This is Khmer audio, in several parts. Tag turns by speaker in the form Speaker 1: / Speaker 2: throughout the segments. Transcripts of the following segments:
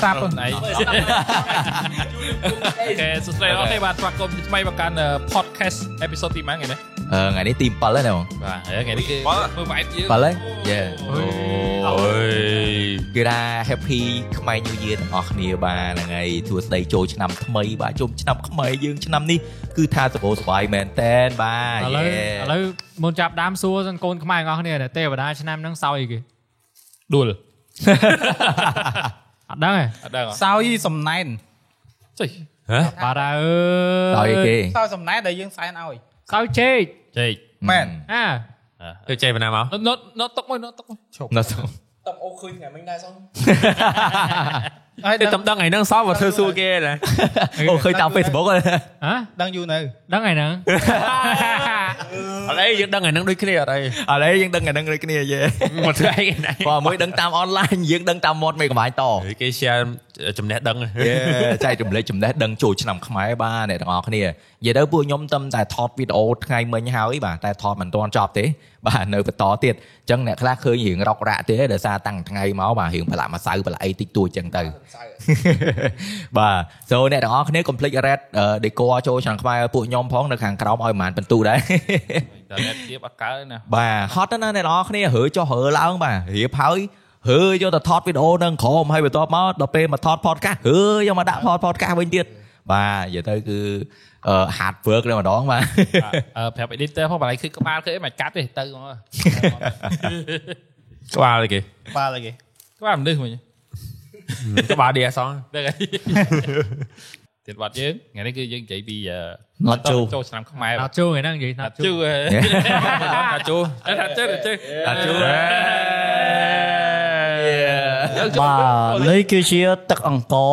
Speaker 1: សាប់ខ្លួនឯង អូខេសួស្តីអូខេបាទស្វាគមន៍ជាថ្មីមកកាន់ ờ, podcast episode ទី1ថ្ងៃនេះ
Speaker 2: អឺថ្ងៃនេះទី7ហើយណាបង
Speaker 1: បាទថ្ងៃនេះគឺមើល vibe យើង
Speaker 2: 7ហើយ Yeah
Speaker 1: អូ
Speaker 2: អូ
Speaker 1: យ
Speaker 2: យគឺថា happy ខ្មែរ New Year ទាំងអស់គ្នាបាទហ្នឹងហើយសួស្តីចូលឆ្នាំថ្មីបាទជុំឆ្នាំខ្មែរយើងឆ្នាំនេះគឺថាសុខសប្បាយមែនតែនបាទ
Speaker 3: ឥឡូវ
Speaker 2: Yeah
Speaker 3: ឥឡូវមុនចាប់ដើមសួរសិនកូនខ្មែរទាំងអស់គ្នាដែលទេវតាឆ្នាំហ្នឹងសោយគេ
Speaker 1: ដួល
Speaker 3: អត់ដឹងទេ
Speaker 1: អត់ដឹងហ៎
Speaker 4: សោយសំណែន
Speaker 1: ចុយ
Speaker 3: បាទអើ
Speaker 2: តោះអីគេ
Speaker 4: សោយសំណែនដែលយើងសែនឲ្យ
Speaker 3: សោយជេក
Speaker 5: ជេក
Speaker 4: មែន
Speaker 3: អា
Speaker 5: ទៅជេកបណ្ណាមក
Speaker 1: ណត់ណត់ទុកមួយណត់ទុកមួយ
Speaker 2: ណោះសុំ
Speaker 4: តបអូឃើញថ្ងៃមិញដែរសោះ
Speaker 5: ទេតំដឹងឯហ្នឹងសោះមកធ្វើសួរគេណា
Speaker 2: អូឃើញតាម Facebook ហើយ
Speaker 3: ហ៎
Speaker 4: ដឹងយូរនៅ
Speaker 3: ដឹងហើយហ្នឹង
Speaker 5: អត់អីយើងដឹងឯហ្នឹងដូចគ្នាអត់ អី
Speaker 2: ឥឡូវយើងដឹងអាហ្នឹងដូចគ្នា Yeah
Speaker 5: មកធ្វើអីណា
Speaker 2: បើមួយដឹងតាម online យើងដឹងតាមមាត់មេកំបាញ់ត
Speaker 5: គេ share ចំណេះដឹង
Speaker 2: យេ ចែករំលែកចំណេះដឹងចូលឆ្នាំខ្មែរបាទអ្នកទាំងអស់គ្នានិយាយទៅពួកខ្ញុំតឹមតែថតវីដេអូថ្ងៃមិញហើយបាទតែថតមិនទាន់ចប់ទេបាទនៅបន្តទៀតអញ្ចឹងអ្នកខ្លះឃើញរឿងរ៉ុករ៉ាក់ទេដោយសារតាំងថ្ងៃមកបាទរឿងប្រឡាក់ម្សៅប្រឡាក់អីតិចតួចអញ្ចឹងទៅ បាទ so អ្នកទាំងអស់គ្នា complete red decor ចូលឆ្នាំខ្មែរឲ្យពួកខ្ញុំផងនៅខាងក្រោមឲ្យប្រហែលពិន្ទុដែរ
Speaker 1: តែអ្នកទៀតអត់កើតទេណា
Speaker 2: បាទហត់ណាស់ណាអ្នកនរគ្នារើចុះរើឡើងបាទរៀបហើយរើយកទៅថតវីដេអូនៅក្រោមហើយបន្ទាប់មកដល់ពេលមកថត podcast រើយកមកដាក់ថត podcast វិញទៀតបាទនិយាយទៅគឺអឺ hard work តែម្ដងបាទ
Speaker 1: បាទអឺប្រាប់ editor ផងបើឡើយគឺក្បាលគឺអីមិនកាត់ទេទៅហ្មង
Speaker 5: ក្បាលអីគេ
Speaker 4: បាទអីគេ
Speaker 1: ក្បាលមនុស្សវិញ
Speaker 5: ក្បាល DSL
Speaker 1: ហ្នឹងហើយទៀតបាត់យើងថ្ងៃនេះគឺយើងនិយាយពីអឺ
Speaker 2: ណត់ជូ
Speaker 1: ចូលឆ្នាំខ្មែរ
Speaker 3: ណត់ជូរហ្នឹងនិយាយណ
Speaker 1: ណា
Speaker 3: ត់
Speaker 1: ត់
Speaker 3: ជូ
Speaker 1: ជូ
Speaker 3: រ
Speaker 1: ណាត់ជូណាត់ជូណាត់ជូ
Speaker 2: ណត់ជូ
Speaker 1: យើង ជូ
Speaker 6: បាទនេះគឺជាទឹកអង្ករ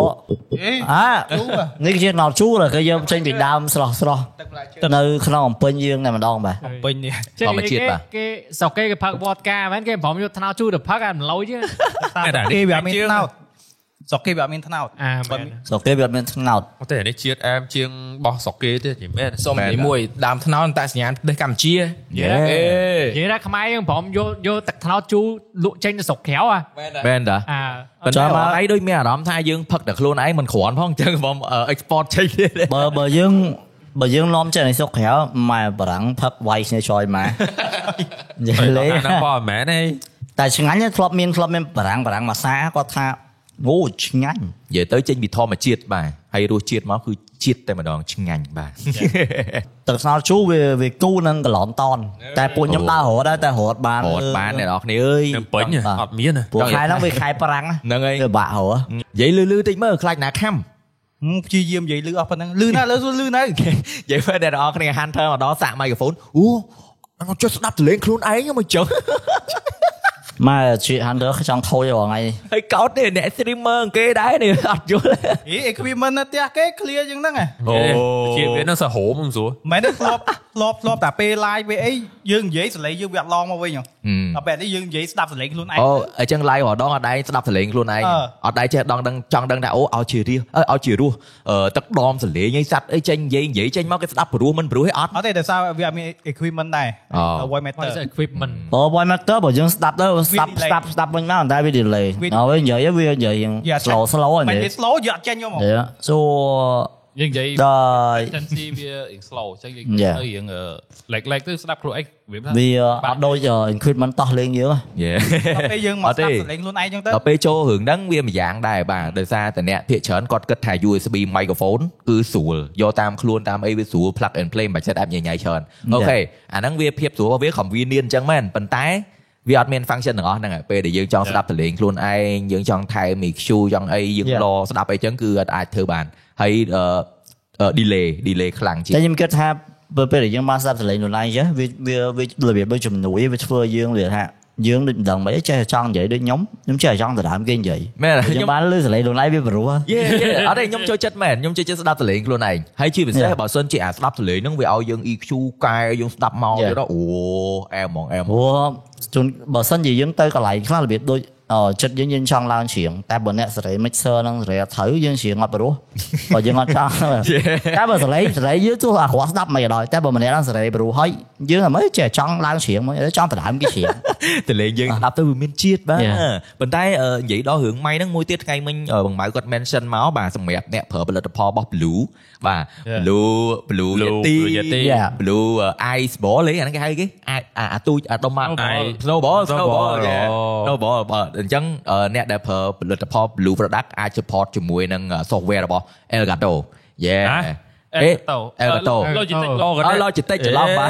Speaker 6: អានេះគឺជាណោតជូរដែលគេយកចេញពីដើមស្រស់ស្រស់
Speaker 4: ទឹកផ្លែឈើ
Speaker 6: ទៅនៅក្នុងអំពិញយើងតែម្ដងបាទ
Speaker 4: ពេញនេះ
Speaker 3: ចេះនិយាយគេគេស្រុកគេគេផឹកវ៉តកាមែនគេប្រមយកថ្នោតជូរទៅផឹកអាមិនលុយទេ
Speaker 4: គេវាអត់មានថ្នោតស្រុកគេវាអត់មានថ្នោត
Speaker 3: អាមែន
Speaker 6: ស្រុកគេវាអត់មានថ្នោត
Speaker 5: អត់ទេអានេះជាតិអែមជាងបោះស្រុកគេទេនិយាយមែន
Speaker 7: សុំទីមួយដើមថ្នោតតែសញ្ញាប្រទេសកម្ពុជា
Speaker 2: យេ
Speaker 7: អេ
Speaker 3: និយាយថាខ្មែរយើងប្រមយកយកទឹកថ្នោតជូរលក់ចេញទៅស្រុកក្រៅអា
Speaker 2: មែនតា
Speaker 3: អា
Speaker 2: ប៉ុន្តែមកឯងដូចមានអារម្មណ៍ថាយើងផឹកតែខ្លួនឯងមិនគ្រាន់ផងអញ្ចឹងខ្ញុំអឺ export ចេញទៀតទេ
Speaker 6: បើបើយើងបើយើងនាំចេញឲ្យស្រុកក្រៅម៉ែបារាំងផឹក White Nature មកនិយាយលេង
Speaker 5: ណាប៉មែនទេ
Speaker 6: តែឆ្ងាញ់ណាស់ធ្លាប់មានធ្លាប់មានបារាំងបារាំងមកសាគាត់ថាអូឆ្ងាញ់
Speaker 2: និយាយទៅចេញពីធម្មជាតិបាទហើយរសជាតិមកគឺជាតិតែម្ដងឆ្ងាញ់បាទ
Speaker 6: ទឹកថ្នោតជូរវាវាគូរនឹងកន្លងតនតែពួកខ្ញុំដើររត់ដែរតែរត់បាន
Speaker 2: រត់បានអ្នកនរគ្នាអើយ
Speaker 5: នឹងពេញអត់មាន
Speaker 6: ពួកខែហ្នឹងវាខែប្រាំង
Speaker 2: ហ្នឹងហើយ
Speaker 6: វាបាក់ហោ
Speaker 2: និយាយលឺលឺតិចមើលខ្លាចណាខំ
Speaker 4: ហឹមព្យាយាមនិយាយលឺអស់ប៉ុណ្ណឹងលឺណាស់លឺលឺនៅ
Speaker 2: និយាយមើលអ្នកនរគ្នា Hunter មកដល់សាក់មីក្រូហ្វូនអូអត់ចុះស្ដាប់ទលេងខ្លួនឯង មកចឹង
Speaker 6: ម៉ែជា Hunter ចង់ខូចរាល់ថ្ងៃ
Speaker 4: Ừ.
Speaker 6: នេះ
Speaker 2: ហើយកោតនេះអ្នក streamer គេដែរនេះ អត់យល់
Speaker 4: អី equipment នៅផ្ទះគេ clear ជាងហ្នឹងហ៎
Speaker 5: អូជាតិវានឹងសហោមមិនស្រួល
Speaker 4: មិនទេធ្លាប់ ធ្លាប់ធ្លាប់តែពេល live វាអីយើងនិយាយសលេងយើងវាអត់ឡងមកវិញហ៎ដល់ពេលនេះយើងនិយាយស្ដាប់សលេងខ្លួនឯង
Speaker 2: អូអញ្ចឹង live រដងអត់ដែរស្ដាប់ទលេងខ្លួនឯង
Speaker 4: អឺ
Speaker 2: អត់ដែរចេះដងដឹងចង់ដឹងថាអូឲ្យជារសអើឲ្យជារសអឺទឹកដមទលេងអីសัตว์អីចេញនិយាយនិយាយចេញមកគេស្ដាប់ព្រោះមិនព្រោះឯងអត់
Speaker 4: អត់ទេដោយសារវាអត់មាន equipment ដែរ
Speaker 2: អូ
Speaker 4: voice
Speaker 3: what
Speaker 4: matter
Speaker 3: is equipment
Speaker 6: បើ boy matter បើយើងស្ដាប់ទៅស្ដាប់ស្ដាប់ស្ដាប់វិញមកតែវា delay
Speaker 4: វា
Speaker 6: ដល់វិញនិយាយវានិយាយយើង
Speaker 4: Yeah,
Speaker 6: slow slow ហ្នឹ
Speaker 4: មិន
Speaker 6: ង
Speaker 4: វា slow យកអត់ចេញយកមក
Speaker 6: យាសូ
Speaker 1: យើងនិយាយ
Speaker 6: ដល់
Speaker 1: tendency វា slow អញ្ចឹងយើង
Speaker 6: យ៉ា
Speaker 1: ទៅរៀងឡែកឡែកទៅស្ដាប់ខ្លួនឯងវាថា
Speaker 6: វាអត់ដូច equipment តោះលេងយើង
Speaker 2: Yeah
Speaker 4: ដល់ពេលយើងមក
Speaker 2: អត់
Speaker 4: ស្ដាប់
Speaker 2: ទេ
Speaker 4: សលេងខ្លួនឯងចឹងទៅ
Speaker 2: ដល់ពេលចូលរឿងហ្នឹងវាម្យ៉ាងដែរបាទដោយសារតែអ្នកភាគច្រើនគាត់គិតថា USB microphone គឺស្រួលយកតាមខ្លួនតាមអីវាស្រួល plug and play មិនបាច់ចិត្តអែបញញ៉ៃច្រើនអូខេអាហ្នឹងវាភាពស្រួលរបស់វា convenient អញ្ចឹងមែនប៉ុន្តែវាអត់មាន function ទាំងអស់ហ្នឹងឯងពេលដែលយើងចង់ស្ដាប់តលេងខ្លួនឯងយើងចង់ថែមីខ្ជូចង់អីយើង
Speaker 6: Yeah.
Speaker 2: ឡស្ដាប់អីចឹងគឺអត់អាចធ្វើបានហើយអឺអឺ delay delay ខ្លាំងជាង
Speaker 6: តែខ្ញុំគិតថាបើពេលដែលយើងមកស្ដាប់សលេងខ្លួនឯងចេះវាវាវារបៀបដូចជំនួយវាធ្វើយើងវាថាយើងដូចមិនដឹងមិនអីចេះតែចង់និយាយដូចខ្ញុំខ្ញុំចេះតែចង់ដណ្ដើមគេនិយា យ
Speaker 2: មែន
Speaker 6: តែខ្ញុំ
Speaker 2: ខ្ញុំ
Speaker 6: បានលើសលេងខ្លួនឯងវាព្រោះ
Speaker 2: Yeah, yeah. អត់ទេខ្ញុំចូលចិត្តមែនខ្ញុំចូលចិត្តស្ដាប់ទលេងខ្លួនឯងហើយជាពិសេស
Speaker 6: Yeah.
Speaker 2: បើសិនជាអាស្ដាប់ទលេងហ្នឹងវាឲ្យយើង EQ កែយើងស្ដាប់មក
Speaker 6: Yeah.
Speaker 2: ទៅដល់អូអែមហ្មងអែមហ្មង
Speaker 6: ព្រោះជួនបើសិនជាយើងទៅកន្លែងខ្លះរបៀបដូច អឺចិត្តយើងយើងចង់ឡើងច្រៀងតែបើអ្នកសេរី mixer ហ្នឹងសេរី អត់ត្រូវយើងច្រៀងអត់ព្រោះបើយើងអត់ចង់ តែបើសេរីសេរីយើងទោះអាក្រក់ស្ដាប់មិនក៏ដោយតែបើម្នាក់ហ្នឹងសេរីព្រោះហើយយើងអាមើលចេះចង់ឡើងច្រៀងមកចង់ដណ្ដើមគេច្រៀង
Speaker 2: តលេងយើងស្ដាប់ទៅវាមានជាតិបាទ
Speaker 3: Yeah.
Speaker 2: ប៉ុន្តែអឺនិយាយដល់រឿងម៉ៃហ្នឹងមួយទៀតថ្ងៃមិញអឺបងម៉ៅគាត់ mention មកបាទសម្រាប់អ្នកប្រើផលិតផលរបស់ Blue បាទ Blue Blue
Speaker 5: Blue
Speaker 2: Yeti
Speaker 5: Blue Yeti
Speaker 6: Yeah.
Speaker 2: Blue អឺ Ice Ball អីអាហ្នឹងគេហៅគេអាអាអាទូចអាដុំមក
Speaker 5: Snowball.
Speaker 2: Snowball Snowball
Speaker 7: Snowball.
Speaker 2: yeah. Snowball បាទអញ្ចឹងអឺអ្នកដែលប្រើផលិតផល Blue Product អាច support ជាមួយនឹងអឺ software របស់ Elgato Yeah
Speaker 5: ហ៎
Speaker 2: អេ Elgato
Speaker 1: Elgato Logitech
Speaker 2: អត់ Logitech ច្រឡំ បាទ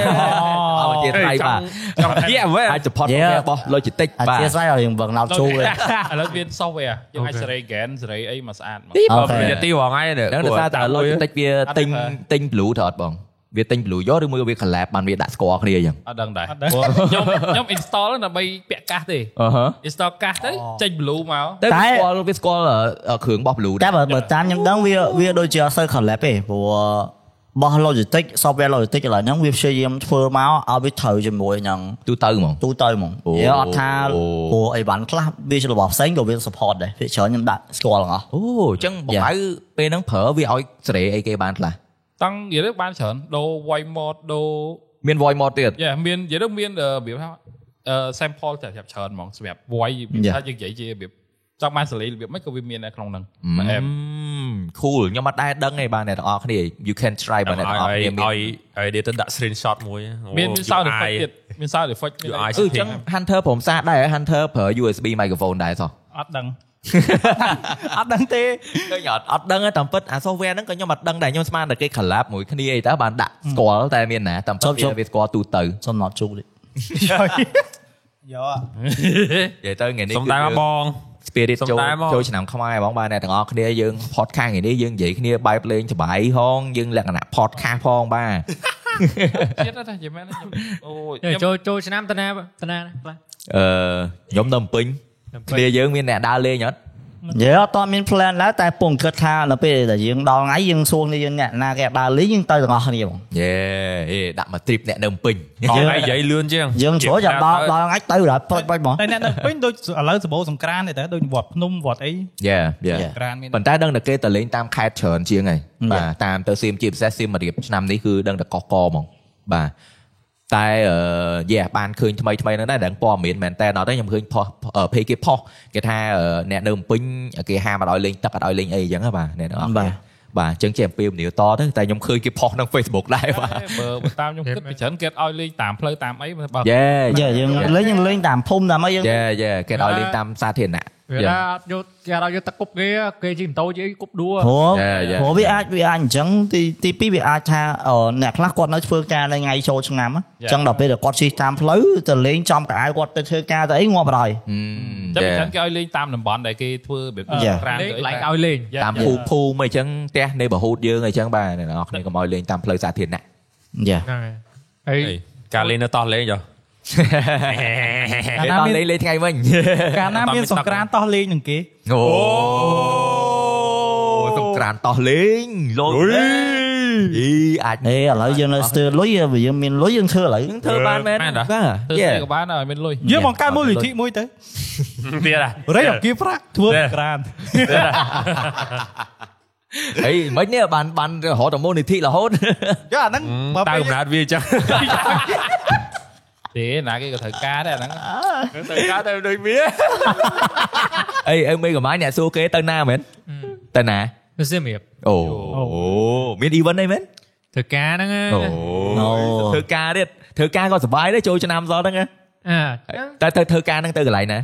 Speaker 2: អត់ជាថ្លៃបាទ
Speaker 5: ចង់ ហៀវ
Speaker 2: អាច support software របស់ Logitech
Speaker 6: អ
Speaker 2: បាទ
Speaker 6: ធិស្ឋានឲ្យយើងវឹងឡោតជូ រ
Speaker 1: ឥឡូវមាន software យើងអាចសេរី gain សេរីអីមកស្អាតមក
Speaker 6: អូខេ
Speaker 7: រយៈទីរហងៃនេះ
Speaker 2: ហ្នឹងដោយសារតែ Logitech វា
Speaker 1: អត់
Speaker 2: ទិញ
Speaker 1: ប្រើ
Speaker 2: ទិញ blue ត្រអត់បងវាទិញ blue យកឬមួយក៏វា collab បានវាដាក់ស្គាល់គ្នាអញ្ចឹង
Speaker 1: អត់ដឹងដែរព្រោះខ្ញុំខ្ញុំ install ហ្នឹងដើម្បីពាក់កាសទេ
Speaker 2: អឺហ
Speaker 1: install កាសទៅចេញ blue មក
Speaker 2: តែ
Speaker 6: តែ
Speaker 2: វាស្គាល់វាស្គាល់អឺអឺគ្រឿងរបស់ blue
Speaker 6: តែ
Speaker 2: ដែរ
Speaker 6: បើបើតាមខ្ញុំដឹងវាវាដូចជាអត់សូវ collab ទេព្រោះបោះ Logitech software Logitech ឥឡូវហ្នឹងវាព្យាយាមធ្វើមកឲ្យវាត្រូវជាមួយនឹង
Speaker 2: ទូទៅហ្មង
Speaker 6: ទូទៅហ្មង
Speaker 2: អូ
Speaker 6: វាអត់ថា
Speaker 2: អូ
Speaker 6: ព្រោះអីវ៉ាន់ខ្លះវាជារបស់ផ្សេងក៏វា support ដែរវាច្រើនខ្ញុំដាក់ស្គាល់ទាំងអស់
Speaker 2: អូអញ្ចឹងបង
Speaker 6: Yeah.
Speaker 2: ហៅពេលហ្នឹងប្រើវាឲ្យសេរីអីគេបានខ្លះ
Speaker 1: តង់និយាយទៅបានច្រើនដូរ voice mode Dạ, ដូរ
Speaker 2: មាន voice mode ទៀត
Speaker 1: yeah មាននិយាយទៅមានអឺរបៀបថាអឺ Ờ, sample តែចាប់ច្រើនហ្មងសម្រាប់ voice របៀប
Speaker 6: Yeah.
Speaker 1: ថាយើងនិយាយជារបៀបចង់បានសលេងរបៀបមិនក៏វាមាននៅក្នុងហ្នឹង
Speaker 2: ម៉ែ
Speaker 1: អេម
Speaker 2: cool ខ្ញុំអត់ដែរដឹងទេបាទអ្នកទាំងអស់គ្នា you can try បាទអ្នកទាំងអស់
Speaker 5: ឲ្យ
Speaker 2: គ្នាមាន
Speaker 5: ឲ្យ editor ដាក់ screenshot មួយ
Speaker 1: មានមាន sound effect ទៀតមាន sound effect មាន
Speaker 5: UI
Speaker 2: អឺអ
Speaker 1: អី
Speaker 2: ញ្ចឹង Hunter ព្រមសារដែរហ៎ Hunter ប្រើ USB microphone ដែរសោះ
Speaker 4: អត់ដឹង
Speaker 2: អត់ដឹងទេខ្ញុំអត់អត់ដឹងទេតាមពិតអា software ហ្នឹងក៏ខ្ញុំអត់ដឹងដែរខ្ញុំស្មានតែគេ collab មួយគ្នាអីតើបានដាក់ស្គាល់តែមានណាតាមពិត
Speaker 6: ជុំៗ
Speaker 2: វាវាស្គាល់ទូទៅ
Speaker 6: សុំឡោតជូរតិច
Speaker 4: យកអ่ะ
Speaker 2: និយាយទៅថ្ងៃនេះ
Speaker 5: សំដៅមកបង
Speaker 2: spirit
Speaker 5: សុំ
Speaker 2: ចូល
Speaker 5: ដែរមក
Speaker 2: ចូលឆ្នាំខ្មែរហ្មងបាទអ្នកទាំងអស់គ្នាយើង podcast ថ្ងៃនេះយើងនិយាយគ្នាបែបលេងច្បាយហងយើងលក្ខណៈ podcast ផងបាទ
Speaker 1: ជាតិណាស់និយាយមែនណាខ្ញុំអូយ
Speaker 3: ចេះ
Speaker 1: ខ្ញុំ
Speaker 3: ចូលចូលឆ្នាំតាណាតាណាខ្លះ
Speaker 2: អឺខ្ញុំនៅភ្នំពេញគ្នាយើងមានអ្នកដើរលេងអត់
Speaker 6: យើអត់តមាន plan ដែរតែពុំគិតថានៅពេលដែលយើងដល់ថ្ងៃយើងសួរគ្នាយើងអ្នកណាគេដើរលេងយើងទៅទាំងអស់គ្នាហ្មង
Speaker 2: យេអេដាក់មក trip អ្នកនៅភ្នំពេញ
Speaker 5: អត់ឲ្យនិយាយលឿនជាង
Speaker 6: យើងជ្រោះចាំដល់ដល់ថ្ងៃទៅដល់ប្រុចប្រុចហ្មង
Speaker 4: តែអ្នកនៅពេញដូចឥឡូវសម្បូរសង្ក្រានទេតើដូចវត្តភ្នំវត្តអី
Speaker 2: Yeah yeah
Speaker 6: Yeah.
Speaker 4: សង្ក្រានមាន
Speaker 2: ប៉ុន្តែដឹងតែគេទៅលេងតាមខេត្តច្រើនជាងហើយបាទតាមទៅសៀមជាពិសេសសៀមរាបឆ្នាំនេះគឺដឹងតែកកកហ្មងបាទតែអឺយេបានឃើញថ្មីថ្មីហ្នឹងដែរដឹងព័ត៌មានមែនតើដល់ទៅខ្ញុំឃើញផុសអឺ page គេផុសគេថាអឺអ្នកនៅភ្នំពេញគេហាមអត់ឲ្យលេងទឹកអត់ឲ្យលេងអីអញ្ចឹងហ៎បាទអ្នកនរ
Speaker 6: បាទ
Speaker 2: បាទអញ្ចឹងជាអំពីមនីតទៅតែខ្ញុំឃើញគេផុសក្នុង Facebook ដែរបាទ
Speaker 1: បើបើតាមខ្ញុំគិតពីច្រើនគេអត់ឲ្យលេងតាមផ្លូវតាមអីបើ
Speaker 2: Yeah
Speaker 6: យើយើងលេងយើងលេងតាមភូមិតាមអីយើង
Speaker 2: Yeah yeah គេឲ្យលេងតាមសាធារណៈ
Speaker 3: វាថាអត់យកគេអត់យកទឹកគប់គេគេជិះម៉ូតូជិះអីគប់ដួល
Speaker 6: ព្រោះ
Speaker 2: Yeah, yeah.
Speaker 6: ព្រោះវាអាចវាអាចអញ្ចឹងទីទីពីរវាអាចថាអឺអ្នកខ្លះគាត់នៅធ្វើការនៅថ្ងៃចូលឆ្នាំហ៎អញ្ចឹងដល់ពេលដែលគាត់ជិះតាមផ្លូវទៅលេងចំកៅអៅគាត់ទៅធ្វើការទៅអីងាប់បាត់ហើយ
Speaker 1: តែពីច្រើនគេឲ្យលេងតាមតំបន់ដែលគេធ្វើរបៀប
Speaker 6: Yeah.
Speaker 1: ក្រាន
Speaker 3: លេង
Speaker 1: ទៅ
Speaker 3: កន្លែង
Speaker 1: អី
Speaker 3: ឲ្យលេង
Speaker 1: Yeah,
Speaker 2: តាមភូមិភូមិអីចឹងផ្ទះនៃបរហូតយើងអីចឹងបាទអ្នកនរគ្នាកុំឲ្យលេងតាមផ្លូវសាធារណៈ
Speaker 6: យ៉ា
Speaker 3: ហ្នឹងហើយ
Speaker 5: អីការលេងនៅតោះលេងចុះ
Speaker 2: គេត
Speaker 4: កាល
Speaker 2: ន់
Speaker 4: ណា
Speaker 2: លេ
Speaker 4: មាន
Speaker 2: ងលេងថ្ងៃ វិញ
Speaker 4: កាលណាមានសង្ក្រានតោះលេងនឹងគេ
Speaker 2: អូសង្ក្រានតោះលេងលុយអីអាច
Speaker 6: ហេឥឡូវយើងនៅស្ទើរលុយបើយើងមានលុយយើងធ្វើឥឡូវ
Speaker 2: យើងធ្វើបានមែន
Speaker 5: មែន
Speaker 2: បា
Speaker 5: តា
Speaker 2: ទ
Speaker 1: ធ្វើ
Speaker 2: យេ
Speaker 1: ស្អីក៏បានឲ្យមានលុយ
Speaker 4: យើងបង្កើតមូលនិធិមួយទៅ
Speaker 5: ទៀតហ่ะ
Speaker 4: រៃអង្គាប្រាក់ធ្វើ
Speaker 5: Yeah.
Speaker 4: សង្ក្រាន
Speaker 2: អីមិននេះបានបានរហូតដល់មូលនិធិរហូត
Speaker 4: យកអាហ្នឹងបើ
Speaker 5: តើ
Speaker 4: ពេល
Speaker 5: កំណត់វាចឹង
Speaker 1: ទេណាគេក៏ត្រូវការដែរអាហ្នឹង
Speaker 5: ទៅការទៅដូចវា
Speaker 2: អីអីមិនកម្លាំងអ្នកសួរគេទៅណាមែនទៅណា
Speaker 3: វាសៀមរាប
Speaker 2: អូអូមាន event អីមែន
Speaker 3: ធ្វើការហ្នឹង
Speaker 2: អូ
Speaker 6: អូ
Speaker 2: ធ្វើការទៀតធ្វើការក៏សុបាយដែរចូលឆ្នាំសហ្នឹងណា
Speaker 3: អើ
Speaker 2: តែទៅធ្វើការហ្នឹងទៅកន្លែងណា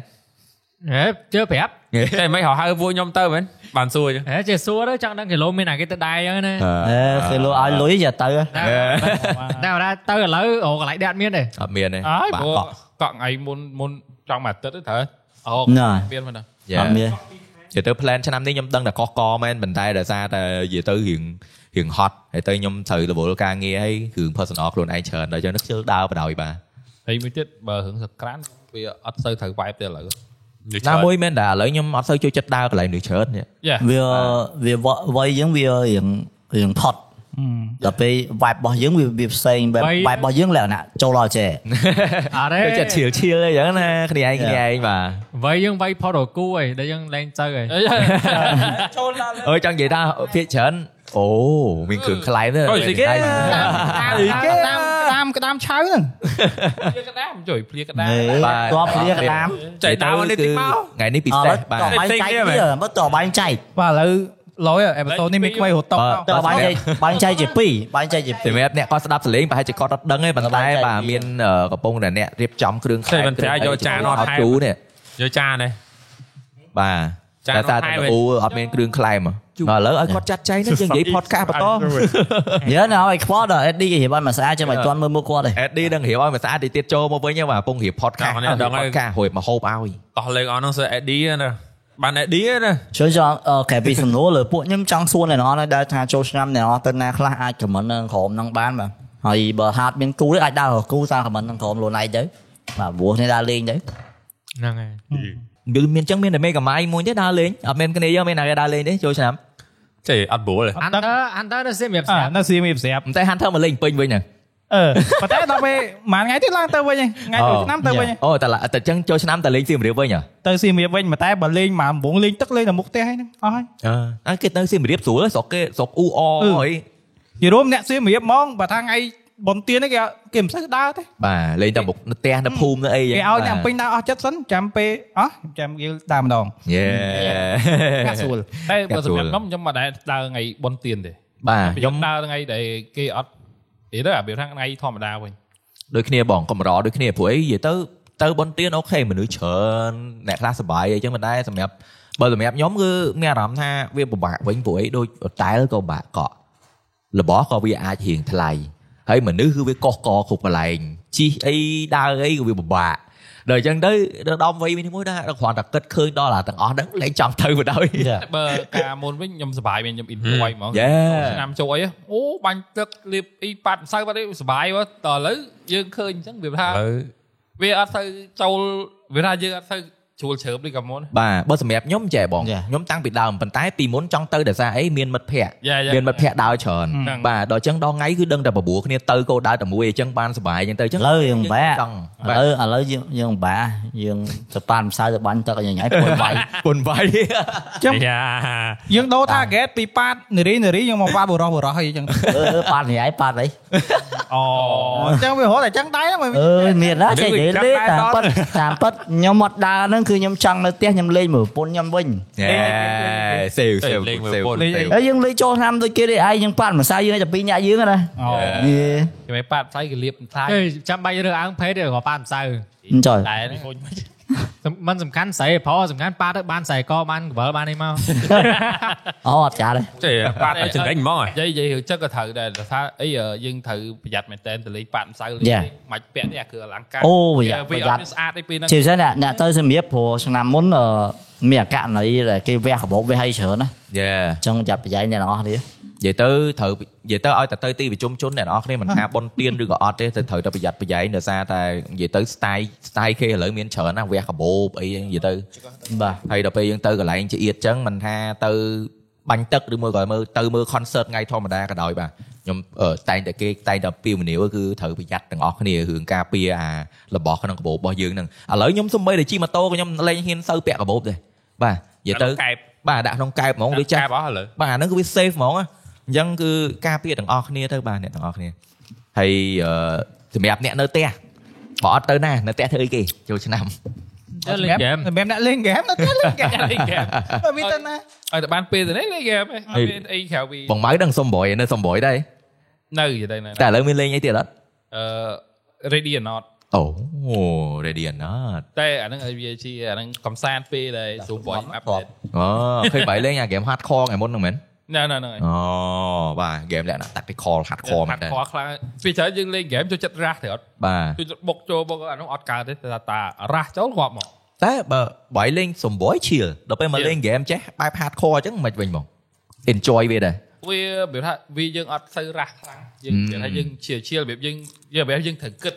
Speaker 3: ហេជើប្រាប់
Speaker 5: តែមិនហៅហៅពួកខ្ញុំទៅមែនបានសួរចឹង
Speaker 3: ហេជើសួរទៅចង់ដឹងគីឡូមានណាគេទៅដែរអញ្ចឹងណា
Speaker 6: អេគេលុយឲ្យលុយយ៉ាទៅហ៎
Speaker 3: តែ
Speaker 2: Dạ.
Speaker 3: តែបើថាទៅឥឡូវអូកន្លែងដាត់មានទេ
Speaker 2: អត់មានទេ
Speaker 1: អើយ
Speaker 2: បា
Speaker 1: ព្រោះ
Speaker 2: កក់
Speaker 1: កក់ថ្ងៃមុនមុនចង់មួយអាទិត្យទៅត្រូវអូ
Speaker 6: ណា
Speaker 1: មានមកដល់
Speaker 2: Yeah.
Speaker 6: អត់មាន
Speaker 2: និយាយទៅ plan ឆ្នាំនេះខ្ញុំដឹងតែកកកមែនប៉ុន្តែដោយសារតែនិយាយទៅរឿងរឿងហត់ហើយទៅខ្ញុំត្រូវរវល់ការងារហើយរឿង personal ខ្លួនឯងច្រើនដល់ចឹងនេះខ្ជិលដើរបដ ாய் បាទ
Speaker 1: ហើយមួយទៀតបើរឿងសក្រានវាអត់សូវត្រូវ vibe ទេឥឡូវ
Speaker 2: ណាមួយមែនដែរឥឡូវខ្ញុំអត់សូវចូលចិត្តដើរកន្លែងនេះច្រើននេះ
Speaker 1: យ៉ា
Speaker 6: វាវាវ័យយើងវារៀងរៀងផត់ ដល់ពេល vibe របស់យើងវាវាផ្សេង vibe
Speaker 3: Vibe-
Speaker 6: vibe របស់យើងលក្ខណៈចូលដល់ចេះ
Speaker 3: អត់
Speaker 2: ចូល
Speaker 3: ទេ
Speaker 2: ចិត្តឈៀលឈៀលអីចឹងណាគ្នាឯងគ្នាឯងបាទ
Speaker 3: វ័យយើងវ័យផុតរកូហើយដែលយើងលែងទៅហើយ
Speaker 4: ចូលដល់
Speaker 2: អើចង់និយាយថាភាកច្រើនអូមានគ្រឿងខ្លែមទេ
Speaker 1: អុយស្អីគេ
Speaker 4: គេក្តាមក្តាមក្តាមឆៅហ្នឹង
Speaker 1: ព្រាកដាមជួយព្រាកដាម
Speaker 2: បាទ
Speaker 6: តបព្រាក្តាម
Speaker 1: ចៃតាមនេះតិចមក
Speaker 2: ថ្ងៃនេះពិ
Speaker 6: អ
Speaker 2: សេស
Speaker 6: ត់
Speaker 2: បាទ
Speaker 6: តបាញ់ចែកទៀតមើលតបាញ់ចែក
Speaker 4: បាទឥឡូវឡយអេបតូននេះមានខ្វៃរត់តក
Speaker 2: បាទ
Speaker 4: មក
Speaker 6: តបាញ់ចែកបាញ់ចែកជា2បាញ់ចែកជា2
Speaker 2: សម្រាប់អ្នកគាត់ស្ដាប់សលេងប្រហែលជាគាត់អត់ដឹងទេប៉ុន្តែបាទមានអឺកំពុងតែអ្នករៀបចំគ្រឿងខ្លែ
Speaker 5: តែ
Speaker 2: ម
Speaker 5: មិនប្រាយកចានអត់ថែម
Speaker 2: ជូរនេះ
Speaker 5: យកចានេះ
Speaker 2: បាទ
Speaker 5: ចាន
Speaker 2: តែ
Speaker 5: អត់ថែម
Speaker 2: តែ
Speaker 5: ទេ
Speaker 2: អូអត់មានគ្រឿងខ្លែមហ៎ឥឡូវឲ្យគាត់ចាត់ចែងនេះយើងនិយាយ podcast បន្ត
Speaker 6: យើណឲ្យខ្វល់ដល់ AD គេរៀបឲ្យមកស្អាតចាំមិនទាន់មើលមុខគាត់ទេ
Speaker 2: អេឌីនឹងរៀបឲ្យមិនស្អាតតិចទៀតចូលមកវិញហ្នឹងបាទពងរៀប podcast
Speaker 5: ដល់ហ្នឹងដល់ហើយ
Speaker 2: podcast រួចមកហូបឲ្យ
Speaker 5: តោះលើកអស់នោះសើអេឌីណាបានអេឌីណា
Speaker 6: ជួយចង់អឺកែពីសំណួរលើពួកខ្ញុំចង់សួរអ្នកនរណាដែលថាចូលឆ្នាំអ្នកនរទៅណាខ្លះអាចខមមិននៅក្រុមហ្នឹងបានបាទហើយបើហាត់មានគូទេអាចដើរគូសារខមមិនក្នុងក្រុមខ្លួនឯងទៅបាទព្រោះនេះដើរលេងទៅ
Speaker 3: ហ្នឹងហើយ
Speaker 2: គឺមានចឹងមានតែមេកម្មាយមួយទេដើរលេងអត់មានគ្នាយើងមានអ្នកដើរលេងទេចូលឆ្នាំ
Speaker 5: ចេះអត់ប្រួលទេ
Speaker 3: អានតើអានតើទៅសម្រាប់
Speaker 4: អ่า
Speaker 3: ស្រាប់
Speaker 4: នៅស៊ីមីប្រាប់
Speaker 2: មិនតែ Hunter មកលេងពេញវិញហ្នឹង
Speaker 4: អឺ ប៉ុន្តែដល់ពេលមួយថ្ងៃទៀតឡើងទៅវិញឯងថ្ងៃមួយឆ្នាំទៅវិញឯង
Speaker 2: អូតែឡាតែចឹងចូលឆ្នាំតែលេងសៀមរាបវិញហ៎
Speaker 4: ទៅស៊ីមីវិញប៉ុន្តែបើលេងមួយដំបងលេងទឹកលេងដល់មុខផ្ទះហ្នឹងអស់ហើយ
Speaker 2: អើគេនៅសៀមរាបស្រួលស្រុកគេស្រុកអ៊ូអអអី
Speaker 4: ជារួមអ្នកស៊ីមីហ្មងបើថាថ្ងៃបុណ្យទានហ្នឹងគេគេមិនសូវដើរទេ
Speaker 2: បាទលេងតែមុខនៅផ្ទះនៅភូមិនៅអី
Speaker 4: គេឲ្យអ្នកពេញដើរអស់ចិត្តសិនចាំពេលអស់ចាំគេដើរម្ដង
Speaker 2: យេ
Speaker 4: កាក់ស្រួល
Speaker 1: តែបើសម្រាប់
Speaker 2: កាត់ស្រួល
Speaker 1: ខ្ញុំខ្ញុំមិនដែរដើរថ្ងៃបុណ្យទានទេ
Speaker 2: បាទ
Speaker 1: ខ្ញុំ
Speaker 2: ខ្ញុំ
Speaker 1: ដើរថ្ងៃដែលគេអត់អីទៅអាវាថាថ្ងៃធម្មតាវិញ
Speaker 2: ដូចគ្នាបងកំរដូចគ្នាព្រោះអីនិយាយទៅទៅបនទៀនអូខេមនុស្សច្រើនអ្នកខ្លះសប្បាយអីចឹងមិនដែរសម្រាប់បើសម្រាប់ខ្ញុំគឺមានអារម្មណ៍ថាវាពិបាកវិញព្រោះអីដូចតែលក៏ពិបាកកក់របស់ក៏វាអាចរៀងថ្លៃហើយមនុស្សគឺវាកុះកគ្រប់កន្លែងជីអីដើរអីក៏វាពិបាកដល់អញ្ចឹងទៅដល់ដល់វ័យនេះមួយដែរគ្រាន់តែគិតឃើញដល់អាទាំងអស់ហ្នឹងលែងចង់ទៅបណ្ដោយ
Speaker 1: តែបើការមុនវិញខ្ញុំសប្បាយមែនខ្ញុំ enjoy ហ្មង
Speaker 2: Yeah
Speaker 1: ឆ្នាំចូលអីហ៎អូបាញ់ទឹកលាបអីប៉ាត់ម្សៅប៉ាត់អីសប្បាយវ៉តឥឡូវយើងឃើញអញ្ចឹងវាថា
Speaker 5: ឥឡូវ
Speaker 1: វាអត់ទៅចូលវាថាយើងអត់ទៅជួលជ្រើបដូចកាលមុន
Speaker 2: បាទបើសម្រាប់ខ្ញុំចេះបង
Speaker 6: Yeah.
Speaker 2: ខ្ញុំតាំងពីដើមប៉ុន្តែពីមុនចង់ទៅដោយសារអីមានមិត្តភ័ក្តិ
Speaker 1: Yeah, yeah.
Speaker 2: មានមិត្តភ័ក្តិដើរច្រើន
Speaker 1: ហ្នឹង
Speaker 2: បាទដល់អញ្ចឹងដល់ថ្ងៃគឺដឹងតែបបួរគ្នាទៅក៏ដើរតែមួយអញ្ចឹងបានសុបាយអញ្ចឹងទៅអញ្ចឹង
Speaker 6: ឥឡូវយើងបាក់
Speaker 2: ចង់
Speaker 6: ឥឡូវឥឡូវយើងយើងបាយើងទៅប៉ានផ្សាយទៅបាញ់ទឹកឲ្យញ៉ៃពុល បាយ
Speaker 2: ពុនវៃ
Speaker 4: ចឹង
Speaker 5: យ៉ា
Speaker 4: យើងដូរថាហ្គេតពីប៉ាតនារីនារីយើងមកប៉ាបុរសបុរសអីចឹង
Speaker 6: អឺប៉ានញ៉ៃប៉ានអី
Speaker 4: អូអញ្ចឹងវារហូតតែចឹងដែរហ្នឹង
Speaker 6: អឺមានណាចេះនិយាយលេងតាមប៉ិតតាមប៉ិតខ្ញុំអត់ដើរហ្នឹងគឺខ្ញុំចង់នៅផ្ទះខ្ញុំលេងមើលប្រពន្ធខ្ញុំវិញ
Speaker 2: សេវសេវ
Speaker 5: លេងមើល
Speaker 2: សេវ
Speaker 5: ពុន
Speaker 2: សេវ
Speaker 6: ហើយយើងលេងចូលឆ្នាំដូចគេទេឯងយើងប៉ាត់មួយសាយយើងតែពីរញ៉ាក់យើងហ្នឹងណា
Speaker 4: អូ
Speaker 6: យេ
Speaker 1: គេមិនប៉ាត់ផ្សៃគេលាបផ្សៃ
Speaker 3: អេចាំបាច់រើសអើងភេទទេក៏ប៉ានផ្សៅ
Speaker 6: អញ្ចឹង
Speaker 1: ដែរហ្នឹង
Speaker 3: សំមិនសំខាន់ស្រីព្រោះសំខាន់ប៉ាទៅបានស្រីក៏បានក្បលបានអីមក
Speaker 6: អូអត់ចាទេ
Speaker 5: ចេះប៉ាត់ឲ្យចង្រិញហ្មងហ៎
Speaker 1: និយាយនិយាយរឿងចឹងក៏ត្រូវដែរដោយថាអីអឺយើងត្រូវប្រយ័ត្នមែនតើទៅលេងប៉ាត់ម្សៅលេង
Speaker 6: Yeah.
Speaker 1: មិនពាក់នេះអាគ្រឿងអលង្ការ
Speaker 6: អូប្រយ័ត្ន
Speaker 1: វា
Speaker 6: ប្រ
Speaker 1: អ
Speaker 6: យ័
Speaker 1: ត់
Speaker 6: ត្ន
Speaker 1: មានស្អាតទេពេលហ្នឹង
Speaker 6: ជាពិសេសអ្នកអ្នកទៅសម្រៀបព្រោះឆ្នាំមុនអឺមានអកណីដែលគេវះកាបោកវះឲ្យច្រើនណា
Speaker 2: យេ
Speaker 6: អញ្ចឹងចាប់ប្រយ័ត្នអ្នកទាំងអស់គ្នា
Speaker 2: និយាយទៅត្រូវនិយាយទៅឲ្យតែទៅទីប្រជុំជនអ្នកនរគ្នាមិនថាប៉ុនទៀនឬក៏អត់ទេទៅត្រូវតែប្រយ័ត្នប្រយែងដោយសារតែនិយាយទៅ style style គេឥឡូវមានច្រើនណាស់វះកាបូបអីនិយាយទៅ
Speaker 6: បាទ
Speaker 2: ហើយដល់ពេលយើងទៅកន្លែងជាទៀតចឹងមិនថាទៅបាញ់ទឹកឬមួយក៏មើលទៅមើល concert ថ្ងៃធម្មតាក៏ដោយបាទខ្ញុំអឺតែងតែគេតែងតែពាវនាវគឺត្រូវប្រយ័ត្នទាំងអស់គ្នារឿងការពារអារបស់ក្នុងកាបូបរបស់យើងហ្នឹងឥឡូវខ្ញុំសំបីតែជិះម៉ូតូក៏ខ្ញុំលែងហ៊ានសូវពាក់កាបូបដែរបាទនិយាយទៅ
Speaker 5: ដាក់ក្នុងកែប
Speaker 2: បាទដាក់ក្នុងកែបហ្មងវាចាស់
Speaker 5: បអស់ឥឡូវ
Speaker 2: បាទអាហ្នឹងគឺវា safe ហ្មងណាអញ្ចឹងគឺការពារទាំងអស់គ្នាទៅបាទអ្នកទាំងអស់គ្នាហើយអឺសម្រាប់អ្នកនៅផ្ទះបើអត់ទៅណានៅផ្ទះធ្វើអីគេចូលឆ្នាំ
Speaker 3: ទៅលេងហ្គេម
Speaker 4: សម្រាប់អ្នកលេងហ្គេមនៅតែលេងហ្គេម
Speaker 1: លេងហ្គេម
Speaker 4: បើមានទៅណា
Speaker 1: ឲ្យតែបានពេលទៅនេះលេងហ្គេមឯងអត់មានអីក្រៅពី
Speaker 2: បងម៉ៅដឹងសំប្រយនៅសំប្រយដែរ
Speaker 1: នៅយទៅណា
Speaker 2: តែឥឡូវមានលេងអីទៀតអត់
Speaker 1: អឺ ready or not
Speaker 2: អូ ready or not
Speaker 1: តែអាហ្នឹងឲ្យវាជាអាហ្នឹងកំសាន្តពេលដែរស៊ូបយអាប់ដេត
Speaker 2: អូឃើញបាយលេងអា game hardcore ថ្ងៃមុនហ្នឹងមែន
Speaker 1: ណ៎ណ៎ហ្នឹងហើយ
Speaker 2: អូបាទ game លក្ខណៈ tactical hardcore មែនដែរ
Speaker 1: ខខ្លាំងពេលច្រើនយើងលេងហ្គេមចូលចិត្តរ៉ាស់ទេអត់
Speaker 2: បាទ
Speaker 1: ចូលចិត្តបុកចូលបុកអាហ្នឹងអត់កើតទេតែតារ៉ាស់ចូលងាប់មក
Speaker 2: តែបើបាយលេងសំប្រយឈៀលដល់ពេលមក
Speaker 1: Chill.
Speaker 2: លេង game ចេះបែប hardcore អញ្ចឹងមិនវិញមក enjoy វាដែរ
Speaker 1: វាវាថាវាយើងអត់ទៅរះខ្លាំងយើង
Speaker 2: Hmm.
Speaker 1: និយាយថាយើងជាជារបៀបយើងយើងរបៀបយើងត្រូវគិត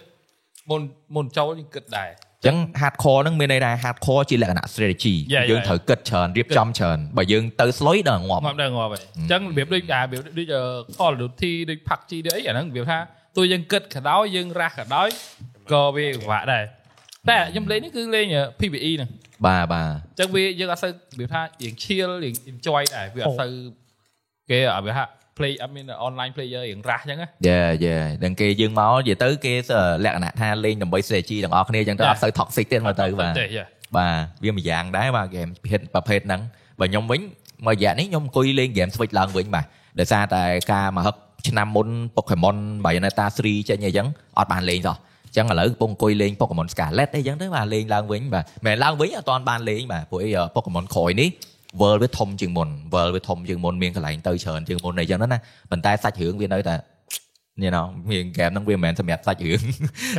Speaker 1: មុនមុនចូលយើងគិតដែរ
Speaker 2: ចឹង hardcore ហ្នឹងមានន័យថា hardcore ជាលក្ខណៈ strategy
Speaker 1: Yeah,
Speaker 2: យើង
Speaker 1: yeah.
Speaker 2: ត្រូវគិតច្រើនរៀបចំច្រើនបើយើងទៅស្លុយដល់ងាប់
Speaker 1: ងាប់ដល់ងាប់ហើយអញ្ចឹងរបៀបដូចអារបៀបដូចអឺ Call of Duty ដូច PUBG ដូចអីអាហ្នឹងរបៀបថាទោះយើងគិតក៏ដោយយើងរះក៏ដោយក៏វាពិបាកដែរតែខ្ញុំលេងនេះគឺលេងអឺ PvE ហ្នឹង
Speaker 2: បាទបាទ
Speaker 1: ចឹងវាយើងអត់សូវវាថារៀង chill រៀង enjoy ដែរវាអត់សូវគេអត់វាថា play អត់មាន online player រៀងរ៉ាស់ចឹងណា
Speaker 2: យេយេដល់គេយើងមកនិយាយទៅគេលក្ខណៈថាលេងដើម្បី strategy ទាំងអស់គ្នាចឹងទៅ
Speaker 1: Yeah.
Speaker 2: អត់សូវ toxic ទេមើលទៅបាទ
Speaker 1: ទេយេ
Speaker 2: បាទវាមួយយ៉ាងដែរបាទ game ប្រភេទប្រភេទហ្នឹងបើខ្ញុំវិញមួយរយៈនេះខ្ញុំអង្គុយលេង game Switch ឡើងវិញបាទដោយសារតែការមកហឹកឆ្នាំមុន Pokemon Bayonetta 3ចេញអីចឹងអត់បានលេងសោះអញ្ចឹងឥឡូវកំពុងអង្គុយលេង Pokemon Scarlet អីចឹងទៅបាទលេងឡើងវិញបាទមិនមែនឡើងវិញអត់ទាន់បានលេងបាទព្រោះអី Pokemon ក្រោយនេះ world វាធំជាងមុន world វាធំជាងមុនមានកន្លែងទៅច្រើនជាងមុនអីចឹងហ្នឹងណាប៉ុន្តែសាច់រឿងវានៅតែ you know មាន game ហ្នឹងវាមិនមែនសម្រាប់សាច់រឿង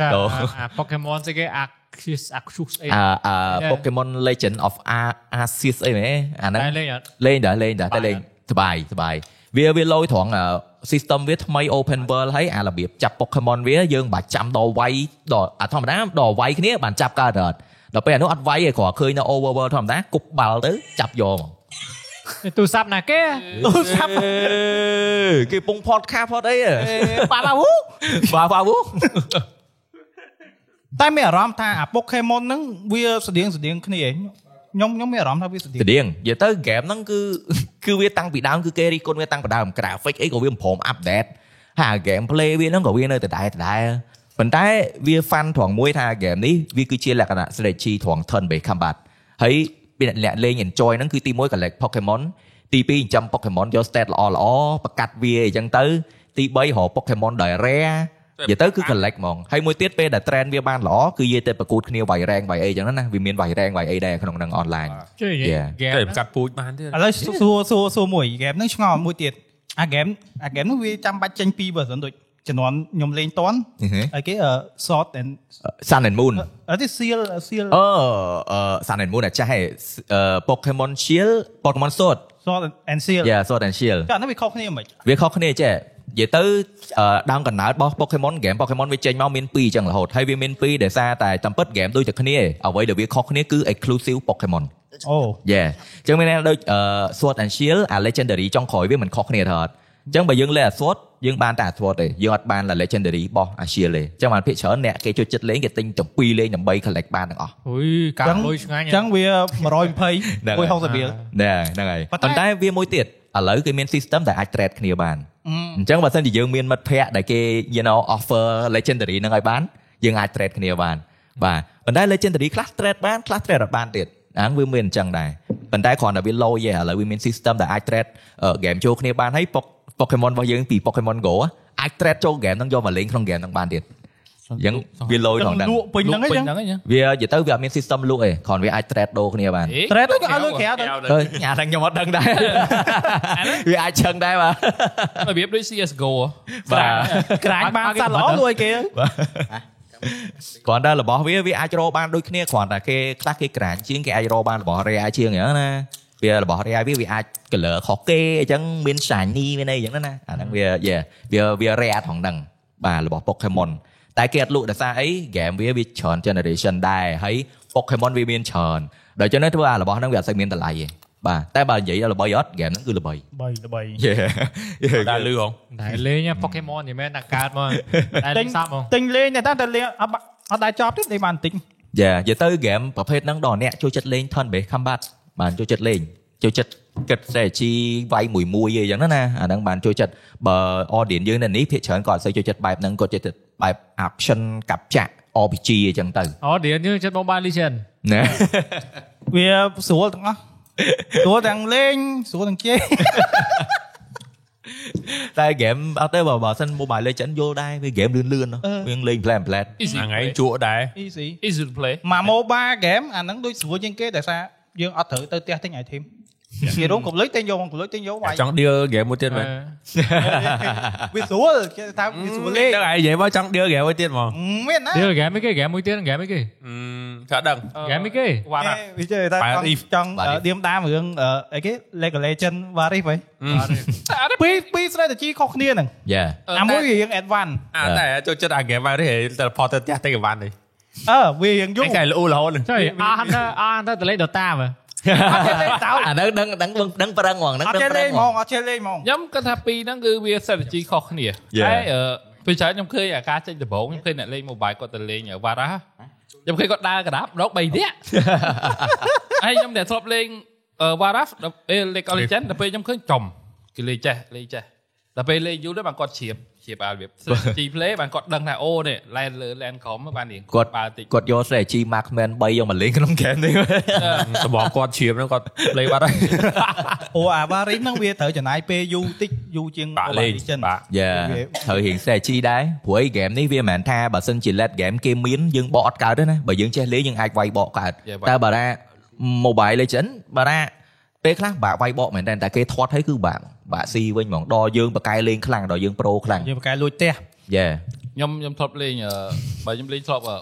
Speaker 3: អា
Speaker 2: ដូ
Speaker 3: អា Dạ, à, Pokemon ស្អីគេ Arceus Arceus អី
Speaker 2: អឺអឺ
Speaker 3: Yeah.
Speaker 2: Pokemon Legend of Ar- Arceus អីមែនអាហ្នឹង
Speaker 3: តែលេងអត់
Speaker 2: លេងដែរលេងដែរតែ
Speaker 3: បា
Speaker 2: លេ
Speaker 3: យ
Speaker 2: ង
Speaker 3: អត់
Speaker 2: សបាយសបាយវាវាលយត្រង់អឺ system វាថ្មី open world ហើយអារបៀបចាប់ Pokemon វាយើងមិនបាច់ចាំដល់វាយដល់អាធម្មតាដល់វាយគ្នាបានចាប់កើតអត់ដល់ពេលអានោះអត់វាយឯងគ្រាន់ឃើញនៅ overworld ធម្មតាគប់បាល់ទៅចាប់យកមក
Speaker 3: ទូរស័ព្ទណាគេ
Speaker 2: ទូរស័ព្ទគេពង podcast ផតអីហ៎ប៉ាឡាវូប៉ាឡាវូ
Speaker 4: តែមានអារម្មណ៍ថាអា Pokemon ហ្នឹងវាស្តៀងស្តៀងគ្នាឯងខ្ញុំខ្ញុំមានអារម្មណ៍ថាវាស្តៀង
Speaker 2: ទៅទៀងនិយាយទៅ game ហ្នឹងគឺគឺវាតាំងពីដើមគឺគេរិះគន់វាតាំងពីដើម graphic អីក៏វាមិនព្រម update ហើយ game play វាហ្នឹងក៏វានៅដដែលដដែលប៉ុន្តែវា fun ត្រង់មួយថា game នេះវាគឺជាលក្ខណៈ strategy ត្រង់ turn based combat ហើយពីអ្នកលេង enjoy ហ្នឹងគឺទី1 collect Pokemon ទី2ចិញ្ចឹម Pokemon យក stat ល្អល្អៗបង្កាត់វាអីចឹងទៅ ទី3រក Pokemon ដែល rare និយាយទៅគឺ collect ហ្មងហើយមួយទៀតពេលដែល trend វាបានល្អគឺនិយាយទៅប្រកួតគ្នាវាយ rank វាយអីចឹងណាវាមានវាយ rank វាយអីដែរក្នុងហ្នឹង online
Speaker 3: ជួយនិយាយ
Speaker 2: Yeah.
Speaker 3: game
Speaker 5: តែ
Speaker 3: ហ្នឹង
Speaker 5: កាត់ពូជបានទៀត
Speaker 4: ឥឡូវសួរសួរសួរសួរមួយហ្គេមហ្នឹងឆ្ងល់មួយទៀតអាហ្គេមអាហ្គេមហ្នឹងវាចាំបាច់ចេញពីរ version ដូចជំនាន់ខ្ញុំលេងតន់
Speaker 2: ហឺហឺ
Speaker 4: អីគេ uh, Sword and
Speaker 2: Sun and Moon
Speaker 4: អត់ទេ Seal Seal
Speaker 2: អឺអឺ Sun and Moon អាចាស់ឯងអឺ Pokemon Shield Pokemon Sword
Speaker 4: Sword and Seal
Speaker 2: យ៉ា Sword and Shield
Speaker 4: កាលហ្នឹងវាខុសគ្នាមិន
Speaker 2: វាខុសគ្នាចេះនិយាយទៅអឺដើមកណ្ដាលរបស់ Pokemon ហ្គេម Pokemon វាចេញមកមាន2អញ្ចឹងរហូតហើយវាមាន2ដែលសារតែតាមពិតហ្គេមដូចតែគ្នាឯងអ្វីដែលវាខុសគ្នាគឺ exclusive Pokemon
Speaker 4: អូ
Speaker 2: យេអញ្ចឹងមានន័យថាដូចអឺ Sword and Shield អា Legendary ចុងក្រោយវាមិនខុសគ្នាទេអត់អញ្ចឹងបើយើងលេងអា Sword យើងបានតែអា Sword ទេយើងអត់បានតែ Legendary របស់អា Shield ទេអញ្ចឹងបានភាគច្រើនអ្នកគេចូលចិត្តលេងគេទិញទាំងពីរលេងដើម្បី collect បានទាំងអស់
Speaker 3: ហ៊ុយកាលុយឆ្ងាញ់
Speaker 4: អញ្ចឹងវា
Speaker 2: ហ្នឹងហើយ
Speaker 4: 120 160រៀល
Speaker 2: ណែហ្នឹងហើយ
Speaker 4: ប៉ុ
Speaker 2: ប៉ុ
Speaker 4: ន្តែ
Speaker 2: ន្តែវាមួយទៀតឥឡូវគេមាន system ដែលអាច trade គ្នាបានអញ្ចឹងបើសិនជាយើងមានមិត្តភ័ក្តិដែលគេ you know offer legendary ហ្នឹងឲ្យបានយើងអាច trade គ្នាបានបាទប៉ុន្តែ legendary ខ្លះ trade បានខ្លះ trade អត់បានទៀតអាហ្នឹងវាមានអញ្ចឹងដែរប៉ុន្តែគ្រាន់តែវា low យេឥឡូវវាមាន system ដែលអាច trade អឺ game ចូលគ្នាបានហើយ Pok- Pokemon របស់យើងពី Pokemon Go ហ៎អាច trade ចូល game ហ្នឹងយកមកលេងក្នុង game ហ្នឹងបានទៀតអញ្ចឹងវា low
Speaker 4: ចឹ
Speaker 2: ផង
Speaker 4: ង
Speaker 2: ដែរ
Speaker 4: លក់ពេញហ្នឹងអីចឹង
Speaker 1: ហ្នឹងអញ្ចឹង
Speaker 2: វានិយាយទៅវាអត់មាន system លក់ឯងគ្រាន់វាអាច trade ដូរគ្នាបាន
Speaker 4: Thread ទៅឲ្យលុយក្រៅទៅ
Speaker 2: អើយញ៉ាទាំងខ្ញុំអត់ដឹងដែរ វាអាចឆឹងដែរបាទ
Speaker 1: របៀបដូច CS:GO
Speaker 2: បាទ
Speaker 4: ក្រាញបានសัตว์ល្អលួយគេ
Speaker 2: គ្រាន់តែរបស់វាវាអាចរកបានដូចគ្នាគ្រាន់តែគេខ្លះគេក្រាញជាងគេអាចរកបានរបស់ rare ជាងអញ្ចឹងណាវារបស់ rare វាវាអាច color ខុសគេអញ្ចឹងមាន shiny មានអីអញ្ចឹងណាណាអាហ្នឹងវា yeah វាវា rare ថងហ្នឹងបាទរបស់ Pokemon តែគេអត់លក់ដោយសារអី game វាវាច្រើន generation ដែរហើយ Pokemon វាមានច្រើនដូច្នេះធ្វើអារបស់ហ្នឹងវាអត់សូវមានតម្លៃទេបាទតែបើនិយាយដល់ល្បីអត់ game ហ្នឹងគឺល្បី
Speaker 4: 3 3
Speaker 2: Yeah.
Speaker 5: ដែរលឺហង
Speaker 3: តែលេងអា Pokemon និយាយមែនតែកើតមកតែលេងសាប់ហ្មង
Speaker 4: ទិញលេងតែតែលេងអត់បាក់អត់ដែរចប់ទេលេងបានបន្តិច
Speaker 2: យ៉ានិយាយទៅហ្គេមប្រភេទហ្នឹងដល់អ្នកចូលចិត្តលេង turn based combat បានចូលចិត្តលេងចូលចិត្តគិត strategy វាយមួយមួយអីចឹងណាណាអាហ្នឹងបានចូលចិត្តបើ audience យើងនៅនេះភាគច្រើនក៏អត់សូវចូលចិត្តបែបហ្នឹងក៏ចូលចិត្តបែប action កាប់ចាក់ RPG អីចឹងទៅ
Speaker 3: អូឌៀនយើងចិត្ត Mobile Legend
Speaker 2: ណា
Speaker 4: វាស្រួលទាំងអស់ស្រួលទាំងលេងស្រួលទាំងជេ
Speaker 2: តែ game អត់ទេបើបើសិន Mobile Legends យល់ដែរវា game លឿនលឿន
Speaker 4: អឺ
Speaker 2: វាលេង plan plan
Speaker 1: easy
Speaker 5: ហ្នឹងឯ
Speaker 1: play
Speaker 5: ងជក់ដែរ
Speaker 4: easy
Speaker 1: easy to play
Speaker 4: មក mobile game អាហ្នឹងដូចស្រួលជាងគេតែថារយើងអត់ត្រូវទៅផ្ទះទិញ item គេរងកម្លេចទិញយកកម្លេចទិញយកវាយ
Speaker 5: ចង់ដៀលហ្គេមមួយទៀតមែន
Speaker 3: Ờ.
Speaker 4: វាស្រួលគេថា
Speaker 7: Ừ,
Speaker 4: វាស្រួលលេង
Speaker 5: ហ្នឹងឯងនិយាយមកចង់ដៀលហ្គេមមួយទៀតហ្មង
Speaker 4: មានណា
Speaker 3: ឌៀនហ្គេមមួយគេហ្គេមមួយទៀតហ្គេមមួយគេ
Speaker 5: ថាដឹង
Speaker 1: Ờ.
Speaker 3: ហ្គេមមួយគេ
Speaker 1: វ៉ាន់
Speaker 4: គេវាជឿថា
Speaker 5: Fire
Speaker 4: ចង់
Speaker 5: Thief
Speaker 4: ចង់
Speaker 2: Fire
Speaker 4: អឺ
Speaker 2: Thief
Speaker 4: ដៀមដាមរឿងអឺអីគេ League of Legends Varif ហី
Speaker 1: អត់
Speaker 4: ពីរពីរ strategy ខុសគ្នាហ្នឹង
Speaker 2: យ៉ា
Speaker 1: Ờ,
Speaker 4: អាមួយវារឿង advance
Speaker 5: អាតែចូលចិត្តអាហ្គេមវាយនេះតែផតទៅផ្ទះតែកីវ៉ាន់នេះ
Speaker 4: អឺវារៀងយូរ
Speaker 5: ឯងកែលូរហូតហ្នឹង
Speaker 3: ចុយអស់ទៅអស់ទៅតលេង Dota មើ
Speaker 2: អាហ
Speaker 3: ល
Speaker 2: ្នឹងដឹងដឹងដឹងដឹងប្រឹងហ្មងហ្នឹង
Speaker 4: អត់
Speaker 2: ដឹង
Speaker 4: ចេះ
Speaker 2: ប្រឹ
Speaker 4: លេ
Speaker 2: ង
Speaker 4: ង
Speaker 2: ហ្ម
Speaker 4: ហ្ម
Speaker 2: ង
Speaker 4: ងអត់ចេះលេងហ្មង
Speaker 1: ខ្ញុំគិតថាពីរហ្នឹងគឺវា strategy ខុសគ្នាតែ
Speaker 2: Yeah.
Speaker 1: អឺពេលច្រើនខ្ញុំឃើញអាការចេញដំបូងខ្ញុំឃើញអ្នកលេង mobile គាត់ទៅលេងវ៉ារ៉ាខ្ញុំឃើញគាត់ដើរកណ្ដាប់ដក3នាក់ ហើយខ្ញុំតែធ្លាប់លេងវ៉ារ៉ាអេលេកអលីចិនដល់ពេលខ្ញុំឃើញចំគេលេងចេះលេងចេះដល់ពេលលេងយូរទៅបានគាត់ជ្រាបជ្រាបអារបៀប strategy play បានគាត់ដឹងថាអូនេះ land លើ land ក្រុមបានរៀង
Speaker 2: គាត់
Speaker 1: បាល់តិច
Speaker 2: គាត់យក strategy markman 3យកមកលេងក្នុង game នេះ
Speaker 5: សម្បងគាត់ជ្រាបហ្នឹងគាត់ play បាត់ហើយ
Speaker 4: ព្រោះអាវ៉ារីហ្នឹងវាត្រូវចំណាយពេលយូរតិចយូរជាង
Speaker 5: បាក់លេង
Speaker 4: Overwatch
Speaker 5: បាក់
Speaker 2: យ៉ាត្រូវរៀង strategy ដែរព្រោះអី game នេះវាមិនមែនថាបើសិនជា let game គេមានយើងបកអត់កើតទេណាបើយើងចេះលេងយើងអាចវាយបកកើត
Speaker 1: យ៉ាវាយ
Speaker 2: តែបារ៉ា mobile legend បារ៉ាពេលខ្លះបាក់វាយបកមែនតើតែគេធាត់ឲ្យគឺបាក់បាក់ស៊ីវិញហ្មងដល់យើងបកកែលេងខ្លាំងដល់យើងប្រូខ្លាំង
Speaker 4: យើងប្រកែលួចផ្ទះ
Speaker 2: យ៉ា
Speaker 1: ខ្ញុំខ្ញុំធ្លាប់លេងអឺបើខ្ញុំលេងធ្លាប់អឺ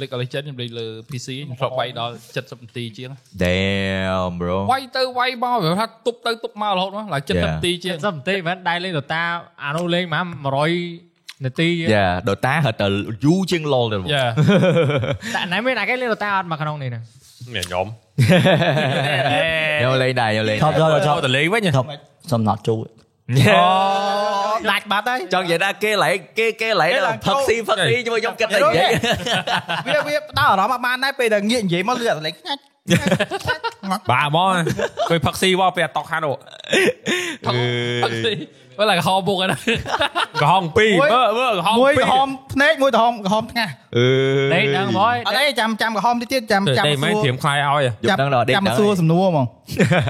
Speaker 1: League of Legends ខ្ញុំលេងលើ PC ខ្ញុំធ្លាប់វាយដល់70នាទីជាង
Speaker 2: damn bro
Speaker 1: វាយទៅវាយមកវាថាទុបទៅទុបមករហូតមកឡើង
Speaker 2: Yeah.
Speaker 1: 70នាទីជាង
Speaker 3: 70នាទីមិនមែនដៃលេង Dota អានោះលេងប្រហែល100នាទី
Speaker 2: យ៉ា Dota ហត់ទៅយូរជាង LoL ទៅ
Speaker 1: យ៉ា
Speaker 3: តែណែមានអាគេលេង Dota អត់មកក្នុងនេះហ្នឹ
Speaker 5: នេះ
Speaker 3: ង
Speaker 5: ខ្ញុំ
Speaker 2: ខ្ញុំលេងដែរខ្ញុំលេង
Speaker 6: ថប់ចូលចូល
Speaker 5: ចូលទៅលេងវិញ
Speaker 6: ថប់សំណត់ជួយ
Speaker 2: អូ
Speaker 4: ដាច់បាត់ហើយ
Speaker 2: ចង់និយាយថាគេឡែកគេគេឡែក
Speaker 4: គេឡើង
Speaker 2: ផឹក
Speaker 4: ចូល
Speaker 2: ស៊ីផឹកស៊ីជាមួយខ្ញុំគិតតែនិយាយ
Speaker 4: វាវាផ្ដោតអារម្មណ៍អត់បានដែរពេលដែលងាកនិយាយមកលឺអត់លេងខ្ញាច់
Speaker 5: បាទហ្មងឃើញផឹកស៊ីមកពេលអត់តុកហានអូ
Speaker 1: វាឡើងហោបុកហ្នឹង
Speaker 5: ក្រហម2មើលមើលក្រហម
Speaker 4: មួយក្រ
Speaker 5: 2
Speaker 4: ហមភ្នែកមួយក្រហមក្រហមថ្ងាស
Speaker 2: Ừ.
Speaker 3: លេងហ្នឹងបង
Speaker 4: អត់ទេចាំចាំក្រហមតិចទៀតចាំចាំ
Speaker 5: តែមិន
Speaker 4: សួរ
Speaker 5: ត្រៀមខ្លាយឲ្យ
Speaker 2: យកដឹងដល់ដេក
Speaker 4: ចាំ
Speaker 2: ដឹង
Speaker 4: សួរសំណួរហ្មង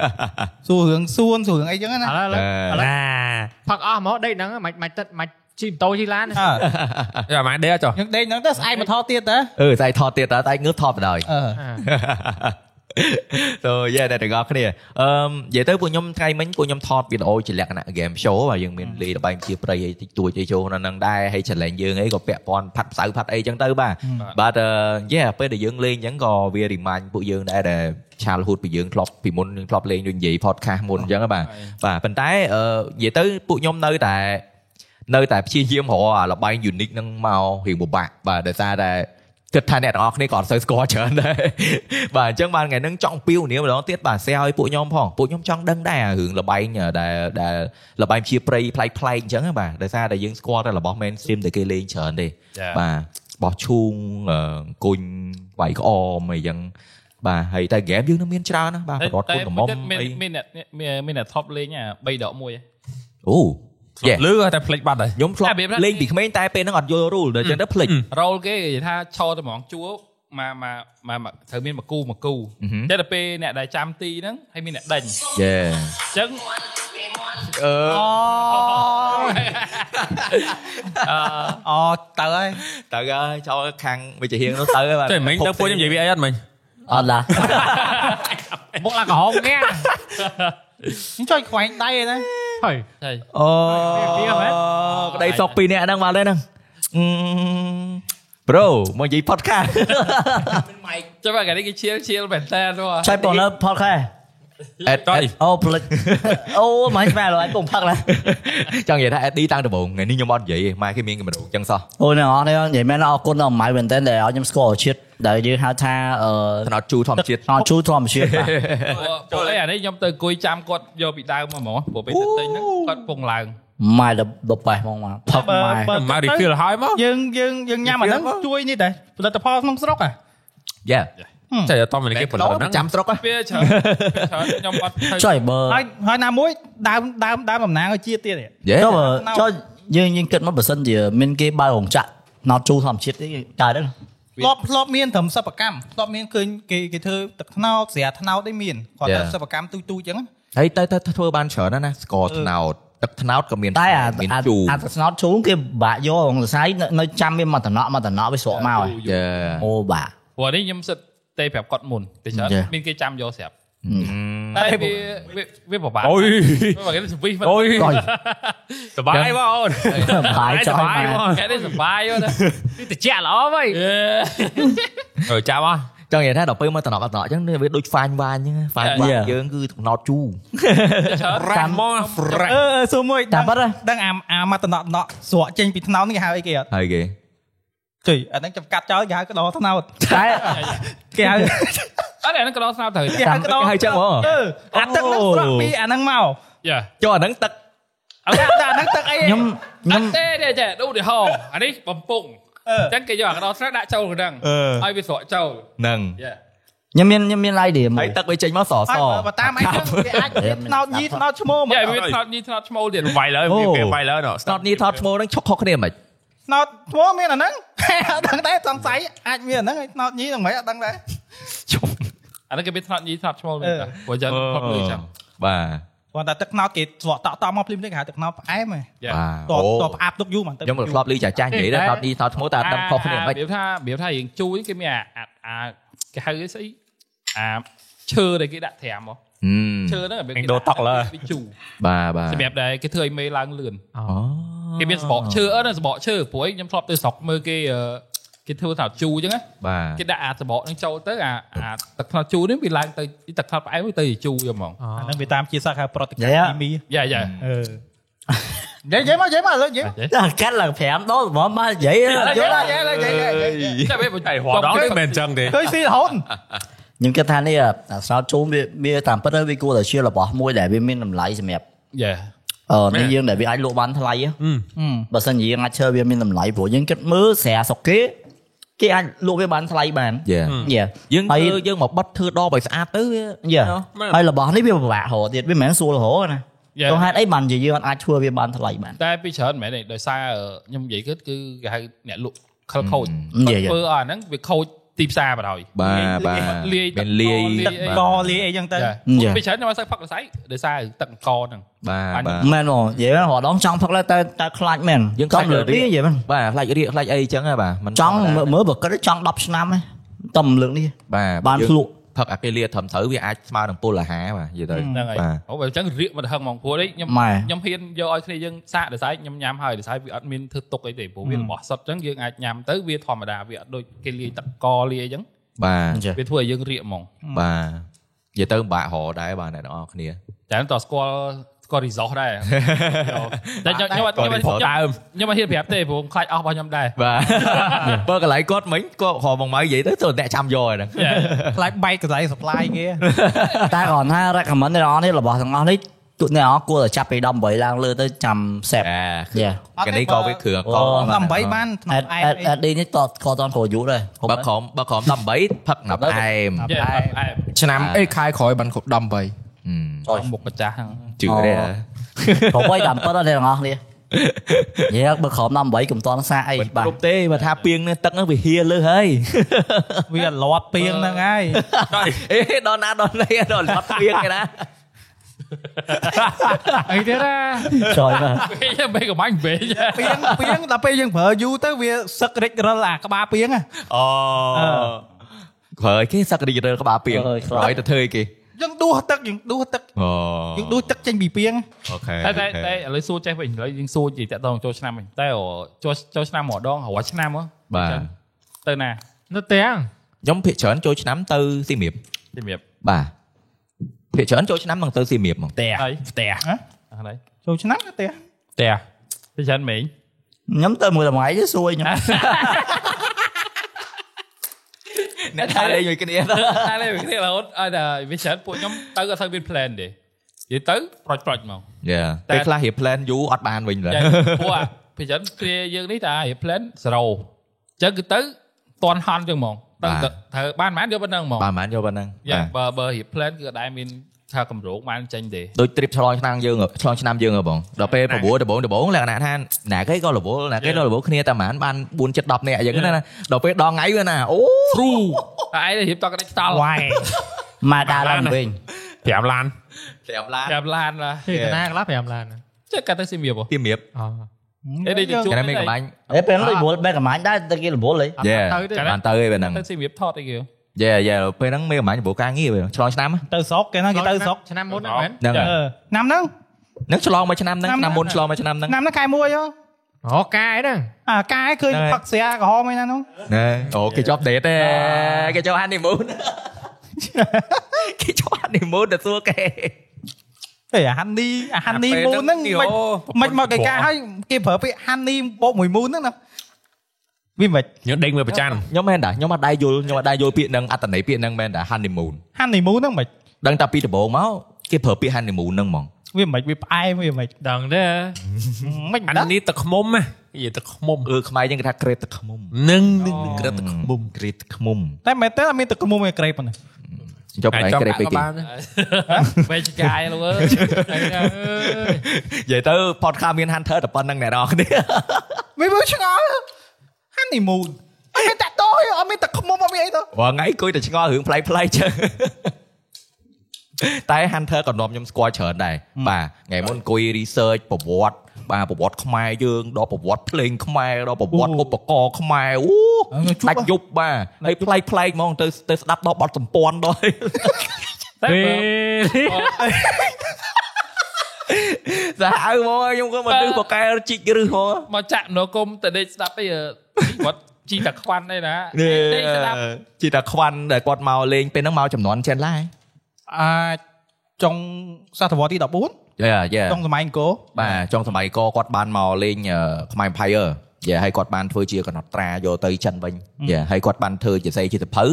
Speaker 4: សួររឿងសួនសួររឿងអីចឹងណា
Speaker 3: ឥឡូវឥឡូវ
Speaker 2: Ờ.
Speaker 5: ណា
Speaker 3: ផឹកអស់ហ្មងដេកហ្នឹងមិនមិនទឹកមិនជីម៉ូតូជីឡាន
Speaker 4: អើ
Speaker 5: យ៉ាម៉ែដេចុះ
Speaker 4: យើងដេកហ្នឹងទៅស្អែកមកថតទៀតទៅ
Speaker 2: អឺស្អែកថតទៀតតើតែងើបថតបណ្ដោយ
Speaker 4: អឺ
Speaker 3: Ờ.
Speaker 2: so yeah តែទាំងអស់គ្នាអឺនិយាយទៅពួកខ្ញុំថ្ងៃមិញពួកខ្ញុំថតវីដេអូជាលក្ខណៈ game show ហើយយើងមានលេងល្បែងជាប្រៃអីតិចតួចអីចូលក្នុងហ្នឹងដែរហើយ challenge យើងអីក៏ពាក់ព័ន្ធផាត់ផ្សៅផាត់អីចឹងទៅបាទ បាទអឺ yeah ពេលដែលយើងលេងអញ្ចឹងក៏វា remind ពួកយើងដែរដែល childhood ពីយើងធ្លាប់ពីមុនយើងធ្លាប់លេងដូចនិយាយ podcast មុនអញ្ចឹងហ្នឹងបាទបាទប៉ុន្តែអឺនិយាយទៅពួកខ្ញុំនៅតែនៅតែព្យាយាមរកអាល្បែង unique ហ្នឹងមករៀងពិបាកបាទដោយសារតែគិតថាអ្នកទាំងអស់គ្នាក៏អត់សូវស្គាល់ច្រើនដែរ បាទអញ្ចឹងបានថ្ងៃហ្នឹងចង់ពីវនាមម្ដងទៀតបាទ share ឲ្យពួកខ្ញុំផងពួកខ្ញុំចង់ដឹងដែរអារឿងល្បែងដែលដែលល្បែងព្យាប្រៃប្លែកៗអញ្ចឹងណាបាទដោយសារតែយើងស្គាល់តែរបស់ mainstream ដែលគេលេងច្រើនទេ
Speaker 1: Dạ.
Speaker 2: បាទបោះឈូងអឺអង្គុញវាយក្អមអីចឹងបាទហើយតែ game យើងនឹងមានច្រើនណាស់បាទប្រត់គុណកំមអី
Speaker 1: មានអ្នកមានអ្នក top លេងអា3ដក1
Speaker 2: អូយេ
Speaker 5: លឺតែភ្លេចបាត់ហើយ
Speaker 2: ខ្ញុំធ្លាប់លេងពីក្មេងតែពេលហ្នឹងអត់យល់ rule ដល់ចឹងទៅភ្លេច
Speaker 1: រ៉ូលគេនិយាយថាឈរតែហ្មងជួមកមកមកត្រូវមានមកគូមកគូតែដល់ពេលអ្នកដែលចាំទីហ្នឹងហើយមានអ្នកដេញ
Speaker 2: យេ
Speaker 1: អញ្ចឹង
Speaker 2: អឺ
Speaker 4: អូទៅហើយ
Speaker 2: តើហើយចូលខាងវិជ្ជាហៀងនោះទៅហើយបាទ
Speaker 5: តែមិញទៅពួកខ្ញុំនិយាយវាអីអត់មិញ
Speaker 6: អត់ឡា
Speaker 3: មកឡើងក្រហមងា
Speaker 4: ខ្ញុំចុចខ្វែងដៃឯណា
Speaker 3: ហើយ
Speaker 2: អូ
Speaker 3: វាហ្មង
Speaker 2: ក្តីសុខពីអ្នកហ្នឹងបាទហ្នឹង bro មកនិយាយ podcast
Speaker 1: ចាំបើកានេះគេឈៀលឈៀលមែនតើហ៎
Speaker 6: ចៃបងលើផតខែ
Speaker 2: អេត
Speaker 6: អូផ្លិច អូមិនស្មែឡើយពុំផឹកឡើយ
Speaker 2: ចង់និយាយថា AD តាំងដំបូងថ្ងៃនេះខ្ញុំអត់និយាយទេម៉ែគេមានកាមេរ៉ាចឹងសោះ
Speaker 6: អូអ្នកអរនេះនិយាយមែនអរគុណដល់ម៉ៃមែនតើដែលឲ្យខ្ញុំស្គាល់ជាតិដែលយើងហៅថាអឺ
Speaker 2: ថ្នោតជូរធម្មជាតិ
Speaker 6: អត់ជួយធម្មជាតិបាទ
Speaker 1: ចូលអីអានេះខ្ញុំទៅអង្គុយចាំគាត់យកពីដើមមកហ្មងព្រោះពេលទៅទិញហ្នឹងគាត់ពងឡើង
Speaker 6: ម៉ែដល់ដល់ប៉ែហ្មងមកផឹកម៉ែ
Speaker 5: បើមក refill ហើយមក
Speaker 4: យើងយើងយើងញ៉ាំអាហ្នឹងជួយនេះដែរផលិតផលក្នុងស្រុកអា
Speaker 2: Yeah
Speaker 5: តែអត់តាមគេប៉ុណ្ណឹងហ្នឹង
Speaker 2: ចាំស្រុកហ៎
Speaker 1: វាច្រើនវាច្រើនខ្ញុំអត់ទៅ
Speaker 6: ចុយបើ
Speaker 4: ហើយហើយណាមួយដើមដើមដើមតំណាងឲ្យជាតិទៀតឯង
Speaker 2: Yeah
Speaker 6: ចុះបើចុះយើងយើងគិតមកបើសិនជាមានគេបើកងចាក់ណោតជូរធម្មជាតិទេកើតទេ
Speaker 4: ធ្លាប់ធ្លាប់មានត្រឹមសិប្បកម្មធ្លាប់មានឃើញគេគេធ្វើទឹកថ្នោតស្រាថ្នោតឯមានគាត់ធ្វើ
Speaker 2: Yeah.
Speaker 4: សិប្បកម្មទូចទូចអញ្ចឹង
Speaker 2: ហើយទៅទៅធ្វើបានច្រើនណាស់ណាស្ករត្នោតទឹកត្នោតក៏មាន
Speaker 6: តែអា
Speaker 2: មាន
Speaker 6: អា
Speaker 2: ជូរ
Speaker 6: អាទឹកស្នោតជូរគេបាក់យកក្នុងសរសៃនៅនៅចាំមានមកតំណក់មកតំណក់វាស្រក់មកហើយ
Speaker 2: យ៉ា
Speaker 6: អូបាទ
Speaker 1: ព្រោះនេះខ្ញុំសិតតែប្រាប់គាត់មុនតែច្រើន
Speaker 6: Yeah.
Speaker 1: មានគេចាំយកស្រាប់តែវាវាវាពិបាក
Speaker 5: អូយ
Speaker 1: វាពិបាកគេសវិស
Speaker 5: អូយ
Speaker 6: អុយ
Speaker 5: សុបាយបងអូន
Speaker 6: បាយចុយ
Speaker 5: សុ
Speaker 6: ម៉ែ
Speaker 5: បង
Speaker 1: គេនេះសុបាយយល់ណា
Speaker 3: នេះតិចល្អវ៉ៃ
Speaker 5: អឺចាំអស់
Speaker 2: ចង់និយាយថាដល់ពេលមកត្នោតត្នោតអញ្ចឹងវាដូចហ្វាញវ៉ាញអញ្ចឹងហ្វាញវ៉ាញយើងគឺត្នោតជូរ
Speaker 5: រ៉ាម៉ងហ្វ្រេ
Speaker 4: អឺអឺសួរមួយដឹ
Speaker 6: តា
Speaker 4: ង
Speaker 6: ប៉ាត់ហ៎
Speaker 4: ដឹងអាអាមកតំណក់តំណក់ស្រក់ចេញពីថ្នោតនេះគេហៅអីគេអត់
Speaker 2: ហើយគេ
Speaker 4: ជ័យអាហ្នឹងចាំកាត់ចោលគេហៅកដោថ្នោត
Speaker 6: តែ
Speaker 4: គេហៅ
Speaker 1: អត់អាហ្នឹងក៏ដល់ស្នោតទៅ
Speaker 4: គេហៅកដោ
Speaker 2: ហៅចឹងហ្មង
Speaker 4: អឺអាទឹកហ្នឹងស្រក់ពីអាហ្នឹងមក
Speaker 1: យ៉ា
Speaker 2: ចុះអាហ្នឹងទឹក
Speaker 4: ឥឡូវអាហ្នឹងទឹកអី
Speaker 6: ខ្ញុំ
Speaker 1: អត់ទេទេចេះឧទាហរណ៍អានេះបំពង់
Speaker 4: អឺ
Speaker 1: អញ្ចឹងគេយកអាកដោស្រាដាក់ចូលក្នុង
Speaker 4: អឺ
Speaker 1: ឲ្យវាស្រក់ចូល
Speaker 2: ហ្នឹង
Speaker 1: យេ
Speaker 6: ខ្ញុំមានខ្ញុំមាន idea មួ
Speaker 2: ហើយ
Speaker 6: យ
Speaker 2: ទឹកវាចេញមកសស
Speaker 4: ហើយបើបើតាមអីចឹងគេអាចរៀបថ្នោតញីថ្នោតឈ្មោះមក
Speaker 1: យេវាថ្នោតញីថ្នោតឈ្មោលទៀត
Speaker 5: វាយលើ
Speaker 2: អូ
Speaker 5: វាគេវាយលើណោះ
Speaker 2: ស្នត់នេះថតឈ្មោះហ្នឹងឈុកខុសគ្នាមិន
Speaker 4: ថ្នោតឈ្មោះមានអាហ្នឹងអត់ដឹងដែរសង្ស័យអាចមានអាហ្នឹងហើយថ្នោតញីហ្នឹងមិនអត់ដឹងដែរ
Speaker 2: ជុំ
Speaker 1: អានេះគេមានថ្នោតញីថ្នោតឈ្មោល
Speaker 4: អឺ
Speaker 1: ទៀតព្រោះយ៉ាងផុតលើចឹង
Speaker 2: បាទ
Speaker 4: គាត់តែទឹកថ្នោតគេស្រក់តក់តក់មកភ្លាមៗគេហៅទឹកថ្នោតផ្អែមហ៎
Speaker 1: យេ
Speaker 2: បាទអូ
Speaker 4: តតផ្អាប់ទុកយូរមិនទឹក
Speaker 2: ខ្ញុំក៏ធ្លាប់ឮចាស់ចាស់និយាយដែរស្នត់នេះថតឈ្មោះតែអត់
Speaker 1: À,
Speaker 2: ដឹងខុសគ្នាមិន
Speaker 1: របៀបថារបៀបថាយើងជួយគេមានអាអាអាគេហៅស្អីអាឈើដែលគេដាក់ត្រាំហ៎
Speaker 2: Ừ.
Speaker 1: ឈើហ្នឹងរបៀបគេដាក់វាជូរ
Speaker 2: បាទបាទ
Speaker 1: សម្រាប់ដែលគេធ្វើឲ្យមេឡើងលឿន
Speaker 2: អូ À.
Speaker 1: គេមានសបកឈើអត់ហ្នឹងសបកឈើព្រោះឯងខ្ញុំធ្លាប់ទៅស្រុកមើលគេអឺគេធ្វើថ្នោតជូរអញ្ចឹងណា
Speaker 2: បាទ
Speaker 1: គេដាក់អាសបកហ្នឹងចូលទៅអាអាទឹកថ្នោតជូរនេះវាឡើងទៅទឹកថ្នោតផ្អែមវាទៅជាជូរយកហ្មង
Speaker 4: អាហ្នឹងវាតាមជាសាស្ត្រហៅប្រតិកម្ម
Speaker 6: និយាយអ្ហ៎
Speaker 4: គីមី
Speaker 1: យ៉ាយ៉ា
Speaker 4: អឺនិយាយនិយាយមកនិយាយមកឥឡូវ
Speaker 1: Dạ,
Speaker 4: និយាយមក
Speaker 6: ដល់កាត់ឡើង5ដុល្លារហ្មងមកនិយាយយល់ហើយ
Speaker 4: យេ
Speaker 1: dạ,
Speaker 4: ឡើយយេឡើយ
Speaker 1: តែវា
Speaker 5: តែហួរដល់នេះមិនអញ្ចឹងទេ
Speaker 4: ឃើញស៊ីរហូត
Speaker 6: ខ្ញុំគិតថានេះអាស្រោតជូនវាវាតាមពិតទៅវាគួរតែជារបស់មួយដែលវាមានតម្លៃសម្រាប់
Speaker 1: យ៉ា
Speaker 6: អឺនេះយើងដែលវាអាចលក់បានថ្លៃហ៎
Speaker 5: អឺ
Speaker 6: បើសិនជាយើងអាចឈើវាមានតម្លៃព្រោះយើងគិតមើលស្រាសុកគេគេអាចលក់វាបានថ្លៃបាន
Speaker 2: Yeah.
Speaker 6: យ៉ា
Speaker 2: យើង
Speaker 6: ហើ
Speaker 2: ធ្វើ
Speaker 6: យ
Speaker 2: យើងមកបិទធ្វើដបឲ្យស្អាតទៅវា
Speaker 6: យ៉ា
Speaker 5: មែន
Speaker 6: ហើយរបស់នេះវាពិបាកហោទៀតវាមិនមែនស្រួលហោណា
Speaker 1: យ៉ា
Speaker 6: ទៅហេតុអីបានជាយើងអាចធ្វើវាបានថ្លៃបាន
Speaker 1: តែពីច្រើនមែនទេដោយសារខ្ញុំនិយាយគឺគឺគេហៅអ្នកលក់ខលខូច
Speaker 2: Ừ.
Speaker 6: មនិយាយ
Speaker 1: ធ្វើអាហ្នឹងវាខូចទីផ្សារបណ្ដោយ
Speaker 2: បាទបាទ
Speaker 1: លាយ
Speaker 2: មានលាយ
Speaker 1: ទឹក
Speaker 2: បាទ
Speaker 4: កលីអីចឹងទៅ
Speaker 1: យ៉ា
Speaker 6: Yeah.
Speaker 1: ពីច្រើនខ្ញុំអត់សូវផឹករសៃដោយសារទឹកអង្ករហ្នឹង
Speaker 2: បាទបាទ
Speaker 6: មែនហ៎និយាយមែនរដងចង់ផឹកឡើយតែតែខ្លាចមែន
Speaker 2: យើង
Speaker 6: ច
Speaker 2: ខ្លាច
Speaker 6: ង់លើក
Speaker 2: លើក
Speaker 6: នេះ
Speaker 2: នេះ
Speaker 6: និយាយមែន
Speaker 2: បាទខ្លាចរាកខ្លាចអីចឹងហ៎បាទមិន
Speaker 6: ចង់មើលមើលបើគិតទៅចង់10ឆ្នាំហ៎តែមិនលើកនេះ
Speaker 2: បាទ
Speaker 6: បាន
Speaker 2: យើង
Speaker 6: ភ្លក់
Speaker 2: ផឹកអាពេលលាត្រឹមត្រូវវាអាចស្មើនឹងពុលអាហារបាទនិយាយទៅ
Speaker 1: ហ្នឹងហើយ
Speaker 2: បាទ
Speaker 1: អូបើអញ្ចឹងរៀកមិនហឹងហ្មងព្រោះនេះខ្ញុំ
Speaker 6: ម៉ែ
Speaker 1: ខ្ញុំហ៊ានយកឲ្យគ្នាយើងសាកដោយសារខ្ញុំញ៉ាំហើយដោយសារវាអត់មានធ្វើទុកអីទេព្រោះវារបស់សុទ្ធអញ្ចឹងយើងអាចញ៉ាំទៅវាធម្មតាវាអត់ដូចគេលាយទឹកអង្ករលាយអញ្ចឹង
Speaker 2: បាទ
Speaker 6: អញ្ចឹង
Speaker 1: វាធ្វើឲ្យយើងរៀកហ្មង
Speaker 2: បាទនិយាយទៅពិបាករហដែរបាទអ្នកទាំងអស់គ្នា
Speaker 1: តែខ្ញុំតស្គាល់ស្គាល់ resource ដែរ តែខ្ញុំខ្ញុំអត់ខ្ញុំ
Speaker 2: resource
Speaker 1: អត់ខ្ញុំខ្ញុំអត់ហ៊ានប្រាប់ទេព្រោះខ្ញុំខ្លាចអស់របស់ខ្ញុំដែរ
Speaker 2: បាទ បើកន្លែងគាត់មិញគាត់ហៅមកម៉ៅនិយាយទៅទៅអ្នកចាំយកហ្នឹង
Speaker 1: យ៉ា
Speaker 4: ខ្លាចបែកកន្លែង supply គេ
Speaker 6: តែគ្រាន់ថា recommend អ្នកនរនេះរបស់ទាំងអស់នេះទូអ្នកនរគួរតែចាប់ពី18ឡើងលើទៅចាំសេប
Speaker 2: អា
Speaker 6: Yeah
Speaker 2: កានេះក៏វាគ្រឿង
Speaker 6: អូ
Speaker 2: ក៏
Speaker 4: តាម8បាន
Speaker 2: Ờ.
Speaker 4: ថ្នាក់
Speaker 6: អេត
Speaker 4: អែម
Speaker 6: អេតអេតឌីនេះតតក៏តន់គ្រូយុដែរ
Speaker 2: បើក្រុមបើក្រុម18ផឹកណាប់អែម
Speaker 1: យ៉ាអែម
Speaker 7: ឆ្នាំ
Speaker 3: À.
Speaker 7: អេខែក្រោយបានគ្រប់18
Speaker 2: ហឹម
Speaker 6: ចុយ
Speaker 1: អស់មុខម្ចាស់ហ្នឹង
Speaker 2: ជឿទេហ៎
Speaker 6: ប្រហែលតាមពិតដល់អ្នកនរនេះយកបើក្រុម18កុំតន់សាកអី
Speaker 2: មិន
Speaker 6: បាទ
Speaker 2: គ្រប់ទេបើថាពីងនេះទឹកហ្នឹងវាហៀលើសហើយ
Speaker 4: វាលាត់ពីងហ្នឹងហើយ
Speaker 2: អេដល់ណាដល់ណីដល់លត់ពីងគេណា
Speaker 3: អីទៀតណា
Speaker 6: ចុយបាទ
Speaker 1: វិញមិនកំបាញ់វិញ
Speaker 4: ពីងពីងដល់ពេលយើងប្រើយូរទៅវាសឹករិចរិលអាក្បាលពីងហ៎
Speaker 2: អូប្រើអីគេសឹករីករើក្បាលពីងហើយទៅធ្វើអីគេ
Speaker 4: យើងដួសទឹកយើងដួសទឹក
Speaker 2: អូ
Speaker 4: យើងដួសទឹកចេញពីពីង
Speaker 2: អូខេ
Speaker 1: តែតែតែឥឡូវសួរចេះវិញឥឡូវយើងសួរនិយាយតាក់ទងចូលឆ្នាំវិញតែអូចូលចូលឆ្នាំម្ដងរាល់ឆ្នាំហ៎
Speaker 2: បាទ
Speaker 1: ទៅណា
Speaker 3: នៅទាំង
Speaker 2: ខ្ញុំភាកច្រើនចូលឆ្នាំទៅសៀមរាប
Speaker 1: ជំរាប
Speaker 2: បាទភាកច្រើនចូលឆ្នាំនឹងទៅសៀមរាបមក
Speaker 1: ផ្ទះហើយផ្ទះហ្នឹងហើយ
Speaker 4: ចូលឆ្នាំទៅផ្ទះ
Speaker 1: ផ្ទះពីច្រើនមែង
Speaker 6: ខ្ញុំទៅមួយថ្ងៃទៅសួយខ្ញុំ
Speaker 2: អ្នកថៃលេងមួយគ្នាទៅ
Speaker 1: តែលេងគ្នារហូតអត់ដល់វាច្រើនពួកខ្ញុំទៅអត់សូវមាន plan ទេនិយាយទៅប្រូចប្រូចមក
Speaker 2: យ៉ា
Speaker 1: តែ
Speaker 2: ពេលខ្លះរៀប plan យូរអត់បានវិញឡើយ
Speaker 1: ចាព្រោះពីចឹងគ្នាយើងនេះតារៀប plan សេរីអញ្ចឹងគឺទៅតន់ហន់ចឹងហ្មងទៅត្រូវបានមិនយកប៉ុណ្្នឹងហ្មង
Speaker 2: បានមិនយកប៉ុណ្ណឹង
Speaker 1: យ៉ា
Speaker 2: បាទ
Speaker 1: បើបើរៀប plan គឺអត់ដែលមានថាកម្រោងបានចេញទេ
Speaker 2: ដូច trip ឆ្លងឆ្នាំយើងឆ្លងឆ្នាំយើងហ៎បងដល់ពេល9ដបងដបងលក្ខណៈថាណាគេក៏រវល់ណាគេក៏រវល់គ្នាតែមិនបាន4 7 10នាក់អញ្ចឹងណាដល់ពេលដល់ថ្ងៃវាណាអូ
Speaker 1: គ្រូតែឯងរៀបតកដេចតល់
Speaker 4: វាយ
Speaker 6: មកដាឡើងវិញ
Speaker 5: 5ឡាន
Speaker 2: 5ឡាន
Speaker 1: ចាប់ឡានឡា
Speaker 3: ពីតាណាខ្លះ5ឡានណា
Speaker 1: ចេះកាត់ទៅស៊ីមៀប
Speaker 2: ពីមៀប
Speaker 3: អូ
Speaker 1: អេ
Speaker 3: Ờ,
Speaker 1: នេះជួ
Speaker 2: គេមានកម្លាញ់
Speaker 6: អេពេលនោះរបួលបែកកម្លាញ់ដែរតែគេរបួលហី
Speaker 2: Yeah
Speaker 3: ទៅទេ
Speaker 2: បានទៅឯពេលហ្នឹង
Speaker 1: ទៅស៊ីមៀបថតអីគេ
Speaker 2: យេយេពេលហ្នឹងមានកម្លាញ់ប្រកាសងារពេលឆ្លងឆ្នាំ
Speaker 4: ទៅស្រុកគេហ្នឹងគេទៅស្រុក
Speaker 3: ឆ្នាំមុនហ្នឹងមែន
Speaker 2: ហ្នឹង
Speaker 4: អឺឆ្នាំហ្នឹង
Speaker 2: ហ្នឹងឆ្លងមួយឆ្នាំហ្នឹងឆ្នាំមុនឆ្លងមួយឆ្នាំហ្នឹង
Speaker 4: ឆ្នាំហ្នឹងខែ1ហ៎
Speaker 3: អូកាយហ្នឹង
Speaker 4: អាកាយឃើញផឹកស្រាក្រហមឯណានោះ
Speaker 2: ណែអូគេជាប់ដេតទេគេជាប់ honeymoon គេជាប់ honeymoon ទៅសួរគេ
Speaker 4: អេអាហាន់នីអាហាន់នីមូនហ្នឹងមិន មិនមកកិច្ចការឲ្យគេប្រើពាក្យហាន់នីបោកមួយមូនហ្នឹងណា វាមិន
Speaker 5: យើងដេញវាប្រច័ណ្ឌ
Speaker 2: ខ្ញុំមែនតាខ្ញុំអត់ដែរយល់ខ្ញុំអត់ដែរយល់ពាក្យហ្នឹងអត្តន័យពាក្យហ្នឹងមែនតា honeymoon
Speaker 4: honeymoon ហ្នឹងមិន
Speaker 2: ដឹងតែពីដំបូងមកគេប្រើពាក្យ honeymoon ហ្នឹងហ្មង
Speaker 4: វាមិនវាផ្អែមវាមិន
Speaker 1: ដឹងទេ
Speaker 4: មិន
Speaker 5: អា
Speaker 4: ដឹង
Speaker 5: នេះទឹកខ្មុំណានិយាយទឹកខ្មុំ
Speaker 2: អឺខ្មែរយើងគេថាក្រេតទឹកខ្មុំ
Speaker 5: នឹងនឹងនឹង
Speaker 2: ក្រេតទឹកខ្មុំក្រេតទឹកខ្មុំ
Speaker 4: តែមែនតើអត់មានទឹកខ្មុំឯក្រេបប៉ុណ្ណឹង
Speaker 2: ចុះឯងក្រេតពេកគេ
Speaker 1: បែកឆ្កាយលោកអើយ
Speaker 2: និយាយទៅ podcast មាន hunter តែប៉ុណ្្នឹងអ្នកនរគ្នា
Speaker 4: វាវាឆ្ងល់ honeymoon អត់មានតាក់ទោយអត់មានទឹកខ្មុំអត់មានអីទៅ
Speaker 2: រាល់ថ្ងៃគួយតែឆ្ងល់រឿងប្លែកៗចឹ ងតែ hunter ក៏នាំខ្ញុំស្គាល់ច្រើនដែរបាទថ្ងៃមុនអង្គុយ research ប្រវត្តិបាទប្រវត្តិខ្មែរយើងដល់ប្រវត្តិភ្លេងខ្មែរដល់ប្រវត្តិឧបករណ៍ខ្មែរអូដាច់យប់បាទហើយប្លែកៗហ្មងទៅទៅស្ដាប់ដល់បទសម្ព័ន្ធ ដល់
Speaker 1: តែ
Speaker 3: ពេល
Speaker 2: សាអៅមកខ្ញុំក៏មកទិសបកែជីករឹសហ្មង
Speaker 1: មកចាក់មនោគមទៅដេកស្ដាប់អីអឺគាត់ជីតែខ្វាន់ឯណាដេកស្ដាប់
Speaker 2: ជីតាខ្វាន់ដែលគាត់មកលេងពេលហ្នឹងមកចំនួនចិត្តឡើយ
Speaker 4: អាចចុងសតវត្សរ៍ទី14
Speaker 2: យេយេ
Speaker 4: ចុងសម័យអង្គរ
Speaker 2: បាទចុងសម័យកគាត់បានមកលេងអឺខ្មែរ Empire យេហើយគាត់បានធ្វើជាកណត់ត្រាយកទៅចិនវិញយេហើយគាត់បានធ្វើជាស័យជាសភៅ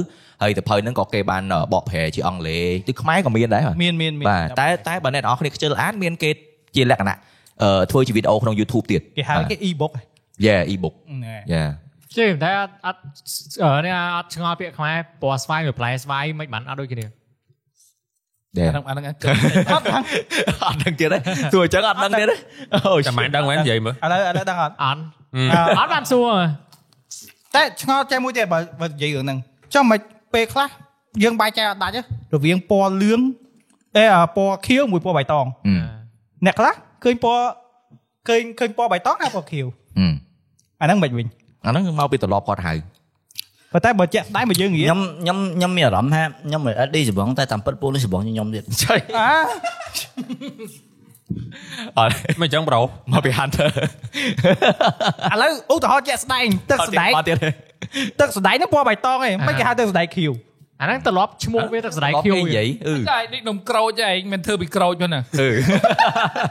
Speaker 2: ហើយសភៅហ្នឹងក៏គេបានអឺបកប្រែជាអង់គ្លេសទីខ្មែរក៏មានដែរបាទ
Speaker 4: មានមានមាន
Speaker 2: បាទតែតែបើអ្នកនរអស់គ្នាខ្ជិលអានមានគេជាលក្ខណៈអឺធ្វើជាវីដេអូក្នុង YouTube ទៀត
Speaker 4: គេហៅគេ e-book ហ
Speaker 2: យេ e-book
Speaker 4: ្នឹងហើយ
Speaker 2: យេ
Speaker 3: ជិះតែអត់អត់អឺនេះអត់ឆ្ងល់ពាក្យខ្មែរពណ៌ស្វាយវាផ្លែស្វាយមិនបានអត់ដូចគ្នា
Speaker 2: ដែរ
Speaker 1: អាហ្នឹងអាហ្នឹងគឺ
Speaker 2: អត់ដឹងទៀតទេទោះអញ្ចឹងអត់ដឹងទៀតទេអូ
Speaker 5: ចាំមិនដឹងមែននិយាយមើល
Speaker 4: ឥឡូវឥឡូវដឹងអត់
Speaker 3: អត់
Speaker 4: អឺ
Speaker 3: អត់បានសួរ
Speaker 4: តែឆ្ងល់ចេះមួយទៀតបើបើនិយាយរឿងហ្នឹងចុះមិនពេលខ្លះយើងបាយចែកអត់ដាច់ទេរវាងពណ៌លឿងអេពណ៌ខៀវមួយពណ៌បៃត
Speaker 2: ហឹ
Speaker 4: ង
Speaker 2: ម
Speaker 4: អ្នកខ្លះឃើញពណ៌ឃើញឃើញពណ៌បៃតងហើយពណ៌ខៀវ
Speaker 2: ហឹម
Speaker 4: អាហ្នឹងមិនវិញ
Speaker 2: អាហ្នឹងមកពីទម្លាប់គាត់ហៅ
Speaker 4: ប៉ុន្តែបើជាក់ស្ដែងមកយើងនិយាយ
Speaker 6: ខ្ញុំខ្ញុំខ្ញុំមានអារម្មណ៍ថាខ្ញុំមិនអត់ឌីច្បងតែតាមពិតពួកនេះច្បងខ្ញុំទៀត
Speaker 2: ចុយ
Speaker 4: អា
Speaker 2: អត់
Speaker 5: មិនអញ្ចឹងប្រូ
Speaker 2: មកពី Hunter
Speaker 4: ឥឡូវឧទាហរណ៍ជាក់ស្ដែងទឹកស្ដែង
Speaker 2: អត់ទៀតទេ
Speaker 4: ទឹកស្ដែងហ្នឹងពណ៌បៃតងឯងមិនគេហៅទឹកស្ដែងខៀវ
Speaker 3: អាហ្នឹងត្រឡប់ឈ្មោះវាទឹកស្ដាយ
Speaker 2: ដល់
Speaker 3: ខៀវ
Speaker 2: គេនិយាយអឺ
Speaker 1: តែនេះនំក្រូចឯងមិនធ្វើពីក្រូចហ្នឹងណា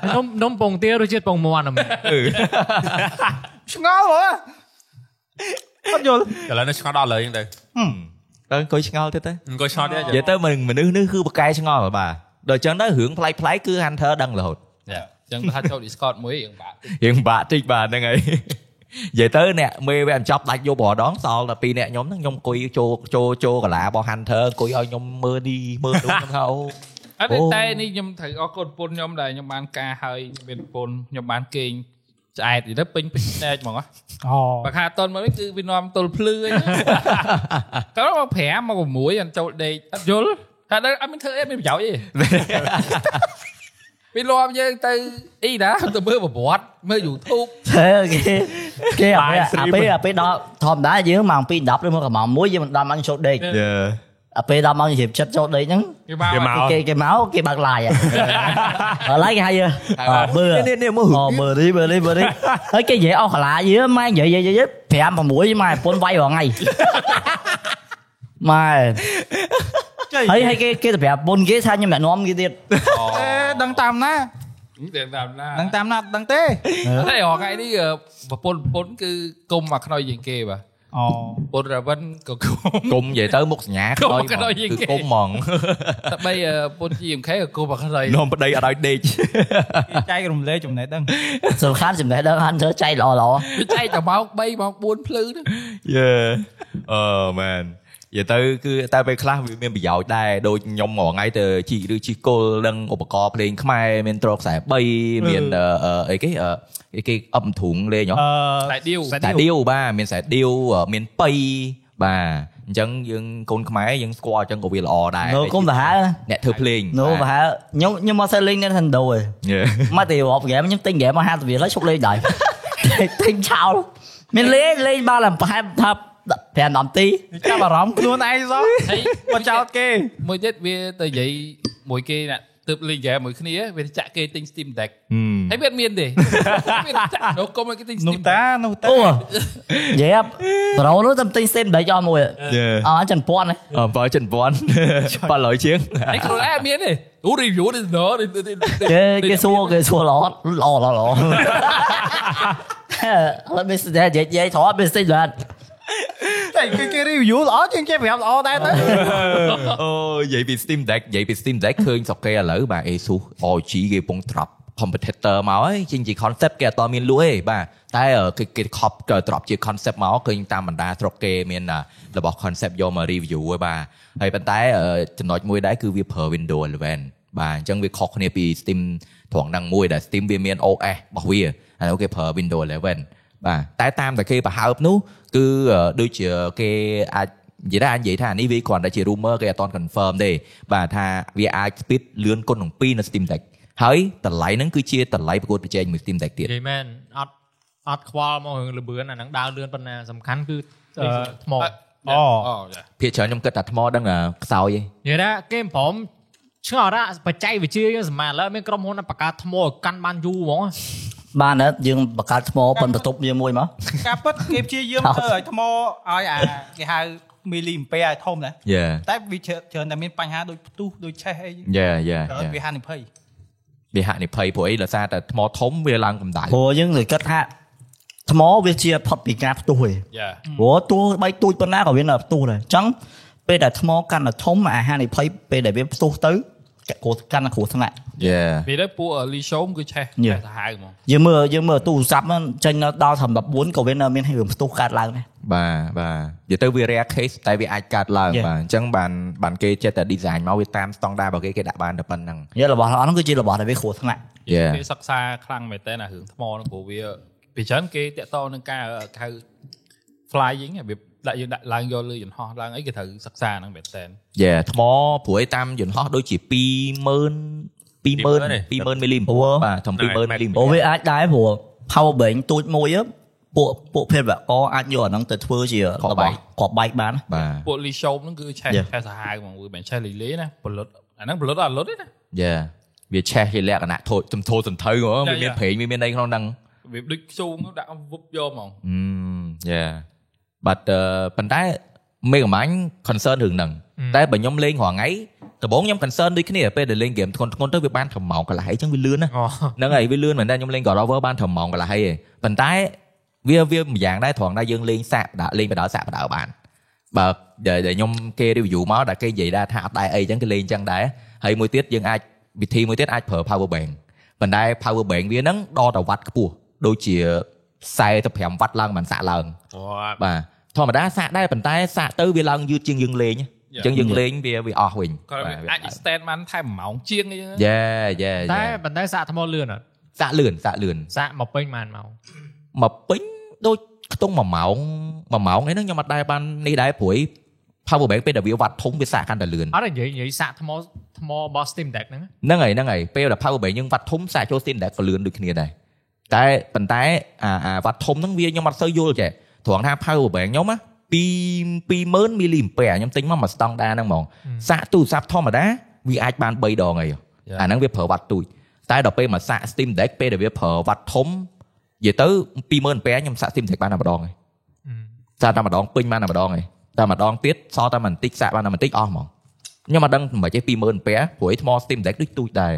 Speaker 2: អឺ
Speaker 3: នំនំពងទារសជាតិពងមាន់ហ្មង
Speaker 2: អឺ
Speaker 4: ឆ្ងល់ហ៎អត់យល់
Speaker 5: ឥឡូវនេះឆ្ងល់ដល់លើយើងទៅ
Speaker 2: ទៅអង្គុយឆ្ងល់ទៀតទៅ
Speaker 5: អង្គុយឆ្ងល់ទៀត
Speaker 2: និយាយទៅមនុស្សមនុស្សនេះគឺបកកែឆ្ងល់បាទដល់អញ្ចឹងទៅរឿងប្លែកប្លែកគឺ Hunter ដឹងរហូត
Speaker 1: ចឹងថាចូល Discord មួយរឿងបាទ
Speaker 2: រឿងបាក់តិចបាទហ្នឹង ហើយនិយាយទៅអ្នកមេវាមិនចប់ដាច់យប់រដងសល់តែពីរអ្នកខ្ញុំហ្នឹងខ្ញុំអង្គុយចូលចូលចូលកាឡារបស់ Hunter អង្គុយឲ្យខ្ញុំមើលនេះមើលនោះខ្ញុំថាអូ
Speaker 1: អត់ទេ
Speaker 2: អូ
Speaker 1: តែនេះខ្ញុំត្រូវអរគុណប្រពន្ធខ្ញុំដែលខ្ញុំបានការហើយខ្ញុំមានប្រពន្ធខ្ញុំបានគេងឆ្អែតនេះទៅពេញពេញភ្នែកហ្មងហ៎
Speaker 4: អូ
Speaker 1: បើខាតនមកនេះគឺវានាំទល់ភ្លឺអី ទៅ មក5មក6អត់ចូលដេកអត់យល់ថាដល់អត់មានធ្វើអីអត់មានប្រយោជន៍ អី វានាំយើងទៅអីណាទៅមើលប្រវត្តិមើល YouTube
Speaker 6: ទេគេគេអាពេលអាពេលអាពេលដល់ធម្មតាយើងម៉ោង2 10ឬមកម៉ោង1យើងមិនដល់ម៉ោងចូលដេក
Speaker 2: យេ
Speaker 6: អាពេលដល់ម៉ោងជិបចិត្តចូលដេកហ្នឹង
Speaker 1: វា
Speaker 5: គេ
Speaker 1: មក
Speaker 5: មក
Speaker 6: គេគេមកគេបើកឡាយហើយឡាយគេហៅយើមើល
Speaker 2: នេះនេះមើល
Speaker 6: អូមើលនេះមើលនេះមើលនេះហើយគេនិយាយអស់កាឡាយើម៉ែនិយាយនិយាយនិយាយ5 6ម៉ែប្រពន្ធវាយរាល់ថ្ងៃម៉ែ
Speaker 4: ចៃ
Speaker 6: ហើយហើយគេគេទៅប្រាប់ប្រពន្ធគេថាខ្ញុំអ្នកនាំគេទៀត
Speaker 4: អេដឹងតាមណា
Speaker 1: តែតាមណា
Speaker 4: ដឹងតាមណាដឹងទេ
Speaker 1: តែរហងៃនេះអឺប្រពន្ធប្រពន្ធគឺគុំមកខ្នើយជាងគេបាទ
Speaker 4: អូ
Speaker 1: ប្រពន្ធរវិនក៏គុំ
Speaker 2: គុំនិយាយទៅមុខសញ្ញា
Speaker 1: គុំ
Speaker 2: ខ្នើយហ្មង
Speaker 1: ខ្នើយជាងគេ
Speaker 2: គឺគុំហ្មង
Speaker 1: តែបីអឺប្រពន្ធ GMK ក៏គុំមកខ្នើយ
Speaker 2: នាំប្តីអត់ឲ្យដេក
Speaker 4: ចែករំលែកចំណេះដឹង
Speaker 6: សំខាន់ចំណេះដឹងហាន់ធ្វើចៃល្អល្អ
Speaker 1: វាចែកតែម៉ោង3ម៉ោង4ភ្លឺហ្នឹង
Speaker 2: យេអឺមែននិយាយទៅគឺតែពេលខ្លះវាមានប្រយោជន៍ដែរដូចខ្ញុំរាល់ថ្ងៃទៅជីកឬជីកគល់នឹងឧបករណ៍ភ្លេងខ្មែរមានត្រកខ្សែ3មានអឺអឺអីគេអឺគេអឹមធុងលេងហ៎
Speaker 4: អ
Speaker 1: តែឌីវ
Speaker 4: ឺ
Speaker 2: តែដៀវបាទមានខ្សែដៀវអឺមានប៉ីបាទអញ្ចឹងយើងកូនខ្មែរយើងស្គាល់អញ្ចឹងក៏វាល្អដែរ
Speaker 6: នោះគុំទៅហើ
Speaker 2: អ្នកធ្វើភ្លេង
Speaker 6: នោះ
Speaker 2: បាទ
Speaker 6: ទៅហើខ្ញុំខ្ញុំមកសិនលេង Nintendo ឯង
Speaker 2: យេ
Speaker 6: មកទៅរាប់ហ្គេមខ្ញុំទិញហ្គេមមក50រៀលហើយឈប់លេង ដែរទិញឆោលមានលេងលេងបានតែប្រហែលថា5 10នាទី
Speaker 4: ចាប់អារម្មណ៍ខ្លួនឯងសោះ
Speaker 1: ហើយ
Speaker 4: បើចោតគេ
Speaker 1: មួយទៀតវាទៅនិយាយមួយគេណាទើបលេងហ្គេមមួយគ្នាវាចាក់គេទិញ Steam Deck
Speaker 2: Ừ.
Speaker 1: ហើយវាអត់មានទេវាចាក់ដល់គុំឲ្យគេទិញ
Speaker 4: នោះ
Speaker 1: Steam
Speaker 4: តា
Speaker 1: Deck
Speaker 4: នោះតា
Speaker 6: អូយេប្រូនោះតែទិញសេនដេកអស់មួយ
Speaker 2: យេ
Speaker 6: អស់ចិនពាន់
Speaker 2: អើបើចិនពាន់បើលយជាង
Speaker 1: ហើយខ្លួនឯងអត់មានទេអូ review នេះណោ
Speaker 6: គេគេសួរគេសួរល្អ ល្អល្អល្អអត់មានសេនដេកនិយាយធំមានសេនដេក
Speaker 4: យគេគេ review ល្អជាងគេប្រាប់ល្អដែរទៅ
Speaker 2: អូនិយាយពី Steam Deck និយាយពី Steam Deck ឃើញស្រុកគេឥឡូវបាទ Asus ROG គេកំពុង drop competitor មកហើយជាងជា concept គេអត់តមានលក់ទេបាទតែអឺគេគេ copy ក៏ drop ជា concept មកឃើញតាមបណ្ដាស្រុកគេមានអ่ะរបស់ concept យកមក review ហើយបាទហើយប៉ុន្តែអឺចំណុចមួយដែរគឺវាប្រើ Windows 11បាទអញ្ចឹងវាខុសគ្នាពី Steam ត្រង់ហ្នឹងមួយដែល Steam វាមាន OS របស់វាហើយគេប្រើ Windows 11 បាទតែតាមតែគេបង្ហើបនោះគឺអឺដូចជាគេអាចនិយាយថាអាចនិយាយថានេះវាគ្រាន់តែជា rumor គេអត់ទាន់ confirm ទេបាទថាវាអាច speed លឿនគុណនឹង2នៅ Steam Deck ហើយតម្លៃហ្នឹងគឺជាតម្លៃប្រកួតប្រជែងមួយ Steam Deck ទៀត
Speaker 3: និយាយមែនអត់អត់ខ្វល់មករឿងលម្អឿនអាហ្នឹងដើរលឿនប៉ុណ្ណាសំខាន់គឺអឺថ្មនិ
Speaker 4: អូ
Speaker 3: Ờ.
Speaker 1: អូចា
Speaker 2: ភាគច្រើនខ្ញុំគិតថាថ្មដឹងថាខ្សោយឯង
Speaker 3: យាយថាគេមិនព្រមឆ្ងល់ថាបច្ចេកវិទ្យាយើងសម័យឥឡូវមានក្រុមហ៊ុនបង្កើតថ្មឲ្យកាន់បានយូរហ្មង
Speaker 6: បានណាយើងបង្កើតថ្មប៉ុនបន្ទប់យើងមួយមក
Speaker 4: ការពិតគេព្យាយាមធ្វើឲ្យថ្មឲ្យអាគេហៅមីលីអំពែឲ្យធំដែរ
Speaker 2: យេ
Speaker 4: តែវាច្រើច្រើនតែមានបញ្ហាដូចផ្ទុះដូចឆេះអី
Speaker 2: យេយេ
Speaker 4: ច្រើនវាហានិភ័យ
Speaker 2: វាហានិភ័យព្រោះអីដោយសារតែថ្មធំវាឡើងកម្ដៅ
Speaker 6: ព្រោះយើងគិតថាថ្មវាជាផុតពីការផ្ទុះឯង
Speaker 1: Yeah.
Speaker 6: ព្រោះទួបីទួចប៉ុណ្ណាក៏វានៅផ្ទុះដែរអញ្ចឹងពេលដែលថ្មកាន់តែធំអាហារនិភ័យពេលដែលវាផ្ទុះទៅកាក់គ្រោះកាន់តែគ្រោះថ្នាក់
Speaker 2: យេ
Speaker 1: វាទៅពួកលីសូមគឺឆេះ
Speaker 6: Yeah.
Speaker 1: ឆេះសាហាវហ្មង
Speaker 6: យើងមើលយើងមើលទូរស័ព្ទហ្នឹងចេញនៅដល់34ក៏វានៅមានរឿងផ្ទុះកើតឡើងដែរ
Speaker 2: បាទបាទនិយាយទៅវា rare case តែវាអាចកើតឡើង
Speaker 6: Yeah.
Speaker 2: បាទអញ្ចឹងបានបានគេចេះតែ design មកវាតាមស្តង់ដាររបស់គេគេដាក់បានតែប៉ុណ្្នឹង
Speaker 6: យើងរបស់ល្អហ្នឹងគឺជារបស់ដែលវាគ្រោះថ្នាក់
Speaker 2: យេ
Speaker 1: គេសិក្សាខ្លាំងមែនតើណារឿងថ្មហ្នឹងព្រោះវាពីច្រើនគេតាក់ទងនឹងការហៅ flying ហ៎វាដាក់យើងដាក់ឡើងយកលើយន្តហោះឡើងអីគេត្រូវសិក្សាហ្នឹងមែនតើ
Speaker 2: យ៉ាថ្មព្រោះឯតាមយន្តហោះដូចជា20000 20000 20000មីលីម៉ឺបាទធំ20000មីលីម៉ឺ
Speaker 6: ព្រោះវាអាចដែរព្រោះ power bank ទួចមួយហ៎ពួកពួកភេទវកអាចយកអាហ្នឹងទៅធ្វើជារបស់គ្រាប់បែក បាន
Speaker 2: បាទ
Speaker 1: ពួកលីសូមហ្នឹងគឺឆេះ
Speaker 6: Yeah.
Speaker 1: ឆេះសាហាវហ្មងវាមិនឆេះលីលេណាផលិតអាហ្នឹងផលិតអត់លុតទេណា
Speaker 2: យ៉ាវាឆេះជាលក្ខណៈធូរទំធូរសន្ធៅហ្មង
Speaker 1: Yeah,
Speaker 2: វាមាន
Speaker 1: yeah.
Speaker 2: ប្រេងវាមានអីក្នុងហ្នឹង
Speaker 1: វាដូចខ្ជូងដាក់វឹបយកហ្មង
Speaker 2: យ៉ាបាទប៉ុន្តែមេកំាញ់ concern រឿងហ្នឹងតែបើខ្ញុំលេងរាល់ថ្ងៃដំបូងខ្ញុំ concern ដូចគ្នាពេលដែលលេង game ធ្ងន់ធ្ងន់ៗទៅវាបានប្រម៉ោងកន្លះអីចឹងវាលឿនណា
Speaker 3: អូ
Speaker 2: ហ្នឹងហើយវាលឿនមែនតែខ្ញុំលេង God of War បានត្រឹមម៉ោងកន្លះហើយឯងប៉ុន្តែវាវាម្យ៉ាងដែរត្រង់ដែរយើងលេងសាក់បដាលេងបដាសាក់បដាបានបើដែលដែលខ្ញុំគេ review មកដែលគេនិយាយដែរថាអត់ដែរអីចឹងគេលេងចឹងដែរហើយមួយទៀតយើងអាចវិធីមួយទៀតអាចប្រើ power bank ប៉ុន្តែ power bank វាហ្នឹងដល់តែវ៉ាត់ខ្ពស់ដូចជា45វ៉ាត់ឡើងមិនសាក់ឡើង
Speaker 1: អូ
Speaker 2: បាទធម្មតាសាក់ដែរប៉ុន្តែសាក់ទៅវាឡើងយឺតជាងយើងលេងអញ្ចឹងយើងលេងវាវាអស់វិញ
Speaker 1: គាត់អាច stand បានថែមម៉ោងជាងអីចឹង
Speaker 2: យេយេ
Speaker 3: តែប៉ុន្តែសាក់ថ្មលឿនអត់
Speaker 2: សាក់លឿនសាក់លឿន
Speaker 3: សាក់មកពេញបានមក
Speaker 2: មកពេញដូចខ្ទង់មួយម៉ោងមួយម៉ោងអីហ្នឹងខ្ញុំអត់ដែរបាននេះដែរព្រួយ power bank ពេលដែលវាវ៉ាត់ធំវាសាកកាន់តែលឿន
Speaker 3: អត់និយាយនិយាយសាក់ថ្មថ្មរបស់ Steam Deck ហ្នឹង
Speaker 2: ហ្នឹងហើយហ្នឹងហើយពេលដែល power bank យើងវ៉ាត់ធំសាកចូល steam deck ក៏លឿនដូចគ្នាដែរតែប៉ុន្តែអាអាវ៉ាត់ធំហ្នឹងវាខ្ញុំអត់សូវយល់ចេះត្រង់ថា power bank ខ្ញុំណា2 20000មីលីអំពែរខ្ញុំទិញមកមួយស្តង់ដារហ្នឹងហ្មងសាកទូរស័ព្ទធម្មតាវាអាចបាន3ដងអីហ៎អាហ្នឹងវាប្រើវ៉ាត់ទូចតែដល់ពេលមកសាក steam deck ពេលដែលវាប្រើវ៉ាត់ធំនិយាយទៅ20000អំពែរខ្ញុំសាក steam deck បានតែម្ដងឯង សាកតែម្ដងពេញបានតែម្ដងឯងតែម្ដងទៀតសល់តែបន្តិចសាកបានតែបន្តិចអស់ហ្មងខ្ញុំអត់ដឹងមិនចេះ20000អំពែរព្រោះឯថ្ម Steam Deck ដូចទូចដែរ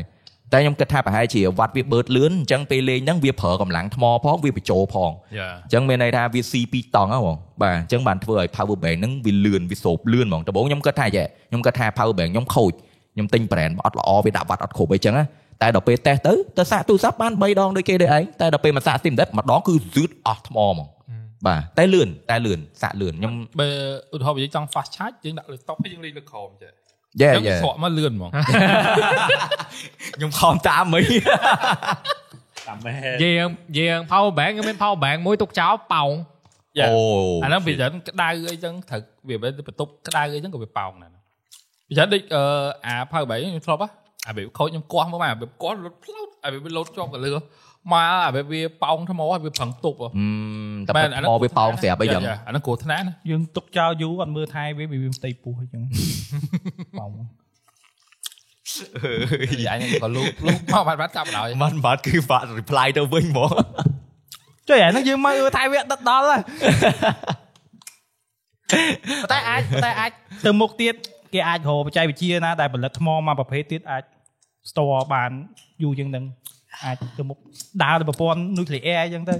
Speaker 2: តែខ្ញុំគិតថាប្រហែលជាវត្តវាបឺតលឿនអញ្ចឹងពេលលេងហ្នឹងវាប្រើកម្លាំងថ្មផងវាបញ្ចូលផង
Speaker 1: យ៉ា
Speaker 2: អញ្ចឹងមានន័យថាវាស៊ីពីរតង់ហ្នឹងហ្មងបាទអញ្ចឹងបានធ្វើឲ្យ power bank ហ្នឹងវាលឿនវាសូបលឿនហ្មងដំបូងខ្ញុំគិតថាចេះខ្ញុំគិតថា power bank ខ្ញុំខូចខ្ញុំទិញ brand មកអត់ល្អវាដាក់វត្តអត់គ្រប់អីចឹងណាតែដល់ពេលតេស្តទៅទៅសាកទូរស័ព្ទបាន3ដងដូចគេដែរឯងតែដល់ពេលមកសាក Steam Deck ម្ដងគឺស៊ឺតអស់ថ្មហ្មងបាទតែលឿនតែលឿនសាកលឿនខ្ញុំ
Speaker 1: បើឧទាហរណ៍និយាយចង់ fast charge យើងដាក់លើ top ហើយយើងលេងលើក្រោមចេះ
Speaker 2: យេ
Speaker 1: យើង
Speaker 2: យេ
Speaker 1: ស្រក់មកលឿនហ្មង
Speaker 2: ខ្ញុំខំតាមមី
Speaker 5: តាមហេ
Speaker 3: យើងយើង power bank យើងមាន power bank មួយទុកចោលប៉ោង
Speaker 1: យ៉ា
Speaker 2: អូ
Speaker 1: អាហ្នឹងវាច្រើនក្តៅអីចឹងត្រូវវាបន្ទប់ក្តៅអីចឹងក៏វាប៉ោងដែរពីច្រើនដូចអឺអាផៅបែបខ្ញុំធ្លាប់ហ៎អាវាខូចខ្ញុំគាស់មកបាទវាគាស់លុតផ្លោតអាវាលោតជាប់ក៏លឺមកអាវាប៉ោងថ្មអាវាប្រឹងទប់ហ៎
Speaker 2: Ừ, តែ
Speaker 1: មែន
Speaker 2: ពិតមកវាប៉ោងស្រាប់អីចឹង
Speaker 1: អាហ្នឹងគ្រោះថ្នាក់ណា
Speaker 4: យើងទុកចោលយូរអត់មើលថែវាវាមានផ្ទៃពោះអ ញ្ចឹងបង
Speaker 1: យាយហ្នឹងក៏លូក លូកមកបាត់បាត់ចាប់ដល់
Speaker 2: មិនបាត់គឺបាត់ reply ទៅវិញហ្មង
Speaker 4: ចុះអាហ្នឹងយើងមកអឺថែវាដឹកដល់ហើយតែអាចតែអាចទៅមុខទៀតគេអាចរកបច្ចេកវិទ្យាណាដែលផលិតថ្មមកប្រភេទទៀតអាច store បានយូរជាងហ្នឹង អាចទៅមុខដើរទៅប្រព័ន្ធ nuclear អញ្ចឹងទៅ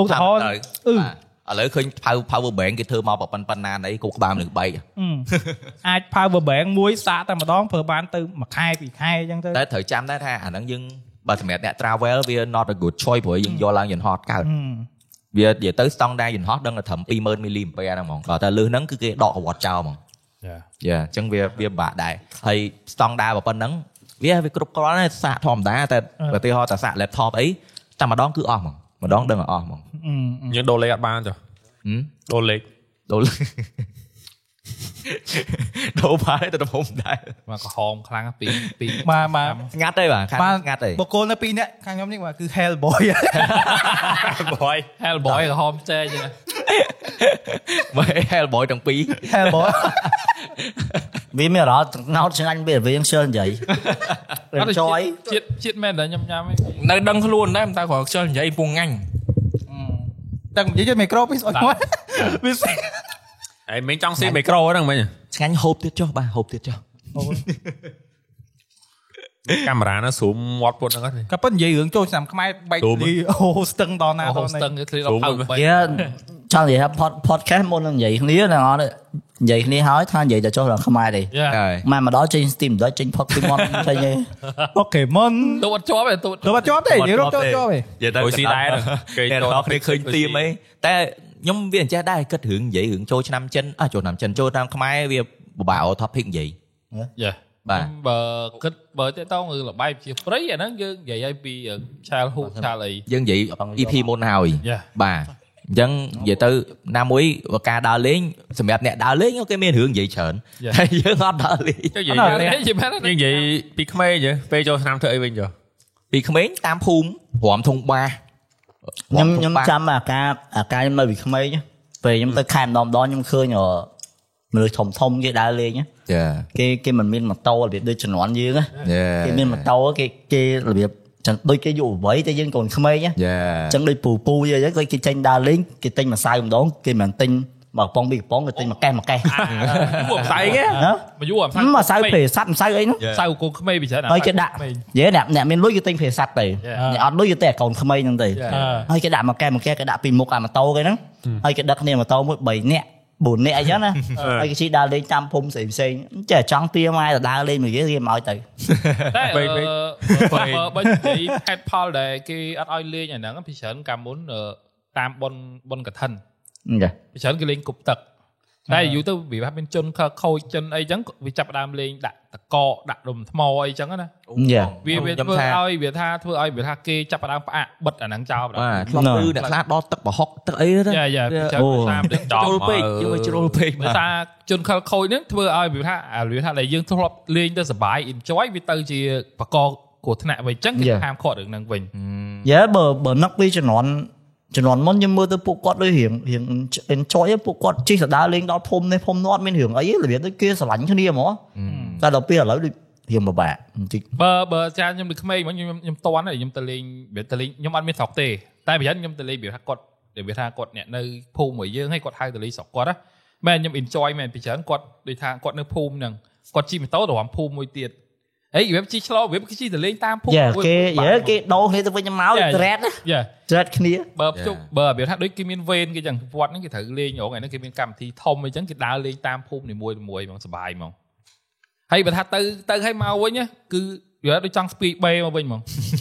Speaker 4: ឧទាហរណ៍
Speaker 2: អឺ
Speaker 4: អឺ
Speaker 2: ឥឡូវឃើញ power power bank គេធ្វើមកប៉ុណ្ប៉ុណ្ណាណីគូក្បាលនឹង3
Speaker 4: អឺអាច power bank មួយសាកតែម្ដងប្រើបានទៅមួយខែពីរខែអញ្ចឹងទៅ
Speaker 2: តែត្រូវចាំដែរថាអាហ្នឹងយើងបើសម្រាប់អ្នក travel វា not a good choice ព្រោះយើងយកឡើងយន្តហោះកើត វានិយាយទៅស្តង់ដារយន្តហោះដឹងតែត្រឹម20000មីលីអំពែហ្នឹងហ្មងគាត់តែលើសហ្នឹងគឺគេដកក្រវ៉ាត់ចោលហ្មងយ៉ាអញ្ចឹងវាវាពិបាកដែរហើយស្តង់ដារបើប៉ុណ្ណឹងវាវាគ្រប់គ្រាន់ហើយសាកធម្មតាតែឧទាហរណ៍តែសាក laptop អីតែម្ដងគឺអស់ហ្មងម្ដងដឹងឲ្យអស់ហ្មង
Speaker 5: យើងដូរលេខអត់បានចុះ
Speaker 2: ហឹម
Speaker 5: ដូរលេខ
Speaker 2: ដូរ ដូរបាយទៅដំហុំដែរ
Speaker 1: មកក្រហមខ្លាំងពីពី
Speaker 4: បាទបាទ
Speaker 2: ស្ងាត់ទេបាទខាង
Speaker 4: បាទ
Speaker 2: ស្ងាត់ទេ
Speaker 4: បុគ្គលនៅពីរនាក់ខាងខ្ញុំនេះបាទគឺ Hellboy
Speaker 5: បយ
Speaker 1: Hellboy ក្រហមចេចឹងណា
Speaker 2: មើល Hellboy ទាំងពីរ
Speaker 4: Hellboy
Speaker 6: វាមានអារម្មណ៍ងោតឆ្ងាញ់ពេលវាយើងជិលនិយាយ enjoy
Speaker 1: ជាតិជាតិមែនតែខ្ញុំញ៉ាំឯង
Speaker 5: នៅដឹងខ្លួនដែរមិនតែគ្រាន់ខ្ជិលនិយាយពងងាញ់
Speaker 4: តែនិយាយជិះមីក្រូពីស្អុយមក វាសេះ
Speaker 5: ឯងមិញចង់ស៊ីមីក្រូហ្នឹងមិញ
Speaker 2: ឆ្ងាញ់ហូបទៀតចុះបាទហូបទៀតចុះ
Speaker 5: កាមេរ៉ាហ្នឹងស្រូមមាត់ពុតហ្នឹងអត់ទេ
Speaker 4: ក៏ប៉ុន្តែនិយាយរឿងចូលឆ្នាំខ្មែរបែក
Speaker 5: ទូម
Speaker 4: នេះអូស្ទឹងដល់ណា
Speaker 1: ហូ
Speaker 4: ដ
Speaker 1: ប
Speaker 4: ល់
Speaker 1: ស្ទឹ
Speaker 4: ណា
Speaker 1: ងគេឃ្លីដល់ផៅបែ
Speaker 6: យើ ចង់និយាយថា pod- podcast មុននឹងនិយាយគ្នាទាំងអស់នេះនិយាយគ្នាហើយថានិយាយទៅចុះដល់ខ្មែរទេ
Speaker 1: យ៉ា
Speaker 2: ហើយ
Speaker 6: ម៉ែមកដល់ចេញ Steam ដូចចេញផុកពីមាត់ចេញឯង
Speaker 4: អូខេមុន
Speaker 1: ទូអត់ជាប់ទេទូ
Speaker 4: ទៅបាត់ជាប់ទេនិយាយរត់ចូលជា
Speaker 2: និយាយ
Speaker 4: ប់ទេ
Speaker 2: ទៅ
Speaker 5: អូស៊ីដែរ
Speaker 2: កណ
Speaker 5: គេ
Speaker 2: ្ដាល
Speaker 5: ចូល
Speaker 2: អ្នកនរគ្នាឃើញទីមអីតែខ្ញុំវាអញ្ចេះដែរគិតរឿងនិយាយរឿងចូលឆ្នាំចិនអស់ចូលឆ្នាំចិនចូលឆ្នាំខ្មែរវាពិបាក all topic និយាយ
Speaker 1: យ៉ា
Speaker 2: បាទ
Speaker 1: បើគិតបើតេតងឬលបែបជាព្រៃអាហ្នឹងយើងនិយាយឲ្យពីឆាលហូបឆាលអី
Speaker 2: យើងនិយាយ EP មុនហើយ
Speaker 1: យ៉ា
Speaker 2: បាទអញ្ចឹងនិយាយទៅណាមួយការដើរលេងសម្រាប់អ្នកដើរលេងគេមានរឿងនិយាយច្រើនតែយើងអត់ដើរលេង
Speaker 5: ចុះនិ
Speaker 1: និ
Speaker 5: យាយ
Speaker 1: យាយ
Speaker 5: យើង
Speaker 1: និយាយមែន
Speaker 5: និយាយពីក្មេងយើពេលចូលឆ្នាំធ្វើអីវិញចុះ
Speaker 2: ពីក្មេងតាមភូមិព្រមធុងបាស
Speaker 6: ខ្ញុំខ្ញុំចាំអាការអាការខ្ញុំនៅពីក្មេងណាពេលខ្ញុំទៅខេមម្ដងម្ដងខ្ញុំឃើញអឺមនុស្សធំធំៗគេដើរលេងណា
Speaker 2: ចា
Speaker 6: គេគេមិនមានម៉ូតូរបៀបដូចជំនាន់យើងណា
Speaker 2: ចា
Speaker 6: គេមានម៉ូតូគេគេរបៀបចឹងដូចគេយុវវ័យតែយើងកូនក្មេងណា
Speaker 2: ចា
Speaker 6: ចឹងដូចពូពូយអីគាត់គេចេញដើរលេងគេទិញមួយសៅម្ដងគេមិនទិញមកប៉ុងពីរប៉ុងគេទិញមកកេះមកកេះ
Speaker 5: ពួកផ្សៃគេ
Speaker 6: ណា
Speaker 1: មកយូរអាផ្សាយ
Speaker 6: មកសៅភេសັດមួយសៅអីហ្នឹង
Speaker 1: សៅកូនក្មេងពីច្រើន
Speaker 6: ហើយគេដាក់យេអ្នកអ្នកមានលុយគេទិញភេសັດទៅអ្នកអត់លុយគេទិញឲ្យកូនក្មេងហ្នឹងទៅហើយគេដាក់មកកេះមកកេះគេដាក់ពីមុខអាម៉ូតូគេហ្នឹងហើយគេដឹកគ្នាម៉ូតូមួយ3នាក់4នាក់អីចឹងណាហើយគេជិះដើរលេងតាមភូមិផ្សេងផ្សេងៗចេះចង់ទាម៉ែទៅដើរលេងមួយគេគេមកឲ្យទៅ
Speaker 1: តែបើបើនិយាយហេតុផលដែលគេអត់ឲ្យលេងអាហ្នឹងពីច្រើនកាលមុនតាមប៉ុនប៉ុនកឋិន
Speaker 6: អញ្ចឹង
Speaker 1: ពីច្រើនគេលេងគប់ទឹកតែយូរទៅវាហាក់មានជនខខូចជនអីចឹងវាចាប់ផ្ដើមលេងដាក់តកដាក់រុំថ្មអីចឹងណាវាវាធ្វើឲ្យវាថាធ្វើឲ្យវាថាគេចាប់ផ្ដើមផ្អាក់បិទអាហ្នឹងចោលបាទ
Speaker 2: បាទខ្លំគឺអ្នកខ្លះដកទឹកប្រហុកទឹកអីទៅ
Speaker 1: យ៉ាយ៉ាពីច្រើនតាមទៅ
Speaker 5: ចោល
Speaker 2: ចូល
Speaker 5: ពេ
Speaker 2: ពេក
Speaker 5: ក
Speaker 2: យកជ្រុលពេក
Speaker 1: បើថាជនខខូចហ្នឹងធ្វើឲ្យវាថាវាថាដែលយើងធ្លាប់លេងទៅសបាយ enjoy វាទៅជាបកកគ្រោះថ្នាក់វិញចឹងគេហាមឃាត់រឿងហ្នឹងវិញ
Speaker 6: យេបើបើនឹកពីជំនាន់ជំនាន់មុនខ្ញុំមើលទៅពួកគាត់ដូចរៀងរៀង enjoy ឯងពួកគាត់ជិះទៅដើរលេងដល់ភូមិនេះភូមិនោះអត់មានរឿងអីទេរបៀបដូចគេស្រឡាញ់គ្នាហ្មង តែដល់ពេលឥឡូវដូចរៀងពិបាកបន្តិច
Speaker 1: បើបើចាខ្ញុំដូចក្មេងមកខ្ញុំខ្ញុំតន់ខ្ញុំទៅលេងវាទៅលេងខ្ញុំអត់មានស្រុកទេតែប្រហែលខ្ញុំទៅលេងវាថាគាត់វាថាគាត់អ្នកនៅភូមិមួយយើងហើយគាត់ហៅទៅលេងស្រុកគាត់ណាមែនខ្ញុំ enjoy មែនពីច្រើនគាត់ដូចថាគាត់នៅភូមិហ្នឹងគាត់ជិះម៉ូតូទៅរំភូមិមួយទៀតអីវាជិះឆ្លោវាជិះទៅលេងតាមភូមិ
Speaker 6: យ៉ាគេយ៉ាគេដោគ្នាទៅវិញទៅមកត្រេត
Speaker 1: យ៉ា
Speaker 6: ត្រេតគ្នា
Speaker 1: បើជុំបើវាថាដូចគេមានវេនគេចឹងវត្តហ្នឹងគេត្រូវលេងរងឯហ្នឹងគេមានកម្មវិធីធំអីចឹងគេដើរលេងតាមភូមិនីមួយៗហ្មងសប្បាយហ្មងហើយបើថាទៅទៅឲ្យមកវិញណាគឺវាដូចចង់ស្ពីបេមកវិញហ្មង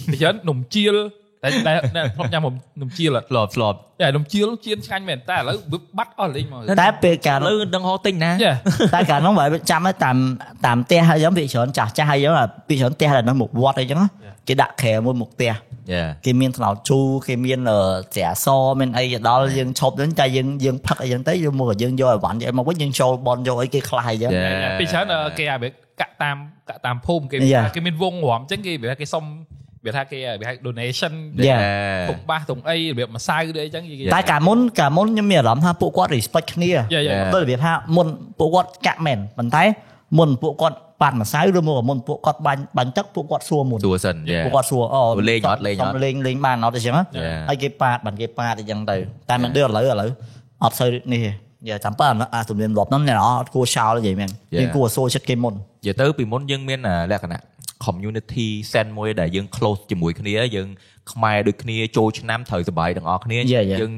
Speaker 1: អញ្ចឹងនំជៀលតែតែតែធ្លាប់ញ៉ាំនំជៀលអត់
Speaker 2: ធ្លាប់ធ្លាប់
Speaker 1: តែនំជៀលជៀនឆ្ងាញ់មែនតែឥឡូវវាបាត់អស់លេងមក
Speaker 6: តែពេលកាល
Speaker 2: ឥឡូវដឹងហោទិញណា
Speaker 1: ចា
Speaker 6: តែកាលនោះបើចាំឲ្យតាមតាមផ្ទះហើយយ៉ាងវាច្រើនចាស់ចាស់ហើយយ៉ាងពីច្រើនផ្ទះដល់នោះមកវត្តអីចឹងណាគេដាក់ខែមួយមកផ្ទះ
Speaker 2: ចា
Speaker 6: គេមានថ្នោតជូរគេមានអឺស្រាសមានអីទៅដល់យើងឈប់ហ្នឹងតែយើងយើងផឹកអីចឹងទៅយើងមកយើងយកឲ្យវ៉ាន់យកមកវិញយើងចូលបនយកអីគេខ្លះអីចឹង
Speaker 1: ពីច្រើនអឺគេអាវាកាក់តាមកាក់តាមភូមិគេ
Speaker 6: Yeah.
Speaker 1: គេមានវងរំចឹងគេវាថាគេសុំវាថាគេវាថា donation
Speaker 2: ចា
Speaker 6: Yeah.
Speaker 1: ទុំបាសទុំអីរបៀបម្សៅឬអីចឹងគេ
Speaker 6: តែកាលមុនកាលមុនខ្ញុំមានអារម្មណ៍ថាពួកគាត់ respect គ្នា
Speaker 1: Yeah, yeah.
Speaker 6: ដូចរបៀបថាមុនពួកគាត់កាក់មែនប៉ុន្តែមុនពួកគាត់ប៉ាត់ម្សៅឬមកមុនពួកគាត់បាញ់បាញ់ទឹកពួកគាត់សួរមុន
Speaker 2: សួរសិនចា
Speaker 6: ពួកគាត់សួរអូ
Speaker 2: លេងអត់លេងអត់
Speaker 6: សុំលេងលេងបានអត់ទេចឹងណា
Speaker 2: ចា
Speaker 6: ហើយគេប៉ាតបានគេប៉ាតអីចឹងទៅតែមិនដូចឥឡូវឥឡូវអត់សូវនេះទេយ៉ាចាំប៉ាអាទំនៀមលាប់ហ្នឹងអ្នកនរអត់គួរចោលនិយាយមែន
Speaker 2: Yeah.
Speaker 6: គេគួរសួរចិត្តគេមុន
Speaker 2: និយាយទៅពីមុនយើងមានអាលក្ខណៈ community sense មួយដែលយើង close ជាមួយគ្នាយើងខ្មែរដូចគ្នាចូលឆ្នាំត្រូវសប្បាយទាំងអស់គ្នា
Speaker 6: Yeah, yeah.
Speaker 2: យើង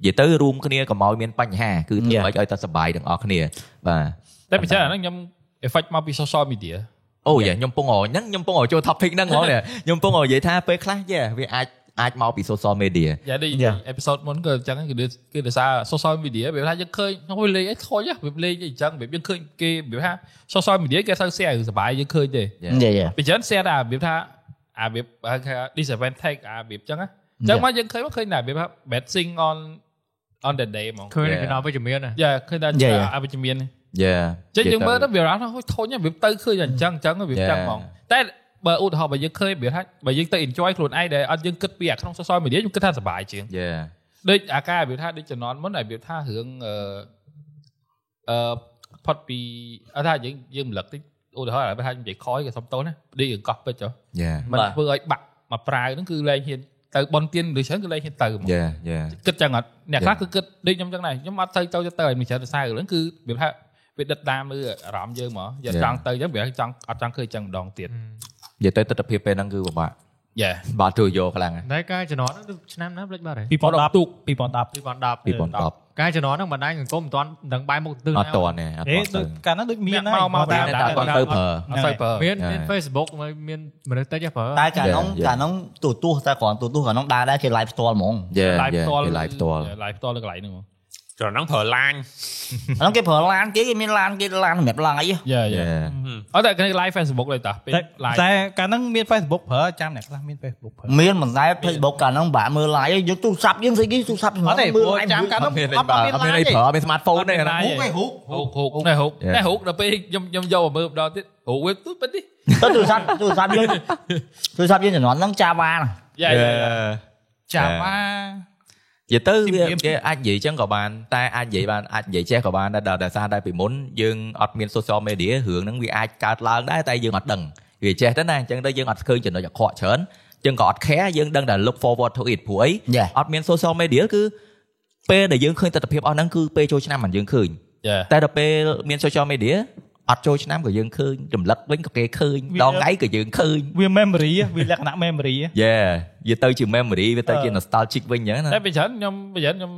Speaker 2: និយាយទៅរួមគ្នាកុំឲ្យមានបញ្ហាគឺធ្វើ
Speaker 6: Yeah.
Speaker 2: ម៉េចឲ្យតែសប្បាយទាំងអស់គ្នាបាទ
Speaker 1: តែ
Speaker 6: Dạ,
Speaker 1: ពិចារណាហ្នឹងខ្ញុំ effect មកពី social media
Speaker 2: អូយ៉ាខ្ញុំពងឲ្យហ្នឹងខ្ញុំពងឲ្យចូល topic ហ្នឹងហ្មងនេះខ្ញុំពងឲ្យនិយាយថាពេលខ្លះយ៉ាវាអាចអាចមកពី social media
Speaker 1: យ៉ាដូច Dạ,
Speaker 6: Yeah.
Speaker 1: episode មុនក៏អញ្ចឹងគឺដូចគឺដោយសារ social media វាថាយើងឃើញហួយលេងអីខូចហ៎វាលេងអីអញ្ចឹងវាយើងឃើញគេវាថា social media គេថា share សប្បាយយើងឃើញទេ
Speaker 2: Yeah.
Speaker 6: និយាយ
Speaker 1: bây giờ anh share ra việc tha à việc à, cái- disadvantage à việc chẳng á chẳng
Speaker 6: Dạ.
Speaker 1: mà dân khơi mà khơi này việc hả betting on on the day mà
Speaker 3: ឃើញគេដល់វិជ្ជមានណា
Speaker 1: giờ khơi ra
Speaker 6: Dạ, dạ.
Speaker 1: à bây giờ miền
Speaker 2: Yeah.
Speaker 1: chứ
Speaker 2: និយាយ
Speaker 1: nhưng
Speaker 2: ទៅ
Speaker 1: mà nó việc đó nó thôi nhá việc tới khơi là chẳng chẳng là việc
Speaker 2: Dạ.
Speaker 1: chẳng mong tại bởi út họ bởi dân khơi việc hả bởi dân tới enjoy luôn ai để anh dân kết việc không sao soi mình đĩa nhưng kết tha sợ bài chuyện
Speaker 2: Yeah.
Speaker 1: đây à ca việc tha đi cho nó muốn này việc tha hướng ờ ờ phát bị à tha dân dân lật tí út họ là việc tha vậy khói cái xong tối nè đi đường cọp với chỗ
Speaker 2: Yeah.
Speaker 1: មិន
Speaker 6: បាទ
Speaker 1: ធ្វើឲ្យបាក់មកប្រាវហ្នឹងគឺលែងហ៊ានទៅបនទៀនឬច្រើនគឺលែងហ៊ានទៅហ្មង
Speaker 2: Yeah. Yeah.
Speaker 1: គិតចឹងអត់អ្នកខ្លះ
Speaker 2: Yeah.
Speaker 1: គឺគិតដូចខ្ញុំចឹងដែរខ្ញុំអត់ទៅទៅទៅឲ្យមិនច្រើនសរសើរហ្នឹងគឺវាថាវាដិតតាមលើអារម្មណ៍យើងហ្មងយក
Speaker 2: Yeah.
Speaker 1: ចង់ទៅចឹងវាចង់អត់ចង់ឃើញចឹងម្ដងទៀត
Speaker 2: និយាយទៅទស្សនវិជ្ជាពេលហ្នឹងគឺពិបាក
Speaker 1: យ៉ា
Speaker 2: បាទទូយកខ្លាំងណាស់
Speaker 3: តែការជំនាន់ហ្នឹងដូចឆ្នាំណាភ្លេចបាត់ហើយ
Speaker 4: 2010ទូក2010
Speaker 3: 2010
Speaker 2: 2010
Speaker 3: 2010ការជំនាន់ហ្នឹងបណ្ដាញសង្គមមិនទាន់ដឹងបែរមុខទិស
Speaker 2: អត់តន់ទេអត់
Speaker 4: អេ
Speaker 2: ត
Speaker 4: ដូច
Speaker 2: ន់
Speaker 4: កាលនោះដូចមានហើយ
Speaker 1: មកមក
Speaker 2: តែ
Speaker 1: តាម
Speaker 2: តែអត់ទៅប្រើ
Speaker 1: អត់ទៅប្រើ
Speaker 3: មាន
Speaker 2: Yeah.
Speaker 3: Facebook មើលមានមនុស្សតិចហ៎ប្រើ
Speaker 6: តែកាលនោះ
Speaker 2: Yeah, yeah.
Speaker 6: កាលនោះទូទាស់តែគ្រាន់ទូទាស់កាលនោះដើរដែរគេ live ផ្ទាល់ហ្មង
Speaker 2: Yeah.
Speaker 1: ឡាយ
Speaker 2: Yeah.
Speaker 1: ផ្ទាល់
Speaker 2: គេ live ផ្ទាល់
Speaker 1: ឡាយផ្ទាល់លើកន្លែងហ្នឹងហ្មង
Speaker 5: ចរណងប្រើឡាញ
Speaker 6: អានោះគេប្រើឡានគេគេមានឡានគេឡានសម្រាប់ឡាយ
Speaker 1: យ៉ាយ៉ា
Speaker 2: Yeah.
Speaker 1: អត់តែគេឡាយ Facebook ឡើយតាពេល
Speaker 4: តែ
Speaker 1: ឡាយ
Speaker 4: តែកាលនោះមាន Facebook ប្រើចាំអ្នកខ្លះមាន Facebook ប្រើ
Speaker 6: មានមិនដែរ Facebook កាលហ្នឹងបាក់មើល live ឯងយកទូរស័ព្ទយើងស្អីគេទូរស័ព្ទ
Speaker 4: អត់ទេព្រោះចាំកាល
Speaker 2: អ
Speaker 4: នោះ
Speaker 2: ត់មានអី
Speaker 4: អត់
Speaker 2: បើ
Speaker 4: បាន
Speaker 2: អត់មាន
Speaker 4: មានឡា
Speaker 2: អី
Speaker 4: យទេ
Speaker 2: ប្រើអត់មាន smartphone ទេអាហ្នឹង
Speaker 1: ហូកហូ កហូកហូកណែហូក
Speaker 2: Yeah.
Speaker 1: ណែហូកដល់ពេលខ្ញុំខ្ញុំយកមកមើលម្ដងទៀតហូកវាទុយប៉ិននេះ
Speaker 6: ទៅទូរស័ព្ទទូរស័ព្ទយើងទូរស័ព្ទយើងជំនាន់ហ្នឹង Java ណា
Speaker 1: យ៉ាយ៉ាយ៉ា
Speaker 2: Yeah.
Speaker 4: ចាំ
Speaker 2: Yeah.
Speaker 4: អ
Speaker 2: ន
Speaker 4: ា
Speaker 2: ិយាយទៅវា
Speaker 4: ជំរាប
Speaker 2: វាអាចនិយាយចឹងក៏បានតែអាចនិយាយបានអាចនិយាយចេះក៏បានដែរដល់ដោយសារតែពីមុនយើងអត់មាន social media រឿងហ្នឹងវាអាចកើតឡើងដែរតែយើងអត់ដឹងវាចេះទៅណាអញ្ចឹងទៅយើងអត់ឃើញចំណុចអាក្រក់ច្រើនយើងក៏អត់ care យើងដឹងតែ look forward to it ព្រោះអី
Speaker 6: Yeah.
Speaker 2: អត់មាន social media គឺពេលដែលយើងឃើញទស្សនវិជ្ជាអស់ហ្នឹងគឺពេលចូលឆ្នាំមិនយើងឃើញ
Speaker 1: យ៉ា
Speaker 2: តែដល់ពេលមាន social media អត់ចូលឆ្នាំក៏យើងឃើញរំលឹកវិញក៏គេឃើញ
Speaker 4: វា
Speaker 2: ដល់ថ្ងៃក៏យើងឃើញ
Speaker 4: វា memory ហ៎វាលក្ខណៈ memory ហ៎
Speaker 2: Yeah វាទៅជា memory វាទៅជា
Speaker 4: Ờ.
Speaker 2: nostalgic វិញអញ្ចឹងណា
Speaker 1: តែពីច្រើនខ្ញុំពីច្រើនខ្ញុំ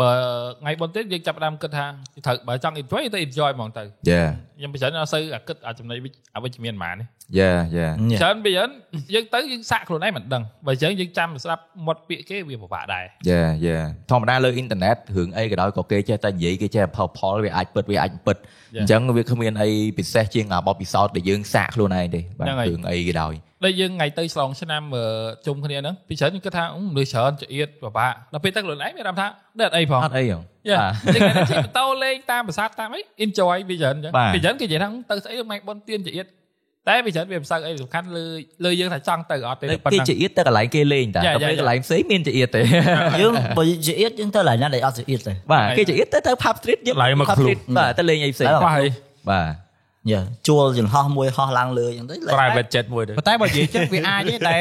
Speaker 1: បើថ្ងៃបុណ្យទៀតយើងចាប់ផ្ដើមគិតថាត្រូវបើចង់ enjoy ទៅ enjoy ហ្មងទៅ
Speaker 2: Yeah
Speaker 1: ខ្ញុំពីច្រើនអត់សូវអាគិតអាចំណុចវិជ្ជអវិជ្ជមានហ្មងនេះ
Speaker 2: yeah yeah
Speaker 1: ច្រើនពីច្រើនយើងទៅយើងសាកខ្លួនឯងមិនដឹងបើអញ្ចឹងយើងចាំស្ដាប់មាត់ពាក្យគេវាពិបាកដែរ
Speaker 2: Yeah yeah ធម្មតាលើអ៊ីនធឺណិតរឿងអីក៏ដោយក៏គេចេះតែនិយាយគេចេះផលផលវាអាចពិតវាអាចមិនពិត
Speaker 1: Yeah.
Speaker 2: អញ្ចឹងវាគ្មានអីពិសេសជាងអាបបពិសោធន៍ដែលយើងសាកខ្លួនឯងទេបា
Speaker 1: ហ្នឹង
Speaker 2: ទ
Speaker 1: ហើយ
Speaker 2: រឿងអីក៏ដោយ
Speaker 1: ដូចយើងថ្ងៃទៅឆ្លងឆ្នាំអឺជុំគ្នាហ្នឹងពីច្រើនខ្ញុំគិតថាអឺមនុស្សច្រើនចៀតពិបាកដល់ពេលទៅខ្លួនឯងមានអារម្មណ៍ថាដេតអីផង
Speaker 2: អត់អីហ៎
Speaker 1: Yeah. យើងគេជិះម៉ូតូលេងតាមប្រាសាទតាមអី enjoy វាច្រើនចឹង
Speaker 2: បាទ
Speaker 1: វាច្រើនគេនិយាយថាទៅស្អីម៉ែបុនទៀនចៀតតែវាច្រើនវាមិនសូវអីសំខាន់លើលើយើងថាចង់ទៅអត់ទេ
Speaker 2: តែ
Speaker 1: ប៉ុ
Speaker 2: គេ
Speaker 1: ណ្ណឹង
Speaker 2: ចៀតតែកន្លែងគេលេងតា
Speaker 1: Yeah,
Speaker 2: ដល់ពេល
Speaker 1: yeah,
Speaker 2: កន្លែងផ្សេងមានចៀត ទេ
Speaker 6: យើងបើជាអៀតយើងទៅឡានណាដែលអត់ជាអៀតទេ
Speaker 2: បាទគេចៀតទៅទៅ pub street យើង
Speaker 5: ឡើយមក
Speaker 2: pub
Speaker 5: ខ្លួន
Speaker 2: street បាទទៅលេងអីផ្សេងបាទបាទ
Speaker 6: ជួលចង្ហោះមួយហោះឡើងលើអញ្ចឹងទៅលេង
Speaker 5: private jet មួយទៅ
Speaker 4: ប៉ុន្តែបើនិយាយចឹងវាអាចទេតែ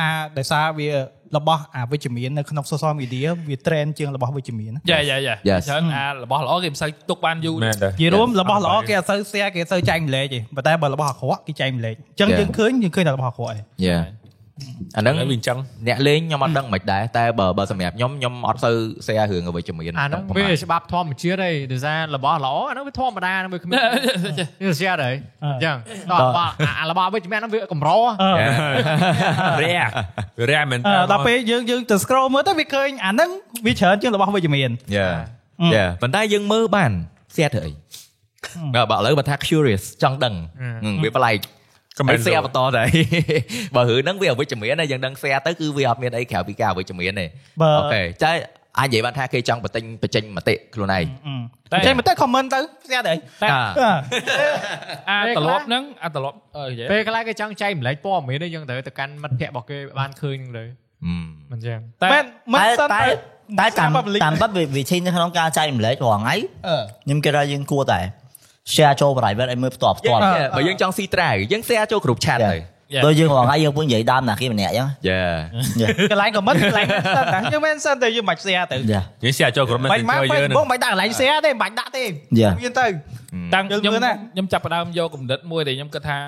Speaker 4: អាដោយសារវារបស់អាវិជ្ជមាននៅក្នុង social media វា trend ជាងរបស់វិជ្ជមានណា
Speaker 1: យ៉ាយ៉ាយ៉ា
Speaker 2: Yes.
Speaker 1: ច្រើនអារបស់ល្អគេមិនសូវទុកបានយូរ
Speaker 5: មែនដែរ
Speaker 4: និយាយរួមរបស់ល្អគេអត់សូវ share គេអត់សូវចែកម្លែកទេប៉ុន្តែបើរបស់អាក្រក់គេចែកម្លែកអញ្ចឹង
Speaker 2: Yeah.
Speaker 4: យើងឃើញយើងឃើញតែរបស់អាក្រក់ឯង
Speaker 2: Yeah
Speaker 5: ឥ
Speaker 2: អាហ្នឹង
Speaker 5: ឡូវវាអញ្ចឹង
Speaker 2: អ្នកលេងខ្ញុំអត់ដឹងមិនដែរតែបើបើសម្រាប់ខ្ញុំខ្ញុំអត់សូវ share រឿងអវិជ្ជមាន
Speaker 3: អាហ្នឹង
Speaker 2: ប៉ុ
Speaker 3: វា
Speaker 2: ន្មាន
Speaker 3: ច្បាប់ធម្មជាតិឯងដោយសាររបស់ល្អអាហ្នឹងវាធម្មតាហ្នឹងវាគ្មានវាស្អាតហើយអញ្ចឹងដល់របស់អារបស់វិជ្ជមានហ្នឹងវាកម្រ
Speaker 5: រែរែមែន
Speaker 4: អឺ
Speaker 5: តើ
Speaker 4: ដល់ពេលយើងយើងទៅ scroll មើលទៅវាឃើញអាហ្នឹងវាច្រើនជាងរបស់វិជ្ជមាន
Speaker 2: Yeah
Speaker 4: អឺ
Speaker 2: Yeah ប៉ុន្តែយើងមើលបាន share ធ្វើអីបើបើឥឡូវបើថា curious ចង់ដឹងហឹមវាប្លែក
Speaker 5: Comment
Speaker 2: ហើយ share
Speaker 5: ចូល
Speaker 2: បន្តដែរ បើរឿងហ្នឹងវាអវិជ្ជមានដែរយើងដឹង share ទៅគឺវាអត់មានអីក្រៅពីការអវិជ្ជមានទេ
Speaker 4: បើ
Speaker 2: អូខេតែអាចនិយាយបានថាគេចង់បញ្ចេញបញ្ចេញមតិខ្លួនឯង
Speaker 4: តែចេះមែនតែ comment ទៅស្អាតហើយ
Speaker 1: តែ
Speaker 4: អឺ
Speaker 1: អា
Speaker 3: ពេល
Speaker 1: ត្រឡប់
Speaker 3: ខ្លះ
Speaker 1: ហ្នឹងអាត្រឡប់អឺនិយាយ
Speaker 3: ពេលខ្លះគេចង់ចែកម្លែកព័ត៌មានឯងយើងត្រូវទៅកាន់មិត្តភ័ក្តិរបស់គេបានឃើញហ្នឹងលើមិនចឹង
Speaker 1: តែ
Speaker 4: មែនមិន
Speaker 6: តែ
Speaker 4: សិន
Speaker 6: តែ
Speaker 4: ទៅ
Speaker 6: តែតាម
Speaker 4: public
Speaker 6: តាមបាត់វិធីនៅក្នុងការចែកម្លែករាល់ថ្ងៃ
Speaker 4: អឺ
Speaker 6: ខ្ញុំគេថាយើងគួរតែ share ចូល private ឲ្យមើលផ្ទាល់ផ្ទាល់
Speaker 2: Yeah, បើយើងចង់ស៊ីត្រៅយើង share ចូលក្រុមឆាត
Speaker 6: Yeah.
Speaker 2: ទៅ
Speaker 1: Yeah.
Speaker 6: ដូចយើងរាល់ថ្ងៃយើងពុញនិយាយដើមណាគេម្នាក់អញ្ចឹង
Speaker 2: Yeah
Speaker 6: Dạ.
Speaker 4: កន្លែង comment កន្លែងមិនសិនតែយើងមិនសិនទៅយើងមិនស្អាតទៅ
Speaker 6: យ៉ា
Speaker 5: យើងស្អាចូលក្រុមនេះ
Speaker 4: បា
Speaker 5: ទៅ
Speaker 4: ញ់មក
Speaker 5: ជួយយើង
Speaker 4: Facebook មិនដាក់កន្លែង share ទេមិនដាក់ទេ
Speaker 6: យ៉ា
Speaker 4: មានទៅ
Speaker 1: តាំង
Speaker 4: យល់
Speaker 1: ខ្ញុំ
Speaker 4: មើលណា
Speaker 1: ខ្ញុំចាប់ផ្ដើមយកគំនិតមួយដែលខ្ញុំគិតថា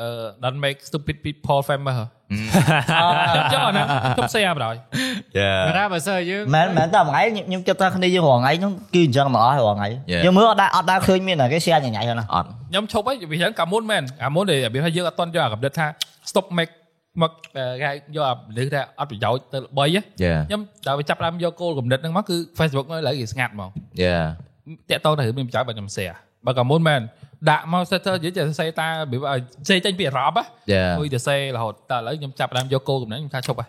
Speaker 1: អឺ don't make stupid people famous ហ៎ ចុះអាហ្នឹងខ្ញុំសេអាបរយ
Speaker 2: Yeah.
Speaker 3: តែបើសើយើង
Speaker 6: មែនមែនតែថ្ងៃខ្ញុំខ្ញុំគិតថាគ្នាយើងរងថ្ងៃហ្នឹងគឺអញ្ចឹងមកអស់រងថ្ងៃ
Speaker 2: Yeah.
Speaker 6: យើងមើលអត់ដែរអត់ដែរឃើញមានតែគេ share ញ៉ៃៗហ្នឹងណា
Speaker 2: អត់
Speaker 1: ខ្ញុំឈប់ហើយវាហ្នឹងកាមុនមែនកាមុនដែលវាថាយើងអត់តន់យកអាកម្រិតថា stop make មកគេយកអាមនុស្សថាអត់ប្រយោជន៍ទៅល្បីហ៎
Speaker 2: Yeah.
Speaker 1: ខ្ញុំដល់វាចាប់ដើមយកគោលកំណត់ហ្នឹងមកគឺ Facebook នៅឥឡូវគេស្ងាត់ហ្មង
Speaker 2: Yeah.
Speaker 1: តាក់តងទៅរឿងមានប្រចាំបើខ្ញុំ share បើកាមុនមែនដាក់មកសិតទៅនិយាយចេះសរសេរតារបៀបឲ្យសេចេញពីអារម្មណ៍ហ៎
Speaker 2: Yeah.
Speaker 1: អុយទៅសេរហូតតែឥឡូវខ្ញុំចាប់ដើមយកគោលកំណត់ខ្ញុំថាឈប់ហ៎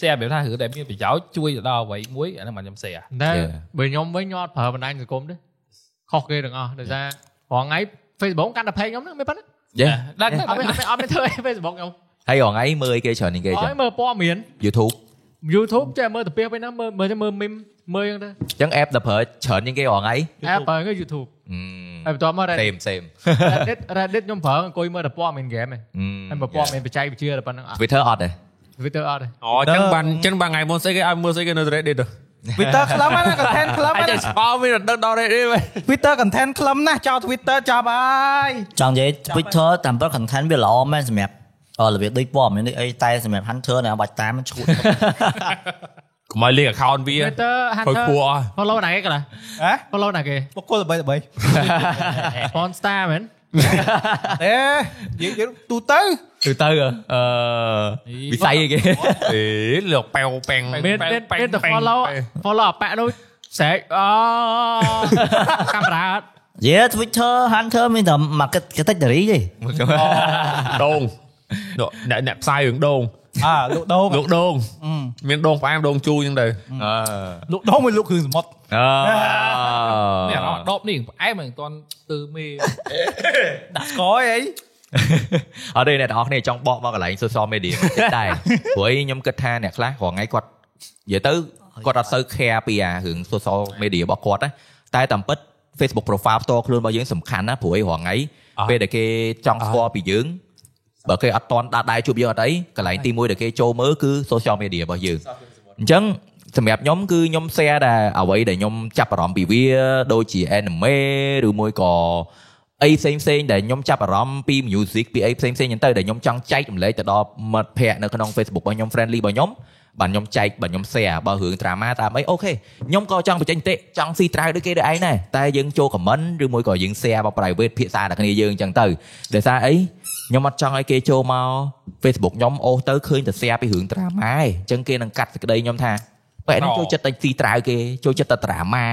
Speaker 1: share បែបថារឿងដែលមានប្រយោជន៍ជួយទៅដល់អ្វីមួយអាហ្នឹងមិនខ្ញុំ share
Speaker 3: តែ
Speaker 2: Yeah.
Speaker 3: បើខ្ញុំវិញខ្ញុំអត់ប្រើបណ្ដាញសង្គមទេខុសគេទាំងអស់ដោយសាររាល់ថ្ងៃ Facebook កាន់តែផេកខ្ញុំហ្នឹងមិនប៉ុណ្ណា
Speaker 2: Yeah.
Speaker 1: ដល់
Speaker 3: អត់មានអត់មានអត់មានធ្វើអី Facebook ខ្ញុំ
Speaker 2: ហើយរងថ្ងៃមើលអីគេច្រើននេះគេ
Speaker 3: អ
Speaker 2: ចឹ
Speaker 3: ត់
Speaker 2: ង
Speaker 3: មើលព័ត៌មាន
Speaker 2: YouTube
Speaker 3: YouTube ចេះមើលតាពីពេលណាមើលមើលមើល meme មើលអញ្ចឹង
Speaker 2: អញ្ចឹង
Speaker 3: ទៅ
Speaker 2: app ដែលប្រើច្រើនជាងគេរងថ្ងៃ
Speaker 3: អែប្រើគឺ YouTube
Speaker 2: Ừ.
Speaker 3: ហើយបន្ទាប់មក Reddit
Speaker 2: same same
Speaker 3: Reddit Reddit ខ្ញុំប្រើអង្គុយមើលតែព័ត៌មានហ្គេមឯង
Speaker 2: Ừ,
Speaker 3: ហើយមើលព័
Speaker 2: dạ.
Speaker 3: ត៌មានបច្ចេកវិទ្យាតែប៉ុណ្្នឹងអត់
Speaker 2: Twitter អត់ទេ
Speaker 3: Twitter ờ, អត់ទេ
Speaker 5: អូចឹងបានចឹងបានថ្ងៃមុនស្អីគេឲ្យមើលស្អីគេនៅ Reddit ទៅ
Speaker 4: វីទ័រខ្លឹមណាកន្តែនខ្លឹម
Speaker 5: អាចតែ
Speaker 4: ណា
Speaker 5: ស្គាល់មានដឹងដល់ Reddit វិញ
Speaker 4: Twitter content ខ្លឹមណាស់ចោល Twitter ចាប់ហើយ
Speaker 6: ចង់និយាយ Twitter តាមពិត content វាល្អមែនសម្រាប់អឺរបៀបដូចព័ត៌មានដូចអីតែសម្រាប់ Hunter ណាបាច់តាមឈួត
Speaker 5: កុំឲ្យលេខ account វា
Speaker 7: Dạ.
Speaker 3: Twitter
Speaker 5: ព្រោះ
Speaker 3: Hunter
Speaker 5: គួរអស់
Speaker 3: follow ណាគេកន្លះ
Speaker 4: ហ៎
Speaker 3: follow ណាគេ
Speaker 4: បុគ្គលល្បីល្បី
Speaker 3: Monster មែន
Speaker 4: អេនិយាយទូទៅ
Speaker 2: ទូទៅអឺវិស័យអីគេ
Speaker 5: អេលោកប៉ែវប៉ែង
Speaker 3: មានមានមានតែ follow follow អាប៉ាក់នោះស្រែកអូ កាមេរ៉ាអត់
Speaker 6: យេ Twitter Hunter មានតែ market category ទេ
Speaker 5: ដងលោកអ្នកអ្នកផ្សាយរឿងដង
Speaker 4: អាលោកដូង
Speaker 5: លោកដងមានដងផ្អែមដងជូរចឹងទៅ
Speaker 2: អ
Speaker 4: លោកដូងមួយលោកគ្រឿងសមុ
Speaker 2: ឺ
Speaker 4: ទ្រ
Speaker 1: នេះអារម្មណ៍ដបនេះផ្អែមមិនទាន់ទៅមេ
Speaker 4: ដាក់ស្គយអី
Speaker 2: អត់ទេអ្នកទាំងអស់គ្នាចង់បកមកកន្លែង social media តិច ដែរព្រោះឯងខ្ញុំគិតថាអ្នកខ្លះរងថ្ងៃគាត់និយាយទៅគាត់អត់សូវ care ពីអារឿង social media របស់គាត់ណាតែតាមពិត Facebook profile ផ្ទាល់ខ្លួនរបស់យើងសំខាន់ណាព្រោះឯងរងថ្ងៃពេលដែលគេចង់ស្គាល់ពីយើងបើគេអត់តន់ដាក់ដែរជួបយើងអត់អីកន្លែងទីមួយដែលគេចូលមើលគឺ social media របស់យើងអញ្ចឹងសម្រាប់ខ្ញុំគឺខ្ញុំ share ដែរអ្វីដែលខ្ញុំចាប់អារម្មណ៍ពីវាដូចជា anime ឬមួយក៏ អីផ្សេងផ្សេងដែលខ្ញុំចាប់អារម្មណ៍ពី music ពីអីផ្សេងផ្សេងហ្នឹងទៅដែលខ្ញុំចង់ចែករំលែកទៅដល់មិត្តភ័ក្តិនៅក្នុង Facebook របស់ខ្ញុំ friendly របស់ខ្ញុំបាទខ្ញុំចែកបាទខ្ញុំ share បើរឿង drama តាមអីអូខេខ្ញុំក៏ចង់បញ្ចេញមតិចង់ស៊ីត្រាវដូចគេដូចឯងដែរតែយើងចូល comment ឬមួយក៏យើង share មក private ភាសាដល់គ្នាយើងអញ្ចឹងទៅដោយសារអីខ្ញុំអត់ចង់ឲ្យគេចូលមក Facebook ខ្ញុំអូសទៅឃើញតែ share ពីរឿង drama ឯងអញ្ចឹងគេនឹងកាត់សេចក្តីខ្ញុំថាបែរនេះចូលចិត្តតែស៊ីត្រាវគេចូលចិត្តតែ drama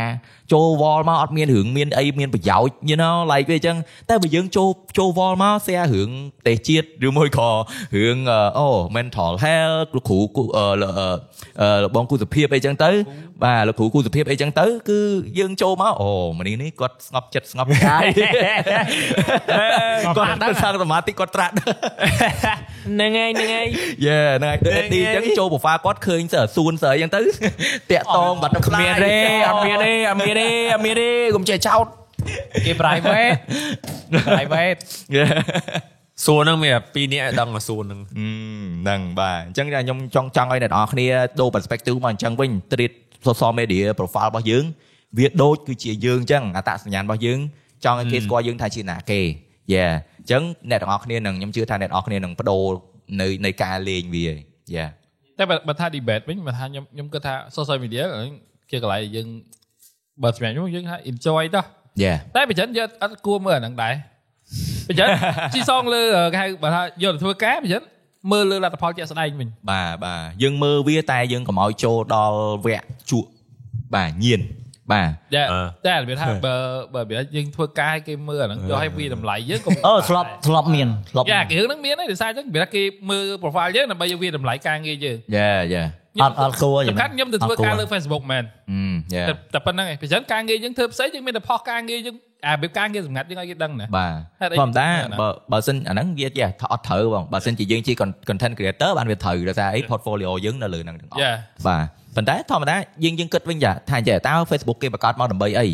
Speaker 2: ចូល wall មកអត់មានរឿងមានអីមានប្រយោជន៍ you know like វាអញ្ចឹងតែបើយើងចូលចូល wall មក share រឿងប្រទេសជាតិឬមួយក៏រឿងអឺអូ mental health លោកគ្រូគូអឺលអឺអឺលោកបងគូសុភាពអីអញ្ចឹងទៅបាទលោកគ្រូគូសុភាពអីអញ្ចឹងទៅគឺយើងចូលមកអូម្នេះនេះគាត់ស្ងប់ចិត្តស្ងប់កា យ គាត់ដឹងសាសមាធិគាត់ត្រាក់
Speaker 5: ហ្នឹងហើយហ្នឹងហើយ
Speaker 2: យេហ្នឹងហើយដូចទីអញ្ចឹងចូល profile គាត់ឃើញសើសួនសើអីចឹងទៅ តាក់តងបាត់គ្មានទេអត់មានទេអត់មានទេអត់មានទេកុំចេះចោត
Speaker 1: គេ private private
Speaker 2: យេ
Speaker 5: សួរហ្នឹងមានតែពីរនាក់ឲ្យដឹងមកសួរហ្នឹង
Speaker 2: ហ្នឹងបាទអញ្ចឹងខ្ញុំចង់ចង់ឲ្យអ្នកនរអគ្នាដូរ perspective មកអញ្ចឹងវិញ treat social media profile របស់យើង វាដូចគឺជាយើងអញ្ចឹងអត្តសញ្ញាណរបស់យើងចង់ឲ្យគេស្គាល់យើងថាជាណាគេយេអញ្ចឹងអ្នកនរអគ្នានឹងខ្ញុំជឿថាអ្នកនរអគ្នានឹងបដូរនៅនៃការលេងវាយេ
Speaker 1: តែបើបើថា debate វិញបើថាខ្ញុំខ្ញុំគិតថា social media ជាកន្លែងដែលយើងបើសម្រាប់ខ្ញុំយើងថា enjoy ទៅ
Speaker 2: យេ
Speaker 1: តែបើចឹងយើងអត់គួរមើលអាហ្នឹងដែរបើចឹង ជីសងលើគេហៅបើថាយកទៅធ្វើការបើចឹងមើលលើលទ្ធផលជាក់ស្ដែងវិញ
Speaker 2: បាទបាទយើងមើលវាតែយើងកុំឲ្យចូលដល់វគ្គជក់បាទញៀនបាទ
Speaker 1: តែតែរបៀបថាបើបើរបៀបថាយើងធ្វើការឲ្យគេមើលអាហ្នឹងយកឲ្យវាតម្លៃយើងក៏
Speaker 6: អឺធ្លាប់ធ្លាប់មានធ្លាប់
Speaker 1: យ៉ា
Speaker 6: មាន
Speaker 1: គេរឿងហ្នឹងមានហើយដោយសារចឹងរបៀបថាគេមើល profile យើងដើម្បីយកវាតម្លៃការងារយើង
Speaker 2: យេយេ
Speaker 6: អត់អត់គួរ
Speaker 1: សំខាន់ខ្ញុំទៅធ្វើការលើ Facebook មែន
Speaker 2: យេ
Speaker 1: តែតែប៉ុណ្្នឹងឯងប្រសិនការងារយើងធ្វើផ្សេងយើងមានតែផុសការងារយើងអាបៀបការងារសម្ងាត់យើងឲ្យគេដឹងណា
Speaker 2: បាទ
Speaker 1: ហេតុអី
Speaker 2: ធម្មតា
Speaker 1: ហេតុអី
Speaker 2: បើបើសិនអាហ្នឹងវាយេអត់ត្រូវបងបើសិនជាយើងជា con- content creator បានវាត្រូវដោយសារអី portfolio យើងនៅលើហ្នឹងទាំងអស់
Speaker 1: យ៉ា
Speaker 2: បាទប៉ុន្តែធម្មតាយើងយើងគិតវិញចាថាចេះតើ Facebook គេបង្កើតមកដើម្បីអី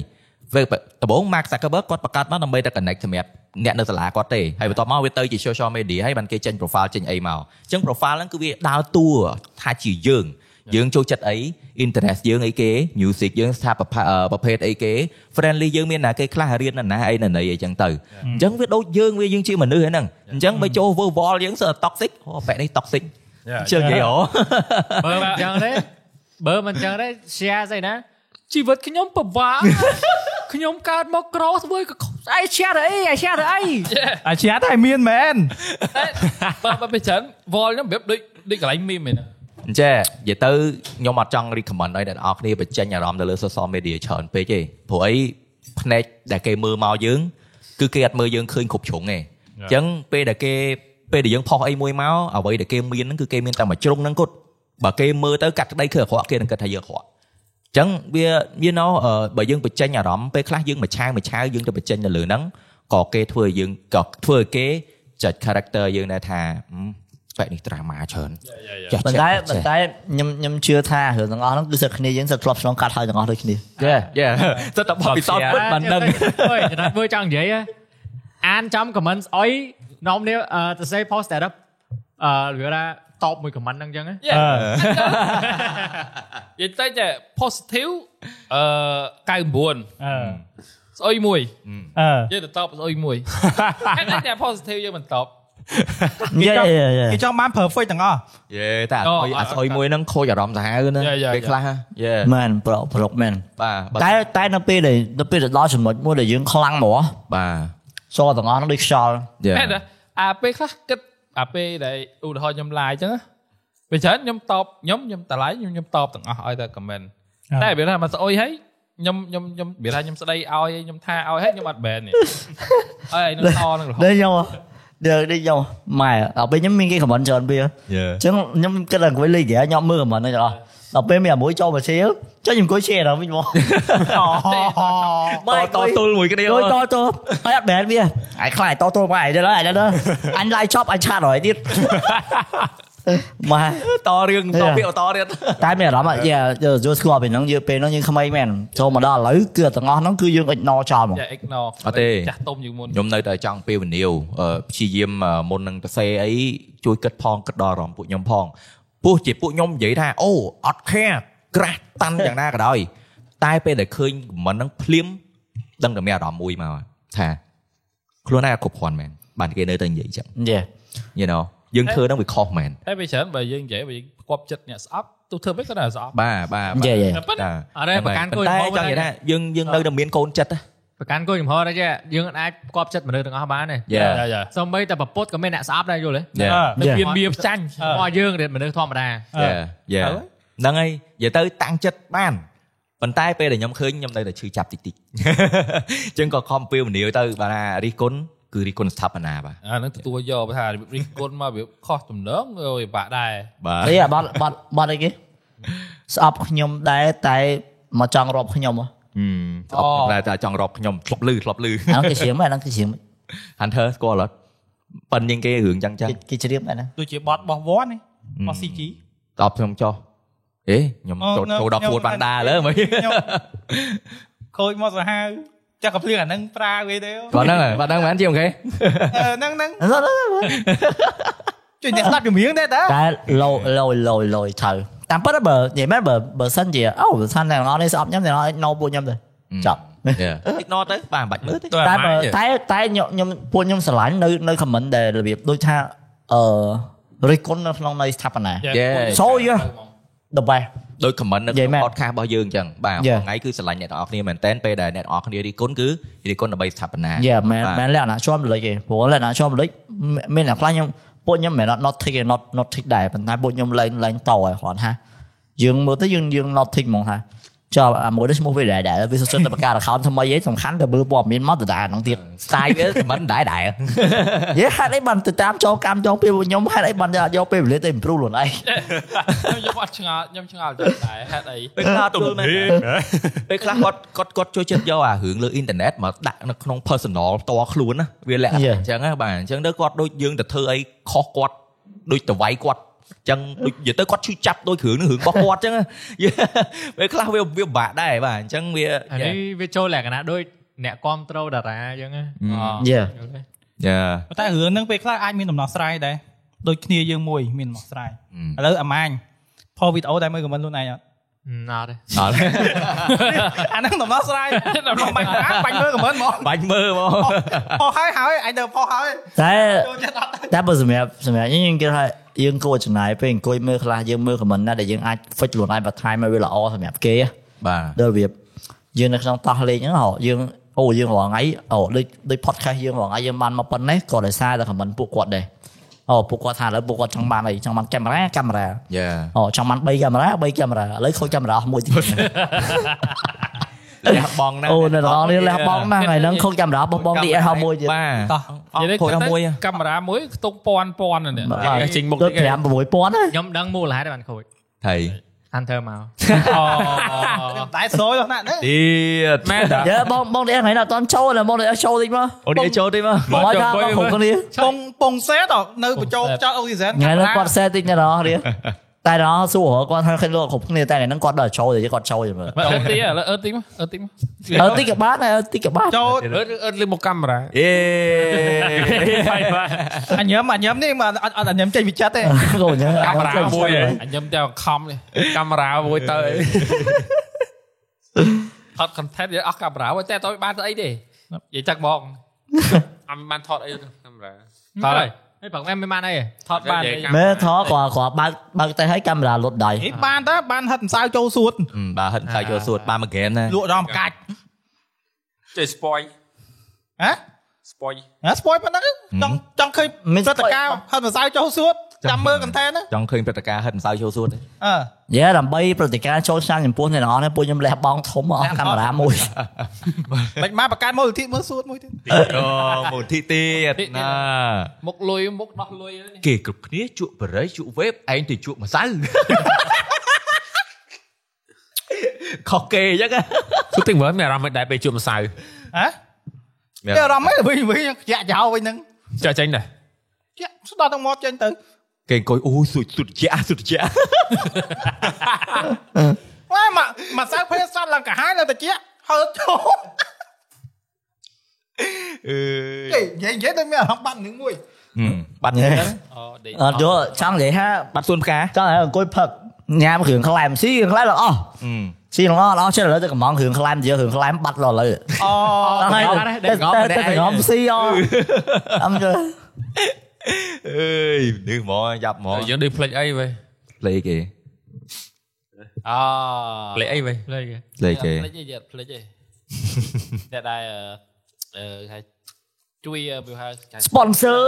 Speaker 2: ពេលដំបូង Mark Zuckerberg គាត់បង្កើតមកដើម្បីតែ connect សម្រាប់អ្នកនៅសាលាគាត់ទេហើយបន្ទាប់មកវាទៅជា social media ហើយបានគេចេញ profile ចេញអីមកអញ្ចឹង profile ហ្នឹងគឺវាដើរតួថាជាយើង យើងចូលចិត្តអី interest យើងអីគេ music យើងស្ថាបភាពអឺប្រភេទអីគេ friendly យើងមានណាគេខ្លះរៀនណាណាអីណាណីអីចឹងទៅអញ្ចឹងវាដូចយើងវាយើងជាមនុស្សហ្នឹងអញ្ចឹងបើចូល verbal យើងសើ toxic អូបែកនេះ toxic អញ្ចឹងគេអូ
Speaker 3: បើមិនអញ្ចឹងទេបើមិនអញ្ចឹងទេ share ស្អីណាជីវិតខ្ញុំពិបាក ខ្ញុំកើតមកក្រស្វើយក៏អី share ទៅអីអី share ទៅអី
Speaker 4: អាជាតែមានមែន
Speaker 1: បើបើពេលច្រើន vol ខ្ញុំរបៀបដូចដូចកន្លែងមីមមែនណា
Speaker 2: អញ្ចឹងនិយាយទៅខ្ញុំអត់ចង់ recommend ឲ្យអ្នកនរគ្នាបញ្ចេញអារម្មណ៍ទៅលើ social media ច្រើនពេកទេព្រោះអីផ្នែកដែលគេមើលមកយើង គឺគេអត់មើលយើងឃើញគ្រប់ជ្រុងទេអញ្ចឹងពេលដែលគេពេលដែលយើងផុសអីមួយមកអ្វីដែលគេមានហ្នឹងគឺគេមានតែមួយជ្រុងហ្នឹងគត់បើគេមើលទៅកាត់ក្តីគឺអក្រក់គេនឹងគិតថាយើងអក្រក់អញ្ចឹងវា you know អឺបើយើងបញ្ចេញអារម្មណ៍ពេលខ្លះយើងមួយឆាវមួយឆាវយើងទៅបញ្ចេញនៅលើហ្នឹងក៏គេធ្វើឲ្យយើងក៏ធ្វើឲ្យគេចាត់ character យើងដែរថាហឹមបែបនេះ drama ច្រើនចាស់ៗ
Speaker 6: ប៉ុន្តែប៉ុន្តែខ្ញុំខ្ញុំជឿថារឿងទាំងអស់ហ្នឹងគឺសិតគ្នាយើងសិតធ្លាប់ឆ្លងកាត់ហើយទាំងអស់ដូចគ្នា
Speaker 2: យេយេ សិតតែបបពិសោធន៍ពិតបានដឹង
Speaker 3: អើយចំណាត់មើលចង់និយាយហ៎អានចំ comments អុយនាំនេះអឺទៅ say post status អឺវាថាតបមួយ comment ហ្នឹងអញ្ចឹងណា
Speaker 1: Yeah. និយាយទៅតែ positive អឺ99
Speaker 4: អឺ
Speaker 1: ស្អុយមួយ
Speaker 4: អឺ
Speaker 1: យើងទៅតបស្អុយមួយហេតុអីតែ positive យើងមិនតប
Speaker 6: យេយេយេ
Speaker 4: គេចង់បាន perfect ទាំងអស់
Speaker 2: យេតែអត់អុយអត់ស្អុយមួយហ្នឹងខូចអារម្មណ៍សាហាវហ្នឹង
Speaker 1: Yeah, yeah,
Speaker 2: ពេល
Speaker 1: yeah.
Speaker 2: ខ្លះយេ
Speaker 6: មែនប្រកប្រកមែន
Speaker 2: បាទបាទ
Speaker 6: តែតែនៅពេលដែលនៅពេលដែលដល់ចំណុចមួយដែលយើងខ្លាំងហ្មង
Speaker 2: បា
Speaker 6: សល់ទាំងអស់ហ្នឹងដូចខ្យល់
Speaker 2: ទយេ
Speaker 1: ហេតុណាអាពេលខ្លះគិតអាពេលដែលឧទាហរណ៍ខ្ញុំឡាយអញ្ចឹងណាពេលច្រើនខ្ញុំតបខ្ញុំខ្ញុំតម្លៃខ្ញុំខ្ញុំតបទាំងអស់ឲ្យតែ comment តែវាថាមកស្អុយហើយខ្ញុំខ្ញុំខ្ញុំវាថាខ្ញុំស្ដីឲ្យខ្ញុំថាឲ្យហើយខ្ញុំអត់ ban ទេ ហើយនឹងតនឹងរហូត
Speaker 6: ដូចខ្ញុំដល់ដូចខ្ញុំម៉ែដល់ពេលខ្ញុំមានគេ comment ច្រើនពេលអញ្
Speaker 2: យេ
Speaker 6: ចឹងខ្ញុំគិតថាអង្គុយលេងហ្គេមខ្ញុំមើល comment ហ្នឹងទាំងអស់ដល់ពេលមានអាមួយចូលមកឈៀលចុះខ្ញុំអង្គុយឈៀលដល់វិញមក
Speaker 2: តតទល់មួយគ្នា
Speaker 6: ដូចតទៅហើយអត់បែនវាអាយខ្លាចតទៅមកអាយទៅហើយទៅអញឡាយចប់អញឆាតរយ ទៀតម៉ែ
Speaker 2: តរឿងតពាក្យតទៀត
Speaker 6: តែមានអារម្មណ៍ថាយកស្គាល់ពីហ្នឹងយើងពេលហ្នឹងយើងក្មេងមែនចូលមកដល់ឥឡូវគឺទាំងអស់ហ្នឹងគឺយើង ignore ចោលហ្មង
Speaker 1: យ៉ា ignore
Speaker 2: អត់ទេ
Speaker 1: ចាស់ទុំជាងមុន
Speaker 2: ខ្ញុំនៅតែចង់ពេលវេលាវអឺព្យាយាមអឺមុននឹងទៅសេអីជួយគិតផងគិតដល់អារម្មណ៍ពួកខ្ញុំផងពោះជាពួកខ្ញុំនិយាយថាអូអត់ care ក្រាស់តាន់យ៉ាងណាក៏ដោយតែពេលដែលឃើញ comment ហ្នឹងភ្លាមដឹងតែមានអារម្មណ៍មួយមកថាខ្លួនឯងអត់គ្រប់គ្រាន់មែនបានគេនៅតែនិយាយចឹង
Speaker 6: យេ
Speaker 2: you know យើងធ្វើហ្នឹងវាខុសមែន
Speaker 1: តែពេលច្រើនបើយើងនិយាយបើយើងផ្គប់ចិត្តអ្នកស្អប់ទោះធ្វើមិនក៏នៅតែស្អប់
Speaker 2: បាទបាទ
Speaker 6: យេយេ
Speaker 1: តែប៉ុន្តែ
Speaker 3: អរេប្រកាន់គោល
Speaker 2: តែ
Speaker 3: ចំហ
Speaker 2: ចង់និយាយថាយើងយើងនៅតែមានកូនចិត្ត
Speaker 3: ប្រកាន់គោលចំហដែរចេះយើងអត់អាចផ្គប់ចិត្តមនុស្សទាំងអស់បានទេ
Speaker 2: យេ
Speaker 1: Yeah, yeah.
Speaker 3: សូម្បីតែប្រពុតក៏មានអ្នកស្អប់ដែរយល់ទេ
Speaker 2: យេ
Speaker 1: តែមានវាផ្ចាញ់
Speaker 3: មកយើងរៀនមនុស្សធម្មតា
Speaker 2: យេយេហ្នឹងហើយនិយាយទៅតាំងចិត្តបានប៉ុន្តែពេលដែលខ្ញុំឃើញខ្ញុំនៅតែឈឺចាប់តិ ចតិច អញ្ចឹងក៏ខំពេលវេលាវទៅបាទថារិះគន់គឺរិះគន់ស្ថាបនាបាទ
Speaker 1: អានឹងទទួលយកបើថារបៀបរិះគន់មករបៀបខុសទំនងអើយបាក់ដែរ
Speaker 2: បាទ
Speaker 6: អីបាត់បាត់បាត់អីគេស្អប់ខ្ញុំដែរតែមកចង់រាប់ខ្ញុំ
Speaker 2: ហឹម
Speaker 6: ហ៎
Speaker 2: ស្អប់តែតែចង់រាប់ខ្ញុំធ្លាប់លឺធ្លាប់លឺ
Speaker 6: អាហ្នឹងគេជ្រាមអាហ្នឹងគេជ្រាម
Speaker 2: Hunter ស្គាល់អត់ប៉ិនជាងគេរឿងចឹងចឹង
Speaker 6: គេគេជ្រាមអាហ្នឹង
Speaker 4: ដូចជាបត់របស់វ័ននេះរបស់ CG
Speaker 2: តបខ្ញុំចុះអេខ្ញុំ
Speaker 4: អូ
Speaker 2: ចូល
Speaker 4: នៅ
Speaker 2: ចូលដល់
Speaker 4: ខ្ញុំ
Speaker 2: ពួតបាន
Speaker 4: នៅ
Speaker 2: ដាលើមើល
Speaker 4: ខ្ញុំ ខូចមកសាហាវចាក់កំភ្លៀងអាហ្នឹងប្រើវាទេអូ
Speaker 2: គាត់ហ្នឹងហើយបាទហ្នឹងមែនជាអូខេ
Speaker 4: អឺហ្នឹងហ្នឹងជួយអ្នកស្ដាប់ជំនៀងដែរតា
Speaker 6: តែលយលយលយលយទៅតាមពិតបើនិយាយមែនបើបើសិនជាអូបើសិនតែអ្នកនរនេះស្អប់ខ្ញុំអ្នកនរនេះ no ពួកខ្ញុំទៅចប់
Speaker 2: យេ ignore ទៅបាទមិនបាច់មើលទេ
Speaker 6: តែបើតែតែខ្ញុំខ្ញុំពួកខ្ញុំស្រឡាញ់នៅនៅ comment ដែលរបៀបដូចថាអឺរិះគន់នៅក្នុងនៃស្ថាបនា
Speaker 2: Yeah.
Speaker 6: So, yeah. the best
Speaker 2: ដោយ comment នៅ
Speaker 6: និយា
Speaker 2: ក្នុង
Speaker 6: យមែន
Speaker 2: podcast របស់យើងអញ្ចឹងបាទមួ
Speaker 6: Yeah.
Speaker 2: យថ្ងៃគឺស្រឡាញ់អ្នកនរគ្នាមែនតើពេលដែលអ្នកនរគ្នារីគុណគឺរីគុណដើម្បីស្ថាបនា
Speaker 6: យេមែន
Speaker 2: បាទ
Speaker 6: មែនលក្ខណៈជាប់លិចឯងព្រោះលក្ខណៈជាប់លិចមានមានអ្នកខ្លះខ្ញុំពួកខ្ញុំមិនមែន not tick ឯង not not tick ដែរប៉ុន្តែពួកខ្ញុំលេងលេងតឯងគាត់ហាយើងមើលទៅយើងយើង not tick ហ្មងហាចាប់អាមួយនេះឈ្មោះវាដែរដែរវាសុទ្ធតែបង្កើត account ថ្មីឯងសំខាន់តែមើលព័ត៌មានមកដដែលហ្នឹងទៀត
Speaker 2: style វា comment ដែរដែរ
Speaker 6: យេហេតុអីបានទៅតាមចូលកម្មចូលពេលពួកខ្ញុំហេតុអីបានយកពេលវេលាទៅ improve ខ្លួនឯង
Speaker 1: ខ្ញុំអត់ឆ្ងល់ខ្ញុំឆ្ងល់ចឹងដែរហេតុអី
Speaker 2: ពេលខ្លះទំនៀមពេលខ្លះគាត់គាត់គាត់ចូលចិត្តយកអារឿងលើអ៊ីនធឺណិតមកដាក់នៅក្នុង personal ផ្ទាល់ខ្លួនណាវាលក្ខណៈ
Speaker 6: Yeah.
Speaker 2: អញ្ចឹងណាបាទអញ្ចឹងទៅគាត់ដូចយើងទៅធ្វើអីខុសគាត់ដូចតវៃគាត់អញ្ចឹងដូចនិយាយទៅគាត់ឈឺចាប់ដូចរឿង នឹងរឿងរបស់គាត់អញ្ចឹងណា Yeah. ពេលខ្លះវាវាពិបាកដែរបាទអញ្ចឹងវា
Speaker 3: អានេះវាចូលលក្ខណៈដូចអ្នកគ្រប់ត្រូលតារាអញ្ចឹងណាយល់ទេ
Speaker 6: យេ
Speaker 2: យ៉ា
Speaker 4: ប៉ុន្តែរឿងហ្នឹងពេលខ្លះអាចមានដំណោះស្រាយដែរដូចគ្នាយើងមួយមានដំណោះស្រាយ
Speaker 2: Mm.
Speaker 4: ឥឡូវអាម៉ាញ ផលវីដេអូតែមើលខមមិនខ្លួនឯងអត់
Speaker 3: អត់ទេ
Speaker 2: អត់
Speaker 4: អាហ្នឹងដំណោះស្រាយ ដំណោះបាញ់ណាបាញ់មើលខមមិនហ្មង
Speaker 2: បាញ់មើលមក
Speaker 4: ផុសហើយហើយអញទៅផុសហើយ
Speaker 6: តែ
Speaker 4: ចូលចិត្តអត់ទៅ
Speaker 6: តែបើសម្រាប់សម្រាប់យើងគេថាយើងគួរចំណាយពេលអង្គុយមើលខ្លះយើងមើល comment ណាដែលយើងអាចហ្វិចខ្លួនឯងបន្ថែមឲ្យវាល្អសម្រាប់គេណា
Speaker 2: បាទ
Speaker 6: ដល់របៀបយើងនៅក្នុងតោះលេងហ្នឹងហ៎យើងអូយើងរងថ្ងៃអូដូចដូច podcast យើងរងថ្ងៃយើងបានមកប៉ុណ្ណេះក៏ដោយសារតែ comment ពួកគាត់ដែរអូពួកគាត់ថាឥឡូវពួកគាត់ចង់បានអីចង់បានកាមេរ៉ាកាមេរ៉ា
Speaker 2: យ៉ា
Speaker 6: អូចង់បាន3កាមេរ៉ា3កាមេរ៉ាឥឡូវខូចកាមេរ៉ាអស់មួយទៀត
Speaker 2: លះបងណាស់
Speaker 6: អូនៅរងនេះលះបងណាស់ថ្ងៃហ្នឹងខូចកាមេរ៉ារបស់បងឌីអេសហោមួយទៀត
Speaker 2: បាទអ
Speaker 1: និយាយ
Speaker 2: ត់ខូចអស់មួយ
Speaker 1: កាមេរ៉ាមួយខ្ទង់ពាន់ពាន់ណាស់នេះ
Speaker 6: បាទ
Speaker 5: គេចេញមុខ
Speaker 6: ដូច
Speaker 5: គេ
Speaker 6: 5 6000ណា
Speaker 3: ខ្ញុំដឹងមូលហេតុដែលបានខូច
Speaker 2: ថៃ
Speaker 3: hunter មក
Speaker 1: អូ
Speaker 4: តែស្រួយដល់ណាស់ហ្នឹង
Speaker 2: ទៀត
Speaker 1: មែនតា
Speaker 6: យើបងបងឌីអេសថ្ងៃណាអត់តន់ចូលឥឡូវបងឌីអេសចូលតិចមក
Speaker 2: អូនេះចូលទេមក
Speaker 6: បងឲ្យថាបងគ្រប់គ្នា
Speaker 4: ពងពងសេតនៅបញ្ចូលចោតអូស៊ីហ្សែន
Speaker 6: ថ្ងៃនោះគាត់សេតិចណាស់រៀនតែដល់សួរគាត់ថាឃើញលោកគ្រប់គ្នាតែថ្ងៃហ្នឹងគាត់ដល់ចូលតែគាត់ចូលយល់
Speaker 1: ម
Speaker 6: មើល
Speaker 1: កអឺទីឥឡូវអឺទីមកអឺទីមក
Speaker 6: អត់តិចក៏បានដែរអត់តិចក៏ បាន
Speaker 4: ចូល
Speaker 5: អឺអឺលើមកកាមេរ៉ា
Speaker 2: អេ
Speaker 4: អញញឹមអញញឹមនេះមិនអត់អត់អញញឹមចេញវិចិត្រទេ
Speaker 6: កូនយើង
Speaker 5: កាមេរ៉ាមួយឯង
Speaker 1: អញញឹមតែខំនេះ
Speaker 5: កាមេរ៉ាមួយទៅឯង
Speaker 1: ថត content យកអស់កាមេរ៉ាហើយតែអត់បានស្អីទេនិយាយចាក់បងអត់បានថតអី
Speaker 5: កាមេរ៉ា
Speaker 1: ថតហើយ
Speaker 3: ហេប្រឹងតែមិនបានអី
Speaker 1: ថតបានអី
Speaker 5: និយាយកា
Speaker 6: មើលថតគាត់គាត់បើកបើកតែឲ្យកាមេរ៉ាលុតដៃ
Speaker 4: នេះបានតើបានហិតម្សៅចូលសួត
Speaker 2: បាទហិតខ្សែចូលសួតបានមួយហ្គេមណា
Speaker 4: លក់ដល់មួយកាច់
Speaker 5: ចេះ spoil
Speaker 4: ហ៎
Speaker 5: spoil
Speaker 4: អាស្ពយប៉ុណ្ណឹងចង់ចង់ឃើញព្រឹត្តិការណ៍ហិតម្សៅចូលសួតចាំមើល content ណា
Speaker 2: ចង់ឃើញព្រឹត្តិការណ៍ហិតមិនសៅចូលសួតទេ
Speaker 4: អឺ
Speaker 6: យេដើម្បីព្រឹត្តិការណ៍ចូលឆ្នាំចំពោះអ្នកនរនេះពួកខ្ញុំលះបងធំអស់កាមេរ៉ាមួយ
Speaker 4: មិនមកបង្កើតមូលនិធិមើលសួតមួយទៀត
Speaker 2: អូមូលធីទៀតណា
Speaker 1: មុខលុយមុខដោះលុយហ្នឹងនេះ
Speaker 2: គេគ្រប់គ្នាជក់បរិយជក់វេបឯងទៅជក់ម្សៅ ខុសគេអញ្ចឹងណា
Speaker 5: សុទ្ធតែមើលមានអារម្មណ៍មិនដែរពេលជួបម្សៅ
Speaker 4: ហ៎តែអារម្មណ៍វិញវិញខ្យាក់ចោលវិញហ្នឹង
Speaker 5: ចាចេញដែរ
Speaker 4: ខ្យាក់ស្ដាប់ទាំងមាត់ចេញទៅ
Speaker 2: គេអង្គុយអូយសុចសុចជាសុចជា
Speaker 4: វ៉ាមកមកសៅភេសត់ឡើងកាហាយឡើងតិចហើចូលអឺនិយាយនិយាយទៅមានអារម្មណ៍បាត់នឹងមួយ
Speaker 2: បាត់ហ្នឹង
Speaker 1: អូដេក
Speaker 6: អត់យល់ចង់និយាយថា
Speaker 2: បាត់សួនផ្កា
Speaker 6: ចង់ឲ្យអង្គុយផឹកញ៉ាំគ្រឿងខ្លែមស៊ីគ្រឿងខ្លែមល្អស៊ីល្អល្អចេះឥឡូវទៅកំងគ្រឿងខ្លែមនិយាយគ្រឿងខ្លែមបាត់ដល់ឥឡូវ
Speaker 4: អូ
Speaker 1: Ờ,
Speaker 6: ដល់ហើយតែតែងំស៊ីអអមយើ
Speaker 2: អើយនេះហ្មងយ៉ាប់ហ្មង
Speaker 1: យើងដូចផ្លេចអីវេ
Speaker 2: លេគេ
Speaker 1: អូ Ờ.
Speaker 5: លេខអីវិញ
Speaker 3: លេងគេ
Speaker 2: លេគេ
Speaker 1: ផ្លេចអីទៀតផ្លេចអីតែដែរអឺអឺគេជួយវាហៅ
Speaker 6: sponsor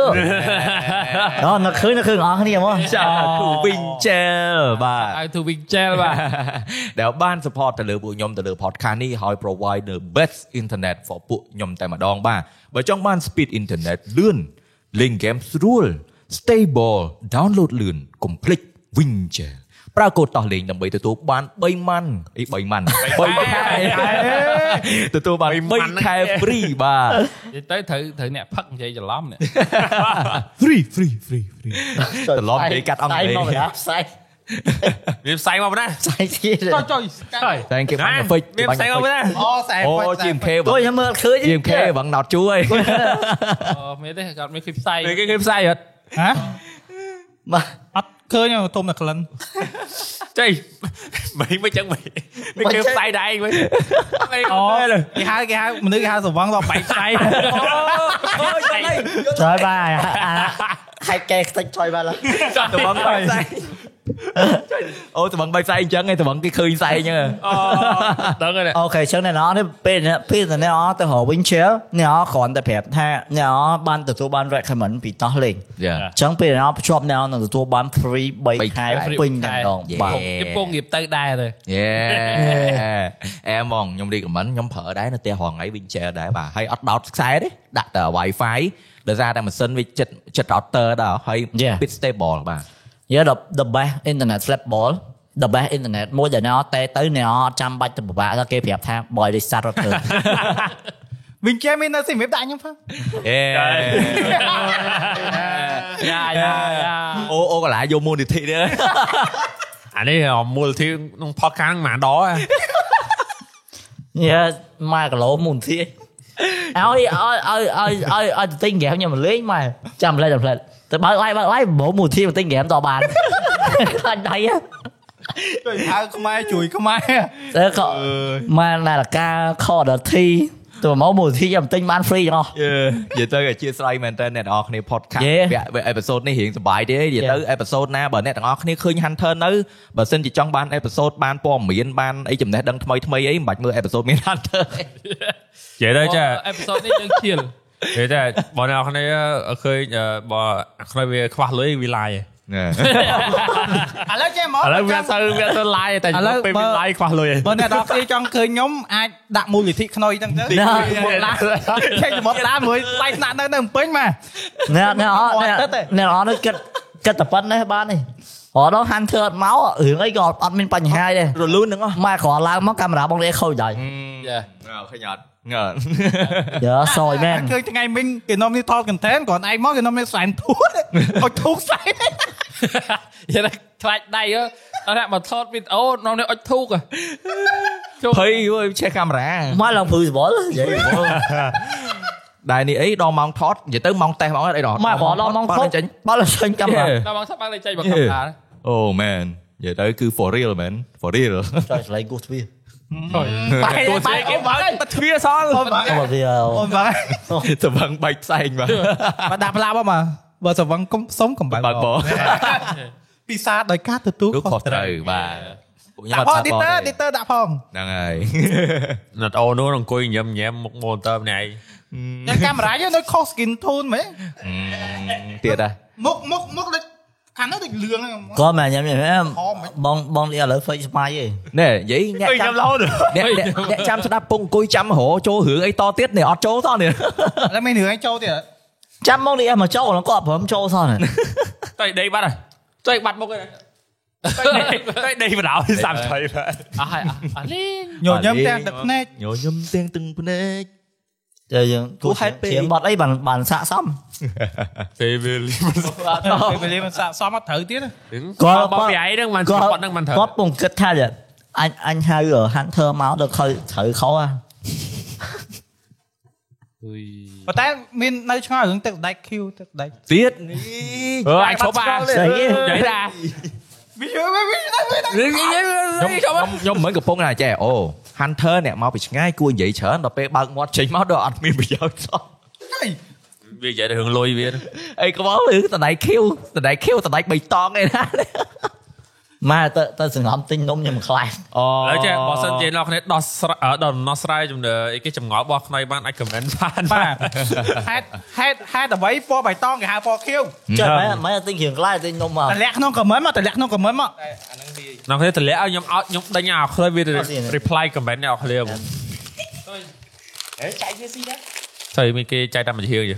Speaker 6: អូនៅឃើញនៅឃើញអស់គ្នាហ្មង
Speaker 2: ចា គូវិញចែលបា
Speaker 1: ហៅ to wingel បាទ
Speaker 2: ទដែលបាន support ទៅលើពួកខ្ញុំទៅលើ podcast នេះហើយ provide the best internet for ពួកខ្ញុំតែម្ដងបាទបើចង់បាន speed internet លឿន link game ស្រួល stable download លឿន complete wingel ប្រើកូដតោះលេងដើម្បីទទួលបាន3ម៉ាន់អី3ម៉ាន់3ខែទទួលបាន3ខែ free បាទ
Speaker 1: និយាយទៅត្រូវត្រូវអ្នកផឹកនិយាយច្រឡំនេះ
Speaker 2: free free free free ត្រឡប់និយាយកាត់អង់គ្លេស
Speaker 6: ផ្សាយ
Speaker 5: មានផ្សាយមកប៉ុណ្ណា
Speaker 6: ផ្សាយទៀត
Speaker 4: ចូលចូល
Speaker 2: តែគេបាញ់ហ្វិច
Speaker 5: មានផ្សាយមកប៉ុណ្ណា
Speaker 4: អូសែ
Speaker 2: អូជា MK
Speaker 6: អូខ្ញុំមើលឃើញ
Speaker 2: ជា MK បងណោតជួយ
Speaker 1: អូមានទេគាត់មានឃ្លីបផ្សាយ
Speaker 5: ពេលគេគេផ្សាយអត់
Speaker 4: ហ៎
Speaker 6: បាទ
Speaker 4: អត់ឃើញធំតែក្លិន
Speaker 5: ចេះមិនមិនចឹងមិននេះគេផ្សាយដែរឯងវិញ
Speaker 4: អូគេហៅគេហៅមនុស្សគេហៅសវងដល់បែកផ្សៃ
Speaker 6: ចយបាយហែកកែខ្ទេចចយបាយឡើយ
Speaker 2: ចាំតបង បាយផ្សាយអូតបងបាយផ្សាយអញ្ចឹងឯងតបងគេឃើញផ្សាយអញ្ចឹង
Speaker 5: អូដឹងហើយ
Speaker 6: អូខេអញ្ចឹងអ្នកនរនេះពេលនេះពេលតែអ្នកនរទៅរក Winchell អ្នកនរគ្រាន់តែប្រាប់ថាអ្នកនរបានទទួលបាន recommend ពីតោះលេង
Speaker 2: យ៉ា
Speaker 6: អញ្ចឹងពេលណាភ្ជាប់ណែនឹងទទួលបាន free
Speaker 2: 3
Speaker 6: 3ខែពេញតែម្ដង
Speaker 2: ខែ
Speaker 6: បាទ
Speaker 2: Yeah.
Speaker 1: ខ្ញុំពងរៀបទៅដែរទៅ
Speaker 2: យ៉ាអែហ្មងខ្ញុំ recommend ខ្ញុំប្រើដែរនៅផ្ទះរងថ្ងៃ Winchell ដែរបាទហើយអត់ដោតខ្សែទេដាក់តែ ờ, Wi-Fi ដោយសារតែម៉ាស៊ីនវាចិត្តចិត្ត router ដែរហើយ
Speaker 6: Yeah.
Speaker 2: ពី stable បាទ
Speaker 6: យកដល់ the best internet flexible the best internet មួយដែលអ្នកតែទៅអ្នកអត់ចាំបាច់ទៅពិបាកដល់គេប្រាប់ថា boy រិះសាត់រត់ទៅ
Speaker 4: វិញចេះមាននៅសិមៀបដាក់ខ្ញុំផង
Speaker 2: អេ
Speaker 1: យ៉ាយ៉ាយ៉ា
Speaker 2: អូអូកន្លែងយកមូលនិធិនេះ
Speaker 5: អានេះមូលធិក្នុង podcast ហ្នឹងមិនដរ
Speaker 6: យកមកគីឡូមុនទីឲ្យឲ្យឲ្យឲ្យឲ្យឲ្យទៅទិញហ្គេមខ្ញុំមកលេងមកចាំ ផ្លែចាំផ្លែទៅបើកឡាយបើកឡាយប្រហូរមុនទីមកទិញហ្គេមតបាន ខ្លាចដៃ
Speaker 4: ជួយហៅខ្មែរជួយខ្មែរ
Speaker 6: តែក៏មកនាឡិកាខដធីទៅមកមួយធីខ្ញុំទិញបាន free ទាំងអស់
Speaker 2: យេនិយាយទៅអធិស្ឋានមែនតើអ្នកទាំងអស់គ្នា podcast
Speaker 6: យេ
Speaker 2: វគ្គអេពីសូតនេះរៀងសប្បាយទេនិយាយទៅអេពីសូតណាបើអ្នកទាំងអស់គ្នាឃើញ Hunter នៅបើសិនជាចង់បានអេពីសូតបានព័ត៌មានបានអីចំណេះដឹងថ្មីថ្មីៗអីមិនបាច់មើលអេពីសូតមាន Hunter ទេ
Speaker 5: និយាយទៅចា
Speaker 1: អេពីសូតនេះយើងឈៀល
Speaker 5: និយាយតែបងអ្នកនរគ្នាឃើញអឺបើអ្នកខ្លះវាខ្វះលុយវាឡាយឯង
Speaker 4: ឥឡូវចេះមក
Speaker 5: ឥឡូវវាអត់
Speaker 4: ចង់
Speaker 5: ទៅវាអត់ទៅឡាយទេតែ
Speaker 4: ឥឡូវ
Speaker 5: ពេល
Speaker 4: បើ
Speaker 5: វាឡាយខ្វះលុយឯង
Speaker 4: បើអ្នកដល់គ្នាចង់ឃើញខ្ញុំអាចដាក់មូលនិធិខ្នុយ ហ្នឹងទៅ
Speaker 6: ណា
Speaker 4: មកឡាចេះមកឡាមួយ ស្បែកស្នាក់នៅនៅភ្នំពេញមក
Speaker 6: អ្នកអ្នកអត់
Speaker 4: អត់
Speaker 6: អ្នក
Speaker 4: ទេ
Speaker 6: អ្នកអត់នេះគិតគិតតែប៉ុណ្ណេះបាននេះអត់ដល់ហាន់ធ្វើអត់មករឿងអីក៏អត់មានបញ្ហាទេ
Speaker 2: រលូនទាំងអស់
Speaker 6: ម៉ែគ្រាន់ឡើងមកកាមេរ៉ាបងលេខូចដែរ
Speaker 1: យ៉ា
Speaker 2: ឃើញអត់ងើ
Speaker 6: យើសយមែន
Speaker 4: ឃើញថ្ងៃមិញគេនាំនេះថត content គ្រាន់ឯងមកគេនាំនេះសែនធួតអត់ធូកសែន
Speaker 1: យ៉ាខ្លាច់ដៃហ៎អត់ថាមកថតវីដេអូនាំនេះអុចធូកហ៎
Speaker 2: ភ័យអើយឆេះកាមេរ៉ា
Speaker 6: មកឡើងព្រឺសបល់និយាយបង
Speaker 2: ដែរនេះអីដល់ម៉ោងថតនិយាយទៅម៉ោងតេស្តម៉ោងអត់អីដល់
Speaker 6: មកបងឡងមក
Speaker 2: បាត់ចេញ
Speaker 6: បើឡើងចេញកាមេរ៉ា
Speaker 2: Yeah.
Speaker 1: ដល់បងសាប់បានលេចចៃមក
Speaker 2: Yeah.
Speaker 1: កាមេរ៉ា
Speaker 2: Oh man និយាយទៅគឺ for real man for real
Speaker 6: ចុះឆ្លៃគោះទ្វារ
Speaker 4: បែកបែកគេបើ
Speaker 2: បាត់ទ្វាសល់
Speaker 4: អូនបើ
Speaker 6: អូទ្វារ
Speaker 4: អូនបើ
Speaker 2: ទៅវឹងបែកផ្សែងបាទ
Speaker 4: បើដាក់ផ្លាប់មកបើសវឹងកុំសុំកំ
Speaker 2: បា
Speaker 4: បើ
Speaker 2: ត់បង
Speaker 4: ពិសាដោយការទទួល
Speaker 2: គឺ
Speaker 4: ខុ
Speaker 2: ខុ
Speaker 4: ស
Speaker 2: ស
Speaker 4: ត្រូវ
Speaker 2: ត្រូវបាទពួកខ្ញុំ
Speaker 4: ដាក់
Speaker 2: អត់
Speaker 4: ផង
Speaker 2: ថាបង
Speaker 4: ឌីទ័រឌី
Speaker 2: ទេ
Speaker 4: ទ័រដាក់ផង
Speaker 2: ហ្នឹងហើយ
Speaker 5: ណាត់អូនោះអង្គុយញ៉ាំញ៉ាំមុខម៉ូទ័រម្នាក់ឯង
Speaker 4: ញ៉ាំកាមេរ៉ាយើងដូចខុស skin tone ហ្មង
Speaker 2: ទៀតហ៎
Speaker 4: មុខមុខមុខដូចខាងនោះដូចលឿងហ្នឹង
Speaker 6: ក៏មិនញ៉ាំញ៉ាំបងបងនេះឥឡូវ fake ស្មៃឯង
Speaker 2: ណែនិយាយអ្នកចាំ អ្នកអ្នកអ្នកចាំស្ដាប់ពងអង្គុយចាំរហោចូលរឿងអីតទៀតនេះអត់ចូលសោះនេះ
Speaker 4: ឥឡូវមានរឿងឯងចូលទៀត
Speaker 6: ចាំមកនេះអីមកចូលហ្នឹងក៏អត់ព្រមចូលសោះហ្នឹង
Speaker 5: ទៅដេកបាត់ហើយ
Speaker 1: ទៅបាត់មុខហ្នឹង
Speaker 5: ទៅដេកបណ្ដោយសាប់ឆ្លៃបាត់
Speaker 1: អស់ហើយអស់អស់លីង
Speaker 4: ញញឹមទាំងទឹកភ្នែក
Speaker 2: ញញឹមទាំងទឹងភ្នែក
Speaker 6: តែយើង
Speaker 2: គួរហេតុពេក
Speaker 6: ធៀមបាត់អីបានបានស័កសម
Speaker 5: ទេវាលី
Speaker 4: ពេលវេលាមិនស័កសមអត់ត្រូវទៀត
Speaker 5: គាត់បងពីឯងហ្នឹងមិនគាត់ហ្នឹងមិនត្រូវ
Speaker 6: គាត់ពងគិតថាយ៉ាអញអញហៅ hunter មកដល់ខើត្រូវខោអា
Speaker 1: ហ៊ុយ
Speaker 4: ប៉ុន្តែមាននៅឆ្ងល់រឿងទឹកដែក Q ទឹកដែក
Speaker 2: ទៀត
Speaker 5: អឺអាចឈប់បាន
Speaker 6: ស្អីឯង
Speaker 5: និយាយថា
Speaker 4: វាវាវា
Speaker 2: ខ្ញុំខ្ញុំខ្ញុំមិនកំពុងតែចេះអូ Hunter អ្នកមកពីឆ្ងាយគួរនិយាយច្រើនដល់ពេលបើកមាត់ចេញមកដល់អត់មានប្រយោជន៍សោះ
Speaker 5: វានិយាយតែរឿងលុយវា
Speaker 2: អីក្បោឬតដៃខៀវតដៃខៀវតដៃបៃតងឯណា
Speaker 6: ម៉ែទៅទៅសង្ហំទិញនំខ្ញុំខ្លាំង
Speaker 2: អូ
Speaker 5: ឥឡូវចេះបើសិនជាអ្នកគ្នាដោះស្រាយដល់ដោះស្រាយចំណើអីគេចម្ងល់របស់ខ្នៃបានអាច comment បាន
Speaker 4: បាទ ហេតុហេតុហេតុអ្វីពណ៌បៃតងគេហៅពណ៌ Q
Speaker 6: ចុះម៉ែម៉ែទិញគ្រឿងខ្លាំងទិញនំមក
Speaker 4: តម្លាក់ក្នុង comment មកតម្លាក់ក្នុង comment មក
Speaker 5: អ្នកគ្នាតម្លាក់ឲ្យខ្ញុំអត់ខ្ញុំដេញឲ្យខ្នៃវា reply comment អ្នកគ្នាហ៎ចៃវាស៊ីដែរចៃមានគេចៃតាមមួយជើងយ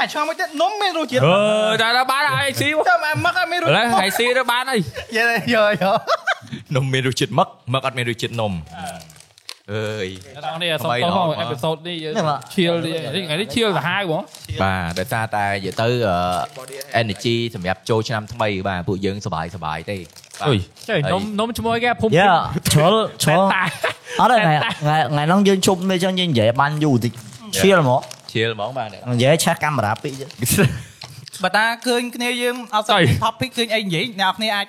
Speaker 4: អាឆ្ងល់មួយទៀតនំមានរសជាតិ
Speaker 5: អឺតែដល់បានឲ្យស៊ីមក
Speaker 4: ចាំអាមកឲ្យមានរស
Speaker 5: ឥឡូវ
Speaker 4: ជាតិ
Speaker 5: ឲ្យស៊ីទៅបានហើយ
Speaker 4: យេយយ
Speaker 2: នំមានរសជាតិមឹកមឹកអត់មានរសជាតិនំអើយ
Speaker 1: ដល់នេះសុំ
Speaker 2: អ្វី
Speaker 1: តោះ
Speaker 2: ល្អ
Speaker 1: ផង
Speaker 2: មក
Speaker 1: អេពីសូតនេះយើង
Speaker 6: នេះមក
Speaker 1: ឈៀលទៀតថ្ងៃនេះឈៀលសាហាវហ្មង
Speaker 2: បាទដោយសារតែនិយាយទៅអឺ energy សម្រាប់ចូលឆ្នាំថ្មីបាទពួកយើងសប្បាយសប្បាយទេបាទ
Speaker 5: អុយ
Speaker 3: ចុះនំនំឈ្មោះគេភូមិ
Speaker 6: យ៉ាឈលឈលអត់ទេថ្ងៃថ្ងៃថ្ងៃហ្នឹងយើងជុំនេះចឹងយើងនិយាយបានយូរតិចឈៀលហ្មង
Speaker 2: ជាលហ្មង បាទ
Speaker 6: និយាយឆាស់កាមេរ៉ាពីរទៀត
Speaker 4: បើតាឃើញគ្នាយើងអត់សូវ topic ឃើញអីនិយាយអ្នកនរគ្នាអាច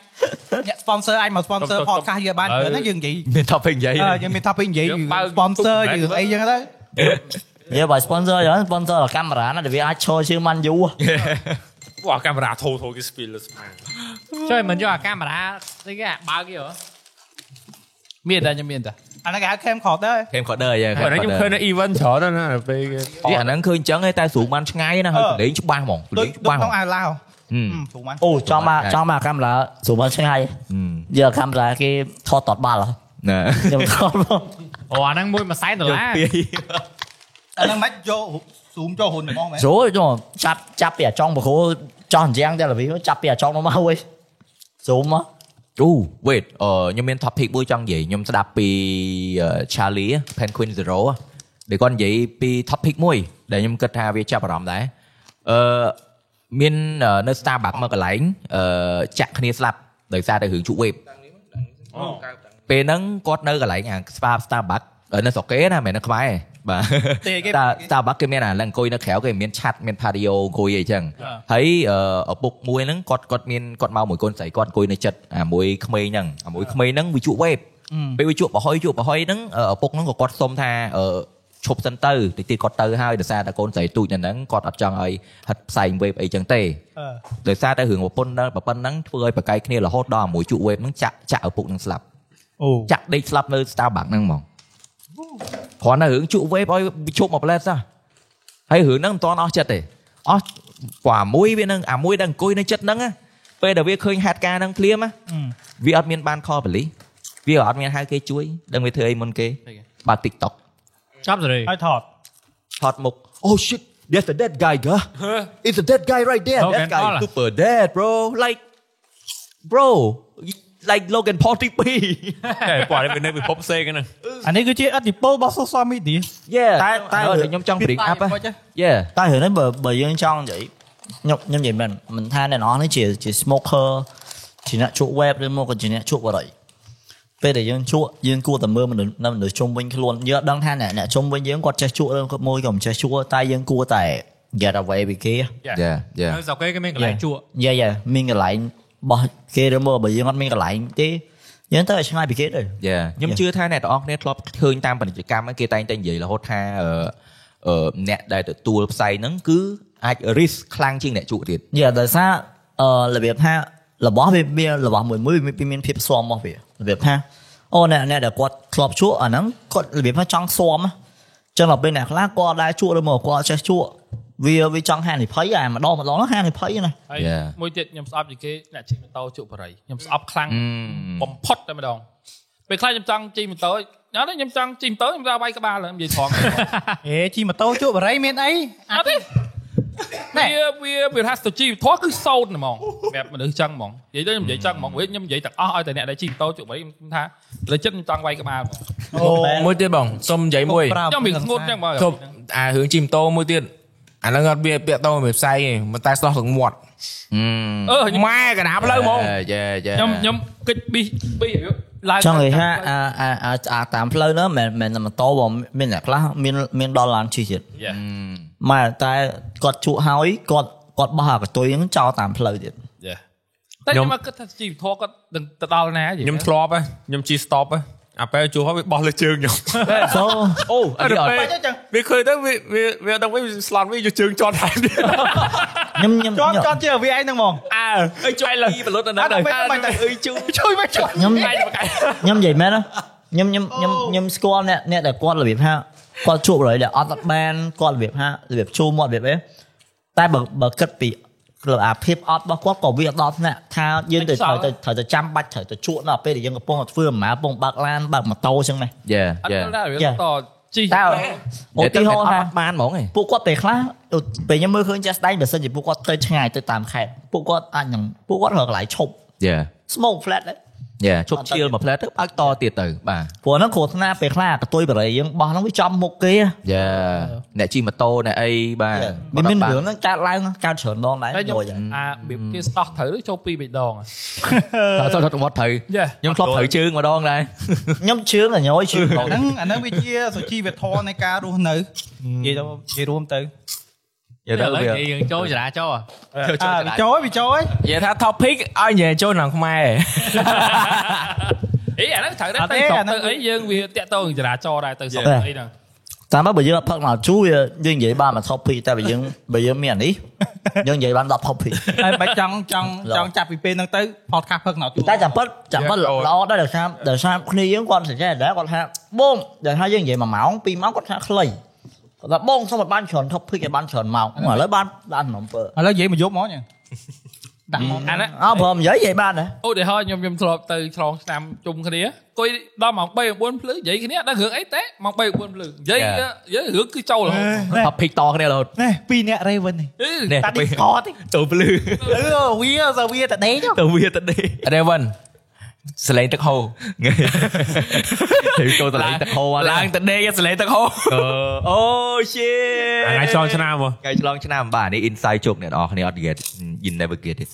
Speaker 4: អ្នក sponsor អាចមក sponsor podcast យើងបានព្រោះហ្នឹងយើងនិយាយ
Speaker 2: មាន topic និយាយ
Speaker 4: អឺយើង មាន topic និយាយ
Speaker 5: យើងបើក
Speaker 4: sponsor យើងអីចឹងទៅ
Speaker 6: និយាយបើ sponsor យ៉ាង sponsor ដល់កាមេរ៉ាណាដែលវាអាចឈរជើងបានយូរ
Speaker 5: ពួកអាកាមេរ៉ាធូរធូរគេ speed លើស្មា
Speaker 3: ចុះមិនយកអាកាមេរ៉ាស្អីគេអាបើកគេហ៎
Speaker 1: មានតែខ្ញុំមានតែ
Speaker 4: អាហ្នឹងគេហៅ cam crop ដែរ
Speaker 2: game corder
Speaker 5: បើ
Speaker 2: អី
Speaker 5: ខ្ញុំឃើញនៅ event ច្រើនណាស់ពេលគេ
Speaker 2: អាហ្នឹងឃើញចឹងឯងតែស្រួលបានឆ្ងាយណាហើយ
Speaker 4: អឺ
Speaker 2: ពលេងច្បាស់ហ្មងព
Speaker 4: ដូ
Speaker 2: លេ
Speaker 4: ច
Speaker 2: ង
Speaker 4: ដូ
Speaker 2: ច្បា
Speaker 4: ច
Speaker 2: ស់ហ្ម
Speaker 4: ក្នុង
Speaker 2: ង
Speaker 4: អាឡាវ
Speaker 2: ហឹម
Speaker 4: ព្រោះមក
Speaker 6: អូចង់មកចង់មកកាមេរ៉ាស្រួលមកឆ្ងាយ
Speaker 2: ហឹម
Speaker 6: យកកាមេរ៉ាគេថតតតបាល់ហ៎
Speaker 2: ណែ
Speaker 6: ខ្ញុំថតមក
Speaker 3: អូអាហ្នឹងមួយមួយសែនដុល្លារ
Speaker 2: ពី
Speaker 4: អាហ្នឹងមិនយក zoom ចូលហ៊ុនហ្មងមែន
Speaker 6: ស្រួលចុះចាប់ចាប់ពីអាចង់បកគោចង់យ៉ាងតែលវិចាប់ពីអាចង់នោះមកហួយស្រួលមក
Speaker 2: អូ wait អឺខ្ញុំមាន topic មួយចង់និយាយខ្ញុំស្ដាប់ពីអឺ Charlie Pen Queen Zero ដែលគាត់និយាយពី topic មួយដែលខ្ញុំគិតថាវាចាប់អារម្មណ៍ដែរអឺមានអឺនៅ Starbucks មួយកន្លែងអឺចាក់គ្នាស្លាប់ដោយសារតែរឿងជក់ wave ពេលហ្នឹងគាត់នៅកន្លែងអាស្វា Starbucks នៅស្រុកគេណាមិនមែននៅខ្មែរទេ បាទ តែតែបាក់គេមានអាឡើងអង្គុយនៅក្រៅគេមានឆាត់មាន patio អង្គុយអីចឹងហើយអឺឪពុកមួយហ្នឹងគាត់គាត់មានគាត់មកមួយកូនស្រីគាត់អង្គុយនៅចិត្តអាមួយក្មេងហ្នឹងអាមួយក្មេងហ្នឹងវាជក់វេបពេលវាជក់ប្រហុយជក់ប្រហុយហ្នឹងអឺឪពុកហ្នឹងក៏គាត់សុំថាអឺឈប់សិនទៅតិចទៀតគាត់ទៅហើយដោយសារតែកូនស្រីទូចនៅហ្នឹងគាត់អត់ចង់ឲ្យហិតផ្សែងវេបអីចឹងទេ ដោយសារតែរឿងប្រពន្ធដល់ប្រពន្ធហ្នឹងធ្វើឲ្យប្រកែកគ្នារហូតដល់មួយជក់វេបហ្នឹងចាក់ចាក់ឪពុកហ្នឹងស្លាប់
Speaker 4: អូ
Speaker 2: ចាក់ដេកស្លាប់នៅ Starbucks ហ្នឹងហ្មងគ្រាន់តែរឿងជក់វេបឲ្យជប់មកផ្លែតសោះហើយរឿងហ្នឹងមិនតាន់អស់ចិត្តទេអស់ព្រោះអាមួយវាហ្នឹងអាមួយដែលអង្គុយនៅចិត្តហ្នឹងណាពេលដែលវាឃើញហេតុការណ៍ហ្នឹងភ្លាមណាវាអត់មានបានខលប៉ូលីសវាអត់មានហៅគេជួយដឹងវាធ្វើអីមុនគេបើ TikTok
Speaker 3: ចាប់សេរី
Speaker 4: ហើយថត
Speaker 2: ថតមុខ Oh shit there's a dead guy guy it's a dead guy right there
Speaker 3: Logan
Speaker 2: that guy
Speaker 3: Paul
Speaker 2: is
Speaker 3: อะ
Speaker 2: super dead bro like bro like Logan Paul ទី2
Speaker 5: តែព្រោះនេះវានៅពិភពផ្សេងហ្នឹង
Speaker 4: អានេះគឺជាអតិពលរបស់ social media
Speaker 2: yeah
Speaker 6: តែតែ
Speaker 2: ឥឡូវខ្ញុំចង់ bring up ហ៎ yeah
Speaker 6: តែរឿងនេះបើបើយើងចង់និយាយខ្ញុំខ្ញុំនិយាយមែនមិនថាអ្នកនរនេះជាជា smoker ជាអ្នកជក់ web ឬមកក៏ជាអ្នកជក់បរិយពេលដែលយើងជក់យើងគួរតែមើលមនុស្សនៅមនុស្សជុំវិញខ្លួនយើងអត់ដឹងថាអ្នកអ្នកជុំវិញយើងគាត់ចេះជក់ឬគាត់មួយក៏មិនចេះជក់តែយើងគួរតែ get away ពីគេ
Speaker 2: yeah yeah
Speaker 3: នៅស្រុកគេគេមានកន្លែងជក់
Speaker 6: យាយមានកន្លែងបោះគេឬមកបើយើងអត់មានកន្លែងទេយើងទៅឲ្យឆ្ងាយពីគេទៅ
Speaker 2: យ៉ាខ្ញុំ
Speaker 6: Yeah.
Speaker 2: ជឿថាអ្នកទាំងអស់គ្នាធ្លាប់ឃើញតាមពាណិជ្ជកម្មហ្នឹងគេតែងតែនិយាយរហូតថាអឺអឺអ្នកដែលទទួលផ្សាយហ្នឹងគឺអាច risk ខ្លាំងជាងអ្នកជក់ទៀត
Speaker 6: យាដោយសារអឺរបៀបថារបស់វាមានរបស់មួយមួយវាមានភាពស៊ាំរបស់វារបៀបថាអូអ្នកអ្នកដែលគាត់ធ្លាប់ជក់អាហ្នឹងគាត់របៀបថាចង់ស៊ាំហ៎ចឹងដល់ពេលអ្នកខ្លះគាត់ដែរជក់ឬមកគាត់អត់ចេះជក់វាវាចង់ហានិភ័យអាម្ដងម្ដងហ្នឹងហានិភ័យណា
Speaker 1: ហើយ
Speaker 2: Yeah.
Speaker 1: មួយទៀតខ្ញុំស្អប់ជាងគេអ្នកជិះម៉ូតូជក់បរិយខ្ញុំស្អប់ខ្លាំង
Speaker 2: Mm.
Speaker 1: បំផុតតែម្ដងពេលខ្លះខ្ញុំចង់ជិះម៉ូតូអត់ទេខ្ញុំចង់ជិះម៉ូតូខ្ញុំទៅវាយក្បាលហ្នឹងនិយាយត្រង់
Speaker 4: អេជីម៉ូតូជក់បរិយមានអី
Speaker 1: អត់ ទេវាវាវាថាស្ទជីវធម៌គឺសោតហ្មងសម្រាប់មនុស្សចឹងហ្មងនិយាយទៅខ្ញុំនិយាយចឹងហ្មងវិញខ្ញុំនិយាយទាំងអស់ឲ្យតែអ្នកដែលជីវតោជក់បរិយខ្ញុំថាលើចិត្តខ្ញុំចង់វាយក្បាលហ្មង
Speaker 4: អូ
Speaker 7: មួយទៀតបងសុំនិយាយមួយ
Speaker 1: ខ្ញុំមានងត់ចឹងហ្មង
Speaker 7: គប់អារឿងជីម៉ូតូមួយទៀតអាហ្នឹងអត់វាពាក់តោមិនផ្សាយទេមិនតែស្ដោះទឹកមាត់
Speaker 1: អឺ ខ្ញុំ
Speaker 7: ម៉ែកណាប់លើហ្មង
Speaker 2: យ៉ាយ៉ា
Speaker 1: ខ្ញុំខ្ញុំគិតពីពីឡើង
Speaker 6: ចង់និយាយថាអាអាអាអាតាមផ្លូវហ្នឹងមិនមែនតែម៉ូតូបងមានអ្នកខ្លះមានមានដល់ឡានជិះទៀតម៉ែតែគាត់ជក់ហើយគាត់គាត់បោះអាកតុយហ្នឹងចោលតាមផ្លូវទៀត
Speaker 1: តែ
Speaker 5: ខ្ញុំ
Speaker 1: ខ្ញុំមកគិតថាជីវធម៌គាត់នឹងទៅដល់ណាយី
Speaker 5: ខ្ញុំធ្លាប់ហ៎ខ្ញុំជី stop ហ៎អាពេលជួហើយវាបោះលើជើងខ្ញុំ
Speaker 6: so
Speaker 2: អូអត់អ
Speaker 5: អត់
Speaker 2: ត់
Speaker 5: ទេ
Speaker 4: ចុះចឹង
Speaker 5: វាឃើញទៅវាវាវាដឹងវិញស្លាន់វិញយកជើងច ត់ហើយ
Speaker 6: ខ្ញុំខ្ញុំ
Speaker 4: ចន់
Speaker 6: ខ្ញុំ
Speaker 4: ចន់ជាវាឯងហ្នឹងហ្មង
Speaker 5: អើអីជួយលើបលុតនៅ
Speaker 4: អត់
Speaker 5: ណា
Speaker 4: ទៅមិនទៅអីជួយជួយមកជួយ
Speaker 6: ខ្ញុំខ្ញុំនិយាយមែនណាខ្ញុំខ្ញុំខ្ញុំខ្ញុំស្គាល់អ្នកអ្នកដែលគាត់របៀបថាគាត់ជួបរយដែលអត់បានគាត់របៀបថារបៀបជួមាត់របៀបអីតែបើបើគិតពីក្លឹបអាភាពអត់របស់គាត់ក៏វាអត់ដល់ថ្នាក់ថាយើងទៅ
Speaker 1: Excel
Speaker 6: ត្រូវទៅត្រូវទៅចាំបាច់ត្រូវទៅជក់ដល់ពេលដែលយើងកំពុងតែធ្វើអាម៉ាកំពុងបើកឡានបើកម៉ូតូអញ្ចឹងណា
Speaker 2: យ៉ា
Speaker 1: អត់
Speaker 2: យ៉ា
Speaker 1: ដល់វា
Speaker 6: យ៉ា
Speaker 1: តជីវ
Speaker 6: តើ
Speaker 2: ឧ
Speaker 6: ឧ
Speaker 2: ទា
Speaker 6: ទា
Speaker 2: ហ
Speaker 6: ហ
Speaker 2: រ
Speaker 6: រ
Speaker 2: ណ៍
Speaker 6: ណ៍
Speaker 2: ថាអត់
Speaker 6: ថា
Speaker 2: បានហ្មងឯង
Speaker 6: ពួកគាត់ពេលខ្លះឧពេលខ្ញុំមើលឃើញចាស់ស្ដែងបើសិនជាពួកគាត់ទៅឆ្ងាយទៅតាមខេត្តពួកគាត់អាចនឹងពួកគាត់រកកន្លែងឈប់
Speaker 2: យ៉ា
Speaker 6: smoke flat ដែរ
Speaker 2: យ៉ាជប់ឈៀលមួយផ្លែទៅបើកតទៀតទៅបាទ
Speaker 6: ព្រោះហ្នឹងគ្រោះថ្នាក់ពេលខ្លះអាកតុយបរិយយើងបោះហ្នឹងវាចំមុខគេហ៎
Speaker 2: យ៉ាអ្នកជិះម៉ូតូអ្នកអីបាទ
Speaker 6: មានមាន
Speaker 2: បា
Speaker 6: រឿង
Speaker 2: ទ
Speaker 6: ហ្នឹងកើតឡើងកើតច្រើនដងដែរ
Speaker 1: តែខ្ញុំ
Speaker 6: ដូចហ្នឹង
Speaker 1: អារបៀបគេស្ដោះត្រូវឬចូលពីរបីដងហ៎
Speaker 2: បាទចូលទៅវត្តត្រូវ
Speaker 1: យ៉ា
Speaker 2: ខ្ញុំធ្លាប់ត្រូវជើងម្ដងដែរ
Speaker 6: ខ្ញុំជឿងអញ្ញយជឿងដង
Speaker 4: ហ្នឹងអាហ្នឹងវាជាសុជីវធម៌នៃការរស់នៅនិយាយទៅនិយាយរួមទៅ
Speaker 2: យើទៅវា
Speaker 3: និយាយយើងចូលចរាចរណ៍
Speaker 4: អើចូលហើយវាចូលហើយ
Speaker 7: និយាយថា topic ឲ្យនិយាយចូលក្នុងខ្មែរ
Speaker 1: អីអាហ្នឹងត្រូវតែទៅស្រុកទៅអីយើងវាតាក់ទងនឹងចរាចរណ៍ដែរទៅស្រុកអីហ្នឹង
Speaker 6: តាមមកបើយើងអត់ផឹកមកជូរវាយើងនិយាយបានមក top 2តែបើយើងបើយើងមានអានេះយើងនិយាយបាន10 top 2
Speaker 4: ហើយបាច់ចង់ ចង់ចង់ចាប់ពីពេលហ្នឹងទៅ podcast ផឹកណោះ
Speaker 6: តែចាំពិតចាំពិតល្អដែរដោយសារដោយសារគ្នាយើងគាត់សេចក្ដីដែរគាត់ថាបងដែលថាយើងនិយាយ1ម៉ោង2ម៉ោងគាត់ថាខ្លីគាត់ថាបងសុំឲ្យបានច្រើន top 2ឲ្យបានច្រើនម៉ោងឥឡូវបានបាន7អ
Speaker 4: ឥឡូវនិយាយមកយប់មកញ៉ឹងដាក់មក
Speaker 1: អាហ្នឹង
Speaker 6: ោព្រមនិយាយនិយាយបានដែរ
Speaker 1: ឧទាហរណ៍ខ្ញុំខ្ញុំធ្លាប់ទៅឆ្លងឆ្នាំជុំគ្នាអង្គុយដល់ម៉ោង3 9ភ្លឺនិយាយគ្នាអត់ដឹងរឿងអីតែម៉ោង3 9ភ្លឺនិយាយនិយាយរឿងគឺចូលរហូត
Speaker 4: ណែ
Speaker 2: topic តគ្នារហូត
Speaker 4: នេះពីរអ្នក Raven នេះ
Speaker 1: អឺ
Speaker 2: នេះ
Speaker 4: តា Discord ទេ
Speaker 2: ចូលភ្លឺ
Speaker 4: អឺវាសវាតដេញ
Speaker 2: ទៅវាទៅនេះ
Speaker 7: Raven សលេងទឹកហូរ
Speaker 2: ទៅចូលតលេងទឹកហូរ
Speaker 7: ឡើងទៅដេកសលេងទឹកហូរ
Speaker 2: អូ shit
Speaker 5: ថ្ងៃឆ្លងឆ្នាំហ៎
Speaker 2: ថ្ងៃឆ្លងឆ្នាំបាទនេះ inside joke អ្នកនរអគ្នាអត់ get you never get it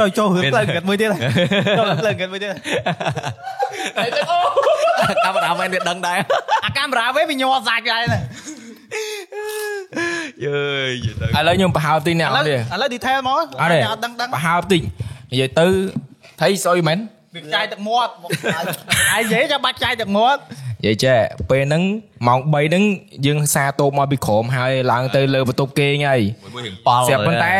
Speaker 4: ចូលចូលរឿងផ្លូវកាត់មួយទៀតហើយចូលរឿងផ្លូវកាត់មួយទៀតហើយ
Speaker 2: កាមេរ៉ាមែនវាដឹងដែរ
Speaker 4: អាកាមេរ៉ាវិញវាញ័រសាច់ដែរ
Speaker 2: យើយនិយាយទៅ
Speaker 7: ឥឡូវខ្ញុំបង្ហើបតិចអ្នក
Speaker 4: ឥ
Speaker 7: អ
Speaker 4: ឡូវ
Speaker 7: ត់ទេ
Speaker 4: ឥឡូវ detail មក
Speaker 7: អត់ទេ
Speaker 4: អត់ដឹងដឹង
Speaker 7: បង្ហើបតិចនិយាយទៅថៃស្អុយមែន
Speaker 4: វាចាយទឹកមាត់មកឯងនិយាយចាំបាច់ចាយទឹកមាត់
Speaker 7: និយាយចេះពេលហ្នឹងម៉ោង3ហ្នឹងយើងសារតូបមកពីក្រុមហើយឡើងទៅលើបន្ទប់គេងហើយ
Speaker 2: មួយរៀងប៉ល
Speaker 7: ស្រាប់ប៉ុន្តែ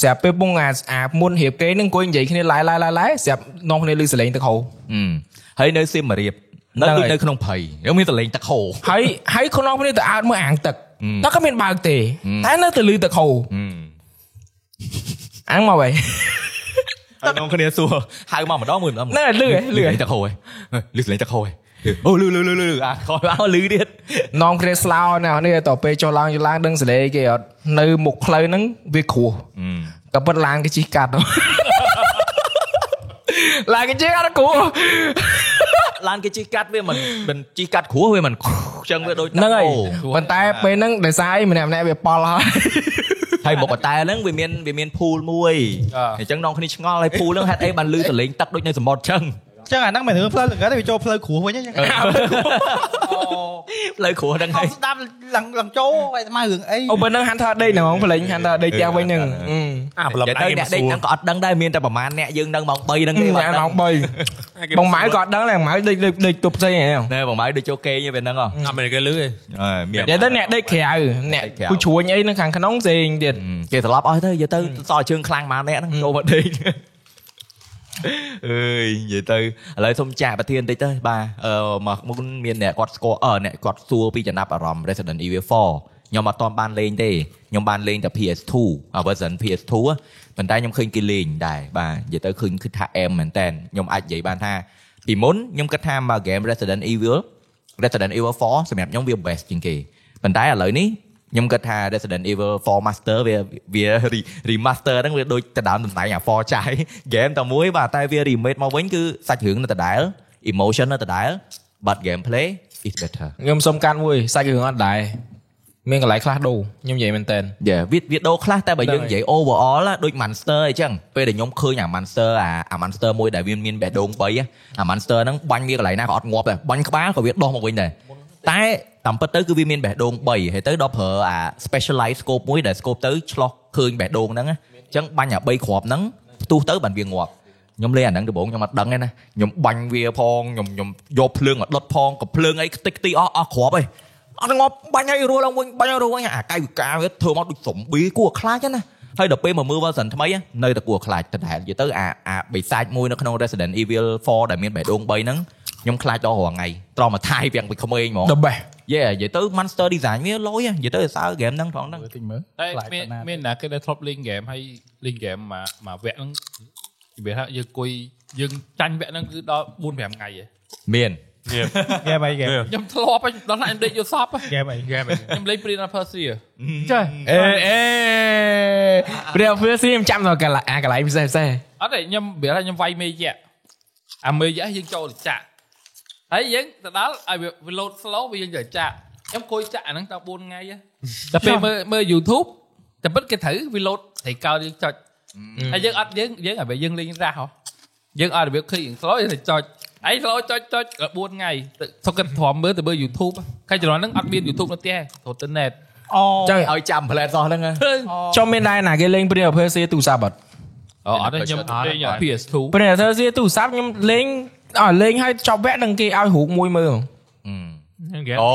Speaker 7: ស្រាប់ពេលពងអាអាមុនរៀបគេងហ្នឹងអង្គុយនិយាយគ្នាឡាយឡាយឡាយឡាយស្រាប់នាំគ្នាលឺសលេងទឹកហូរ
Speaker 2: ហឹមហើយនៅសៀមរាបនៅ
Speaker 7: ហ្នឹង
Speaker 2: ដូចនៅ
Speaker 7: ហើយ
Speaker 2: ក្នុងព្រៃយើងមានតលេងទឹកហូរ
Speaker 7: ហើយហើយខ្លួននរគ្នាទៅអើតមើលអាងទឹក
Speaker 2: ហ៊ឹម
Speaker 7: តែក៏មានបើកទេ
Speaker 2: ហ៊ឹម
Speaker 7: តែនៅតែលឺទឹកហូរ
Speaker 2: ហឹម
Speaker 7: អាងមក វិញ
Speaker 2: ហើយនងគ្នាសួរហៅមកម្ដងមួយម្ដង
Speaker 7: ហ្នឹងហើយលឺហ៎លឺហ៎
Speaker 2: ទឹកហូរហ៎លឺសលេងទឹកហូរហ៎អូលឺលឺលឺលឺអាខលអោលឺទៀត
Speaker 7: នំគ្នាស្លោណាស់នេះតទៅពេលចុះឡើងយឡើងដឹងសលេគេអត់នៅមុខផ្លូវហ្នឹងវាគ្រោះ
Speaker 2: ហឹម
Speaker 7: ក៏ប៉ុតឡានគេជិះកាត់ ឡានគេជិះកាត់គូ
Speaker 2: ឡានគេជីកកាត់វាមិនមិនជីកកាត់គ្រោះវាមិនអញ្ចឹងវាដូចទឹក
Speaker 7: ហ្នឹងហើយ
Speaker 2: ហូរ
Speaker 7: ប៉ុន្តែពេលហ្នឹងដោយសារអីម្នាក់ម្នាក់ៗវាប៉ល
Speaker 2: ហើ
Speaker 7: ហើយ
Speaker 2: យមកបន្តែហ្នឹងវាមានវាមានភូលមួយអញ្ចឹងនងគ្នាឆ្ងល់ហើយភូលហ្នឹងហេតុអីបានលឺសលេងទឹកដូចនៅសមុទ្រអញ្ចឹង
Speaker 4: អញ្ចឹងអាហ្នឹងមិនរឿងផ្លូវលង្កិតទេវាចូលផ្លូវគ្រូវិញអញ្ចឹង
Speaker 2: លើគ្រោះហ្នឹង
Speaker 4: អូ
Speaker 2: ហើយ
Speaker 4: ស្ដាប់ឡើងឡើងចូលឯស្មើរឿងអី
Speaker 7: អូបើហ្នឹងហាន់ថាដេកណា ហ្មងផ្លេងហាន់ថាដេកផ្ទះវិញហ្នឹង
Speaker 2: អឺ
Speaker 5: អា
Speaker 7: អឺ
Speaker 5: ប្រឡប់
Speaker 2: និយាយ
Speaker 5: ដៃ
Speaker 2: ទៅ
Speaker 5: គេម
Speaker 2: អ្នក
Speaker 5: ក
Speaker 2: ដេ
Speaker 5: សួ
Speaker 2: ក
Speaker 5: រ
Speaker 2: ហ្នឹងក៏អត់ដឹងដែរមានតែប្រហែលអ្នកយើងនឹងម៉ោង3ហ្នឹងទេ
Speaker 7: ម៉ែម៉ោង3បងម៉ៅក៏អត់ដឹងដែរម៉ៅដេកដេកដេកទប់ផ្សេងហ្នឹង
Speaker 2: ណែបងម៉ៅដូចចូលគេងវាហ្នឹងហ៎
Speaker 5: អត់មានគេលឺទេ
Speaker 2: មាន
Speaker 7: និយាយទៅអ្នកដេកក្រៅអ្នក
Speaker 2: ដេកក្រៅ
Speaker 7: គូជ្រួញអីនៅខាងក្នុងផ្សេងទៀត
Speaker 2: គេត្រឡប់អស់ទៅនិយាយទៅសល់ជើងខ្លាំងម៉ាអ្នកហ្នឹងចូលមកដេក អើយនិយាយទៅឥឡូវសូមចាក់ប្រធានបន្តិចទៅបាទអឺមកមុនមានអ្នកគាត់ស្គាល់អឺអ្នកគាត់សួរពីចំណាប់អារម្មណ៍ Resident Evil 4ខ្ញុំអត់ទាន់បានលេងទេខ្ញុំបានលេងតែ PS2 អឺ version PS2 ហ៎ប៉ុន្តែខ្ញុំឃើញគេលេងដែរបាទនិយាយទៅឃើញគិតថាអែមមែនតើខ្ញុំអាចនិយាយបានថាពីមុនខ្ញុំគិតថាមក game Resident Evil Resident Evil 4សម្រាប់ខ្ញុំវា best ជាងគេប៉ុន្តែឥឡូវនេះខ្ញុំគិតថា Resident Evil 4 Master វាវា re- remaster ហ្នឹងវាដូចទៅដើមតំណែងអា4ចាយ game តែមួយបាទតែវា remake មកវិញគឺសាច់រឿងនៅដដែល emotion នៅដដែល but gameplay is better
Speaker 7: ខ្ញុំសុំកាត់មួយសាច់រឿងអត់ដែរមានកន្លែងខ្លះដូរខ្ញុំនិយាយមែនតើ
Speaker 2: យ៉ាវាវាដូរខ្លះតែបើ
Speaker 7: ហ្នឹង
Speaker 2: យើងនិ
Speaker 7: ហើយ
Speaker 2: យាយ overall ណាដូច Monster អីចឹងពេលដែលខ្ញុំឃើញអា Monster អាអា Monster មួយដែលវាមានបេះដូង3ហ្នឹងអា Monster ហ្នឹងបាញ់វាកន្លែងណាក៏អត់ងាប់ដែរបាញ់ក្បាលក៏វាដោះមកវិញដែរតែតាមពិតទៅគឺវាមានបេះដូង3ហើយទៅដល់ប្រើអា specialized scope មួយដែល scope ទៅឆ្លោះឃើញបេះដូងហ្នឹងណាអញ្ចឹងបាញ់អា3គ្រាប់ហ្នឹងផ្ទុះទៅបានវាងាប់ខ្ញុំលេងអាហ្នឹងដំបូងខ្ញុំអត់ដឹងទេណាខ្ញុំបាញ់វាផងខ្ញុំខ្ញុំយកភ្លើងមកដុតផងក៏ភ្លើងអីខ្ទេចខ្ទីអស់អស់គ្រាប់ឯង អត់ងប់បាញ់ឲ្យរស់ឡើងវិញបាញ់ឲ្យរស់វិញអាកាយវិការវាធ្វើមកដូចសំប៊ីគួរខ្លាចណាហើយដល់ពេលមកមើល version ថ្មីនៅតែគួរខ្លាចដដែលនិយាយទៅអាអាបិសាចមួយនៅក្នុង Resident Evil 4ដែលមានបេះដូង3ហ្នឹងខ្ញុំខ្លាចដល់រាល់ថ្ងៃត្រមកថៃវាំងពីក្មេងហ្មង
Speaker 7: the best
Speaker 2: យេនិយាយទៅ Monster Design វាលយនិយាយទៅសើ game ហ្នឹងផងហ្នឹង
Speaker 1: តែមានមានណាគេដែលធ្លាប់លេងហ្គេមហើយលេងហ្គេមមកមកវគ្គហ្នឹងនិយាយថាយើងអង្គុយយើងចាញ់វគ្គហ្នឹងគឺដល់4 5ថ្ងៃឯង
Speaker 2: មាន
Speaker 4: ហ្គេមអីហ្គេម
Speaker 1: ខ្ញុំធ្លាប់ឯងដល់ណាខ្ញុំដេកយល់សប់ឯង
Speaker 4: ហ្គេមអីហ្គេមអី
Speaker 1: ខ្ញុំលេង Prince of Persia
Speaker 3: ចេះ
Speaker 7: អេអេព្រះព្រះស៊ីខ្ញុំចាំដល់កន្លែងអាកន្លែងពិសេសពិសេស
Speaker 1: អត់ទេខ្ញុំនិយាយថាខ្ញុំវាយមេយៈអាមេយៈយើងចូលទៅចាក់ហើយយើងទៅដល់ឲ្យវាវា load slow វាយើងទៅចាក់ខ្ញុំអង្គុយចាក់អាហ្នឹងដល់4ថ្ងៃឯងតែពេលមើលមើល YouTube តែពិតគេត្រូវវា load ត្រីកោយើងចុច ហើយយើងអត់យើងយើងឲ្យវាយើងលេងរ៉ាស់ហ៎យើងអត់របៀបឃើញយើង slow យើងតែចុចហើយ slow ចុចចុចដល់4ថ្ងៃទៅសុខគិតធំមើលទៅមើល YouTube ខែជំនាន់ហ្នឹងអត់មាន YouTube នៅផ្ទះទេទៅទៅ net
Speaker 4: អូ
Speaker 7: ចឹង
Speaker 2: ឲ្យចាំ plan សោះហ្នឹង
Speaker 7: ចុះមានដែរណាគេលេងព្រះព្រះស៊ីទូរស័ព្ទអត់
Speaker 1: អូអត់ទេខ្ញុំលេង PS2
Speaker 7: ព្រះព្រះស៊ីទូរស័ព្ទខ្ញុំលេងអោលេងឲ្យចប់វគ្គនឹងគេឲ្យរូបមួយមើ
Speaker 2: អូ
Speaker 7: ល
Speaker 2: លេង game
Speaker 4: អូ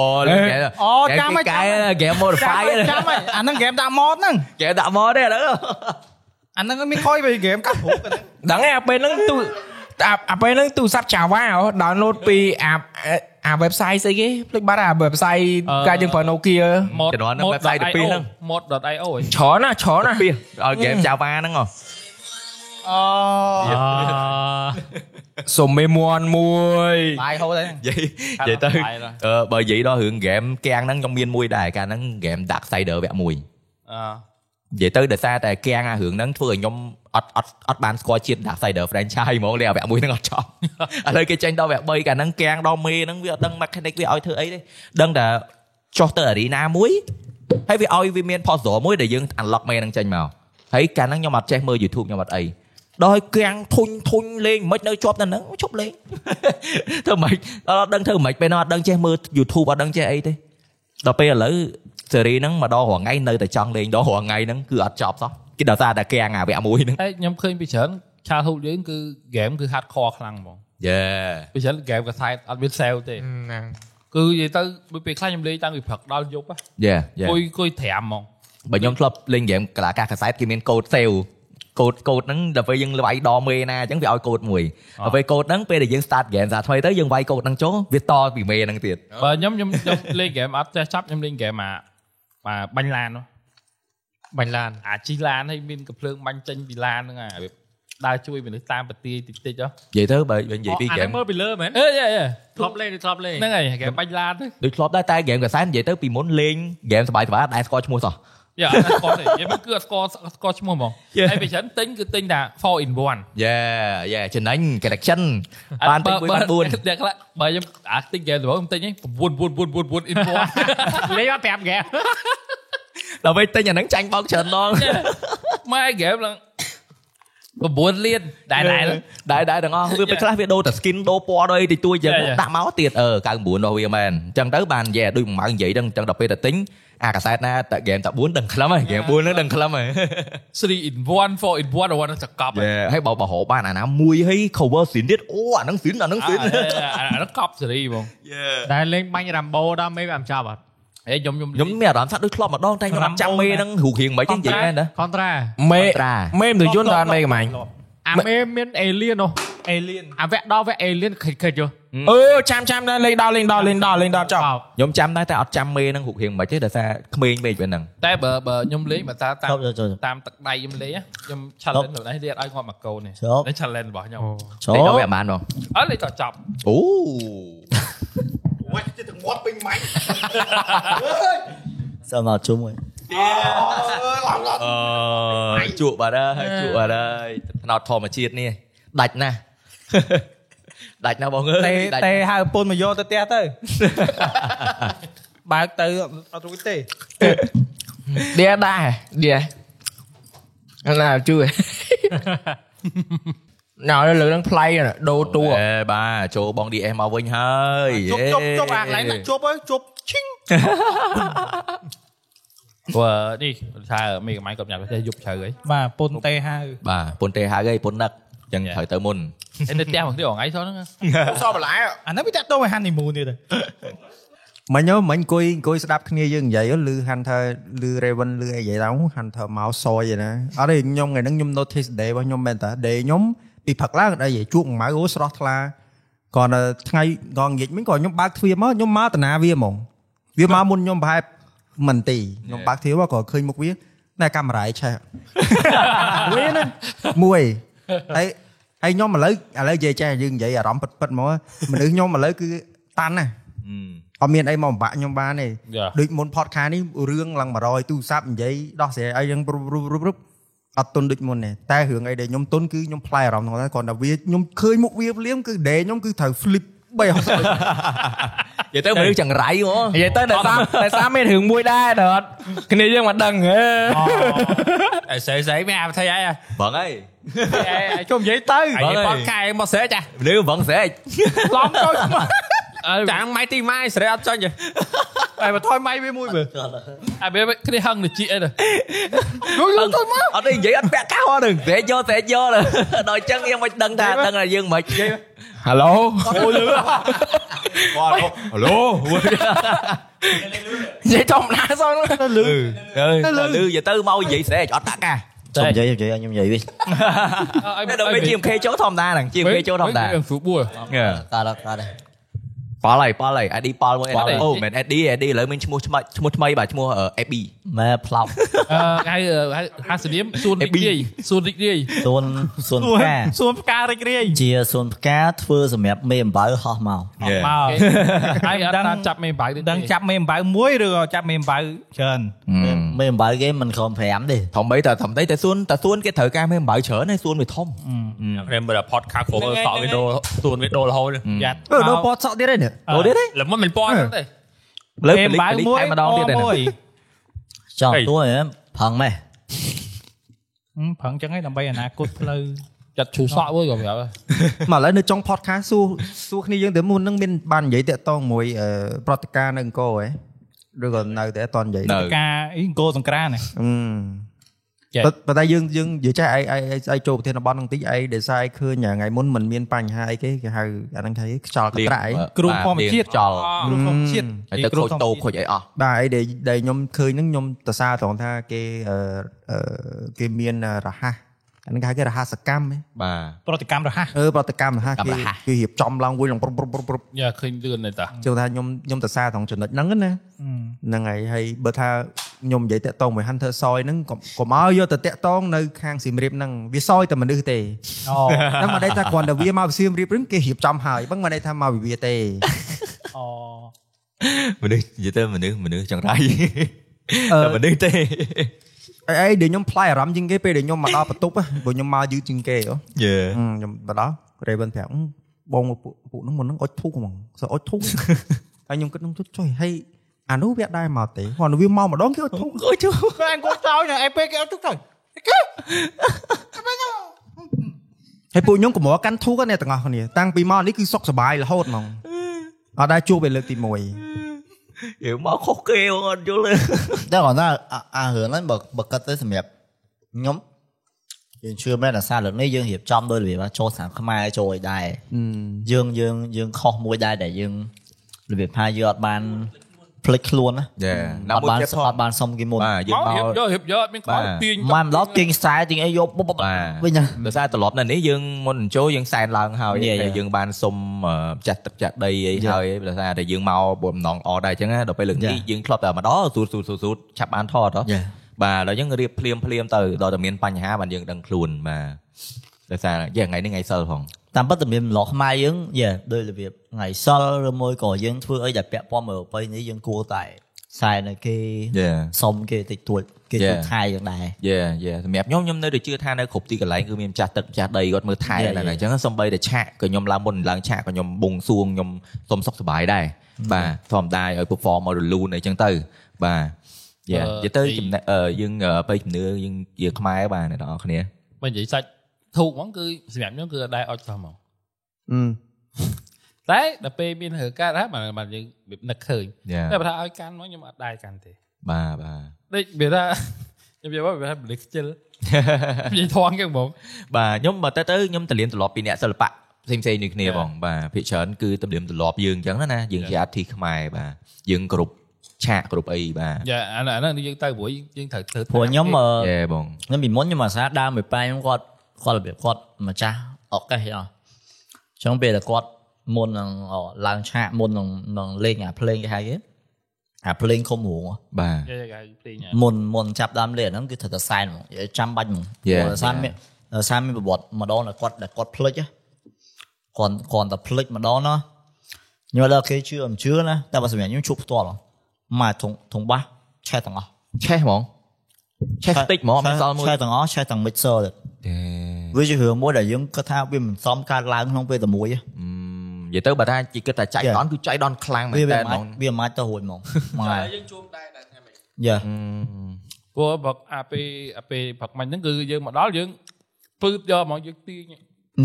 Speaker 2: គេ
Speaker 4: ចាំហើយ
Speaker 2: កែ game modify
Speaker 4: ចាំហើយអាហ្នឹងហ្គេមដាក់ម៉ូតហ្នឹង
Speaker 2: game ដាក់ mod ទេឥឡូវ
Speaker 4: អាហ្នឹងមានខុយពីហ្គេម កាត់រូបហ្នឹង
Speaker 7: ដឹងឯងអាពេលហ្នឹងទូអាអាពេលហ្នឹងទូរស័ព្ទចាវ៉ាអូដោនឡូតពីអាអា à, website ស្អីគេភ្លេចបាត់អា à, website កាយើងប្រើ Nokia
Speaker 2: ជំនាន់ហ្នឹង website 12ហ្នឹង
Speaker 1: mod.io ហ៎
Speaker 7: ច្រើនណាស់ច្រើនណាស់
Speaker 2: ពីឲ្យ game Java ហ្នឹងហ៎
Speaker 4: អូ
Speaker 7: សុំមេមន់មួយ
Speaker 4: បាយហូតហើយហ្នឹង
Speaker 2: និយាយនិយាយទៅអឺបើនិយាយដល់រឿងហ្គេមគាំងហ្នឹងខ្ញុំមានមួយដែរកាលហ្នឹងហ្គេម Dark Sider វគ្គ1និយាយទៅដោយសារតែគាំងអារឿងហ្នឹងធ្វើឲ្យខ្ញុំអត់អត់អត់បានស្គាល់ជាតិ Dark Sider franchise ហ្មងលេអាវគ្គ1ហ្នឹងអត់ចប់ ឥឡូវគេចេញដល់វគ្គ3កាលហ្នឹងគាំងដល់មេហ្នឹងវាអត់ដឹង mechanic វាឲ្យធ្វើអីទេដឹងតែចុះទៅ arena មួយហើយវាឲ្យវាមាន puzzle មួយដែលយើង unlock មេហ្នឹងចេញមកហើយកាលហ្នឹងខ្ញុំអត់ចេះមើល YouTube ខ្ញុំអត់អីដល់ឲ្យគាំងធុញធុញលេងមិននៅជាប់នៅហ្នឹងជប់លេង ធ្វើម៉េចដល់អត់ដឹងធ្វើម៉េចពេលនោះអត់ដឹងចេះមើល YouTube អត់ដឹងចេះអីទេដល់ពេលឥឡូវ សេរីហ្នឹងមកដល់រហងៃនៅតែចង់លេងដល់រហងៃហ្នឹងគឺអត់ចប់សោះគេដល់សារតែគេអាវៈមួយហ្នឹង
Speaker 1: ហើយខ្ញុំឃើញពីច្រើន childhood យើងគឺ game គឺ hardcore ខ្លាំងហ្មង
Speaker 2: យេ
Speaker 1: ពីច្រើន game កសែតអត់មាន sale ទេ
Speaker 7: ហ្នឹង
Speaker 1: គឺនិយាយទៅដូចពេលខ្លះខ្ញុំលេងតាំងពីព្រឹកដល់យប់ហ៎
Speaker 2: យេយេ
Speaker 1: គួយគួយ5ហ្មង
Speaker 2: បើខ្ញុំធ្លាប់លេងហ្គេមកលាការកសែតគេមានកូដសេវកូដកូដហ្នឹងដល់ពេលយើងវាយដល់មេណាអញ្ចឹងវាឲ្យកូដមួយដល់ពេលកូដហ្នឹងពេលដែលយើង start game សារថ្មីទៅយើងវាយកូដហ្នឹងចូលវាតពីមេហ្នឹងទៀត
Speaker 1: បើខ្ញុំខ្ញុំ ខ្ញុំលេងហ្គេមអត់ចេះចាប់ខ្ញុំលេងហ្គេមអាអាបាញ់ឡាននោះ
Speaker 3: បាញ់ឡាន
Speaker 1: អាជីឡានហើយមានកំភ្លើងបាញ់ចេញពីឡានហ្នឹងអាវាដើរជួយមនុស្សតាមបទាយតិចតិចហ៎
Speaker 2: និយាយទៅបើនិយាយពី
Speaker 3: អា
Speaker 2: ហ្គេម
Speaker 3: ហ្នឹងមើលពីលើមែន
Speaker 1: អេយ៉ាយ៉ា
Speaker 3: ធ្លាប់លេងឬធ្លាប់លេង
Speaker 1: ហ្នឹងហើយហ្គេមបាញ់ឡានហ្នឹង
Speaker 2: ដូចធ្លាប់ដែរតែហ្គេមកសែតនិយាយទៅពីមុនលេងហ្គេមសបាយសបាយដែរស្គាល់ឈ្មោះសោះ
Speaker 1: យ៉ាអត់ស្គាល់ទេនិយាយមកគឺអត់ស្គាល់ស្គាល់ឈ្មោះហ្មងហើយពេលច្រើនទិញគឺទិញតែ4 in 1
Speaker 2: យេយេចំណេញ collection បានពេញមួយបានបួ ន
Speaker 1: អ្នកខ្លះបើខ្ញុំអាចទិញហ្គេមរបស់ខ្ញុំទិញហ្នឹង9 9 9 in
Speaker 3: លេងអត់5ហ្គេម
Speaker 2: ដល់ពេលទិញអាហ្នឹងចាញ់បោកច្រើនឡង
Speaker 1: 1មកហ្គេមឡើង9លានដែរដែរ
Speaker 2: ដែរដែរទាំងអស់វាពេលខ្លះវាដូរតែ skin ដូរពណ៌ដូរអីតិចតួចអញ្ចឹង
Speaker 1: Yeah, yeah.
Speaker 2: ដាក់មកទៀតអឺ99របស់វាមែនអញ្ចឹងទៅបានយេដូចមួយម៉ោងនិយាយហ្នឹងអញ្ចឹងដល់ពេលទៅទិញអាកាសែតណាតែហ្គេមតែ4ដឹងខ្លឹមហើយហ្គេម4ហ្នឹងដឹងខ្លឹមហើយ
Speaker 1: 3 in 1 4 in 1របស់ហ្នឹងសកប់ហ
Speaker 2: យេ ហើយបើបើរហោបានអាណាមួយហើយ cover scene ទៀតអូអាហ្នឹង scene អា
Speaker 1: À,
Speaker 2: ហ្នឹង scene
Speaker 1: អាអាហ្នឹងកប់សេរីហ្មង
Speaker 3: តែលេងបាញ់រ៉ាំបូដល់មេវាមិនចាប់អត់
Speaker 1: ហេខ្ញុំខ្ញុំ
Speaker 2: ខ្ញុំមានអារម្មណ៍ថាដូចធ្លាប់ម្ដងតែខ្ញុំអត់ចាំមេហ្នឹងរូបរាងមិនខ្មិចទេនិយាយមែនណា
Speaker 3: Contra À,
Speaker 7: មេ
Speaker 2: Contra
Speaker 7: មេមទយន្តដល់មេកំាញ់
Speaker 3: អាមេមាន alien À, នោះ alien អាវៈដល់វៈ alien ខិចខិចយោ
Speaker 7: អឺចាំចាំដល់លេងដល់លេងដល់លេងដល់លេងដល់ចប់
Speaker 2: ខ្ញុំចាំដែរតែអត់ចាំមេហ្នឹងរូបរាងមិនខ្មិចទេដោយសារក្មេងពេកពេលហ្នឹង
Speaker 1: តែបើបើខ្ញុំលេងបើតាតាម
Speaker 6: ចូលចូលចូល
Speaker 1: តាមទឹកដៃខ្ញុំលេងហ៎ខ្ញុំ challenge របស់នេះរៀតឲ្យគាត់មកកូននេះ
Speaker 6: ចូល
Speaker 1: នេះ challenge Ờ, របស់ខ្ញុំ
Speaker 2: តែយកវាអត់បានបង
Speaker 1: អត់លេងតចប់
Speaker 2: អូ
Speaker 6: សើមកជុំមួយ
Speaker 2: អឺជក់បាត់ហើយជក់បាត់ហើយថ្នោតធម្មជាតិនេះដាច់ណាស់ ដាច់ណាស់បងអើ
Speaker 4: តែ
Speaker 2: យដាច់
Speaker 4: តែហៅប្រពន្ធមកយកទៅផ្ទះទៅ បើកទៅអត់រួចទេ
Speaker 7: ដៀដែរដៀអាណាជួយ ណៅលើហ្នឹងផ្លៃណាដូរតួ
Speaker 2: អេបាចូលបង DS មកវិញហើយ
Speaker 4: ជប់ជប់ជប់អាកន្លែងណាជប់ហើយជប់ឈីង
Speaker 1: ព្រោះនេះថាមេកំាញ់គាត់ញ៉ាំទៅយប់ជ្រៅហី
Speaker 4: បាទប្រពន្ធទេហៅ
Speaker 2: បាទពុនទេហើយហើយពុននឹកអញ្ចឹងត្រូវទៅមុន
Speaker 1: ឯនៅផ្ទះមកទៀតរហងៃសោះហ្នឹង
Speaker 7: សបលាយ
Speaker 4: អាហ្នឹងវាតាក់ទងឲ្យហានីមូនទៀតទៅ
Speaker 8: មិញហ៎មិញអង្គុយអង្គុយស្ដាប់គ្នាយើងនិយាយហ៎លឺ Hunter លឺ Raven លឺអីយ៉ាងហ្នឹង Hunter មកសយឯណាអត់ទេខ្ញុំថ្ងៃហ្នឹងខ្ញុំ notice day របស់ខ្ញុំមែនតា day ខ្ញុំពីព្រឹកឡើងដល់និយាយជួបម៉ៅអូស្រស់ថ្លាគាត់នៅថ្ងៃកងនិយាយមិញគាត់ខ្ញុំបើកទ្វារមកខ្ញុំមកតាណាវាហ្មងវាមកមុនខ្ញុំប្រហែលមិនទីខ្ញុំបើកទ្វារមកគាត់ឃើញមុខវាតែកាមេរ៉ាឯឆេះ វាហ្នឹងមួយហើយហើយខ្ញុំឥឡូវឥឡូវនិយាយចេះយើងនិយាយអារម្មណ៍ពិតៗហ្មងមនុស្សខ្ញុំឥឡូវគឺតាន់ណា អត់មានអីមកបំបាក់ខ្ញុំបានទេដូចមុន podcast នេះរឿងឡើង100ទូរស័ព្ទនិយាយដោះស្រាយអីយ៉ាងរុបរុបរុបរុបអត់ទុនដូចមុនទេតែរឿងអីដែលខ្ញុំទុនគឺខ្ញុំផ្លែអារម្មណ៍ហ្នឹងដែរគ្រាន់តែវាខ្ញុំឃើញមុខវាភ្លាមគឺដេខ្ញុំគឺត្រូវ flip 360
Speaker 2: និយាយទៅមនុស្សចង្រៃហ៎
Speaker 7: និយាយទៅតែសារតែសារមានរឿងមួយដែរដល់អត់គ្នាយើងមកដឹងហេ
Speaker 5: អីស្អីស្អីមានអាថៃអីអ
Speaker 2: បងហើយ
Speaker 4: ជប់និយាយទៅ
Speaker 5: ឯងបតកែមកស្រែចា
Speaker 2: មនុស្សបងស្រេច
Speaker 4: ឡំចូលឈ្មោះ
Speaker 5: ចាំងម៉ៃទីម៉ៃស្រែអត់ចាញ់
Speaker 4: តែបើថយម៉ៃវាមួយមើល
Speaker 1: អាមេគ្នាហឹងនឹងជីអីទៅ
Speaker 2: អត់ទេនិយាយអត់ពាក់កោហ្នឹងស្រេចយកស្រេចយកដល់អញ្ចឹងយើងមិនដឹងថាដឹងថាយើងមិននិយាយ
Speaker 7: ហឡូ
Speaker 2: ហឡូ
Speaker 7: និយាយធម្មតាសោះលឺ
Speaker 2: អើយលឺនិយាយទៅមកនិយាយស្រេចអត់តាក់កា
Speaker 6: សុំនិយាយនិយាយឲ្យខ្ញុំនិយាយវិញ
Speaker 1: ឲ្យ
Speaker 2: ដល់ពេល GMK ចូលធម្មតាហ្នឹង GMK ចូលធម្មតា
Speaker 1: ស្រួលបួល
Speaker 2: Dạ.
Speaker 6: កាលដល់កាលដល់
Speaker 2: ប៉លហើយប៉លហើយ ID ប៉លមួយអូមែន ID ID ឥឡូវមានឈ្មោះថ្មីឈ្មោះថ្មីបាទឈ្មោះ AB
Speaker 6: ម៉ែផ្លោក
Speaker 1: អឺហៅហៅហាសនាមសួនរីករាយសួនរីករាយ
Speaker 6: សួនសួនផ្កា
Speaker 4: សួនផ្ការីករាយ
Speaker 6: ជាសួនផ្កាធ្វើសម្រាប់មេអំបៅហោះមក
Speaker 2: Dạ.
Speaker 4: មក
Speaker 1: ហើយអត់តាមចាប់មេបាយទេ
Speaker 4: ដឹងចាប់មេអំបៅមួយឬក៏ចាប់មេអំបៅច្រើន
Speaker 2: Ừ.
Speaker 6: មេអំបៅគេមិនខំ5ទេ
Speaker 2: ធំបីតែធំតែតែសួនតែសួនគេត្រូវការមេអំបៅច្រើនហើយសួនវាធំ
Speaker 5: គ្នាមើលផតខាខូមើលសក់វីដេអូទួនវីដេអូរហូត
Speaker 4: យ៉ាត់
Speaker 8: អឺ ដល់ពតសក់ទៀតឯនេះ
Speaker 2: អូទេទេ
Speaker 5: ល្មមមិនពណ៌ហ្នឹងទេ
Speaker 2: លើ
Speaker 4: មេអំបៅមួយ
Speaker 2: តែម្ដងទៀតទេ
Speaker 4: មួយ
Speaker 6: ចង់ទួយផឹងម៉េះ
Speaker 4: ប្រឹងចឹងឯងដើម្បីអនាគតផ្លូវ
Speaker 1: ចាត់ឈូសក់វើក៏ប្រាប់
Speaker 8: មកឥឡូវនៅចុង podcast សួរសួរគ្នាយើងទៅមុនហ្នឹងមានបាននិយាយតាក់តងមួយអឺប្រតិការនៅអង្គរហ៎ ឬក៏នៅតែអត់ទាន់និយាយទេ
Speaker 2: នៅ
Speaker 4: ការអីអង្គរសង្ក្រាននេះ
Speaker 8: អឺ
Speaker 1: ចេះ
Speaker 8: ប៉ុន្ប៉ុន្តែយើងយើងនិយាយចេះឯងឯងឯងឯងចូលប្រធានបទហ្នឹងតិចឯងដែលស្អែកឃើញថ្ងៃមុនមិនមានបញ្ហាអីគេគេហៅអាហ្នឹងគេហៅខ្យល់កន្ត្រាក់
Speaker 2: Ờ,
Speaker 8: ឯង
Speaker 4: គ្រោះធម្មជាតិ
Speaker 2: ចោល
Speaker 4: គ្រោះធម្មជាតិ
Speaker 2: ហើយទៅខូចតោខូចអីអស់
Speaker 8: បាទអីដែលដែលខ្ញុំឃើញហ្នឹងខ្ញុំសរសើរត្រង់ថាគេអឺអឺគេមានរហ័សអាហ្នឹងគេហៅគេរហ័សកម្មហ៎
Speaker 2: បាទ
Speaker 4: ប្រតិកម្មរហ័ស
Speaker 8: អឺប្រតិកម្មរហ័ស
Speaker 2: កម្ម
Speaker 8: គេ
Speaker 2: រហ័ស
Speaker 8: គេរៀបចំឡើងវិញឡើងប្រុបប្រុបប្រុបប្រុប
Speaker 1: យ៉ាឃើញលឿនទេតា
Speaker 8: ចូលថាខ្ញុំខ្ញុំសរសើរត្រង់ចំណុចហ្នឹងណាហ្នឹងហើយហើយបើថាខ្ញុំនិយាយតាក់តងមួយ Hunter Soy ហ្នឹងកុំកុំឲ្យយកទៅតាក់តងនៅខាងសៀមរាបហ្នឹងវាសយតែមនុស្សទេ
Speaker 4: អូ
Speaker 8: ហ្នឹងមកដេកថាគ្រាន់តែវាមកសៀមរាបហ្នឹងគេរៀបចំហើយបឹងមកដេកថាមកវិវាទេ
Speaker 4: អូ
Speaker 2: មនុស្សនិយាយទៅមនុស្សមនុស្សចង្រៃ
Speaker 8: អឺ
Speaker 2: តែមនុស្សទេ
Speaker 8: អីអីដែលខ្ញុំផ្លាយអារម្មណ៍ជាងគេពេលដែលខ្ញុំមកដល់បន្ទប់ ហ៎ព្រោះខ្ញុំមកយឺតជាងគេហ៎
Speaker 2: យេ
Speaker 8: អឺខ្ញុំទៅដល់ Raven ប្រាប់អឺបងពួកពួកហ្នឹងមុនហ្នឹងអុចធូកហ្មងសើអុចធូក ហើយខ្ញុំគិតហ្នឹងទុចចុយហើយអានោះវាអត់ដែរមកទេគាត់វាមកម្ដងគេអុចធូក
Speaker 2: ខូចជូ
Speaker 4: តែអង្គរសោយណាអេពេលគេអត់ទុកទៅ
Speaker 8: ហើយពួកខ្ញុំកម្រកាន់ធូកហ្នឹងអ្នកទាំងអស់គ្នាតាំងពីមកនេះគឺសុខសប្បាយរហូតហ្មងអត់ដែរជួបពេលលើកទី1
Speaker 2: យើងមកខុសគេអត់យល់ទេ
Speaker 6: តែគាត់ថាអាអារឿងហ្នឹងបើបើគិតទៅសម្រាប់ខ្ញុំយើងជឿមែនអាសារលើកនេះយើងរៀបចំដោយរបៀបថាចូលសាមខ្មែរចូលឲ្យដែរយើងយើងយើងខុសមួយដែរដែលយើងរបៀបថាយើងអត់បានផ្លិចខ្លួនណា
Speaker 2: យេ
Speaker 6: អ
Speaker 2: ដល់
Speaker 6: ត់
Speaker 2: មួយ
Speaker 6: បាន
Speaker 2: ទៀតផង
Speaker 6: អត់បានសុំគេមុន
Speaker 2: បាទយើងម
Speaker 1: មក
Speaker 2: ក
Speaker 1: រៀបយករៀបយកមានខ្មោច
Speaker 2: បាទ
Speaker 1: ទាញ
Speaker 6: ម៉ែម្ដងទាញខ្សែទាញអីយកបុបបុប
Speaker 2: បាទ
Speaker 6: វិញណា
Speaker 2: ដោយសារត្រឡប់នៅនេះយើងមុនអញ្ជើញយើងសែនឡើងហើយ
Speaker 6: Yeah,
Speaker 2: ហើយ
Speaker 6: yeah.
Speaker 2: យើងបានសុំអឺចាស់ទឹកចាស់ដីអី
Speaker 6: Yeah.
Speaker 2: ហើយដោយសារតែយើងមកបំណងល្អដែរអញ្ចឹងណាដល់ពេលលើកនេះ
Speaker 6: Yeah.
Speaker 2: យើងធ្លាប់តែម្ដងស៊ូស៊ូស៊ូស៊ូឆាប់បានថតហ៎
Speaker 6: Yeah.
Speaker 2: បាទដល់យើងរៀបភ្លាមភ្លាមទៅដល់តែមានបញ្ហាបានយើងដឹងខ្លួនបាទដោយសារយេថ្ងៃនេះថ្ងៃសិលផង
Speaker 6: តាមពិតតម្រៀបម្លោះខ្មែរយើងយេដោយរបៀបថ្ងៃសិលឬមួយក៏យើងធ្វើអីដែលពាក់ព័ន្ធមកប្រពៃនេះយើងគួរតែខ្សែនៅគេ
Speaker 2: យេ
Speaker 6: សុំគេតិចតួចគេជួយ
Speaker 2: Yeah.
Speaker 6: ថែយើងដែរ
Speaker 2: យេយេសម្រាប់ខ្ញុំខ្ញុំនៅតែជឿថានៅគ្រប់ទីកន្លែងគឺមានម្ចាស់ទឹកម្ចាស់ដីគាត់មើលថែ
Speaker 6: Yeah,
Speaker 2: ដែរ
Speaker 6: yeah.
Speaker 2: អញ្ចឹងសំបីតែឆាកក៏ខ្ញុំឡើងមុនឡើងឆាកក៏ខ្ញុំបួងសួងខ្ញុំសុំសុខសប្បាយដែរបាទធម្មតាឲ្យ perform មករលូនអីចឹងទៅបាទយេនិយាយទៅចំណែកអឺយើងអឺបេជំនឿយើងជាខ្មែរបាទអ្នកនរគ្នា
Speaker 1: បើនិយាយសាច់ធូកហ្មងគឺសម្រាប់ខ្ញុំគឺអត់ដែរអត់សោះហ្មងតែដល់ពេលមានរឿងកើតហ្នឹងបានបានយើងរបៀបនឹកឃើញ
Speaker 2: យេ
Speaker 1: តែបើថាឲ្យកាន់មកខ្ញុំអត់ដែរកាន់ទេ
Speaker 2: បាទបាទ
Speaker 1: ដូចវាថា ខ្ញុំនិយាយមកវាថាបលិខ្ជិល និយាយធំគេហ្មង
Speaker 2: បាទខ្ញុំបើទៅទៅខ្ញុំតលៀនត្រឡប់ពីអ្នកសិល្បៈផ្សេងផ្សេងៗនេះគ្នា
Speaker 1: Yeah.
Speaker 2: បងបាទភាគច្រើនគឺតម្រៀមត្រឡប់យើងអញ្ចឹងណាណាយើងជា artist ខ្មែរបាទយើងគ្រប់ឆាកគ្រប់អីបាទ
Speaker 1: យ៉ាអាហ្នឹងអាហ្នឹងយើងទៅព្រោះយើងត្រូវធ្វើ
Speaker 6: ព្រោះខ្ញុំអឺ
Speaker 2: យេបង
Speaker 6: ខ្ញុំពីមុនខ្ញុំអាសាដើមមួយប៉ែខ្ញុំគាត់គាត់របៀបគាត់ម្ចាស់អកេះអស់ចឹងពេលតែគាត់មុននឹងអឡើងឆាកមុននឹងនឹងលេងអាភ្លេងគេហៅគេអាភ្លេងខុំរួង
Speaker 2: បាទ
Speaker 1: យ៉ាយ៉ាគេព្រីងអ่ะ
Speaker 6: មុនមុនចាប់ដើមលេងអាហ្នឹងគឺត្រូវតែសែនហ្មងចាំបាច់ហ្មង
Speaker 2: Yeah,
Speaker 6: ព្រោះសារមានដោយសារមានប្រវត្តិម្ដងដែលគាត់ដែលគាត់ភ្លេចហ៎គាត់គាត់តែភ្លេចម្ដងណោះខ្ញុំអត់ដឹងគេជឿមិនជឿណាតែបើសម្រាប់ខ្ញុំជួបផ្ទាល់ហ៎មកធុងធុងបាសឆេះទាំងអស់
Speaker 2: ឆេះហ្មងឆេះតិចហ្មងអត់មានសល់មួយ
Speaker 6: ឆេះទាំងអស់ឆេះទាំង mixer ទៅ
Speaker 2: ទេ
Speaker 6: វាជារឿងមួយដែលយើងគាត់ថាវាមិនសមកើតឡើងក្នុងពេលតែមួយទេ
Speaker 2: អឺនិយាយទៅបើថាជីគិតថាចៃ
Speaker 6: យ៉ា
Speaker 2: ដន្យគឺចៃដន្យខ្លាំងមែ
Speaker 6: វា
Speaker 2: ន
Speaker 6: វា
Speaker 2: តើ
Speaker 6: មិន
Speaker 2: ហ្ម
Speaker 6: អាច
Speaker 2: ង
Speaker 6: វាមិនអាចទៅ រួចហ្មងមកហើយ
Speaker 5: យើងជួមដែរដែរថ្ងៃមិញ
Speaker 6: យ៉ា
Speaker 1: ព្រោះបើអាពេលអាពេលផឹកមាញ់ហ្នឹងគឺយើងមកដល់យើងពឺបយកហ្មងយើងទាញ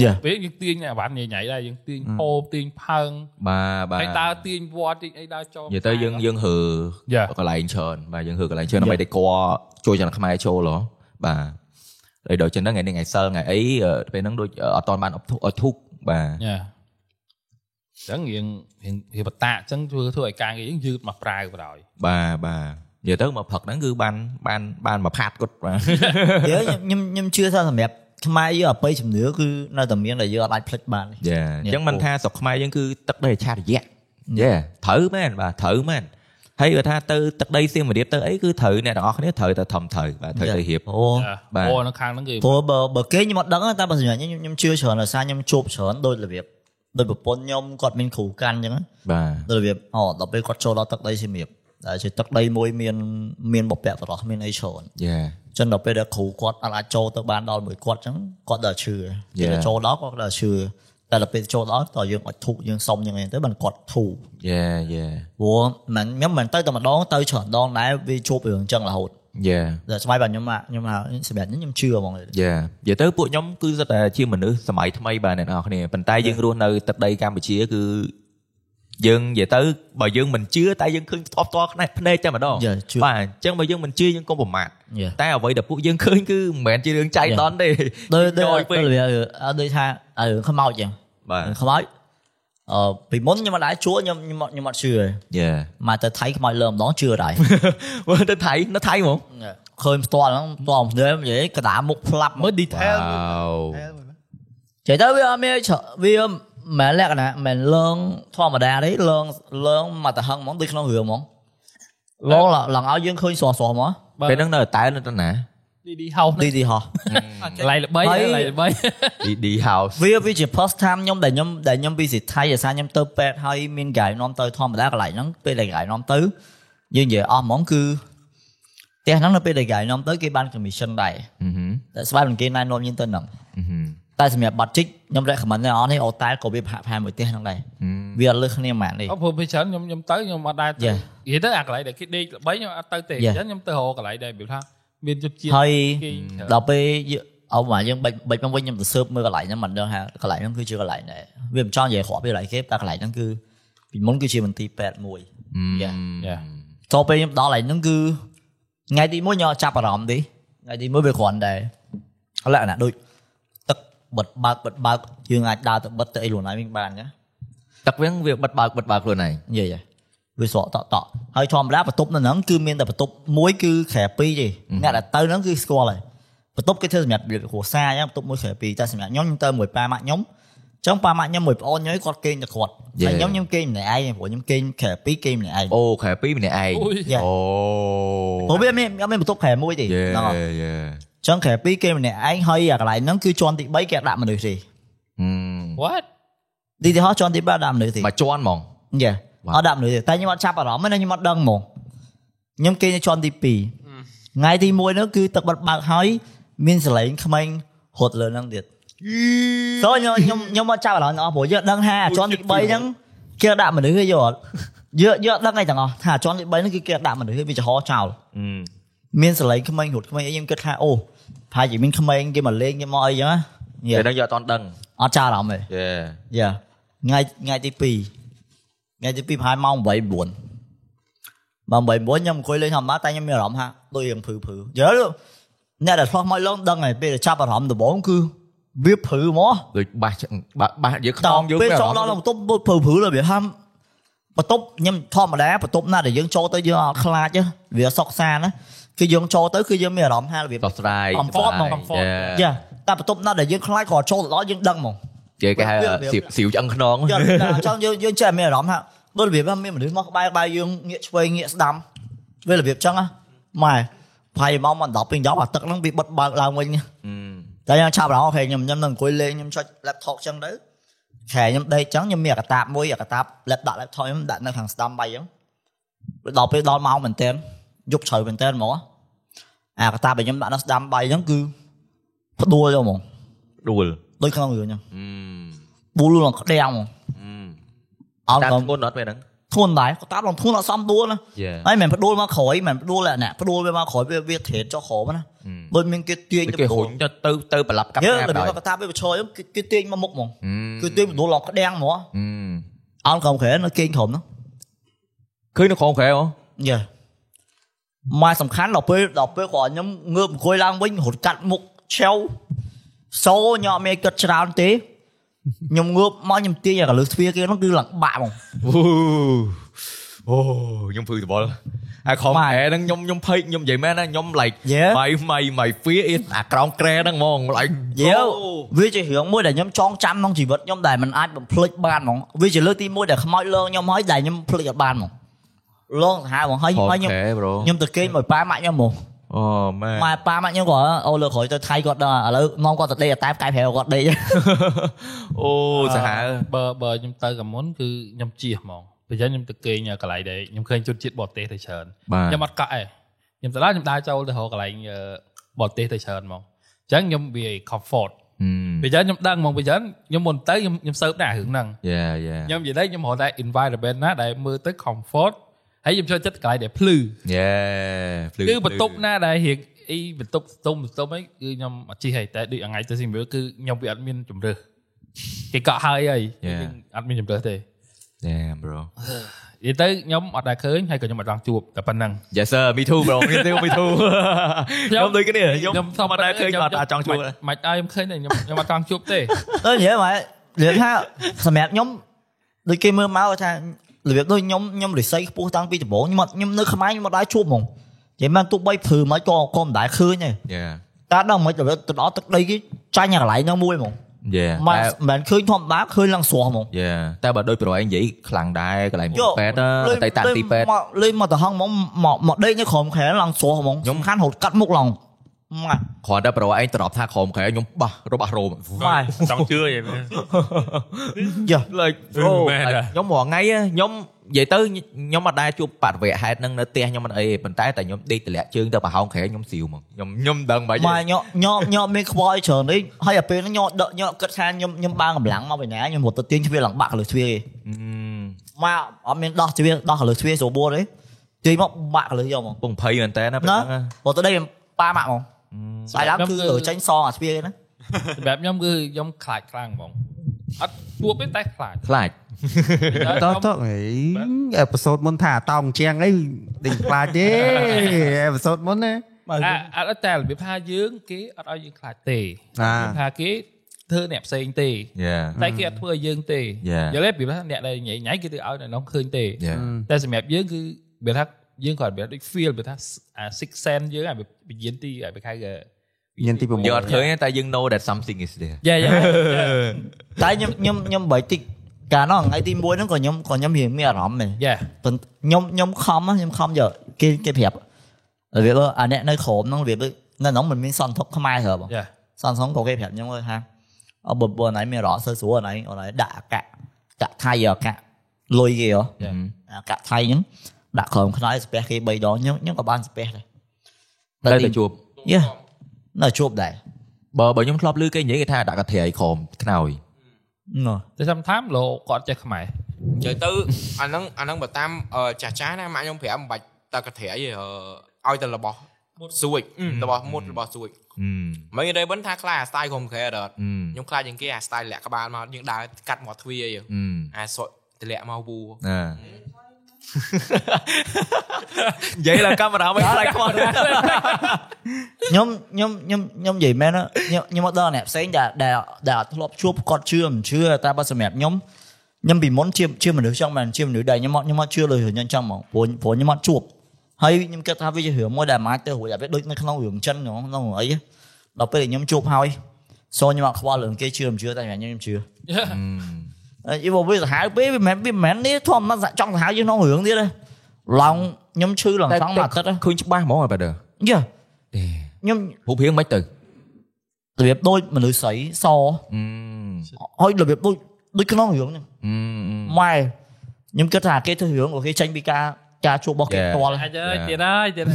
Speaker 6: យ៉ា
Speaker 1: ពេលយើងទាញអាវ៉ាន់ញ៉ៃញ៉ៃដែរយើងទាញហូបទាញផើង
Speaker 2: បាទបាទ
Speaker 1: ហើយដើរទាញវត្តទាញអីដើរចូល
Speaker 2: និយាយទៅយើងយើងហើ
Speaker 1: យ៉ា
Speaker 2: កន្លែងច្រើនបាទយើងហើកន្លែងច្រើនដើម្បីតែគួរជួយចំណាក់ខ្មែរចូលហ៎បាទហើយដល់ចឹងហ្នឹងថ្ងៃនេះថ្ងៃសិលថ្ងៃអីអឺពេលហ្នឹងដូចអឺអត់តាន់បានអត់ធុអត់ធុកបាទ
Speaker 1: យ៉ាអញ្ចឹងយើងរៀងរៀបតាអញ្ចឹងធ្វើធ្វើឲ្យការងារយើងយឺតមកប្រៅបណ្ដោយ
Speaker 2: បាទបាទនិយាយទៅមកផឹកហ្នឹងគឺបានបានបានមកផាត់គាត់បាទ
Speaker 6: យើខ្ញុំខ្ញុំជឿថាសម្រាប់ខ្មែរយើងអបិយជំនឿគឺនៅតែមានដែលយើងអាចផ្លិចបាន
Speaker 2: យ៉ាអញ្ចឹងមិនថាស្រុកខ្មែរយើងគឺទឹកដីអច្ឆារយៈ យេត្រូវមែនបាទត្រូវមែនហើយបើថាទៅទឹកដីសៀមរាបទៅអីគឺត្រូវអ្នកទាំងអស់គ្នាត្រូវតែធំត្រូវបាទត្រូវ
Speaker 6: Yeah.
Speaker 2: ទៅរៀបបាទ
Speaker 1: យ៉ា
Speaker 6: អូ
Speaker 1: អូនៅខាងហ្នឹងគេ
Speaker 6: ព្រោះបើបើគេខ្ញុំអត់ដឹងទេតែបើសម្រាប់ខ្ញុំខ្ញុំខ្ញុំជឿច្រើនដោយសារខ្ញុំជួបច្រើនដោយរបៀបដោយប្រពន្ធខ្ញុំគាត់មានគ្រូកាន់អញ្ចឹងណា
Speaker 2: បាទ
Speaker 6: ដល់របៀបអូដល់ពេលគាត់ចូលដល់ទឹកដីសៀមរាបដែលជាទឹកដីមួយមានមានបពៈបរោះមានអីច្រើន
Speaker 2: យេ
Speaker 6: អញ្ចឹងដល់ពេលដែលគ្រូគាត់អាចចូលទៅបានដល់មួយគាត់អញ្ចឹងគាត់ដល់ឈឺគេ
Speaker 2: Yeah.
Speaker 6: ដល់ចូលដល់គាត់ដល់ឈឺតែដល់ពេលចូលដល់តើយើងអត់ធូកយើងសុំយ៉ាងណាទៅបានគាត់ធូក
Speaker 2: យេយេ
Speaker 6: ព្រោះមិនខ្ញុំមិនទៅតែម្ដងទៅច្រើនដងដែរវាជួបរឿងអញ្ចឹងរហូត
Speaker 2: យេ
Speaker 6: ដល់ស្ម័យបាទខ្ញុំមកខ្ញុំហៅសម្រាប់ខ្ញុំខ្ញុំជឿហ្មង
Speaker 2: យេនិយាយទៅពួកខ្ញុំគឺសិតតែជាមនុស្សសម័យថ្មីបាទអ្នកទាំងអស់គ្នាប៉ុន្តែយើងរស់នៅទឹកដីកម្ពុជាគឺ យើងនិយាយទៅបើយើងមិនជឿតែយើងឃើញផ្ទាល់ផ្ទាល់ផ្នែកភ្នែកតែម្ដង
Speaker 6: Yeah, ជឿ
Speaker 2: បាទអញ្ចឹងបើយើងមិនជឿយើងកុំប្រមាទ
Speaker 6: Yeah.
Speaker 2: តែអ្វីដែលពួកយើងឃើញគឺមិនមែនជារឿងចៃ
Speaker 6: Yeah.
Speaker 2: ដន្យទេ
Speaker 6: ដូចដូច
Speaker 2: យពេ
Speaker 6: ពេល
Speaker 2: ក
Speaker 6: វាដូចថាអឺខ្មោចចឹង
Speaker 2: បាទ
Speaker 6: ខ្មោចអឺពីមុនខ្ញុំអត់ដែរជួខ្ញុំខ្ញុំខ្ញុំអត់ជឿទេ
Speaker 2: យេ
Speaker 6: មកទៅថៃខ្មោចលើម្ដងជឿដែរ
Speaker 2: មើលទៅថៃនៅថៃហ្មង
Speaker 6: ឃើញផ្ទាល់ហ្នឹងផ្ទាល់ភ្នែកនិយាយកណ្ដាលមុខផ្លាប់មើល detail
Speaker 2: វ៉ាវ
Speaker 6: ចេះទៅវាអត់មានច្រើនវាមិនលក្ខណៈមិនលងធម្មតាទេលងលងមកតហឹងហ្មងដូចក្នុងរឿងហ្មងលងឡើងឲ្យយើងឃើញស្រស់ស្រស់ហ្មង
Speaker 2: ពេលហ្នឹងនៅតែនៅទៅណា
Speaker 1: ឌីហោស
Speaker 6: ទីទីហោះ
Speaker 1: កន្លែងល្បី
Speaker 6: ហើ
Speaker 1: ក
Speaker 6: យ
Speaker 1: ន្លែងល្បី
Speaker 2: DD house
Speaker 6: វាវាជា first time ខ្ញុំដែលខ្ញុំដែលខ្ញុំពីសិទ្ធិអាសាខ្ញុំទៅពេទ្យហើយមានកាយនាំទៅធម្មតាកន្លែងហ្នឹងពេលដែលកាយនាំទៅយើងនិយាយអស់ហ្មងគឺផ្ទះហ្នឹងនៅពេលដែលកាយនាំទៅគេបាន commission ដែរ
Speaker 2: ហឹមហឹម
Speaker 6: តែស្បែកមិនគេណែនាំយើងទៅហ្នឹ
Speaker 2: ហ
Speaker 6: ង
Speaker 2: ឹម
Speaker 6: តែសម្រាប់បាត់ជីកខ្ញុំ recommend ដែរអស់នេះអូតែលក៏វាផាក់ផែមួយផ្ទះហ្នឹងដែរ
Speaker 2: ừ,
Speaker 6: វាអត់លើសគ្នាហ្មងនេះ
Speaker 1: អូព្រោះពេលច្រើនខ្ញុំខ្ញុំទៅខ្ញុំអត់ដែរទៅនិ
Speaker 6: Yeah.
Speaker 1: យាយទៅអាកន្លែងដែលគេដេកល្បីខ្ញុំអត់ទៅទេអ
Speaker 6: Yeah.
Speaker 1: ញ្ចឹងខ្ញុំទៅរកកន្លែងដែលវាថាមានជប់ជាតិ
Speaker 6: ហើយ
Speaker 1: គេដ
Speaker 6: ដល់ពេលយើងអោមកយើងបិចបិចមកវិញខ្ញុំទៅស៊ើបមើលកន្លែងហ្នឹងមិនដឹងថាកន្លែងហ្នឹងគឺជាកន្លែងណាវាមិនចង់និយាយគ្រាប់ពីកន្លែងគេតែកន្លែងហ្នឹងគឺពីមុនគឺជាមន្ទីរពេទ្យមួយ
Speaker 2: ừ.
Speaker 6: Yeah.
Speaker 2: យ៉ា
Speaker 6: ចូលពេលខ្ញុំដល់កន្លែងហ្នឹងគឺថ្ងៃទី1ខ្ញុំអត់ចាប់អារម្មណ៍ទេថ្ងៃទី1វាគ្រាន់តែលក្ខណៈដូចទឹកបិទបើកបិទបើកយើងអាចដើរទៅបិទទៅអីខ្លួនឯងវិញបានណា
Speaker 2: ទឹកវិញវាបិទបើកបិទបើកខ្លួនឯង
Speaker 6: និយាយហ៎វាស្រកតក់តក់ហើយធម្មតាបន្ទប់នៅហ្នឹងគឺមានតែបន្ទប់មួយគឺខែពីរទេអ្នកដែលទៅហ្នឹងគឺស្គាល់ហើយ បន្ទប់គេធ្វើសម្រាប់គ្រួសារអញ្ចឹងបន្ទប់មួយក្រែពីរតែសម្រាប់ខ្ញុំខ្ញុំទៅមួយប៉ាម៉ាក់ខ្ញុំអញ្ចឹងប៉ាម៉ាក់ខ្ញុំមួយប្អូនខ្ញុំឯងគាត់គេងតែគាត់ហើយខ្ញុំខ្ញុំគេងម្នាក់ឯងព្រោះខ្ញុំគេងក្រែពីរគេងម្នាក់ឯង
Speaker 2: អូខែពីរម្នាក់ឯង
Speaker 1: អូយ
Speaker 6: Yeah.
Speaker 2: អូ
Speaker 6: ព្រោះវាមានអត់មានបន្ទប់ក្រែមួយទេ
Speaker 2: យេ
Speaker 6: ហ្នឹងហើយ
Speaker 2: យេ
Speaker 6: ចឹងក្រែពីគេម្នាក់ឯងហើយអាកន្លែងហ្នឹងគឺជាន់ទី3គេដាក់មនុស្សទេ
Speaker 2: ហឹម
Speaker 1: What
Speaker 6: ទីទីហោះជាន់ទី3ដាក់មនុស្សទេ
Speaker 2: មកជន់ហ្មង
Speaker 6: យ៉ា
Speaker 2: Wow.
Speaker 6: អត់ដាក់មនុស្សទេតែខ្ញុំអត់ចាប់អារម្មណ៍ទេខ្ញុំអត់ដឹងហ្មងខ្ញុំគេងនៅជាន់ទី2ថ្ងៃទី1ហ្នឹងគឺទឹកបាត់បើកហើយមានសលេងក្មេងរត់លើហ្នឹងទៀតចូលខ្ញុំខ្ញុំខ្ញុំអត់ចាប់អារម្មណ៍ទាំងអស់ព្រោះយើងដឹងថាអាជាន់ទី3ហ្នឹងគេដាក់មនុស្សទេយល់អត់យើងយើងអត់ដឹងអីទាំងអស់ថាអាជាន់ទី3ហ្នឹងគឺគេដាក់មនុស្សទេវាចំហចោល មានសលេងក្មេងរត់ក្មេងអីខ្ញុំគិតថាអូប្រហែលជាមានក្មេងគេមកលេងគេមកអីចឹងណាយេ
Speaker 2: ពេលហ្នឹងយកអត់តន់ដឹង
Speaker 6: អត់ចារអារម្មណ៍ទេ
Speaker 2: យេ
Speaker 6: យេថ្ងៃថ្ងៃទី2ថ្ងៃទី2ប្រហែលម៉ោង8 9ម៉ោង8 9ខ្ញុំអង្គុយលេងធម្មតាតែខ្ញុំមានអារម្មណ៍ថាដូចរឿងភឺភឺយល់អ្នកដែលឆ្លោះមកលងដឹងហើយពេលដែលចាប់អារម្មណ៍ដំបូងគឺវាភឺហ្មង
Speaker 2: ដូចបាសបាសបាសយើងខ្ន
Speaker 6: តោ
Speaker 2: ងយើង
Speaker 6: ពេលចូលដល់
Speaker 2: អារម្មណ៍
Speaker 6: ក្នុងបន្ទប់ពុតភឺភឺលើវាហាំបន្ទប់ខ្ញុំធម្មតាបន្ទប់ណាដែលយើងចូលទៅយើងអត់ខ្លាចទេវាសុកសានណាគឺយើងចូលទៅគឺយើងមានអារម្មណ៍ថារបៀប
Speaker 2: ដោះស្រាយ
Speaker 6: comfort ហ្មង comfort Dạ. យ៉ាតែបន្ទប់ណាដែលយើងខ្លាចក៏ចូលទៅដល់យើងដឹងហ្មង
Speaker 2: គេគេហៅ
Speaker 6: វាវា
Speaker 2: សៀវសៀវឆ្អឹងខ្នង
Speaker 6: យើងតែចង់យើងយើងចេះមានអារម្មណ៍ថាបើរបៀបថាមានមនុស្សមកក្បែរក្បែរយើងងាកឆ្វេងងាកស្ដាំវារបៀបចឹងណាម៉ែប្រហែលម៉ោងមក10ពេញ10អាទឹកហ្នឹងវាបិទបើកឡើងវិញតែខ្ញុំឆាប់រហូតពេលខ្ញុំខ្ញុំនឹងអង្គុយលេងខ្ញុំចុច laptop ចឹងទៅខែខ្ញុំដេកចឹងខ្ញុំមានអាកាតាបមួយអាកាតាប laptop ដាក់ laptop ខ្ញុំដាក់នៅខាងស្ដាំបាយចឹងដល់ពេលដល់ម៉ោងមែនតើយប់ជ្រៅមែនតើហ្មងអាកាតាបដែលខ្ញុំដាក់នៅស្ដាំបាយចឹងគឺផ្ដួលចូលហ្មង
Speaker 2: ដួល
Speaker 6: ដូចក្នុងរឿងចឹងប៊ូលឡើងក្តាំងហ្មងអត់
Speaker 2: តា
Speaker 6: ក៏
Speaker 2: ធ្ងន់អត់ពេលហ្នឹង
Speaker 6: ធួនដែរគាត់តាមឡងធួនអត់សមដួលណា
Speaker 2: យេ
Speaker 6: ហើយមិនផ្ដួលមកក្រោយមិនផ្ដួលអាណាផ្ដួលវាមកក្រោយវាវាត្រេតចុះក្រោមណា
Speaker 2: អឺ
Speaker 6: ដូចមានគេទាញ
Speaker 2: ដូចគេរុញទៅទៅទៅប្រឡាប់កាប់
Speaker 6: យើ
Speaker 2: ណា
Speaker 6: ង
Speaker 2: ប់
Speaker 6: របៀ
Speaker 2: ដោយ
Speaker 6: បគាត់ថាវាបឈរយើងគេគេទាញមកមុខហ្មង
Speaker 2: ហឹ
Speaker 6: គឺ
Speaker 2: ម
Speaker 6: ទាញផ្ដួលឡងក្ដាំងហ្មង
Speaker 2: ហឹម
Speaker 6: អោនក្រោមក្រែនៅគេងក្រោមហ្នឹង
Speaker 2: ឃើញនៅក្រុងក្រែហ៎
Speaker 6: យេមកសំខាន់ដល់ពេលដល់ពេលគាត់ខ្ញុំងើបអង្គុយឡើងវិញរត់កាត់មុខឆាវសូញ៉ក់មេគិតច្រើនទេខ្ញុំងើបមកខ្ញុំទាញអាកលឹះទ្វារគេហ្នឹងគឺឡើងបាក់ហ្មង
Speaker 2: អូអូខ្ញុំភឺត្បល់ហើយក្រុងក្រែហ្នឹងខ្ញុំខ្ញុំភ័យខ្ញុំនិយាយមែនណាខ្ញុំ like
Speaker 6: Yeah.
Speaker 2: my my my fear is អាក្រងក្រែហ្នឹងហ្មង like
Speaker 6: យើវាជារឿងមួយដែលខ្ញុំចងចាំក្នុងជីវិតខ្ញុំដែលមិនអាចបំភ្លេចបានហ្មងវាជាលើកទី1ដែលខ្មោចលងខ្ញុំហើយដែលខ្ញុំភ្លេចអត់បានហ្មងលងសាហាវហ្មងហើយហើយខ្ញុំ
Speaker 2: bro
Speaker 6: ខ្ញុំទៅគេងមួយប៉ាម៉ាក់ខ្ញុំហ្មង
Speaker 2: អូមែន
Speaker 6: ម៉ែប៉ាម៉ាក់ខ្ញុំក៏អូលើក្រោយទៅថៃគាត់ដល់ឥឡូវនាំគាត់ទៅដេកតែផ្កាយប្រែគាត់ដេក
Speaker 2: អូសាហាវ
Speaker 1: បើបើខ្ញុំទៅកាមុនគឺខ្ញុំជៀសហ្មងប្រយ័ត្នខ្ញុំទៅគេងកន្លែងដែលខ្ញុំឃើញជនជាតិបរទេសទៅច្រើន
Speaker 2: បាទ
Speaker 1: ខ្ញុំអត់កក់ទេខ្ញុំទៅដល់ខ្ញុំដើរចូលទៅរកកន្លែងអឺបរទេសទៅច្រើនហ្មងអញ្ចឹងខ្ញុំវា comfort
Speaker 2: Ừ.
Speaker 1: ប្រយ័ត្នខ្ញុំដឹងហ្មងប្រយ័ត្នខ្ញុំមុនទៅខ្ញុំខ្ញុំសើបដែររឿងហ្នឹង
Speaker 2: យេយេ
Speaker 1: ខ្ញុំនិយាយទៅខ្ញុំរកតែ environment ណាដែលមើលទៅ comfort ហើយខ្ញុំចូលចិត្តកន្លែងដែលភ្លឺ
Speaker 2: យេភ្លឺ
Speaker 1: គឺបន្ទប់ណាដែលរៀងអីបន្ទប់ស្ទុំស្ទុំអីគឺខ្ញុំអត់ជិះហីតែដូចថ្ងៃទៅស៊ីមើលគឺខ្ញុំវាអត់មានជំរឿសគេកក់ហើយហើយ
Speaker 2: យេ
Speaker 1: យើងអត់មានជំរឿសទេ
Speaker 2: យ Damn Dạ, bro
Speaker 1: និយាយទៅខ្ញុំអត់ដែលឃើញហើយក៏ខ្ញុំអត់ចង់ជួបតែប៉ុណ្្នឹង
Speaker 2: Yes Dạ, sir me too bro me too me too
Speaker 1: ខ្ញុំ
Speaker 2: ខ្ញុំដូចគ្នាខ្ញុំ
Speaker 1: ខ្ញុំ
Speaker 2: ធម្មតាឃើញគាត់អាចចង់ជួប
Speaker 1: មិនអើខ្ញុំឃើញតែខ្ញុំខ្ញុំអត់ចង់ជួបទេ
Speaker 6: ទៅនិយាយមកនិយាយថាសម្រាប់ខ្ញុំដូចគេមើលមកថារបៀបដូចខ្ញុំខ្ញុំរិស័យខ្ពស់តាំងពីដំបូងខ្ញុំអត់ខ្ញុំនៅខ្មែរខ្ញុំអត់ដែរជួបហ្មងនិយាយមកទោះបីព្រឺមិនក៏ក៏មិនដែរឃើញទេ
Speaker 2: Yeah
Speaker 6: តែដល់មិនរបៀបទៅដល់ទឹកដីគេចាញ់អាកន្លែងហ្នឹងមួយហ្មង
Speaker 2: Yeah
Speaker 6: មិន
Speaker 2: តែ
Speaker 6: មិនឃើញធម្មតាឃើញឡើងស្រស់ហ្មង
Speaker 2: Yeah តែបើដូចប្រហែលនិយាយខ្លាំងដែរកន្លែង
Speaker 6: យក
Speaker 2: ពេទ្យទៅតែតាំងទីពេទ្យ
Speaker 6: មកលេងមកទៅហងហ្មងមកមកដេកនៅក្រោមខែឡើងស្រស់ហ្មងសំខាន់រហូតកាត់មុខឡើងម៉ា
Speaker 2: គ្រាន់តែប្រហែលឯងត្រប់ថាក្រុមខែខ្ញុំបោះរបស់រោម
Speaker 6: ម៉ា
Speaker 5: ចង់ជឿហី
Speaker 2: like bro
Speaker 5: មែនដែរ
Speaker 2: ខ្ញុំរាល់ថ្ងៃខ្ញុំនិយាយទៅខ្ញុំអត់ដែរជួបបរិវេហេតុហ្នឹងនៅផ្ទះខ្ញុំមិនអីទេប៉ុន្តែតែខ្ញុំដេកទម្លាក់ជើងទៅប្រហោងខែខ្ញុំស៊ីវហ្មកខ្ញុំខ្ញុំដឹងបា
Speaker 6: ម៉ែ
Speaker 2: ច់
Speaker 6: ញ៉ក់ញ៉ក់ញ៉ក់មានខ្វល់ច្រើននេះហើយដល់ពេលហ្នឹងញ៉ក់ដកញ៉ក់គិតថាខ្ញុំខ្ញុំបានកម្លាំងមកពីណាខ្ញុំរត់ទៅទាញជ្វាឡើងបាក់កលឹះជ្វាឯងម៉ែអត់មានដោះជ្វាដោះកលឹះជ្វាស្រួលបួលទេទាញមកបាក់កលឹះយកមក
Speaker 2: ពងភ័យមែនតើណាពេល
Speaker 6: ណា
Speaker 2: ហ្នឹង
Speaker 6: រត់ទៅដេកប៉ាម៉ាក់ហ្មងស្អីឡើងគឺត្រូវចាញ់សងអាជ្វាឯណា
Speaker 1: សម្រាប់ខ្ញុំគឺខ្ញុំខ្លាចខ្លាំងហ្មងអត់ជួបទេតែខ្លាច
Speaker 2: ខ្លាច
Speaker 8: តោះតោះអីអេផ isode មុនថាតោងជាងអីដេញខ្លាចទេ អេផ isode មុនណា
Speaker 4: បើ
Speaker 1: អាអត់តែរបៀបថាយើងគេអត់ឲ្យយើងខ្លាចទេ
Speaker 8: អា
Speaker 1: របៀបថាគេធ្វើអ្នកផ្សេងទេ
Speaker 2: យ៉ា
Speaker 1: តែគេអត់ធ្វើឲ្យយើងទេយ
Speaker 2: Yeah.
Speaker 1: ល់ទេពីព្រោះថាអ្នកដែលញ៉ៃញ៉ៃគេទៅឲ្យអ្នកនោះឃើញទេ
Speaker 2: យ៉ា
Speaker 1: តែសម្រាប់យើងគឺវាថាយើងគាត់វាដូច feel វាថាអា6 cent យើងអាវិញ្ញាណទីអាវាខៅ
Speaker 8: វិញ្ញាណទី6
Speaker 2: យើងអត់ឃើញទេតែយើង know that something is there
Speaker 1: យ៉ាយ៉ា
Speaker 6: តែខ្ញុំខ្ញុំខ្ញុំបើតិចកាលនោះថ្ងៃទី1ហ្នឹងក៏ខ្ញុំក៏ខ្ញុំរៀងមានអារម្មណ៍ដែរ
Speaker 1: យ៉ា
Speaker 6: ប៉ុន្តែខ្ញុំខ្ញុំខំណាខ្ញុំខំយកគេគេប្រាប់របៀបអាអ្នកនៅក្រុមហ្នឹងរបៀបដូចនៅក្នុងមិនមានសន្តិភាពខ្មែរហ៎បង
Speaker 1: យ៉ា
Speaker 6: សនសំក៏គេប្រាប់ខ្ញុំថាអបបអណៃមានរកសើស្រួលអណៃអណៃដាក់អកកាក់ថៃអកលុយគេហ៎អកថៃហ្នឹងដាក់ក្រុមខ្នើយស្ពះគេ3ដងខ្ញុំខ្ញុំក៏បានស្ពះដែរ
Speaker 2: តែទៅជួប
Speaker 6: យេនៅជួបដែរ
Speaker 2: បើបើខ្ញុំធ្លាប់ឮគេនិយាយគេថាដាក់កធាយក្រុមខ្នើយ
Speaker 6: ណូ
Speaker 1: តែ sometimes លោកគាត់ចេះខ្មែរ
Speaker 7: និយាយទៅអាហ្នឹងអាហ្នឹងបើតាមអឺចាស់ចាស់ណាម៉ាក់ខ្ញុំប្រាប់មិនបាច់តើកត្រៃទេអឺឲ្យតែរបស់សួចរបស់មុតរបស់សួចមិននិយាយមិនថាខ្លាចអា style ក្រុមក្រែអត់ខ្ញុំខ្លាចជាងគេអា style លាក់ក្បាលមកយើងដើរកាត់មកទ្វារអីអាសក់ទម្លាក់មកវូ
Speaker 2: ណា និយាយឡើងកាមេរ៉ាមិនខ្លាចខ្វល់
Speaker 6: ខ្ញុំខ្ញុំខ្ញុំខ្ញុំនិយាយមែនខ្ញុំខ្ញុំមកដល់អ្នកផ្សេងដែលដែលដែលធ្លាប់ជួបគាត់ជឿមិនជឿតែបើសម្រាប់ខ្ញុំខ្ញុំពីមុនជាជាមនុស្សចឹងមែនជាមនុស្សដែលខ្ញុំមកខ្ញុំមកជឿលើរឿងហ្នឹងចឹងហ្មងព្រោះព្រោះខ្ញុំមកជួប ហើយខ្ញុំគិតថាវាជារឿងមួយដែលអាចទៅរួចតែវាដូចនៅក្នុងរឿងចិនហ្មងក្នុងអីដល់ពេលខ្ញុំជួបហើយសូខ្ញុំអត់ខ្វល់រឿងគេជឿមិនជឿតែខ្ញុំខ្ញុំជឿអីបើវាសាហាវពេកវាមិនមែនវាមិនមែននេះធម្មតាចង់សាហាវយើងក្នុងរឿងទៀតទេឡងខ្ញុំឈឺឡងចង់មកអាទិត្យ
Speaker 2: ឃើញច្បាស់ហ្មងបាទ
Speaker 6: យេខ្ញុំ
Speaker 2: រូបរាងមិនទៅ
Speaker 6: របៀបដូចមនុស្សស្រីស
Speaker 2: Ừ.
Speaker 6: ហើយរបៀបដូចដូចក្នុងរឿងហ្នឹង
Speaker 2: Ừ.
Speaker 6: ម៉ែខ្ញុំគិតថាគេធ្វើរឿងរបស់គេចេញពីការការជួបរបស់គេផ្ទាល់
Speaker 1: អាចហើយទៀតហើយទៀត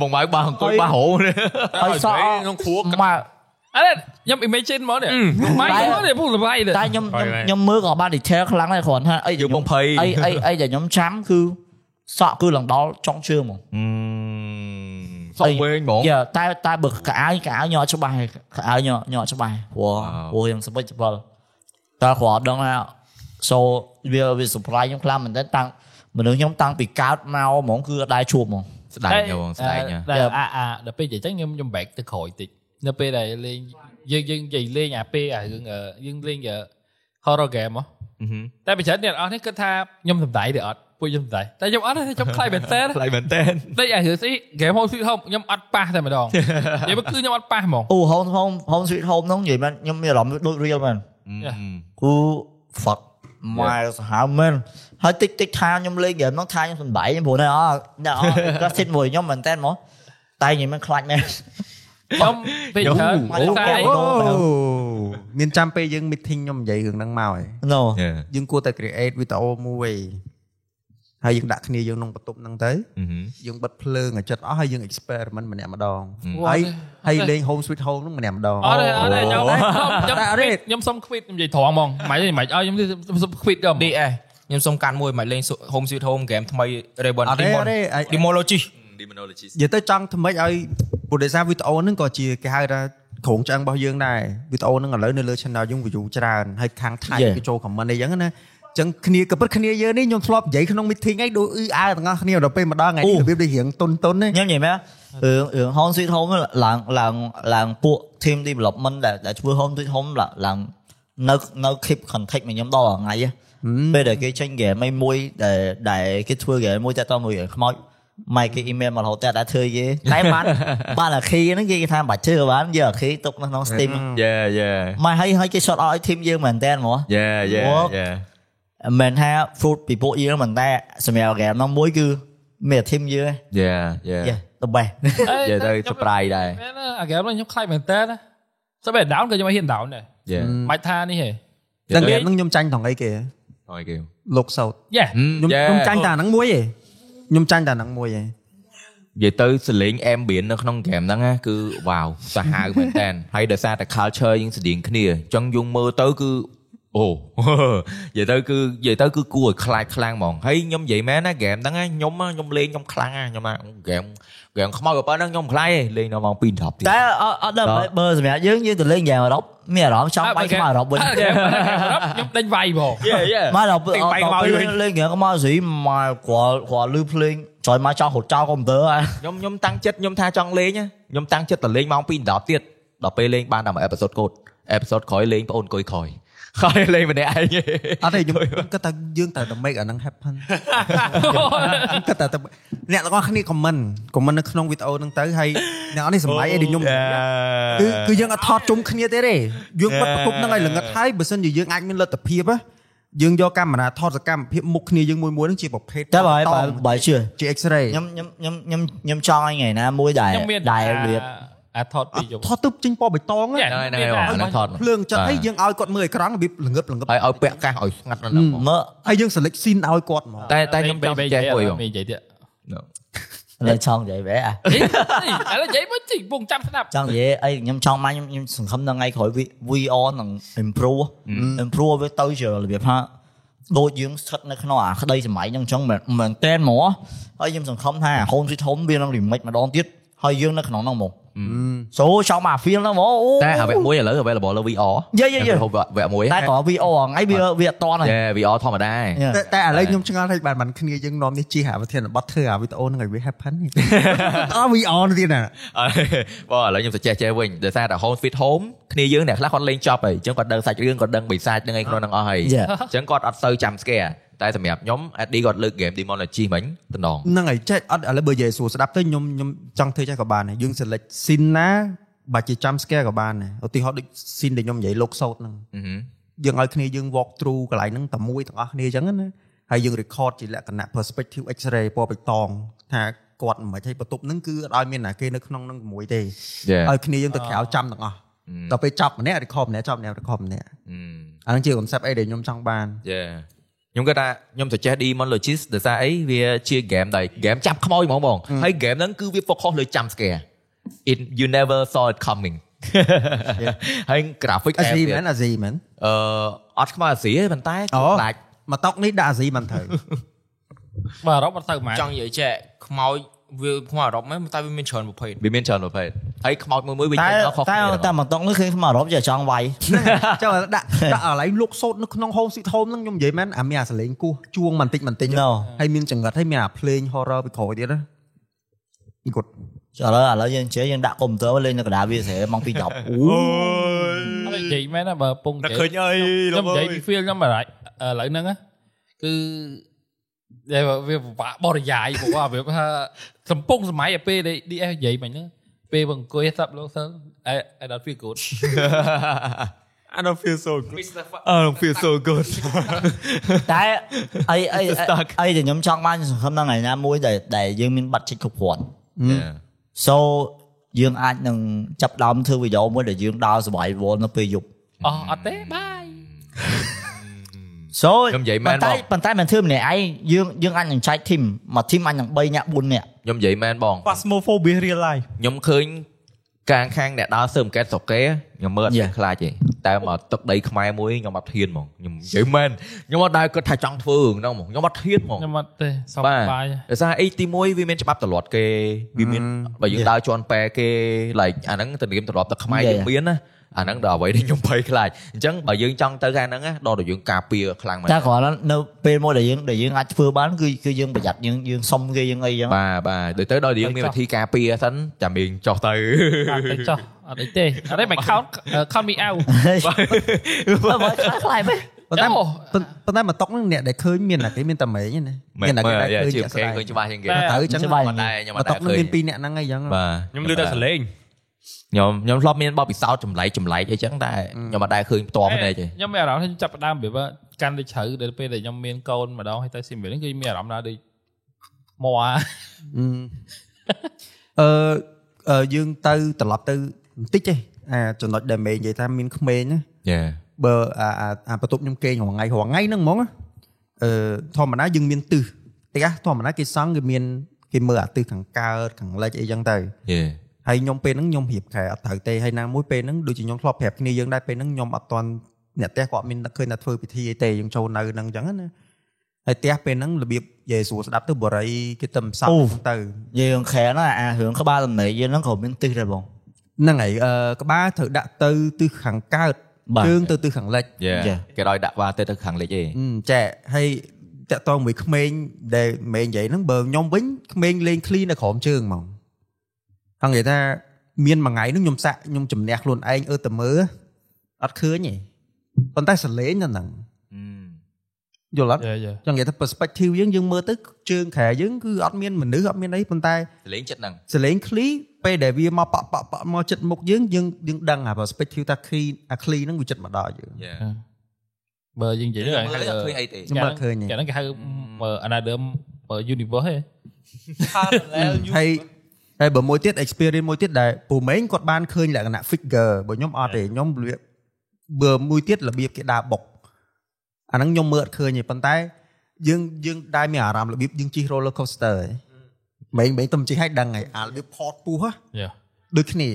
Speaker 2: បងម៉ៅបោះអង្គុយបោះហោនេះ
Speaker 6: ហើយសក់ក្នុងគ្រួម
Speaker 1: អ
Speaker 6: ក
Speaker 1: ត់ខ្ញុំ imagine មកនេះ មិនមកនេះពុកល្បាយ ទេ
Speaker 6: តែខ្ញុំខ្ញុំខ្ញុំមើលក៏បាន detail ខ្លាំងដែរគ្រាន់ថាអី
Speaker 2: យើងបងភ័យ
Speaker 6: អីអីអីដែលខ្ញុំចាំគឺសក់គឺឡើងដល់ចុងជើងហ្មង
Speaker 2: Ừ. សក់វែងហ្មង
Speaker 6: យ៉ាតែតែបើកអាយកអាយញក់ច្បាស់ហើយកអាយញក់ញក់ច្បាស់ព្រោះ
Speaker 2: Wow.
Speaker 6: ព្រោះខ្ញុំសម្បិចច្បល់តែគ្រាន់ដឹងថា so វាវា surprise ខ្ញុំខ្លាំងមែនទែនតាំងមនុស្សខ្ញុំតាំងពីកើតមកហ្មងគឺអត់ដែរជួបហ្មង
Speaker 2: ស្ដាយយោបងស្ដាយញ៉ា
Speaker 1: តែអាអាដល់ពេលចឹងខ្ញុំខ្ញុំ back ទៅក្រោយតិចនៅពេលដែលលេងយើងយើងនិយាយលេងអាពេលអារឿងយើងលេង horror game ហ៎
Speaker 2: Ừ.
Speaker 1: តែបើច្រើនអ្នកនរអស់នេះគិតថាខ្ញុំសំដាយឬអត់ពួកខ្ញុំសំដាយតែខ្ញុំអត់ទេខ្ញុំខ្លាចមែនតើ
Speaker 2: ថ្លៃមែនតើ
Speaker 1: តែអារឿងស្អី Game Home Sweet Home ខ្ញុំអត់ប៉ះតែម្ដង និយាយមកគឺខ្ញុំអត់ប៉ះហ្មង
Speaker 6: អូ home home home sweet home ហ្នឹងនិយាយមែនខ្ញុំមានអារម្មណ៍ដូច real មែន
Speaker 2: Ừ.
Speaker 6: គូ fuck មកសាហាវមែនហើយតិចតិចថាខ្ញុំលេងហ្គេមហ្នឹងថាខ្ញុំសំបីព្រោះណែអអ្នកអក៏សិតមួយខ្ញុំមែនតើមកតែនិយាយមិនខ្លាចមែន
Speaker 1: ខ្ញុំពេលច្រើន
Speaker 6: អូអូ
Speaker 1: តែ
Speaker 6: អូ
Speaker 8: មានចាំពេលយើង meeting ខ្ញុំនិយាយរឿងហ្នឹងមកហើយ
Speaker 6: no
Speaker 8: យើងគួរតែ create វីដេអូមួយហើយយើងដាក់គ្នាយើងក្នុងបន្ទប់ហ្នឹងទៅ
Speaker 2: Ừ.
Speaker 8: យើងបិទភ្លើងឲ្យចិត្តអស់ហើយយើង experiment ម្នាក់ម្ដងហើយហើយលេង home sweet home ហ្នឹងម្នាក់ម្ដង
Speaker 1: អត់ទេអត់ទេខ្ញុំខ្ញុំខ្ញុំសុំ quit ខ្ញុំនិយាយត្រង់ហ្មងមិនអីមិនអោយខ្ញុំសុំ quit ដល់
Speaker 7: DS ខ្ញុំសុំកាត់មួយមកលេង Home Sweet Home ហ្គេមថ្មី Raven
Speaker 8: អត់ទេអត់ទេអី
Speaker 7: Demology
Speaker 2: demonologist
Speaker 8: និយាយទៅចង់ធ្វើម៉េចឲ្យព្រោះដោយសារវីដេអូហ្នឹងក៏ជាគេហៅថាក្រុងឆ្អឹងរបស់យើងដែរវីដេអូហ្នឹងឥឡូវនៅលើ channel យើង view ច្រើនហើយខាងថៃ
Speaker 6: Yeah.
Speaker 8: គេចូល comment អីចឹងណា ចឹងគ្នាក៏ពិតគ្នាយើងនេះខ្ញុំធ្លាប់និយាយក្នុង meeting ឯងដូចអ៊ឺអើទាំងអស់គ្នាដល់ពេលមកដល់ថ្ងៃនេះរបៀបដូចរៀងតុនតុនហ្នឹង
Speaker 6: ខ្ញុំនិយាយមែនរឿងរឿង Home Sweet Home ឡើងឡើងឡើងពួក team development ដែលដែលធ្វើ Home Sweet Home ឡើងឡើងនៅនៅ keep contact មកខ្ញុំដល់រាល់ថ្ងៃហ៎
Speaker 8: Ừ.
Speaker 6: ពេលដែលគេចេញ game ឯមួយដែលដែលគេធ្វើ game មួយតែតមួយ game ខ្មោចមកគេ email មករហូតតែអត់ធ្វើគេតែបានបានអាខីហ្នឹងគេគេថាបាច់ធ្វើបានយកអាខីទុកនៅក្នុង Steam
Speaker 2: យេយេ
Speaker 6: មកហើយហើយគេ shot out ឲ្យ team យើងមែនតើហ្មង
Speaker 2: យេយេ
Speaker 6: Work
Speaker 2: យេ
Speaker 6: មិនថា fruit ពីពួកយើងមិនតែសម្រាប់ game ហ្នឹងមួយគឺមាន team Dạ, យើង
Speaker 2: យេយេ
Speaker 6: ឯងទៅបេះ
Speaker 2: យេទៅ surprise ដែរ
Speaker 1: មែនទេអាហ្គេមនេះខ្ញុំខ្លាចមែនតើណាតែបែរ down ក៏ខ្ញុំឲ្យហ៊ាន down ដែរ
Speaker 2: យេ
Speaker 1: បាច់ថានេះហេ
Speaker 8: ដល់ហ្គេមហ្នឹងខ្ញុំចាញ់ថងអីគេ
Speaker 2: អូយគេ
Speaker 8: លោកសោត
Speaker 1: យ៉ា
Speaker 8: ខ្ញុំខ្ញុំចាញ់តែអាហ្នឹងមួយឯងខ្ញុំចាញ់តែអាហ្នឹងមួយឯង
Speaker 2: និយាយទៅសលេង ambient នៅក្នុងហ្គេមហ្នឹងណាគឺវ៉ាវសាហាវមែន តើហើយដោយសារតែ culture យើងស្តៀងគ្នាអញ្ចឹងយើងមើលទៅគឺអូ និយាយទៅគឺនិយាយទៅគឺគួរឲ្យខ្លាចខ្លាំងហ្មងហើយខ្ញុំនិយាយមែនណាហ្គេមហ្នឹងណាខ្ញុំណាខ្ញុំលេងខ្ញុំខ្លាំងណាខ្ញុំថាហ្គេមហ្គេមខ្មោចក៏ប៉ុណ្ណឹងខ្ញុំខ្លាចឯងលេងដល់ម៉ោង2 10ទៀត
Speaker 6: តែអត់អត់ដឹង
Speaker 2: ដល់
Speaker 6: បើសម្រាប់យើងយើងទៅលេងហ្គេមអឺរ៉ុបមានអារម្មណ៍ចង់បាញ់ខ្មៅអឺរ៉ុបវិញ
Speaker 1: ហ្គេមខ្ញុំដេញវាយហ្មង
Speaker 2: យេ យេ
Speaker 6: មកដល់ពេល
Speaker 2: ទិញបាញ់ខ្មៅវិញ
Speaker 6: លេងហ្គេមខ្មៅស្រីមកគាត់គាត់លឺភ្លេងចុយមកចង់ហត់ចោលកុំព្យូទ័រហើយ
Speaker 2: ខ្ញុំខ្ញុំតាំងចិត្តខ្ញុំថាចង់លេងណាខ្ញុំតាំងចិត្តទៅលេងម៉ោង2 10ទៀតដល់ពេលលេងបានតែមួយអេផ isode កូតអេផ isode ក្រោយលេងបងអូនអង្គុយក្រោយ ហើយលេងម្នាក់ឯ ង
Speaker 8: អត់ទេខ្ញុំខ្ញុំគិតថាយើងត្រូវតែ make អាហ្នឹង happen ខ្ញុំគិតថាតែអ្នកទាំងអស់គ្នា comment comment នៅក្នុងវីដេអូហ្នឹងទៅហើយអ្នកអស់នេះសម្លាញ់អីដូចខ្ញុំ គឺគឺយើងអត់ថតជុំគ្នាទេទេយើងបិទប្រគប់ហ្នឹងឲ្យល្ងឹតហើយបើសិនជាយើងអាចមានលទ្ធភាពណាយើងយកកាមេរ៉ាថតសកម្មភាពមុខគ្នាយើងមួយមួយហ្នឹងជាប្រភេទ
Speaker 6: តែបើបើ
Speaker 8: ត
Speaker 6: បើជឿ
Speaker 8: ជា X-ray
Speaker 6: ខ្ញុំខ្ញុំខ្ញុំខ្ញុំខ្ញុំចង់ឲ្យថ្ងៃណាមួយដែរ
Speaker 1: ខ្ញុំមាន
Speaker 6: ដែររៀប
Speaker 1: អាថតពីយប់
Speaker 8: ថតទៅចេញពណ៌បៃតងហ៎
Speaker 1: យ៉ា
Speaker 2: ហើយ ណាអាហ្នឹងថត
Speaker 8: ភ្លើងចិត្តហើយយើងឲ្យគាត់មើលអេក្រង់របៀបល្ងឹតល្ងឹត
Speaker 2: ហើយឲ្យពាក់កាសឲ្យស្ងាត់នៅហ្នឹងហ្មង
Speaker 6: មើល
Speaker 8: ហើយយើង select scene ឲ្យគាត់ហ្មង
Speaker 2: តែតែខ្ញុំចង់ចេះមួយហ្មង
Speaker 1: និយាយទៀត
Speaker 6: លេងឆង់និយាយបែអា
Speaker 1: អីឥឡូវនិយាយមកជីពងចាំស្ដាប់
Speaker 6: ចង់និយាយអីខ្ញុំចង់មកខ្ញុំខ្ញុំសង្ឃឹមដល់ថ្ងៃក្រោយ V- VR នឹង improve improve វាទៅជារបៀបថាដូចយើងស្ថិតនៅក្នុងអាក្តីសម័យហ្នឹងអញ្ចឹងមែនមែនតែនហ្មងហើយខ្ញុំសង្ឃឹមថា Home Sweet Home វានឹង remake ម្ដងទៀតហើយយើងនៅក្នុងហ្នឹងហ្មង ចូលចង់មក feel ហ្នឹងហ្មងអូ
Speaker 2: តែអាវគ្គមួយឥឡូវ available លើ VR
Speaker 6: យាយយាយយាយ
Speaker 2: ហូបវគ្គមួយ
Speaker 6: តែក៏ VR ថ្ងៃវាវាអត់តន់ហើយ
Speaker 2: យេ VR ធម្មតា
Speaker 6: យេ
Speaker 8: តែតែឥឡូវខ្ញុំឆ្ងល់ថាបានបានគ្នាយើងនាំនេះជិះអាប្រធានបတ်ធ្វើអាវីដេអូហ្នឹងឲ្យវា happen ហ៎ អត់ VR ទៀតណា
Speaker 2: បងឥឡូវខ្ញុំសចេះចេះវិញដោយសារតែ home fit home គ្នាយើងអ្នកខ្លះគាត់លេងចប់ហើយអញ្ចឹងគាត់ដឹងសាច់រឿងគាត់ដឹងបិសាចនឹងឯងក្នុងហ្នឹងអស់ហើយ
Speaker 6: យេ
Speaker 2: អញ្ចឹងគាត់អត់សូវចាំ scare តែសម្រាប់ខ្ញុំ AD គាត់លើក game Demonology មិញតំណ ង
Speaker 8: ហ្នឹងហើយចេះអត់ឥឡូវបើនិយាយសួរស្ដាប់ទៅខ្ញុំខ្ញុំចង់ធ្វើចេះក៏បានដែរយើង select scene ណាបើជាចាំ scare ក៏បានដែរឧទាហរណ៍ដូច scene ដែលខ្ញុំនិយាយលោកសោតហ្នឹងយើងឲ្យគ្នាយើង walk through កន្លែងហ្នឹងតែមួយទាំងអស់គ្នាអញ្ចឹងណាហើយយើង record ជាលក្ខណៈ perspective x-ray ពណ៌បៃតងថាគាត់មិនខ្មិចហើយបន្ទប់ហ្នឹងគឺអត់ឲ្យមានអ្នកគេនៅក្នុងហ្នឹងជាមួយទេ
Speaker 2: យេ
Speaker 8: ឲ្យគ្នាយើងទៅក្រៅចាំទាំងអស់ដល់ពេលចាប់ម្នាក់ record ម្នាក់ចាប់ម្នាក់ record ម្នាក់អាហ្នឹងជា concept អីដែលខ្ញុំចង់បាន
Speaker 2: យេខ្ញុំគាត់ថាខ្ញុំសចេះ Demonology ដោយសារអីវាជា game ដែល game ចាប់ខ្មោចហ្មងបងហើយ game ហ្នឹងគឺវា focus លើចាំ scare it you never saw it coming ហើយ graphic
Speaker 8: អាស៊ី
Speaker 2: game វា
Speaker 8: មែនអាស៊ីមែន
Speaker 2: អឺអត់ខ្មៅអាស៊ីទេប៉ុន្តែ
Speaker 8: អូ
Speaker 2: គាត់
Speaker 8: ខ្លា
Speaker 2: ដា
Speaker 8: ច
Speaker 2: ច់
Speaker 8: មកតុកនេះដាក់អាស៊ីមិនត្រូវ
Speaker 1: បាទរ៉ុបអត់ទៅម៉ា
Speaker 7: ចង់និយាយចេះខ្មោចវាខ្មោចអឺរ៉ុបហ្មងតែវាមានច្រើនប្រភេទ
Speaker 2: វាមានច្រើនប្រភេទហើយខ្មោចមួយមួយៗវា
Speaker 6: តែ
Speaker 2: ចេញមកខុស
Speaker 6: តែ
Speaker 2: គ្នា
Speaker 6: តែមកតុងនេះឃើញស្មារតីចង់វាយ
Speaker 8: ចុះដាក់ដាក់ឲ្យឡៃលោកសោតនៅក្នុង home sweet home ហ្នឹងខ្ញុំនិយាយមែនអាមានអាសលេងគោះជួងបន្តិចបន្តិច
Speaker 6: ណូ
Speaker 8: ហើយមានចង្រិតហើយមានអាភ្លេង horror ពីក្រោយទៀតណាគាត់
Speaker 6: ឥឡូវឥឡូវយើងជិះយើងដាក់កុំព្យូទ័រមកលេងនៅកណ្ដាលវាស្រែម៉ោង2:10អូ
Speaker 1: និយាយមែនណាបើពង
Speaker 5: តែឃើញអី
Speaker 1: ខ្ញុំខ្ញុំនិយាយពី feel ខ្ញុំបារម្ភឥឡូវហ្នឹងណាគឺដែលវាពិបាកបរិយាយព្រោះអាវាថាសំពងសម័យឯពេលដែល DS និយាយមិញហ្នឹងពេលបងអង្គុយសាប់លោកសិន I I don't feel good
Speaker 5: អានោះ feel so good អឺ feel so good
Speaker 6: តែអីអីអីដែលខ្ញុំចង់បានសង្ឃឹមដល់ថ្ងៃណាមួយដែលដែលយើងមានប័ណ្ណចិច្ចគ្រប់គ្រាន់
Speaker 2: យេ
Speaker 6: so យើងអាចនឹងចាប់ផ្ដើមធ្វើវីដេអូមួយដែលយើងដើរ survival នៅពេលយប់
Speaker 1: អស់អត់ទេ bye
Speaker 6: so
Speaker 2: ខ្ញុំនិយាយមែន
Speaker 6: ប៉ុន្តែ
Speaker 2: បង
Speaker 6: ប៉ុន្តែមិនធ្វើម្នាក់ឯងយើងយើងអាចនឹងចែក team មក team អាចនឹង3អ្នក4អ្នក
Speaker 2: ខ្ញុំនិយាយមែនបង
Speaker 4: Phasmophobia real life
Speaker 2: ខ្ញុំឃើញកាងខាងអ្នកដើរសើមកែតស្រុកគេខ្ញុំមើលអត់មានខ្លាចទេតែមកទឹកដីខ្មែរមួយខ្ញុំអត់ធៀនហ្មងខ្ញុំនិយាយមែនខ្ញុំអត់ដែរគិតថាចង់ធ្វើហ្នឹងហ្មងខ្ញុំអត់ធៀនហ្មង
Speaker 1: ខ្ញុំអត់ទេសុខ
Speaker 2: បា
Speaker 1: ស
Speaker 2: ទ
Speaker 1: ប្បាយ
Speaker 2: ដោយសារអីទី1វាមានច្បាប់តលាត់គេវាមានបើយើងដើរជន់ប៉ែគេ like អាហ្នឹងទំនៀមទម្លាប់តែខ្មែរយើងមានណា អាហ្នឹងដល់អ្វីដែលខ្ញុំភ័យខ្លាចអញ្ចឹងបើយើងចង់ទៅខាងហ្នឹងណាដល់តែយើងការពារខ្លាំងមែន
Speaker 6: តែគ្រាន់តែនៅពេលមួយដែលយើងដែលយើងអាចធ្វើបានគឺគឺយើងប្រយ័ត្នយើងយើងសុំគេយើងអីចឹង
Speaker 2: បាទបាទដូចទៅដល់យើងមានវិធីការពារហ្នឹងចាំយើងចុះទៅ
Speaker 1: អត់ទៅចុះអត់អីទេអត់ទេមិន count count me out
Speaker 6: បើបើខ្លះខ្លាយបែប
Speaker 8: ប៉ុន្តែប៉ុន្តែមកតុកហ្នឹងអ្នកដែលឃើញមានតែគេមានតែមេញឯណា
Speaker 2: មែន
Speaker 8: តែ
Speaker 2: មើល
Speaker 8: ដែល
Speaker 2: ជា
Speaker 8: ចាក់
Speaker 2: គេ
Speaker 8: ស្ដែង
Speaker 2: ឃើញច្បាស់ជាងគេ
Speaker 1: តែ
Speaker 8: ទៅចឹង
Speaker 2: ខ្ញុំមិនដែរខ្ញុំ
Speaker 8: ម
Speaker 2: មិន
Speaker 8: ក
Speaker 2: ដែរ
Speaker 8: តុកហ្នឹង
Speaker 2: ឃើញ
Speaker 8: មានពីរអ្នកហ្នឹងអីចឹង
Speaker 2: បាទ
Speaker 5: ខ្ញុំលឺតែសលេង
Speaker 2: ខ្ញុំខ្ញុំធ្លាប់មានបបពិសោធន៍ចម្លែកចម្លែកអីចឹងតែខ្ញុំមិនដែរឃើញផ្ទាល់ភ្នែកទេ
Speaker 1: ខ្ញុំមានអារម្មណ៍ថាខ្ញុំចាប់ផ្ដើមពីបើកាន់តែជ្រៅដល់ពេលដែលខ្ញុំមានកូនម្ដងហើយទៅស៊ីមវិញគឺមានអារម្មណ៍ដល់ដូចមកអា
Speaker 8: អឺអឺយើងទៅត្រឡប់ទៅបន្តិចទេអាចំណុចដែលមេនិយាយថាមានក្មេងណា
Speaker 2: យេ
Speaker 8: បើអាអាអាបន្ទប់ខ្ញុំគេងរងថ្ងៃរងថ្ងៃហ្នឹងហ្មងណាអឺធម្មតាយើងមានទិសតិចណាធម្មតាគេសង់គេមានគេមើលអាទិសខាងកើតខាងលិចអីចឹងទៅ
Speaker 2: យេ
Speaker 8: ហើយខ្ញុំពេលហ្នឹងខ្ញុំរៀបខែអត់ត្រូវទេហើយណាមួយពេលហ្នឹងដូចជាខ្ញុំធ្លាប់ប្រាប់គ្នាយើងដែរពេលហ្នឹងខ្ញុំអត់តន់អ្នកផ្ទះគាត់មានឃើញថាធ្វើពិធីអីទេយើងចូលនៅហ្នឹងចឹងណាហើយផ្ទះពេលហ្នឹងរបៀបយេស៊ូស្ដាប់ទៅបរិយគេទៅផ្សព្វផ្សាយទៅ
Speaker 6: យើងខែណាអារឿងក្បាលដំណេកយើងហ្នឹងក៏មានទិសដែរបង
Speaker 8: ហ្នឹងហើយអឺក្បាលត្រូវដាក់ទៅទិសខាងកើត
Speaker 6: បាទ
Speaker 8: ជើងទៅទិសខាងលិច
Speaker 2: យេ
Speaker 6: Yeah.
Speaker 2: គេដល់ដាក់វ៉ាទៅទៅខាងលិចឯង
Speaker 8: អឺចាហើយតាក់តងមួយក្មេងដែលមេនិយាយហ្នឹងបើខ្ញុំវិញក្មេងលេងឃ្លីនៅក្រោមជើងហ្មងហងនិយាយថាមានមួយថ្ងៃហ្នឹងខ្ញុំសាក់ខ្ញុំជំនះខ្លួនឯងអឺតើមើលអត់ឃើញទេប៉ុន្តែសលេងនៅហ្នឹងយល់អត់
Speaker 1: Yeah, yeah.
Speaker 8: ចង់និយាយថា perspective យើងយើងមើលទៅជើងក្រែយើងគឺអត់មានមនុស្សអត់មានអីប៉ុន្តែ
Speaker 2: ទលេងចិត្តហ្នឹង
Speaker 8: សលេងឃ្លីពេលដែលវាមកប៉ប៉ប៉មកចិត្តមុខយើងយើងយើងដឹងអា perspective ថាឃ្លីអាឃ្លីហ្នឹងវាចិត្តមកដល់យើង
Speaker 2: យេ
Speaker 1: បើយើងនិយាយ
Speaker 2: យើង
Speaker 1: ហ្នឹង
Speaker 2: មើលអត់ឃើញអីទេ
Speaker 8: ខ្ញុំអត់ឃើញទេ
Speaker 1: គេហ្នឹងគេហៅមើល another មើល universe ហ៎
Speaker 8: ហើយហើយបើមួយទៀត experience មួយទៀតដែលពូម៉េងគាត់បានឃើញលក្ខណៈ figure បើខ្ញុំអត់ទេខ្ញុំរបៀបបើមួយទៀតរបៀបគេដើរបុកអាហ្នឹងខ្ញុំមើលអត់ឃើញទេប៉ុន្តែយើងយើងដែរមានអារម្មណ៍របៀបយើងជិះ roller coaster ឯងម៉េងម៉េងទៅជិះឲ្យដឹងឯងអារបៀបផតពោះហ៎
Speaker 1: Yeah.
Speaker 8: ដូចគ្នា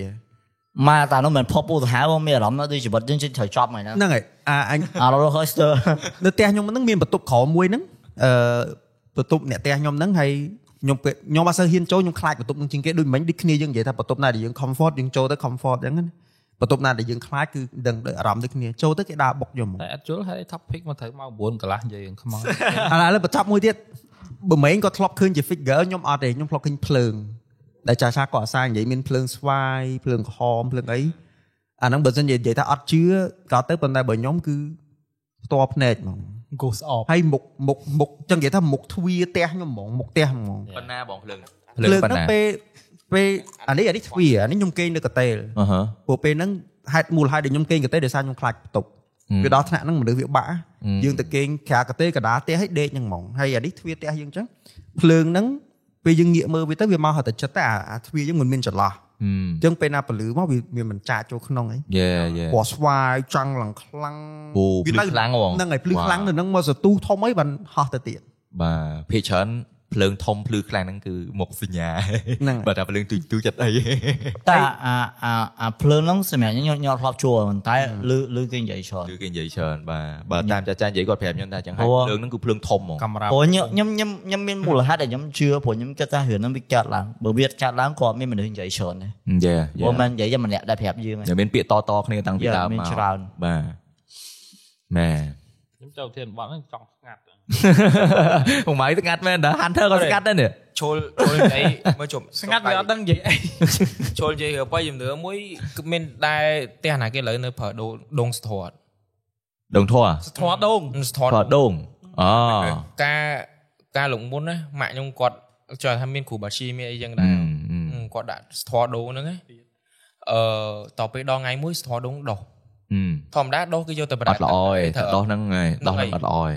Speaker 6: ម៉ែតានោះមិនផុសពូសាហាវបងមានអារម្មណ៍ថាដូចជីវិតយើងជិតត្រូវចប់ហ្មងណា
Speaker 8: ហ្នឹងឯងអាអញ
Speaker 6: អារ៉ូហូស្ទ័រ
Speaker 8: នៅផ្ទះខ្ញុំហ្នឹងមានបន្ទប់ក្រោមមួយហ្នឹងអឺបន្ទប់អ្នកផ្ទះខ្ញុំហ្នឹងហើយខ្ញុំពេលខ្ញុំអត់សូវហ៊ានចូលខ្ញុំខ្លាចបន្ទប់ហ្នឹងជាងគេដូចមិញដូចគ្នាយើងនិយាយថាបន្ទប់ណាដែលយើង comfort យើងចូលទៅ comfort អញ្ចឹងណាបន្ទប់ណាដែលយើងខ្លាចគឺដឹងដោយអារម្មណ៍ដូចគ្នាចូលទៅគេដើរបុកយកមក
Speaker 1: តែ actual ហើយ topic មកត្រូវម៉ោង9កន្លះនិយាយរឿងខ្មោច
Speaker 8: ឥឡូវបញ្ចប់មួយទៀតបើម៉េងក៏ធ្លាប់ឃើញជា figure ខ្ញុំអត់ទេខ្ញុំធ្លាប់ឃើញភ្លើងដែលចាស់ៗក៏អាសានិយាយមានភ្លើងស្វាយភ្លើងក្រហមភ្លើងអីអាហ្នឹងបើសិនជានិយាយថាអត់ជឿក៏ទៅប៉ុន្តែបើខ្ញុំគឺផ្ទាល់ភ្នែកហ្មង
Speaker 1: ghost orb
Speaker 8: ហើយមុខមុខមុខចឹងនិយាយថាមុខទ្វារផ្ទះខ្ញុំហ្មងមុខផ្ទះហ្មង
Speaker 2: ប៉ុណ្ណាបងភ្លើង
Speaker 8: ភ្លើងហ្នឹងពេលពេលអានេះអានេះទ្វារអានេះខ្ញុំគេងនៅកន្ទេល
Speaker 2: អឺហឺ
Speaker 8: ព្រោះពេលហ្នឹងហេតុមូលហេតុដែលខ្ញុំគេងកន្ទេលដោយសារខ្ញុំខ្លាចបន្ទប់វាដល់ថ្នាក់ហ្នឹងមនុស្សវាបាក់
Speaker 2: ម
Speaker 8: យើងទៅគេងក្រៅកន្ទេលកណ្ដាលផ្ទះឲ្យដេកហ្នឹងហ្មងហើយអានេះទ្វារផ្ទះយើងចឹងភ្លើងហ្នឹងពេលយើងងាកមើលវាទៅវាមកហត់តែចិត្តតែអាអាទ្វារយើងមិនមានចន្លោះចឹងពេលណាពលឺមកវាវាមិនចាកចូលក្នុងអី
Speaker 2: យេយេ
Speaker 8: ពណ៌ស្វាយចង់ឡើងខ្លាំង
Speaker 2: ពូ
Speaker 8: វា
Speaker 2: ភ្លឺ
Speaker 8: ទៅ
Speaker 2: ខ្លាំងហ្មង
Speaker 8: ហ្នឹងហើយភ្លឺខ្លាំងនៅហ្នឹងមកសន្ទុះធំអីបានហោះទៅទៀត
Speaker 2: បាទភាគច្រើនភ្លើងធំភ្លឺខ្លាំងហ្នឹងគឺមុខសញ្ញា
Speaker 8: ហ្នឹង
Speaker 2: បើថាភ្លើងទូចទូចចិត្តអី
Speaker 6: តែអាអាអាភ្លើងហ្នឹងសម្រាប់ខ្ញុំខ្ញុំអត់ធ្លាប់ជួលប៉ុន្តែលឺលឺគេនិយាយច្រើន
Speaker 2: គឺគេនិយាយច្រើនបាទបើតាមចាចានិយាយគាត់ប្រាប់ខ្ញុំថាចឹងហើយ
Speaker 6: អូ
Speaker 2: ភ្លើងហ្នឹងគឺភ្លើងធំហ្មង
Speaker 1: កាមេរ៉ា
Speaker 6: ព្រោះខ្ញុំខ្ញុំខ្ញុំខ្ញុំមានមូលហេតុដែលខ្ញុំជឿព្រោះខ្ញុំគិតថារឿងហ្នឹងវាចាត់ឡើងបើវាចាត់ឡើងក៏មានមនុស្សនិយាយច្រើនដែរ
Speaker 2: យេយេ
Speaker 6: ព្រោះមិននិយាយតែម្នាក់ដែលប្រាប់យើងឯង
Speaker 2: តែមានពាក្យតតគ្នាតាំងពី
Speaker 6: យេ
Speaker 2: ដើម
Speaker 6: មាន
Speaker 2: មក
Speaker 6: ច្រើន
Speaker 2: បាទម៉ែ
Speaker 1: ខ្ញុំចូលធានបត់ហ្នឹងចង់ស្ងាត់
Speaker 2: ហុំម៉ៃស្ងាត់មែនតា Hunter ក៏ស្ងាត់ដែរនេះ
Speaker 7: ឈុលឈុលនិយាយមើលជុំ
Speaker 1: ស្ងាត់វាអត់ដឹងនិយាយអី
Speaker 7: ឈុលនិយាយរឿងបើជំនឿមួយគឺមានដែរផ្ទះណាគេឥឡូវនៅប្រើដូងដូងស្ធាត់
Speaker 2: ដងធွာ
Speaker 1: ស្ធាត់ដូង
Speaker 7: ស្ធាត់
Speaker 2: បាទដងអូ
Speaker 7: ការការលងមុនណាម៉ាក់ខ្ញុំគាត់ចង់ថាមានគ្រូបាឈីមានអីចឹងដែរហ៊ឹមគាត់ដាក់ស្ធរដូងហ្នឹងឯងអឺតទៅពេលដល់ថ្ងៃមួយស្ធរដូងដោះធម្មតាដោះគេយកទៅប្រ
Speaker 2: អ
Speaker 7: ដា
Speaker 2: ត់ល្អឯង
Speaker 7: ទៅ
Speaker 2: ដោះហ្នឹងឯងដោះហ្នឹងអត់ល្អឯង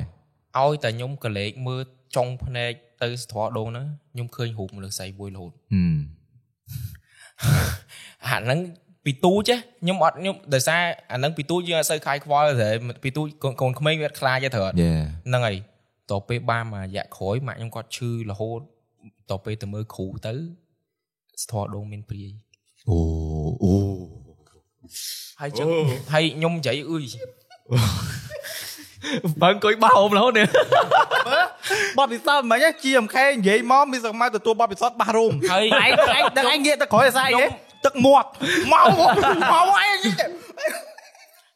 Speaker 7: ឲ្យតែខ្ញុំកលែកមើលចុងភ្នែកទៅស្ធរដូងហ្នឹងខ្ញុំឃើញរូបមនុស្សស្រីមួយរហូតអាហ្នឹងពីទូចហ៎ខ្ញុំអត់ខ្ញុំដោយសារអាហ្នឹងពីទូចយើងអត់សូវខាយខ្វល់ទេពីទូចកូនកូនក្មេងវាអត់ខ្លាចទេត្រូវអត់
Speaker 2: យេ
Speaker 7: ហ្នឹងហើយតទៅពេលបានមករយៈក្រោយម៉ាក់ខ្ញុំគាត់ឈឺរហូតតទៅពេលទៅមើលគ្រូទៅស្ធាល់ដូងមានព្រាយ
Speaker 2: អូអូ
Speaker 7: ហើយចឹងហើយខ្ញុំនិយាយអ៊ុ យ
Speaker 2: បើអង្គុយបោមរហូតនេះ
Speaker 4: បទពិសោធន៍មិនហ្នឹងជាមខេនិយាយមកមានសម័យទទួលបទពិសោធន៍បាសរូម
Speaker 7: ហើយ
Speaker 4: ឯងឯងដឹងឯងងាកទៅក្រោយអាសាយទេ
Speaker 7: ខ្ញុំ
Speaker 4: ទឹកមាត់មកមកអី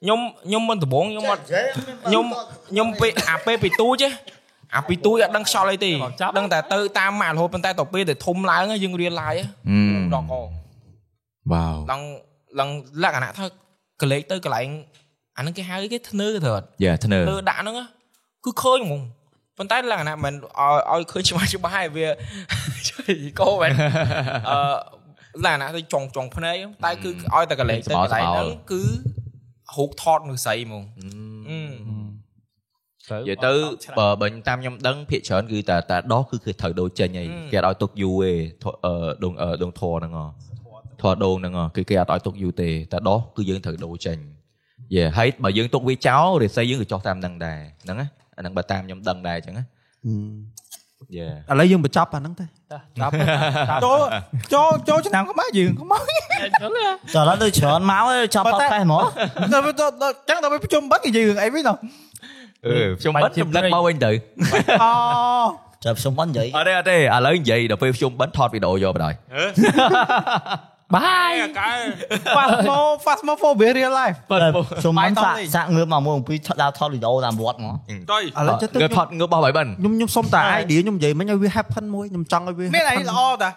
Speaker 7: ខ្ញុំខ្ញុំមិនដំបងខ្ញុំអត់ខ្ញុំខ្ញុំពេលអាពេលពីទូចឯងអាពីទូចអត់ដឹងខ្យល់អីទេដឹងតែទៅតាមម៉ាករហូតប៉ុន្តែទៅពេលទៅធំឡើងឯងយើងរៀនឡាយឯងដកក
Speaker 2: វ៉ាវ
Speaker 7: ឡើងឡើងលក្ខណៈថាកលេចទៅកន្លែងអាហ្នឹងគេហៅអីគេធ្នើទៅអត់
Speaker 2: យ៉ាធ្នើ
Speaker 7: ធ្នើដាក់ហ្នឹងហ៎គឺឃើញហ្មងប៉ុន្តែលក្ខណៈមិនឲ្យឲ្យឃើញច្បាស់ច្បាស់ឯង វាកោមែន អឺលក្ខណៈទៅចង់ចង់ភ្នែកតែគឺឲ្យតែកលេចទៅកន្លែងហ្នឹងគឺហូកថតនោះស្រីហ្មង
Speaker 2: និយាយទៅបើបាញ់តាមខ្ញុំដឹងភាកច្រើនគឺតែតែដោះគឺគេត្រូវដូរចេញអី
Speaker 7: អឺ
Speaker 2: គេអត់ឲ្យទុកយូរទេធអឺដងអឺដងធរហ្នឹងហ៎ធរដងហ្នឹងហ៎គឺគេអត់ឲ្យទុកយូរទេតែដោះគឺយើងត្រូវដូរចេញយេហើយបើយើងទុកវាចោលរិស័យយើងក៏ចោះតាមហ្នឹងដែរហ្នឹងណាអាហ្នឹងបើតាមខ្ញុំដឹងដែរអញ្ចឹងណាយេ
Speaker 8: ឥឡូវយើងបញ្ចប់អាហ្នឹងទៅ
Speaker 4: ចូលចូលចូលឆ្នាំក្បាលយើងខ្មោច
Speaker 6: ចុះឥឡូវទៅច្រើនមកហើយចាប់ប៉ុតតែ
Speaker 4: ទ
Speaker 6: ហ្មង
Speaker 4: ៅទៅចឹងទៅប្រជុំបិទនិយាយរឿងអីវិញនោះ
Speaker 2: អឺខ្ញុំបិទខ្ញុំដឹកមកវិញទៅ
Speaker 4: អូ
Speaker 6: ចាប់ខ្ញុំមិននិយាយ
Speaker 2: អត់ទេអត់ទេឥឡូវនិយាយដល់ពេលខ្ញុំបិទថតវីដេអូយកបណ្ដោយ
Speaker 7: ហើយអាកែ
Speaker 4: Phasmo Phasmophobia real life
Speaker 6: ខ្ញុំមិនសាក់សាក់ងើបមកមួយពីដល់ថតវីដេអូតាមវត្តហ្មង
Speaker 8: ឥឡូវចិត្តទៅ
Speaker 2: គេថតងើបបោះបាយបិន
Speaker 8: ខ្ញុំខ្ញុំសុំតែ idea ខ្ញុំនិយាយមិញឲ្យវា happen មួយខ្ញុំចង់ឲ្យវា
Speaker 4: មានអីល្អតា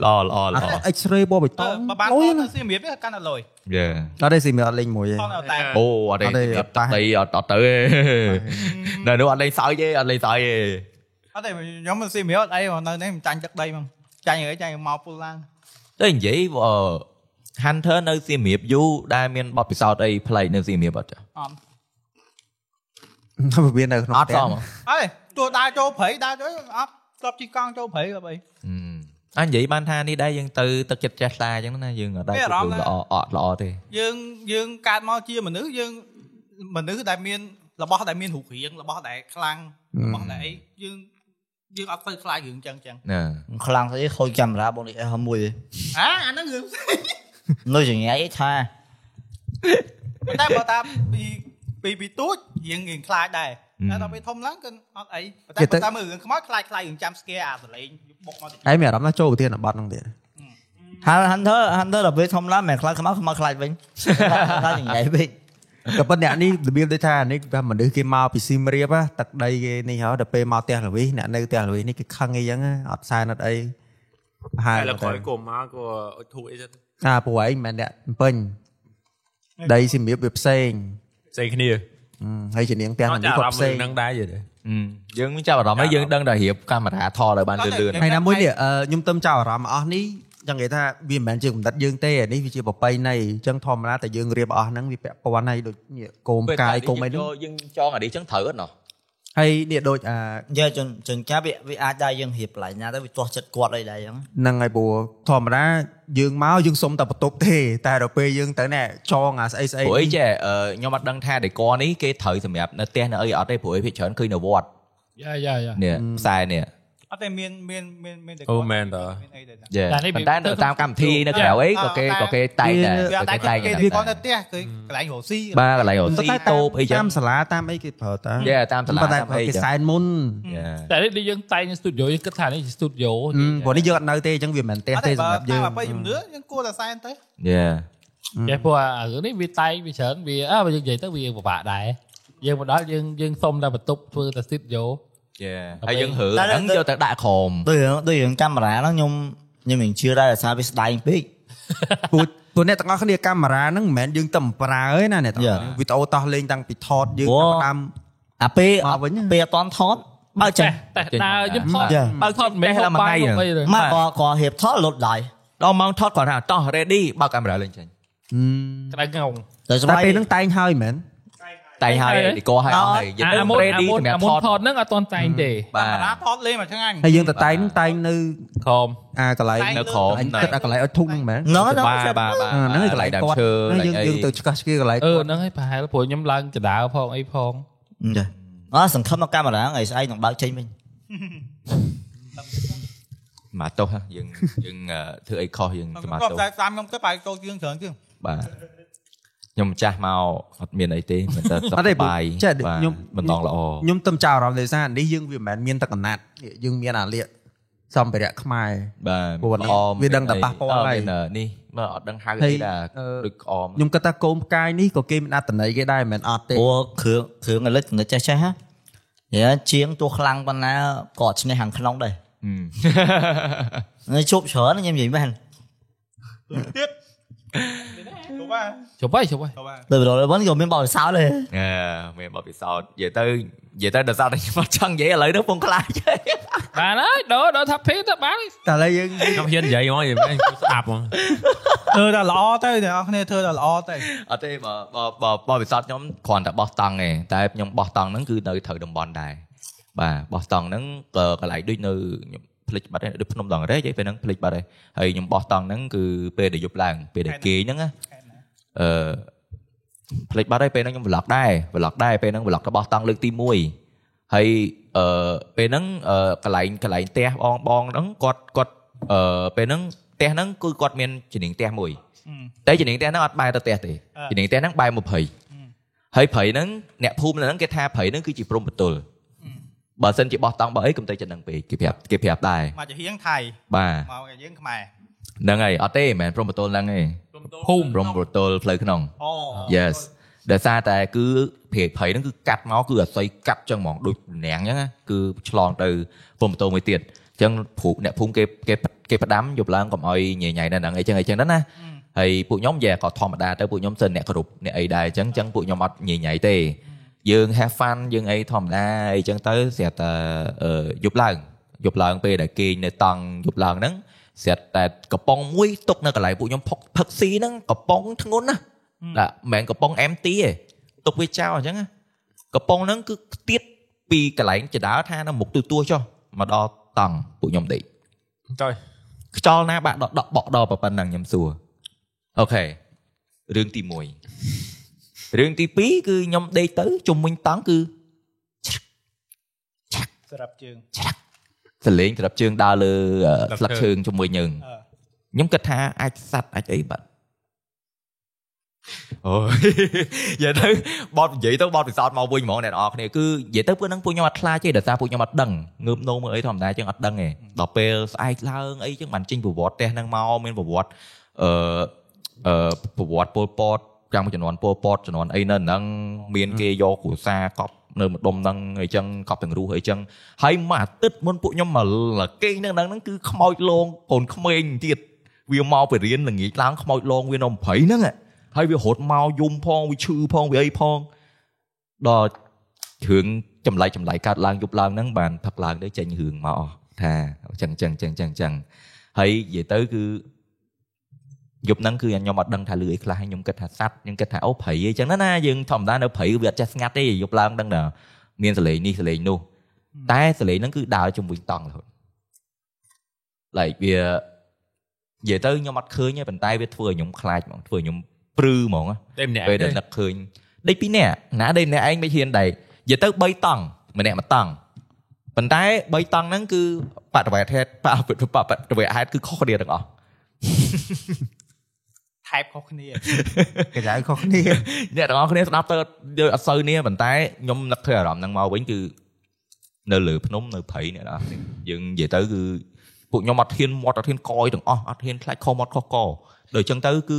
Speaker 2: ល្អល្អល្អ
Speaker 8: អា X-ray បបៃតង
Speaker 4: បើបាន
Speaker 8: អូយ
Speaker 4: ទៅសៀមរាបនេះកាន់តែលុយ
Speaker 2: យេ
Speaker 8: អត់ទេស៊ីមានអត់លេងមួយទេ
Speaker 4: ផងតែ
Speaker 2: អូអត់ទេ
Speaker 8: អត់ទេ
Speaker 2: អ
Speaker 8: អ
Speaker 2: ត់តៃអ
Speaker 8: ត់តា
Speaker 2: ត់អត់ទៅទេនៅនោះអត់លេងសើចទេអត់លេងសើចទេ
Speaker 4: អត់ទេខ្ញុំសៀមរាបអត់អីនៅនេះមិនចាញ់ទឹកដីហ្មងចាញ់ហើយចាញ់មកពុលឡើង
Speaker 2: តែនិយាយអឺ Hunter នៅសៀមរាបយូរដែលមានបទពិសោធន៍អីប្លែកនៅសៀមរាបអត់ចា
Speaker 4: អត់
Speaker 8: វាមាននៅក្នុង
Speaker 2: អត់សោះហ៎
Speaker 4: អីទោះដើរចូលព្រៃដើរចូលអត់ស្លាប់ជីកង់ចូលព្រៃអី
Speaker 2: អញនិយាយបានថានេះដែរយើងទៅទឹកចិត្តចេះតាអញ្ចឹងណាយើងអត់ដែរ
Speaker 4: មានអារ
Speaker 2: គូ
Speaker 4: ម្មណ៍
Speaker 2: ល្អអត់ល្អទេ
Speaker 4: យើងយើងកើតមកជាមនុស្សយើងមនុស្សដែលមានរបស់ដែលមានរូបរាងរបស់ដែលខ្លាំងរបស់ដែលអីយើងយើងអត់ទៅខ្លាចរឿងចឹងចឹង
Speaker 2: ណា
Speaker 6: ខ្លាំងស្អីខូចកាមេរ៉ាបងនេះអស់មួយទេ
Speaker 4: ហ៎អាហ្នឹងរឿងផ្សេង
Speaker 6: នៅចង្អែកថា
Speaker 4: ប៉ុន្តែបើតាពីពីពីទូចយើងរៀងខ្លាចដែរតែដល់ពេលធំឡើងគឺអត់អីប៉ុន្តែ
Speaker 8: គេទៅ
Speaker 4: បើតាមើលរឿងខ្មោចខ្លាចខ្លាចរឿងចាំស្គែអាសលេងបុកមកតិច
Speaker 8: ឯងមានអារម្មណ៍ថាចូលប្រធានបတ်ហ្នឹងទៀត
Speaker 6: ហាន់ Hunter Hunter ដល់ពេលធំឡើងមិនខ្លាចខ្មៅខ្មៅខ្លាចវិញតែចង្អែកវិញ
Speaker 8: ក៏ប៉ុន្តែអ្នកនេះរបៀបដូចថាអានេះវាមនុស្សគេមកពីស៊ីមរៀបណាទឹកដីគេនេះហើយដល់ពេលមកផ្ទះល្វីអ្នកនៅផ្ទះល្វីនេះគេខឹងអីចឹងណាអត់សែនអត់អីហើយ
Speaker 5: តែល
Speaker 8: តែ
Speaker 5: កក្រោយគុំមកក៏អុជធូបអីទៅ
Speaker 8: អាព្រោះឯងមិនមែនអ្នកពេញដីស៊ីមរៀបវាផ្សេង
Speaker 5: ផ្សេងគ្នា
Speaker 8: ហឹមហើយជានាងផ្ទះ
Speaker 5: អ
Speaker 8: អា
Speaker 5: ត់
Speaker 8: នេះ
Speaker 5: ចាប់អារ
Speaker 8: គាត់
Speaker 5: ម្មណ៍
Speaker 8: ផ្សេង
Speaker 5: នឹងដែរយល់ទេ
Speaker 2: អឺយើងមានចាប់អារម្មណ៍ហើយយើងដឹងតែរៀបកាមេរ៉ាថតឲ្យបានលឿនៗ
Speaker 8: ថ្ងៃណាមួយនេះអឺខ្ញុំទៅចោលអារម្មណ៍អស់នេះចង់និយាយថាវាមិនមែនជាកំណត់យើងទេអានេះវាជាប្របីនៃអញ្ចឹងធម្មតាតែយើងរៀបអស់ហ្នឹងវាពាក់ព័ន្ធហើយដូចនេះកោមកាយ
Speaker 2: ពេល
Speaker 8: កោមអីហ្នឹង
Speaker 2: តែយើងចងអានេះចឹងត្រូវអត់ណោះ
Speaker 8: ហើយនេះដូចអា
Speaker 6: និយាយចង្ចង្កាវាវាអាចដែរយើងរៀបឡើងណាទៅវាទាស់ចិត្តគាត់អីដែរអញ្ចឹង
Speaker 8: ហ្នឹងហើយព្រោះធម្មតាយើងមកយើងសុំតែបន្ទប់ទេតែដល់ពេលយើងទៅណែចងអាស្អីស្អី
Speaker 2: ព្រោះអីចេះអឺខ្ញុំអត់ដឹងថាដេកនេះគេត្រូវសម្រាប់នៅផ្ទះនៅអីអត់ទេព្រោះឯងភាគច្រើនឃើញនៅវត្ត
Speaker 1: យ៉ាយ៉ាយ៉ា
Speaker 2: នេះខ្សែនេះ
Speaker 4: អត់តែមានមានមានមានតែ
Speaker 5: អូមែនតើ
Speaker 4: មានអីដែរណា
Speaker 2: យេ
Speaker 1: តែនេះ
Speaker 2: ប៉ុន្តែ
Speaker 1: វា
Speaker 2: នៅតាមកម្មវិធីនៅក្រៅអីក៏គេ
Speaker 4: តែ
Speaker 2: ក៏គេតែងតែ
Speaker 4: វាអត់តែ
Speaker 2: គេ
Speaker 4: គេ
Speaker 2: តែងតែ
Speaker 4: គេគាត់ទៅផ្ទះគឺកន្លែងរស់ស៊ី
Speaker 2: បាទកន្លែងរស៊ីតូបអីចឹ
Speaker 8: តា
Speaker 2: ង
Speaker 8: មសាលាតាមអីគេប្រើតា
Speaker 2: យេតាមសាលា
Speaker 8: ប៉ុន្តែ
Speaker 2: តាមអី
Speaker 8: គេ
Speaker 2: ចឹង
Speaker 8: សែនមុន
Speaker 2: យេ
Speaker 1: តែនេះដូចយើងតែងនៅ studio យើងគិតថានេះជា studio
Speaker 8: ហឹមព្រោះនេះយើងអត់នៅទេអញ្ចឹងវាមិនមែនផ្ទះ
Speaker 4: អត់ទេ
Speaker 8: ទេស
Speaker 4: បើ
Speaker 8: ម្រាប់
Speaker 4: តា
Speaker 8: យើ
Speaker 4: ម
Speaker 8: ង
Speaker 4: អបិយជំនឿយើងគួរតែសែនទៅ
Speaker 2: យេ
Speaker 1: ចេះព្រោះអារឿងនេះវាតែងវាច្រើនវាអើបើយើងនិយាយទៅវាពិបាកដែរយើងមកដល់យើងយើងសុំតែបន្ទប់ធ្វើតែ studio
Speaker 2: យេហើយយើងហឺ
Speaker 6: តែ
Speaker 2: ហ្នឹងយកទៅដាក់ក្រោម
Speaker 6: ដូចរឿងដូចរឿងកាមេរ៉ាហ្នឹងខ្ញុំខ្ញុំមិនជឿដែរដោយសារវាស្ដែងពេក
Speaker 8: ព្រោះព្រោះអ្នកទាំងអស់គ្នាកាមេរ៉ាហ្នឹងមិនមែនយើងតែប្រើទេណាអ្នកទាំងអស់
Speaker 6: Yeah.
Speaker 8: គ្នាវីដេអូតោះលេងតាំងពីថតយើង
Speaker 6: ព្រោះ
Speaker 8: តាម
Speaker 6: អាពេល
Speaker 8: មកវិញហ៎
Speaker 6: ពេលអត់តន់ថតបើចេះ
Speaker 1: តែដើរខ្ញុំថត
Speaker 6: ចា
Speaker 1: បើថតមិនមែនហូបបាយហូ បអីទេ
Speaker 6: មកក៏ក៏ហៀបថតលុតដែរ
Speaker 2: ដល់ម៉ោងថតគាត់ថាតោះ ready បើកកាមេរ៉ាលេងចេញ
Speaker 1: ក្តៅងង
Speaker 6: តែ
Speaker 8: តែ
Speaker 6: ស្បែក
Speaker 8: ពេលហ្នឹងតែងហើយមែន
Speaker 2: តែងហើយ
Speaker 1: តែងហើយ
Speaker 2: ដេកឲ្យអស់ហើយយើ
Speaker 3: À,
Speaker 2: ងទៅ
Speaker 1: អាមុន
Speaker 2: ready
Speaker 1: អាមុ
Speaker 2: ស
Speaker 1: ន
Speaker 2: ម្រាប់ថត
Speaker 1: អាមុនថតហ្នឹងអត់តន់តែងទេ
Speaker 2: បា
Speaker 4: កាមេរ៉ា
Speaker 2: ទ
Speaker 4: ថតលេងមួយថ្ងៃ
Speaker 8: ហើយយើងតែតែងហ្នឹងតែងនៅ
Speaker 1: ខំ
Speaker 8: អាកន្លែង
Speaker 2: នៅក្រោម
Speaker 8: អញគិតអាកន្លែងអត់ធុកហ្នឹងមែន
Speaker 6: ហ្នឹង
Speaker 2: បាទបាទបាទ
Speaker 8: អាហ្នឹង
Speaker 2: ហើ
Speaker 8: ឯ
Speaker 2: យក
Speaker 8: ងក
Speaker 2: ន្
Speaker 8: ន
Speaker 2: លែងដើម
Speaker 8: ្លែងគា
Speaker 2: ឈើកន្លែង
Speaker 8: ត់ហ្នឹងយើងយើងទៅឆ្កាស់ឆ្កៀកន្លែង
Speaker 1: អឺ
Speaker 8: គាត់
Speaker 1: ហ្នឹងហើយប្រហែលព្រោះខ្ញុំឡើងចដាវផងអីផង
Speaker 6: ចាអស់សង្ឃឹមមកកាមេរ៉ាថ្ងៃស្អែកនឹងបើកចេញវិញ
Speaker 2: មកទោះហ៎យើងយើងអឺធ្វើអីខុសយើង
Speaker 4: ខ្ញុំ
Speaker 2: មក
Speaker 4: គាត់
Speaker 2: ទោះ
Speaker 4: តែតាមខ្ញុំទៅបាយចូលជើងច្រើនជាង
Speaker 2: បាទខ្ញុំម្ចាស់មកអត់មានអីទេមិនតែសុខ
Speaker 8: អត់ទេ
Speaker 2: សប្បាយ
Speaker 8: ចេះ
Speaker 2: បាទ
Speaker 8: ខ្ញុំ
Speaker 2: មិនដងល្អ
Speaker 8: ខ្ញុំទៅចោលអារម្មណ៍ដោយសារនេះយើងវាមិនមែនមានតែកណាត់នេះយើងមានអាលៀក សម្ភារៈខ្មែរ
Speaker 2: បាទ
Speaker 8: ព្រោះអមវាដឹងតែប៉ះពាល់ហើយ
Speaker 2: អឺមាននេះមកអត់ដឹងហៅ
Speaker 8: ហើ
Speaker 2: អី
Speaker 8: យ
Speaker 2: ដែរ
Speaker 8: អឺ
Speaker 2: ដូចក្អម
Speaker 8: ខ្ញុំគិតថាកូនផ្កាយនេះក៏គេមានអត្តន័យគេដែរមិនមែនអត់ទេ
Speaker 6: ព្រោះគ្រឿងគ្រឿងអេលិចនិចចេះចេះហ៎និយាយជាងទោះខ្លាំងប៉ុណ្ណាក៏អត់ឈ្នះខាងក្នុងដែរជប់ច្រើនខ្ញុំនិយាយមែន
Speaker 4: ទៅបាទ
Speaker 1: ជប់ហើយជប់ហើយ
Speaker 4: ទៅបាទ
Speaker 6: លើប្រដៅវិញក៏មានបោសោតដែរ
Speaker 2: អឺ មានបទពិសោធន៍និយាយទៅនិយាយទៅដល់សារតែខ្ញុំអត់ចង់និយាយឥឡូវនេះពងខ្លាចហើយ
Speaker 1: បានហើយដូរដូរថាភីទៅបានហើយ
Speaker 8: តែឥឡូវយើង
Speaker 5: ខ្ញុំហ៊ាននិយាយមកនិយាយមកស្ដាប់មក
Speaker 4: ធ្វើតែល្អទៅអ្នកនរគ្នាធ្វើតែល្អទៅ
Speaker 2: អត់ទេបើបើបើបទពិសោធន៍ខ្ញុំគ្រាន់តែបោះតង់ឯងតែខ្ញុំបោះតង់ហ្នឹងគឺនៅត្រូវតំបន់ដែរបាទបោះតង់ហ្នឹងក៏កន្លែងដូចនៅខ្ញុំភ្លេចបាត់ហើយដូចភ្នំដងរែកឯងពេលហ្នឹងភ្លេចបាត់ហើយហើយខ្ញុំបោះតង់ហ្នឹងគឺពេលដែលយប់ឡើងពេលដែលគេងហ្នឹងណាអឺភ្លេចបាត់ហើយពេលហ្នឹងខ្ញុំ vlog ដែរ vlog ដែរពេលហ្នឹង vlog របស់តង់លើកទី1ហើយអឺពេលហ្នឹងអឺកន្លែងកន្លែងផ្ទះបងបងហ្នឹងគាត់គាត់អឺពេលហ្នឹងផ្ទះហ្នឹងគឺគាត់មានជំនាញផ្ទះមួយ តែជំនាញផ្ទះហ្នឹងអត់បែរទៅផ្ទះទេជំនាញផ្ទះហ្នឹងបែរមកព្រៃហើយព្រៃហ្នឹងអ្នកភូមិនៅហ្នឹងគេថាព្រៃហ្នឹងគឺជាព្រំបន្ទល់បើសិនជាបោះតង់បោះអីកុំទៅចិត្តហ្នឹងពេកគេប្រាប់គេប្រាប់ដែរ
Speaker 4: មកចាហៀងថៃ
Speaker 2: បាទ
Speaker 4: មកចាយើងខ្មែរ
Speaker 2: ហ្នឹងហើយអត់ទេមិនមែនព្រំបន្ទល់ហ្នឹងទេភូមិព្រំបន្ទល់ផ្លូវក្នុង
Speaker 4: អូ
Speaker 2: Yes ដែលសារតែគឺព្រៃព្រៃហ្នឹងគឺកាត់មកគឺអស័យកាត់ចឹងហ្មងដូចណាំងចឹងណាគឺឆ្លងទៅព្រំបន្ទល់មួយទៀតចឹងភូមិអ្នកភូមិគេគេគេផ្ដាំយប់ឡើងកុំឲ្យញ៉ៃញ៉ៃនៅហ្នឹងអីចឹងអីចឹងហ្នឹងណា ហើយពួកខ្ញុំយ៉ាក៏ធម្មតាទៅពួកខ្ញុំសិនអ្នកគ្រប់អ្នកអីដែរអញ្ចឹងអញ្ចឹងពួកខ្ញុំអត់ញញៃទេ យើង have fun យើងអីធម្មតាអីអញ្ចឹងទៅស្រាប់តែអឺយប់ឡើងយប់ឡើងពេលដែលគេងនៅតង់យប់ឡើងហ្នឹងស្រាប់តែកំប៉ុងមួយຕົកនៅកន្លែងពួកខ្ញុំផឹកផឹកស៊ីហ្នឹងកំប៉ុងធ្ងន់ណាស់ដាក់មិនមែនកំប៉ុង empty ទេຕົកវាចោលអញ្ចឹងណាកំប៉ុងហ្នឹងគឺខ្ទាតពីកន្លែងចដាលថានៅមុខទូទួលចុះមកដល់តង់ពួកខ្ញុំដេក
Speaker 5: ចុយ
Speaker 2: ខ្យល់ណាបាក់ដកដកបក់ដល់ប៉ុណ្ណឹងខ្ញុំសួរ អូខេរឿងទី1រឿងទី2គឺខ្ញុំដេកទៅជំនាញតង់គឺ
Speaker 4: សម្រាប់ជើង
Speaker 2: សលេងក្រាប់ជើងដើរលើអឺស្លឹកឈើងជំនាញយើង
Speaker 4: អឺ
Speaker 2: ខ្ញុំគិតថាអាចសັດអាចអីបាទអូ យ និយាយទៅបត់និយាយទៅបត់ពិសោធន៍មកវិញហ្មងអ្នកនរគ្នាគឺនិយាយទៅពួកហ្នឹងពួកខ្ញុំអត់ខ្លាចទេដោយសារពួកខ្ញុំអត់ដឹងងើបនោមមើលអីធម្មតាជាងអត់ដឹងទេដល់ពេលស្អែកឡើងអីជាងបានចេញប្រវត្តិផ្ទះហ្នឹងមកមានប្រវត្តិអឺ អឺប្រវត្តិពលពតចាំមួយចំនួនពលពតចំនួនអីនៅហ្នឹងមានគេយកគ្រួសារកប់នៅម្ដុំហ្នឹងអីចឹងកប់ទាំងរស់អីចឹងហើយមួយអាទិត្យមុនពួកខ្ញុំមកលគេងនៅហ្នឹងហ្នឹងគឺខ្មោចលងកូនក្មេងទៀតវាមកពីរៀនល្ងាចឡើងខ្មោចលងវានៅ20ហ្នឹងឯងហើយវារត់មកយំផងវាឈឺផងវាអីផងដល់រឿងចម្លែកចម្លែកកើតឡើងយប់ឡើងហ្នឹងបានផឹកឡើងទៅចេញរឿងមកអស់ថាចឹងចឹងចឹងចឹងចឹងហើយនិយាយទៅគឺ យប់ហ្នឹងគឺខ្ញុំអត់ដឹងថាលឺអីខ្លះហើយខ្ញុំគិតថាសัตว์ខ្ញុំគិតថាអូព្រៃអីចឹងណាណាយើងធម្មតានៅព្រៃវាអត់ចេះស្ងាត់ទេយប់ឡើងដឹងថាមានសលេងនេះសលេងនោះតែសលេងហ្នឹងគឺដើរជាមួយតង់រហូត like វានិយាយទៅខ្ញុំអត់ឃើញទេប៉ុន្តែវាធ្វើឲ្យខ្ញុំខ្លាចហ្មងធ្វើឲ្យខ្ញុំព្រឺហ្មងណា
Speaker 5: តែម្នាក់
Speaker 2: ពេលដែល
Speaker 5: ទេ
Speaker 2: នឹកឃើញដេកពីរនាក់ណាដេកម្នាក់ឯងមិនហ៊ានដេកនិយាយទៅ3តង់ម្នាក់មួយតង់ប៉ុន្តែ3តង់ហ្នឹងគឺបដិវេតហេតុបដិបដិវេតហេតុគឺខុសគ្នាទាំងអស់
Speaker 4: ថែបខុសគ្នា
Speaker 8: កញ្ចៅខុសគ្នា
Speaker 2: អ្នកទាំងអស់គ្នាស្ដាប់ទៅយើងអត់សូវនេះប៉ុន្តែខ្ញុំនឹកឃើញអារម្មណ៍ហ្នឹងមកវិញគឺនៅលើភ្នំនៅព្រៃអ្នកទាំងអស់គ្នាយើងនិយាយទៅគឺពួកខ្ញុំអត់ហ៊ានមាត់អត់ហ៊ានកយទាំងអស់អត់ហ៊ានខ្លាចខុសមាត់ខុសកដូចចឹងទៅគឺ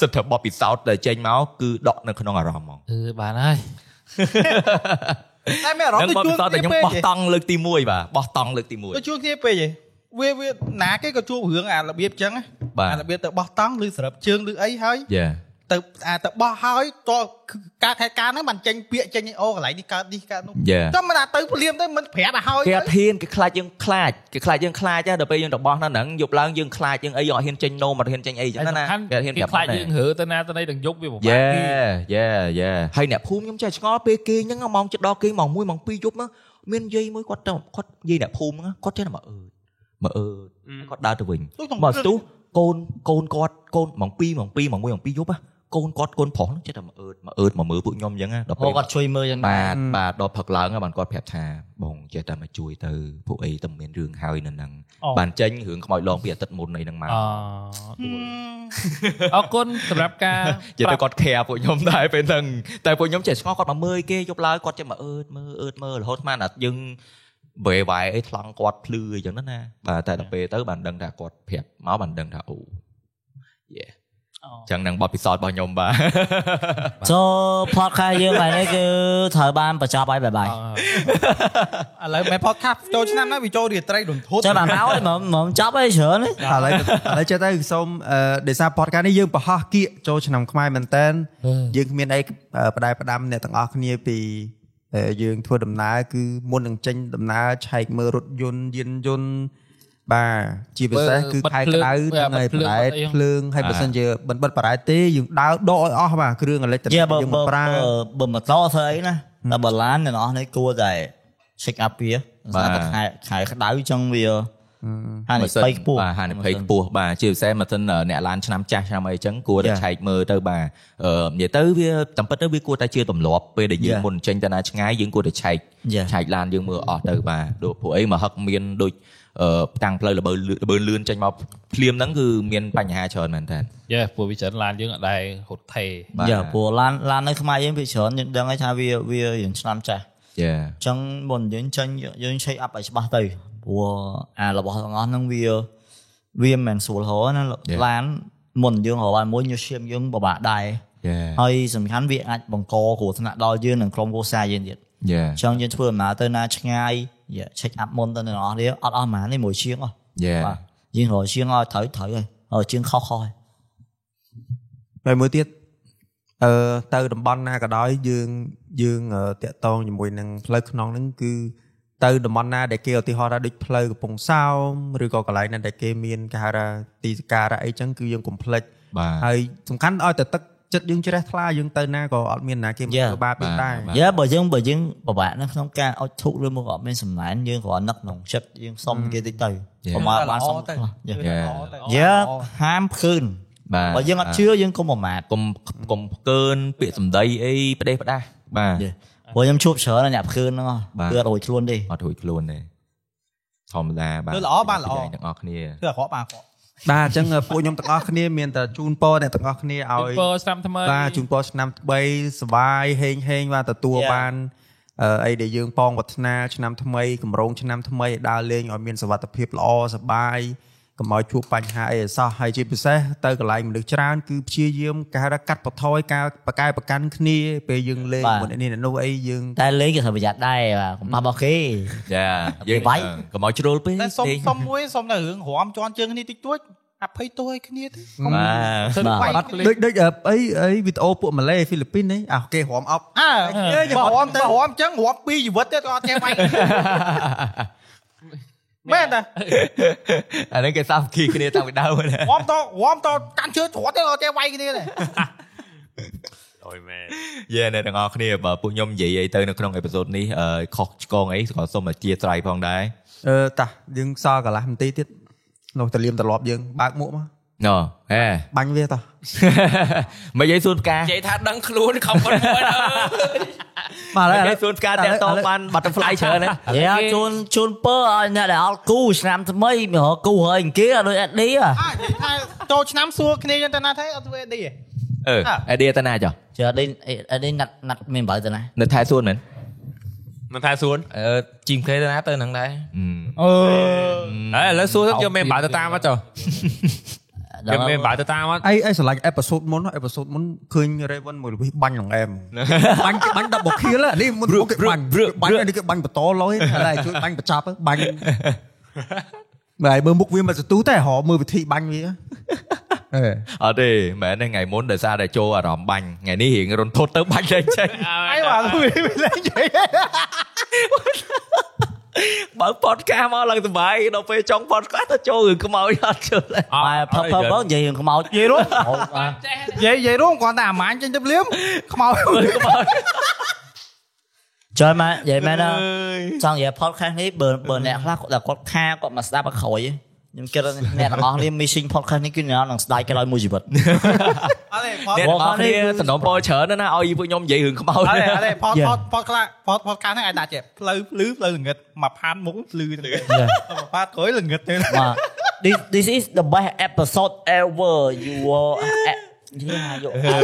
Speaker 2: សិទ្ធិបបពិសោធន៍ដែលចេញមកគឺដកនៅក្នុងអារម្មណ៍ហ្មង
Speaker 1: អឺបានហើយ
Speaker 4: តែមានអារម្ម
Speaker 2: ហ្នឹង
Speaker 4: ណ៍
Speaker 2: បប
Speaker 4: ដូច
Speaker 2: ពិសោធន៍
Speaker 4: ជួន
Speaker 2: តែ
Speaker 4: គ្នា
Speaker 2: ខ្ញុំ
Speaker 4: ពេក
Speaker 2: បោះតង់លើកទី1បាទបោះតង់លើកទី
Speaker 4: ដូចជួនគ្នាពេកឯងវាវាណាគេក៏ជួបរឿងអារបៀបចឹងណា
Speaker 2: 1បាទ
Speaker 4: អារបៀបទៅបោះតង់ឬសម្រាប់ជើងឬអីហើយ
Speaker 2: យ៉ា
Speaker 4: ទៅអាទៅបោះហើយតការខេតការហ្នឹងបានចេញពាក្យចេញអីអូកន្លែងនេះកើតនេះកើតនោះ
Speaker 2: យ៉ា
Speaker 4: តែមិនថាទៅព្រាមទៅមិនប្រាប់ឲ្យហើយ
Speaker 2: គេអត់ហ៊ានគេខ្លាចយើងខ្លាចគេខ្លាចយើងខ្លាចណាដល់ពេលយើងរបស់ហ្នឹងហ្នឹងយប់ឡើងយើងខ្លាចយើងអីយើងអត់ហ៊ានចេញនោមអត់ហ៊ានចេញអីចឹងណា
Speaker 1: សំខាន់
Speaker 2: គេអត់ហ៊ាន
Speaker 1: គេ
Speaker 2: ប្រាប់
Speaker 1: ខ្លាច
Speaker 2: ហ្នឹង
Speaker 1: យើងរើទៅណាទៅណីទាំងយប់វាពិបា
Speaker 2: យ៉ា
Speaker 1: កគេ
Speaker 2: យ៉ាយ៉ាហើយអ្នកភូមិខ្ញុំចេះឆ្ងល់ពេលគេងហ្នឹងម៉ោងចិត្តដល់គេងម៉ោង1ម៉ោង2យប់ហ្នឹងមានយាយមួយគាត់ទៅគាត់យាយអ្នកភូមិហ្នឹងគាត់ចេះតែមកអឺមកអឺគាត់ដើរទៅវិញ
Speaker 4: ដូចក្នុង
Speaker 2: មកស្ទុះកូនកូនគាត់កូនម៉ោង2ម៉ោង2ម៉ោង1ម៉ោង2យប់ហ៎កូនគាត់កូនប្រុសហ្នឹងចេះតែមកអឺមកអឺមកមើលពួកខ្ញុំអញ្ចឹងណាដល់ពេ
Speaker 6: ព្រោះ
Speaker 2: ល
Speaker 6: គាត់ជួយមើលយ៉ាង
Speaker 2: បាទបាទដល់ផឹកឡើងហើយបានគាត់ប្រាប់ថាបងចេះតែមកជួយទៅពួកអីតែមានរឿងហើយនៅហ្នឹងបានចេញរឿងខ្មោចឡងពីអាទិត្យមុនអីហ្នឹងមក
Speaker 1: អ Ừ. អរគុណសម្រាប់ការ
Speaker 2: និយាយទៅគាត់ care ពួកខ្ញុំដែរពេលហ្នឹងតែពួកខ្ញុំចេះស្គាល់គាត់មកមើលគេយប់ឡើងគាត់ចេះមកអឺតមើលអឺតមើលរហូតស្មានថាយើង វេវាយអីថ្លង់គាត់ភ្លឺអីចឹងណាបាទតែដល់ពេលទៅបានដឹងថាគាត់ប្រាប់មកបានដឹងថាអូយេចឹងនឹងបទពិសោធន៍របស់ខ្ញុំបាទ
Speaker 6: ចូល podcast យើងបែរនេះគឺត្រូវបានបញ្ចប់ហើយបាយបាយ
Speaker 4: ឥឡូវមែន podcast ចូលឆ្នាំនេះវាចូលរាត្រីរន្ធត់
Speaker 6: ចូលបានមកហើយមកមកចប់ហើយច្រើនទេ
Speaker 8: ឥឡូវឥឡូវចេះទៅសូមអឺដេសាផតកានេះយើងប្រហោះគៀកចូលឆ្នាំខ្មែរមែនតើយើងគ្មានអីអឺផ្ដាយផ្ដាំអ្នកទាំងអស់គ្នាពីអឺយើងធ្វើដំណើរគឺមុននឹងចេញដំណើរឆែកមើលរថយន្តយានយន្តបាទជាពិសេសគឺ
Speaker 1: បើ
Speaker 8: ខែ
Speaker 1: បិទភ្លើង
Speaker 8: ក្ដៅ
Speaker 1: បាទ
Speaker 8: ថ្ងៃ
Speaker 1: បិទភ្លើង
Speaker 8: ប្រែត
Speaker 1: អីហ្នឹង
Speaker 8: ភ្លើងហើយបើសិនជាបិទបិទប្រែតទេយើងដើរដកឲ្យអស់បាទគ្រឿងអេឡិចត្រូនិ
Speaker 6: យើ
Speaker 8: ក
Speaker 6: បើ
Speaker 8: យើង
Speaker 6: បើ
Speaker 8: មិនប្រើ
Speaker 6: បើបើម៉ូតូធ្វើអីណាតែបើឡានអ្នកនរនេះគួរតែ check up វា
Speaker 2: បា
Speaker 6: បាទ ទខែខែក្ដៅចឹងវាហា និ
Speaker 2: ម៉ាស៊ី
Speaker 6: ភ័យខ្ពស់
Speaker 2: បាទហានិភ័យខ្ពស់បាទជាពិសេសម៉ាស៊ីនអ្នកឡានឆ្នាំចាស់ឆ្នាំអីចឹងគួរតែ
Speaker 8: Yeah.
Speaker 2: ឆែកមើលទៅបាទអឺនិយាយទៅវាតាមពិតទៅវាគួរតែជាទម្លាប់ពេលដែលយើង
Speaker 8: Yeah.
Speaker 2: មុនចេញទៅណាឆ្ងាយយើងគួរតែឆែក
Speaker 6: យ៉ា
Speaker 2: ឆែកឡានយើងមើលអស់ទៅបាទដូចពួកអីមកហឹកមានដូចអឺតាំងផ្លូវលបើលឿនលបើលឿនចេញមកភ្លាមហ្នឹងគឺមានបញ្ហាច្រើនមែនតើ
Speaker 1: យេពួកវាច្រើនឡានយើងអត់ដែរហត់ថេ
Speaker 2: បាទ
Speaker 6: យ៉ាព្រោះឡានឡាននៅខ្មែរយើងវាច្រើនយើងដឹងហើយថាវាវាយើងឆ្នាំចាស់
Speaker 2: យ៉ា
Speaker 6: ចឹងមុនយើងចេញយើង check up ឲ្យច្បាស់ទៅព្រោះអារបស់ទាំងអស់ហ្នឹងវាវាមិនមែនស្រួលហៅណាឡានមុនយើងរកបានមួយញើសឈាមយើងពិបាកដែរ
Speaker 2: យ៉ា
Speaker 6: ហើយសំខាន់វាអាចបង្កគ្រោះថ្នាក់ដល់យើងនិងក្រុមគ្រួសារយើងទៀត
Speaker 2: យ៉ា
Speaker 6: ចឹងយើងធ្វើដំណើរទៅណាឆ្ងាយយ៉ា check up មុនទៅទាំងអស់នេះអត់អស់ហ្មងនេះមួយឈៀងអស់
Speaker 2: យ៉ា
Speaker 6: បាទយើងរកឈៀងឲ្យត្រូវត្រូវហើយហើយឈៀងខុសខុសហើយ
Speaker 8: ហើយមួយទៀតអឺទៅតំបន់ណាក៏ដោយយើងយើងអឺតាក់តងជាមួយនឹងផ្លូវខ្នងហ្នឹងគឺទៅតំបន់ណាដែលគេឧទាហរណ៍ថាដូចផ្លូវកំពង់សោមឬក៏កន្លែងណាដែលគេមានគេហៅថាទីសក្ការៈអីចឹងគឺយើងកុំភ្លេច
Speaker 2: បាទ
Speaker 8: ហើយសំខាន់ឲ្យតែទឹកចិត្តយើងជ្រះថ្លាយើងទៅណាក៏អត់មានណាគេមកធ្វើបាបយើងដែរ
Speaker 2: បាទ
Speaker 6: យើបើយើងបើយើងពិបាកនៅក្នុងការអុជធុកឬមកអត់មានសំណែនយើងគ្រាន់នឹកក្នុងចិត្តយើងសុំគេតិចទៅ
Speaker 2: យ៉ា
Speaker 6: ប្រមាណបានសុំ
Speaker 4: ទៅ
Speaker 6: ខ្លះយ៉ា
Speaker 2: Yeah.
Speaker 6: យើងហាមឃើញ
Speaker 2: បាទ
Speaker 6: បើយើងអត់ជឿយើងកុំប្រមាថ
Speaker 2: កុំកុំផ្កើនពាក្យសម្ដីអីផ្ដេសផ្ដាសបាទ
Speaker 6: ព្រោះខ្ញុំជួបច្រើនណាស់អ្នកឃើញហ្នឹងហ៎
Speaker 2: បាទ
Speaker 6: គឺអត់រួចខ្លួនទេ
Speaker 2: អត់រួចខ្លួនទេធម្មតាបាទ
Speaker 4: ធ្វើល្អបានល្អ
Speaker 2: ពីទាំងអស់គ្នា
Speaker 4: គឺអក្រក់បានអក្រក់
Speaker 8: បាទអញ្ចឹងអឺពួកខ្ញុំទាំងអស់គ្នាមានតែជូនពរអ្នកទាំងអស់គ្នាឲ្យ
Speaker 1: ពើឆ្នាំថ្មី
Speaker 8: បាទជូនពរឆ្នាំ3សុបាយហេងហេងបាទទទួលបានអឺអីដែលយើងប៉ងវឌ្ឍនាឆ្នាំថ្មីកម្រងឆ្នាំថ្មីឲ្យដើរលេងឲ្យមានសុវត្ថិភាពល្អសុបាយកុំឲ្យជួបបញ្ហាអីអសោះហើយជាពិសេសទៅកន្លែងមនុស្សច្រើនគឺព្យាយាមការកាត់បន្ថយការបកកែប្រកាន់គ្នាពេលយើងលេងជាមួយអ្នកនេះអ្នកនោះអីយើង
Speaker 6: តែលេងក៏ត្រូវប្រយ័ត្នដែរបាទកុំប៉ះបោះគេ
Speaker 2: ចាយើង
Speaker 6: វាយ
Speaker 2: កុំឲ្យជ្រុលពេក
Speaker 4: តែសុំ
Speaker 2: ទេ
Speaker 4: សុំមួយសុំតែរឿងរំជន់ជើងគ្នាតិចតួចអភ័យទោសឲ្យគ្នាទៅ
Speaker 2: បា
Speaker 1: ទៅ
Speaker 6: បាទ
Speaker 1: បាត់លេខ
Speaker 8: ដូចដូចអឺអីអីវីដេអូពួកម៉ាឡេហ្វីលីពីនហ្នឹងអោះគេរំអប់
Speaker 4: អើបើរំទៅរំចឹងរំពីជីវិតទៀតក៏អត់ចេះវាយមែនតា
Speaker 2: ទអាហ្នឹងគេសាមគ្គីគ្នាតាំងពីដើមណា
Speaker 4: រំតរំតកាន់ជើងច្រត់ទៀតក៏អត់ចេះវាយគ្នាដែរ
Speaker 5: អុយមែន
Speaker 2: យេអ្នកទាំងអស់គ្នាបើពួកខ្ញុំនិយាយអីទៅនៅក្នុងអេពីសូតនេះអឺខុសឆ្គងអីក៏សូមអធិស្ឋានផងដែរ
Speaker 8: អឺតាយើងសល់កន្លះនាទីទៀតនោះទៅលាមត្រឡប់យើងបើកមួកមក
Speaker 2: ណ៎ហេ
Speaker 8: បាញ់វាតោះ
Speaker 2: មិននិយាយសួនផ្កា
Speaker 7: និយាយថាដឹងខ្លួនខំប៉ុនមួយអើយ
Speaker 8: បាទឥ
Speaker 2: និ
Speaker 8: ឡូ
Speaker 2: យា
Speaker 8: វឥឡូវ
Speaker 2: យសួនផ្កាតាក់តងបាន butterfly ច្រើនណាស់
Speaker 6: យ៉ាជូនជូនពើឲ្យអ្នកដែលអត់គូឆ្នាំថ្មីមករកគូហើយអង្គាដូចអត់ឌីហ៎
Speaker 4: អើនិយាយថាចូលឆ្នាំសួរគ្នាយើងទៅណាទេអត់ធ្វើអីទេ
Speaker 2: អឺ
Speaker 4: អ่ะ
Speaker 2: អេឌីតាណាចុះ
Speaker 6: ជឿអត់ឌីអត់ឌីណាត់ណាត់មានបើទៅណា
Speaker 2: នៅថែសួនមែន
Speaker 5: មិនថាសួន
Speaker 7: អឺជីមគេទៅណាទៅនឹងដែរ
Speaker 2: អឺ
Speaker 4: អ
Speaker 5: ហើ
Speaker 4: ឺ
Speaker 5: យឥឡូវសួនទៅយកមេបាទៅតាមមកចុះ
Speaker 6: ដ
Speaker 5: យកមេ
Speaker 6: ល់
Speaker 5: បាទៅតាមមក
Speaker 8: អីអីស្រឡាញ់អេផ isode មុនអេផ isode មុនឃើញ Raven មួយលវិសបាញ់ក្នុងអែម បាញ់បាញ់10បុកខៀលហ៎នេះមុនមុនគេបាញ់បាញ់នេះគេបាញ់បន្តលយឥឡូវជួយបាញ់បញ្ចប់ហ៎បាញ់បាទហើយមើលមុខវាមិនសន្ទូទេហៅមើលវិធីបាញ់វាអេ
Speaker 2: អត់ទេមែនទេថ្ងៃមុនដោយសារតែចូលអារម្មណ៍បាញ់ថ្ងៃនេះរៀងរន្ធត់ទៅបាញ់តែចេញ
Speaker 4: អីបាទវាលេង ចេះ
Speaker 2: បើ podcast មកឡើងសុបាយដល់ពេលចង់ podcast ទៅចូលរឿងខ្មោចអត់ជើឡើយ
Speaker 6: តែផឹបផឹបនិយាយរឿងខ្មោចនិយាយរួម
Speaker 4: និយាយនិយាយរួមគ្រាន់តែអាម៉ាញចេញទៅភ្លាមខ្មោច
Speaker 6: ចូលមកនិយាយមែនណា ចង់និយាយ podcast នេះបើបើអ្នកខ្លះគាត់ដែលគាត់ខាគាត់មកស្ដាប់ឲ្យក្រោយខ្ញុំគិតថាអ្នកទាំងអស់គ្នា missing podcast នេះគឺអ្នកនឹងស្ដាយគេឲ្យមួយជីវិត
Speaker 4: អត់ទេផត
Speaker 2: អ្នកទាំងអស់គ្នាសំណូមពរច្រើនណាស់ឲ្យពួកខ្ញុំនិយាយរឿងខ្មោច
Speaker 4: អត់ទេអត់ទេផត
Speaker 6: Yeah.
Speaker 4: ផតផតខ្លះផតផតកាសហ្នឹងអាចដាក់ចេះផ្លូវភ្លឺផ្លូវល្ងឹតមកផានមុខភ្លឺទៅមកផាតក្រោយល្ងឹតទៅ
Speaker 6: បាទ this this is the best episode ever you will យីណាយកអើ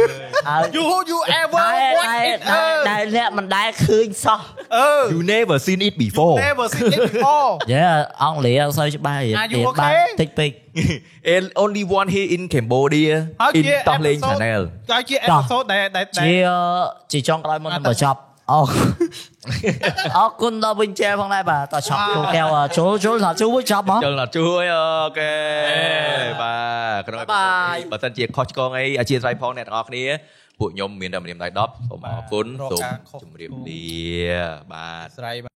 Speaker 6: អើ
Speaker 4: you you ever
Speaker 6: តែ
Speaker 4: watch
Speaker 6: តែ
Speaker 4: it
Speaker 6: តែតែអ្នកមិនដែលឃើញសោះ
Speaker 4: អឺ
Speaker 2: You never seen it before
Speaker 4: never seen it before
Speaker 6: យេអង់គ្លេសអត់សូវច្បាស់ទេ
Speaker 4: Are you
Speaker 6: ទៀត
Speaker 4: okay?
Speaker 6: បានតិចពេក
Speaker 2: And only one here in Cambodia
Speaker 4: ហើយ
Speaker 2: in
Speaker 4: ជា
Speaker 2: Top Lane
Speaker 4: episode
Speaker 2: Channel
Speaker 4: ហើយជា episode ដែលដែលដែល
Speaker 6: ជាជាចុងក្រោយមុននឹងបញ្ចប់អរអរគុណដល់វិញជែផងដែរបាទតោះចប់គូកែវចូលចូលដល់ជួបចប់មក
Speaker 2: ចូលដល់ជួយអូខេបាទក្នុង episode នេះបើសិនជាខុសឆ្គងអីអធិស្ឋានផងអ្នកទាំងអស់គ្នាពួកខ្ញុំមានតែម្រាមដៃ10សូមអរគុណ
Speaker 4: រក
Speaker 2: សូម
Speaker 4: ការខុស
Speaker 2: ជម្រាបលាបាទ
Speaker 4: ស្រ័យ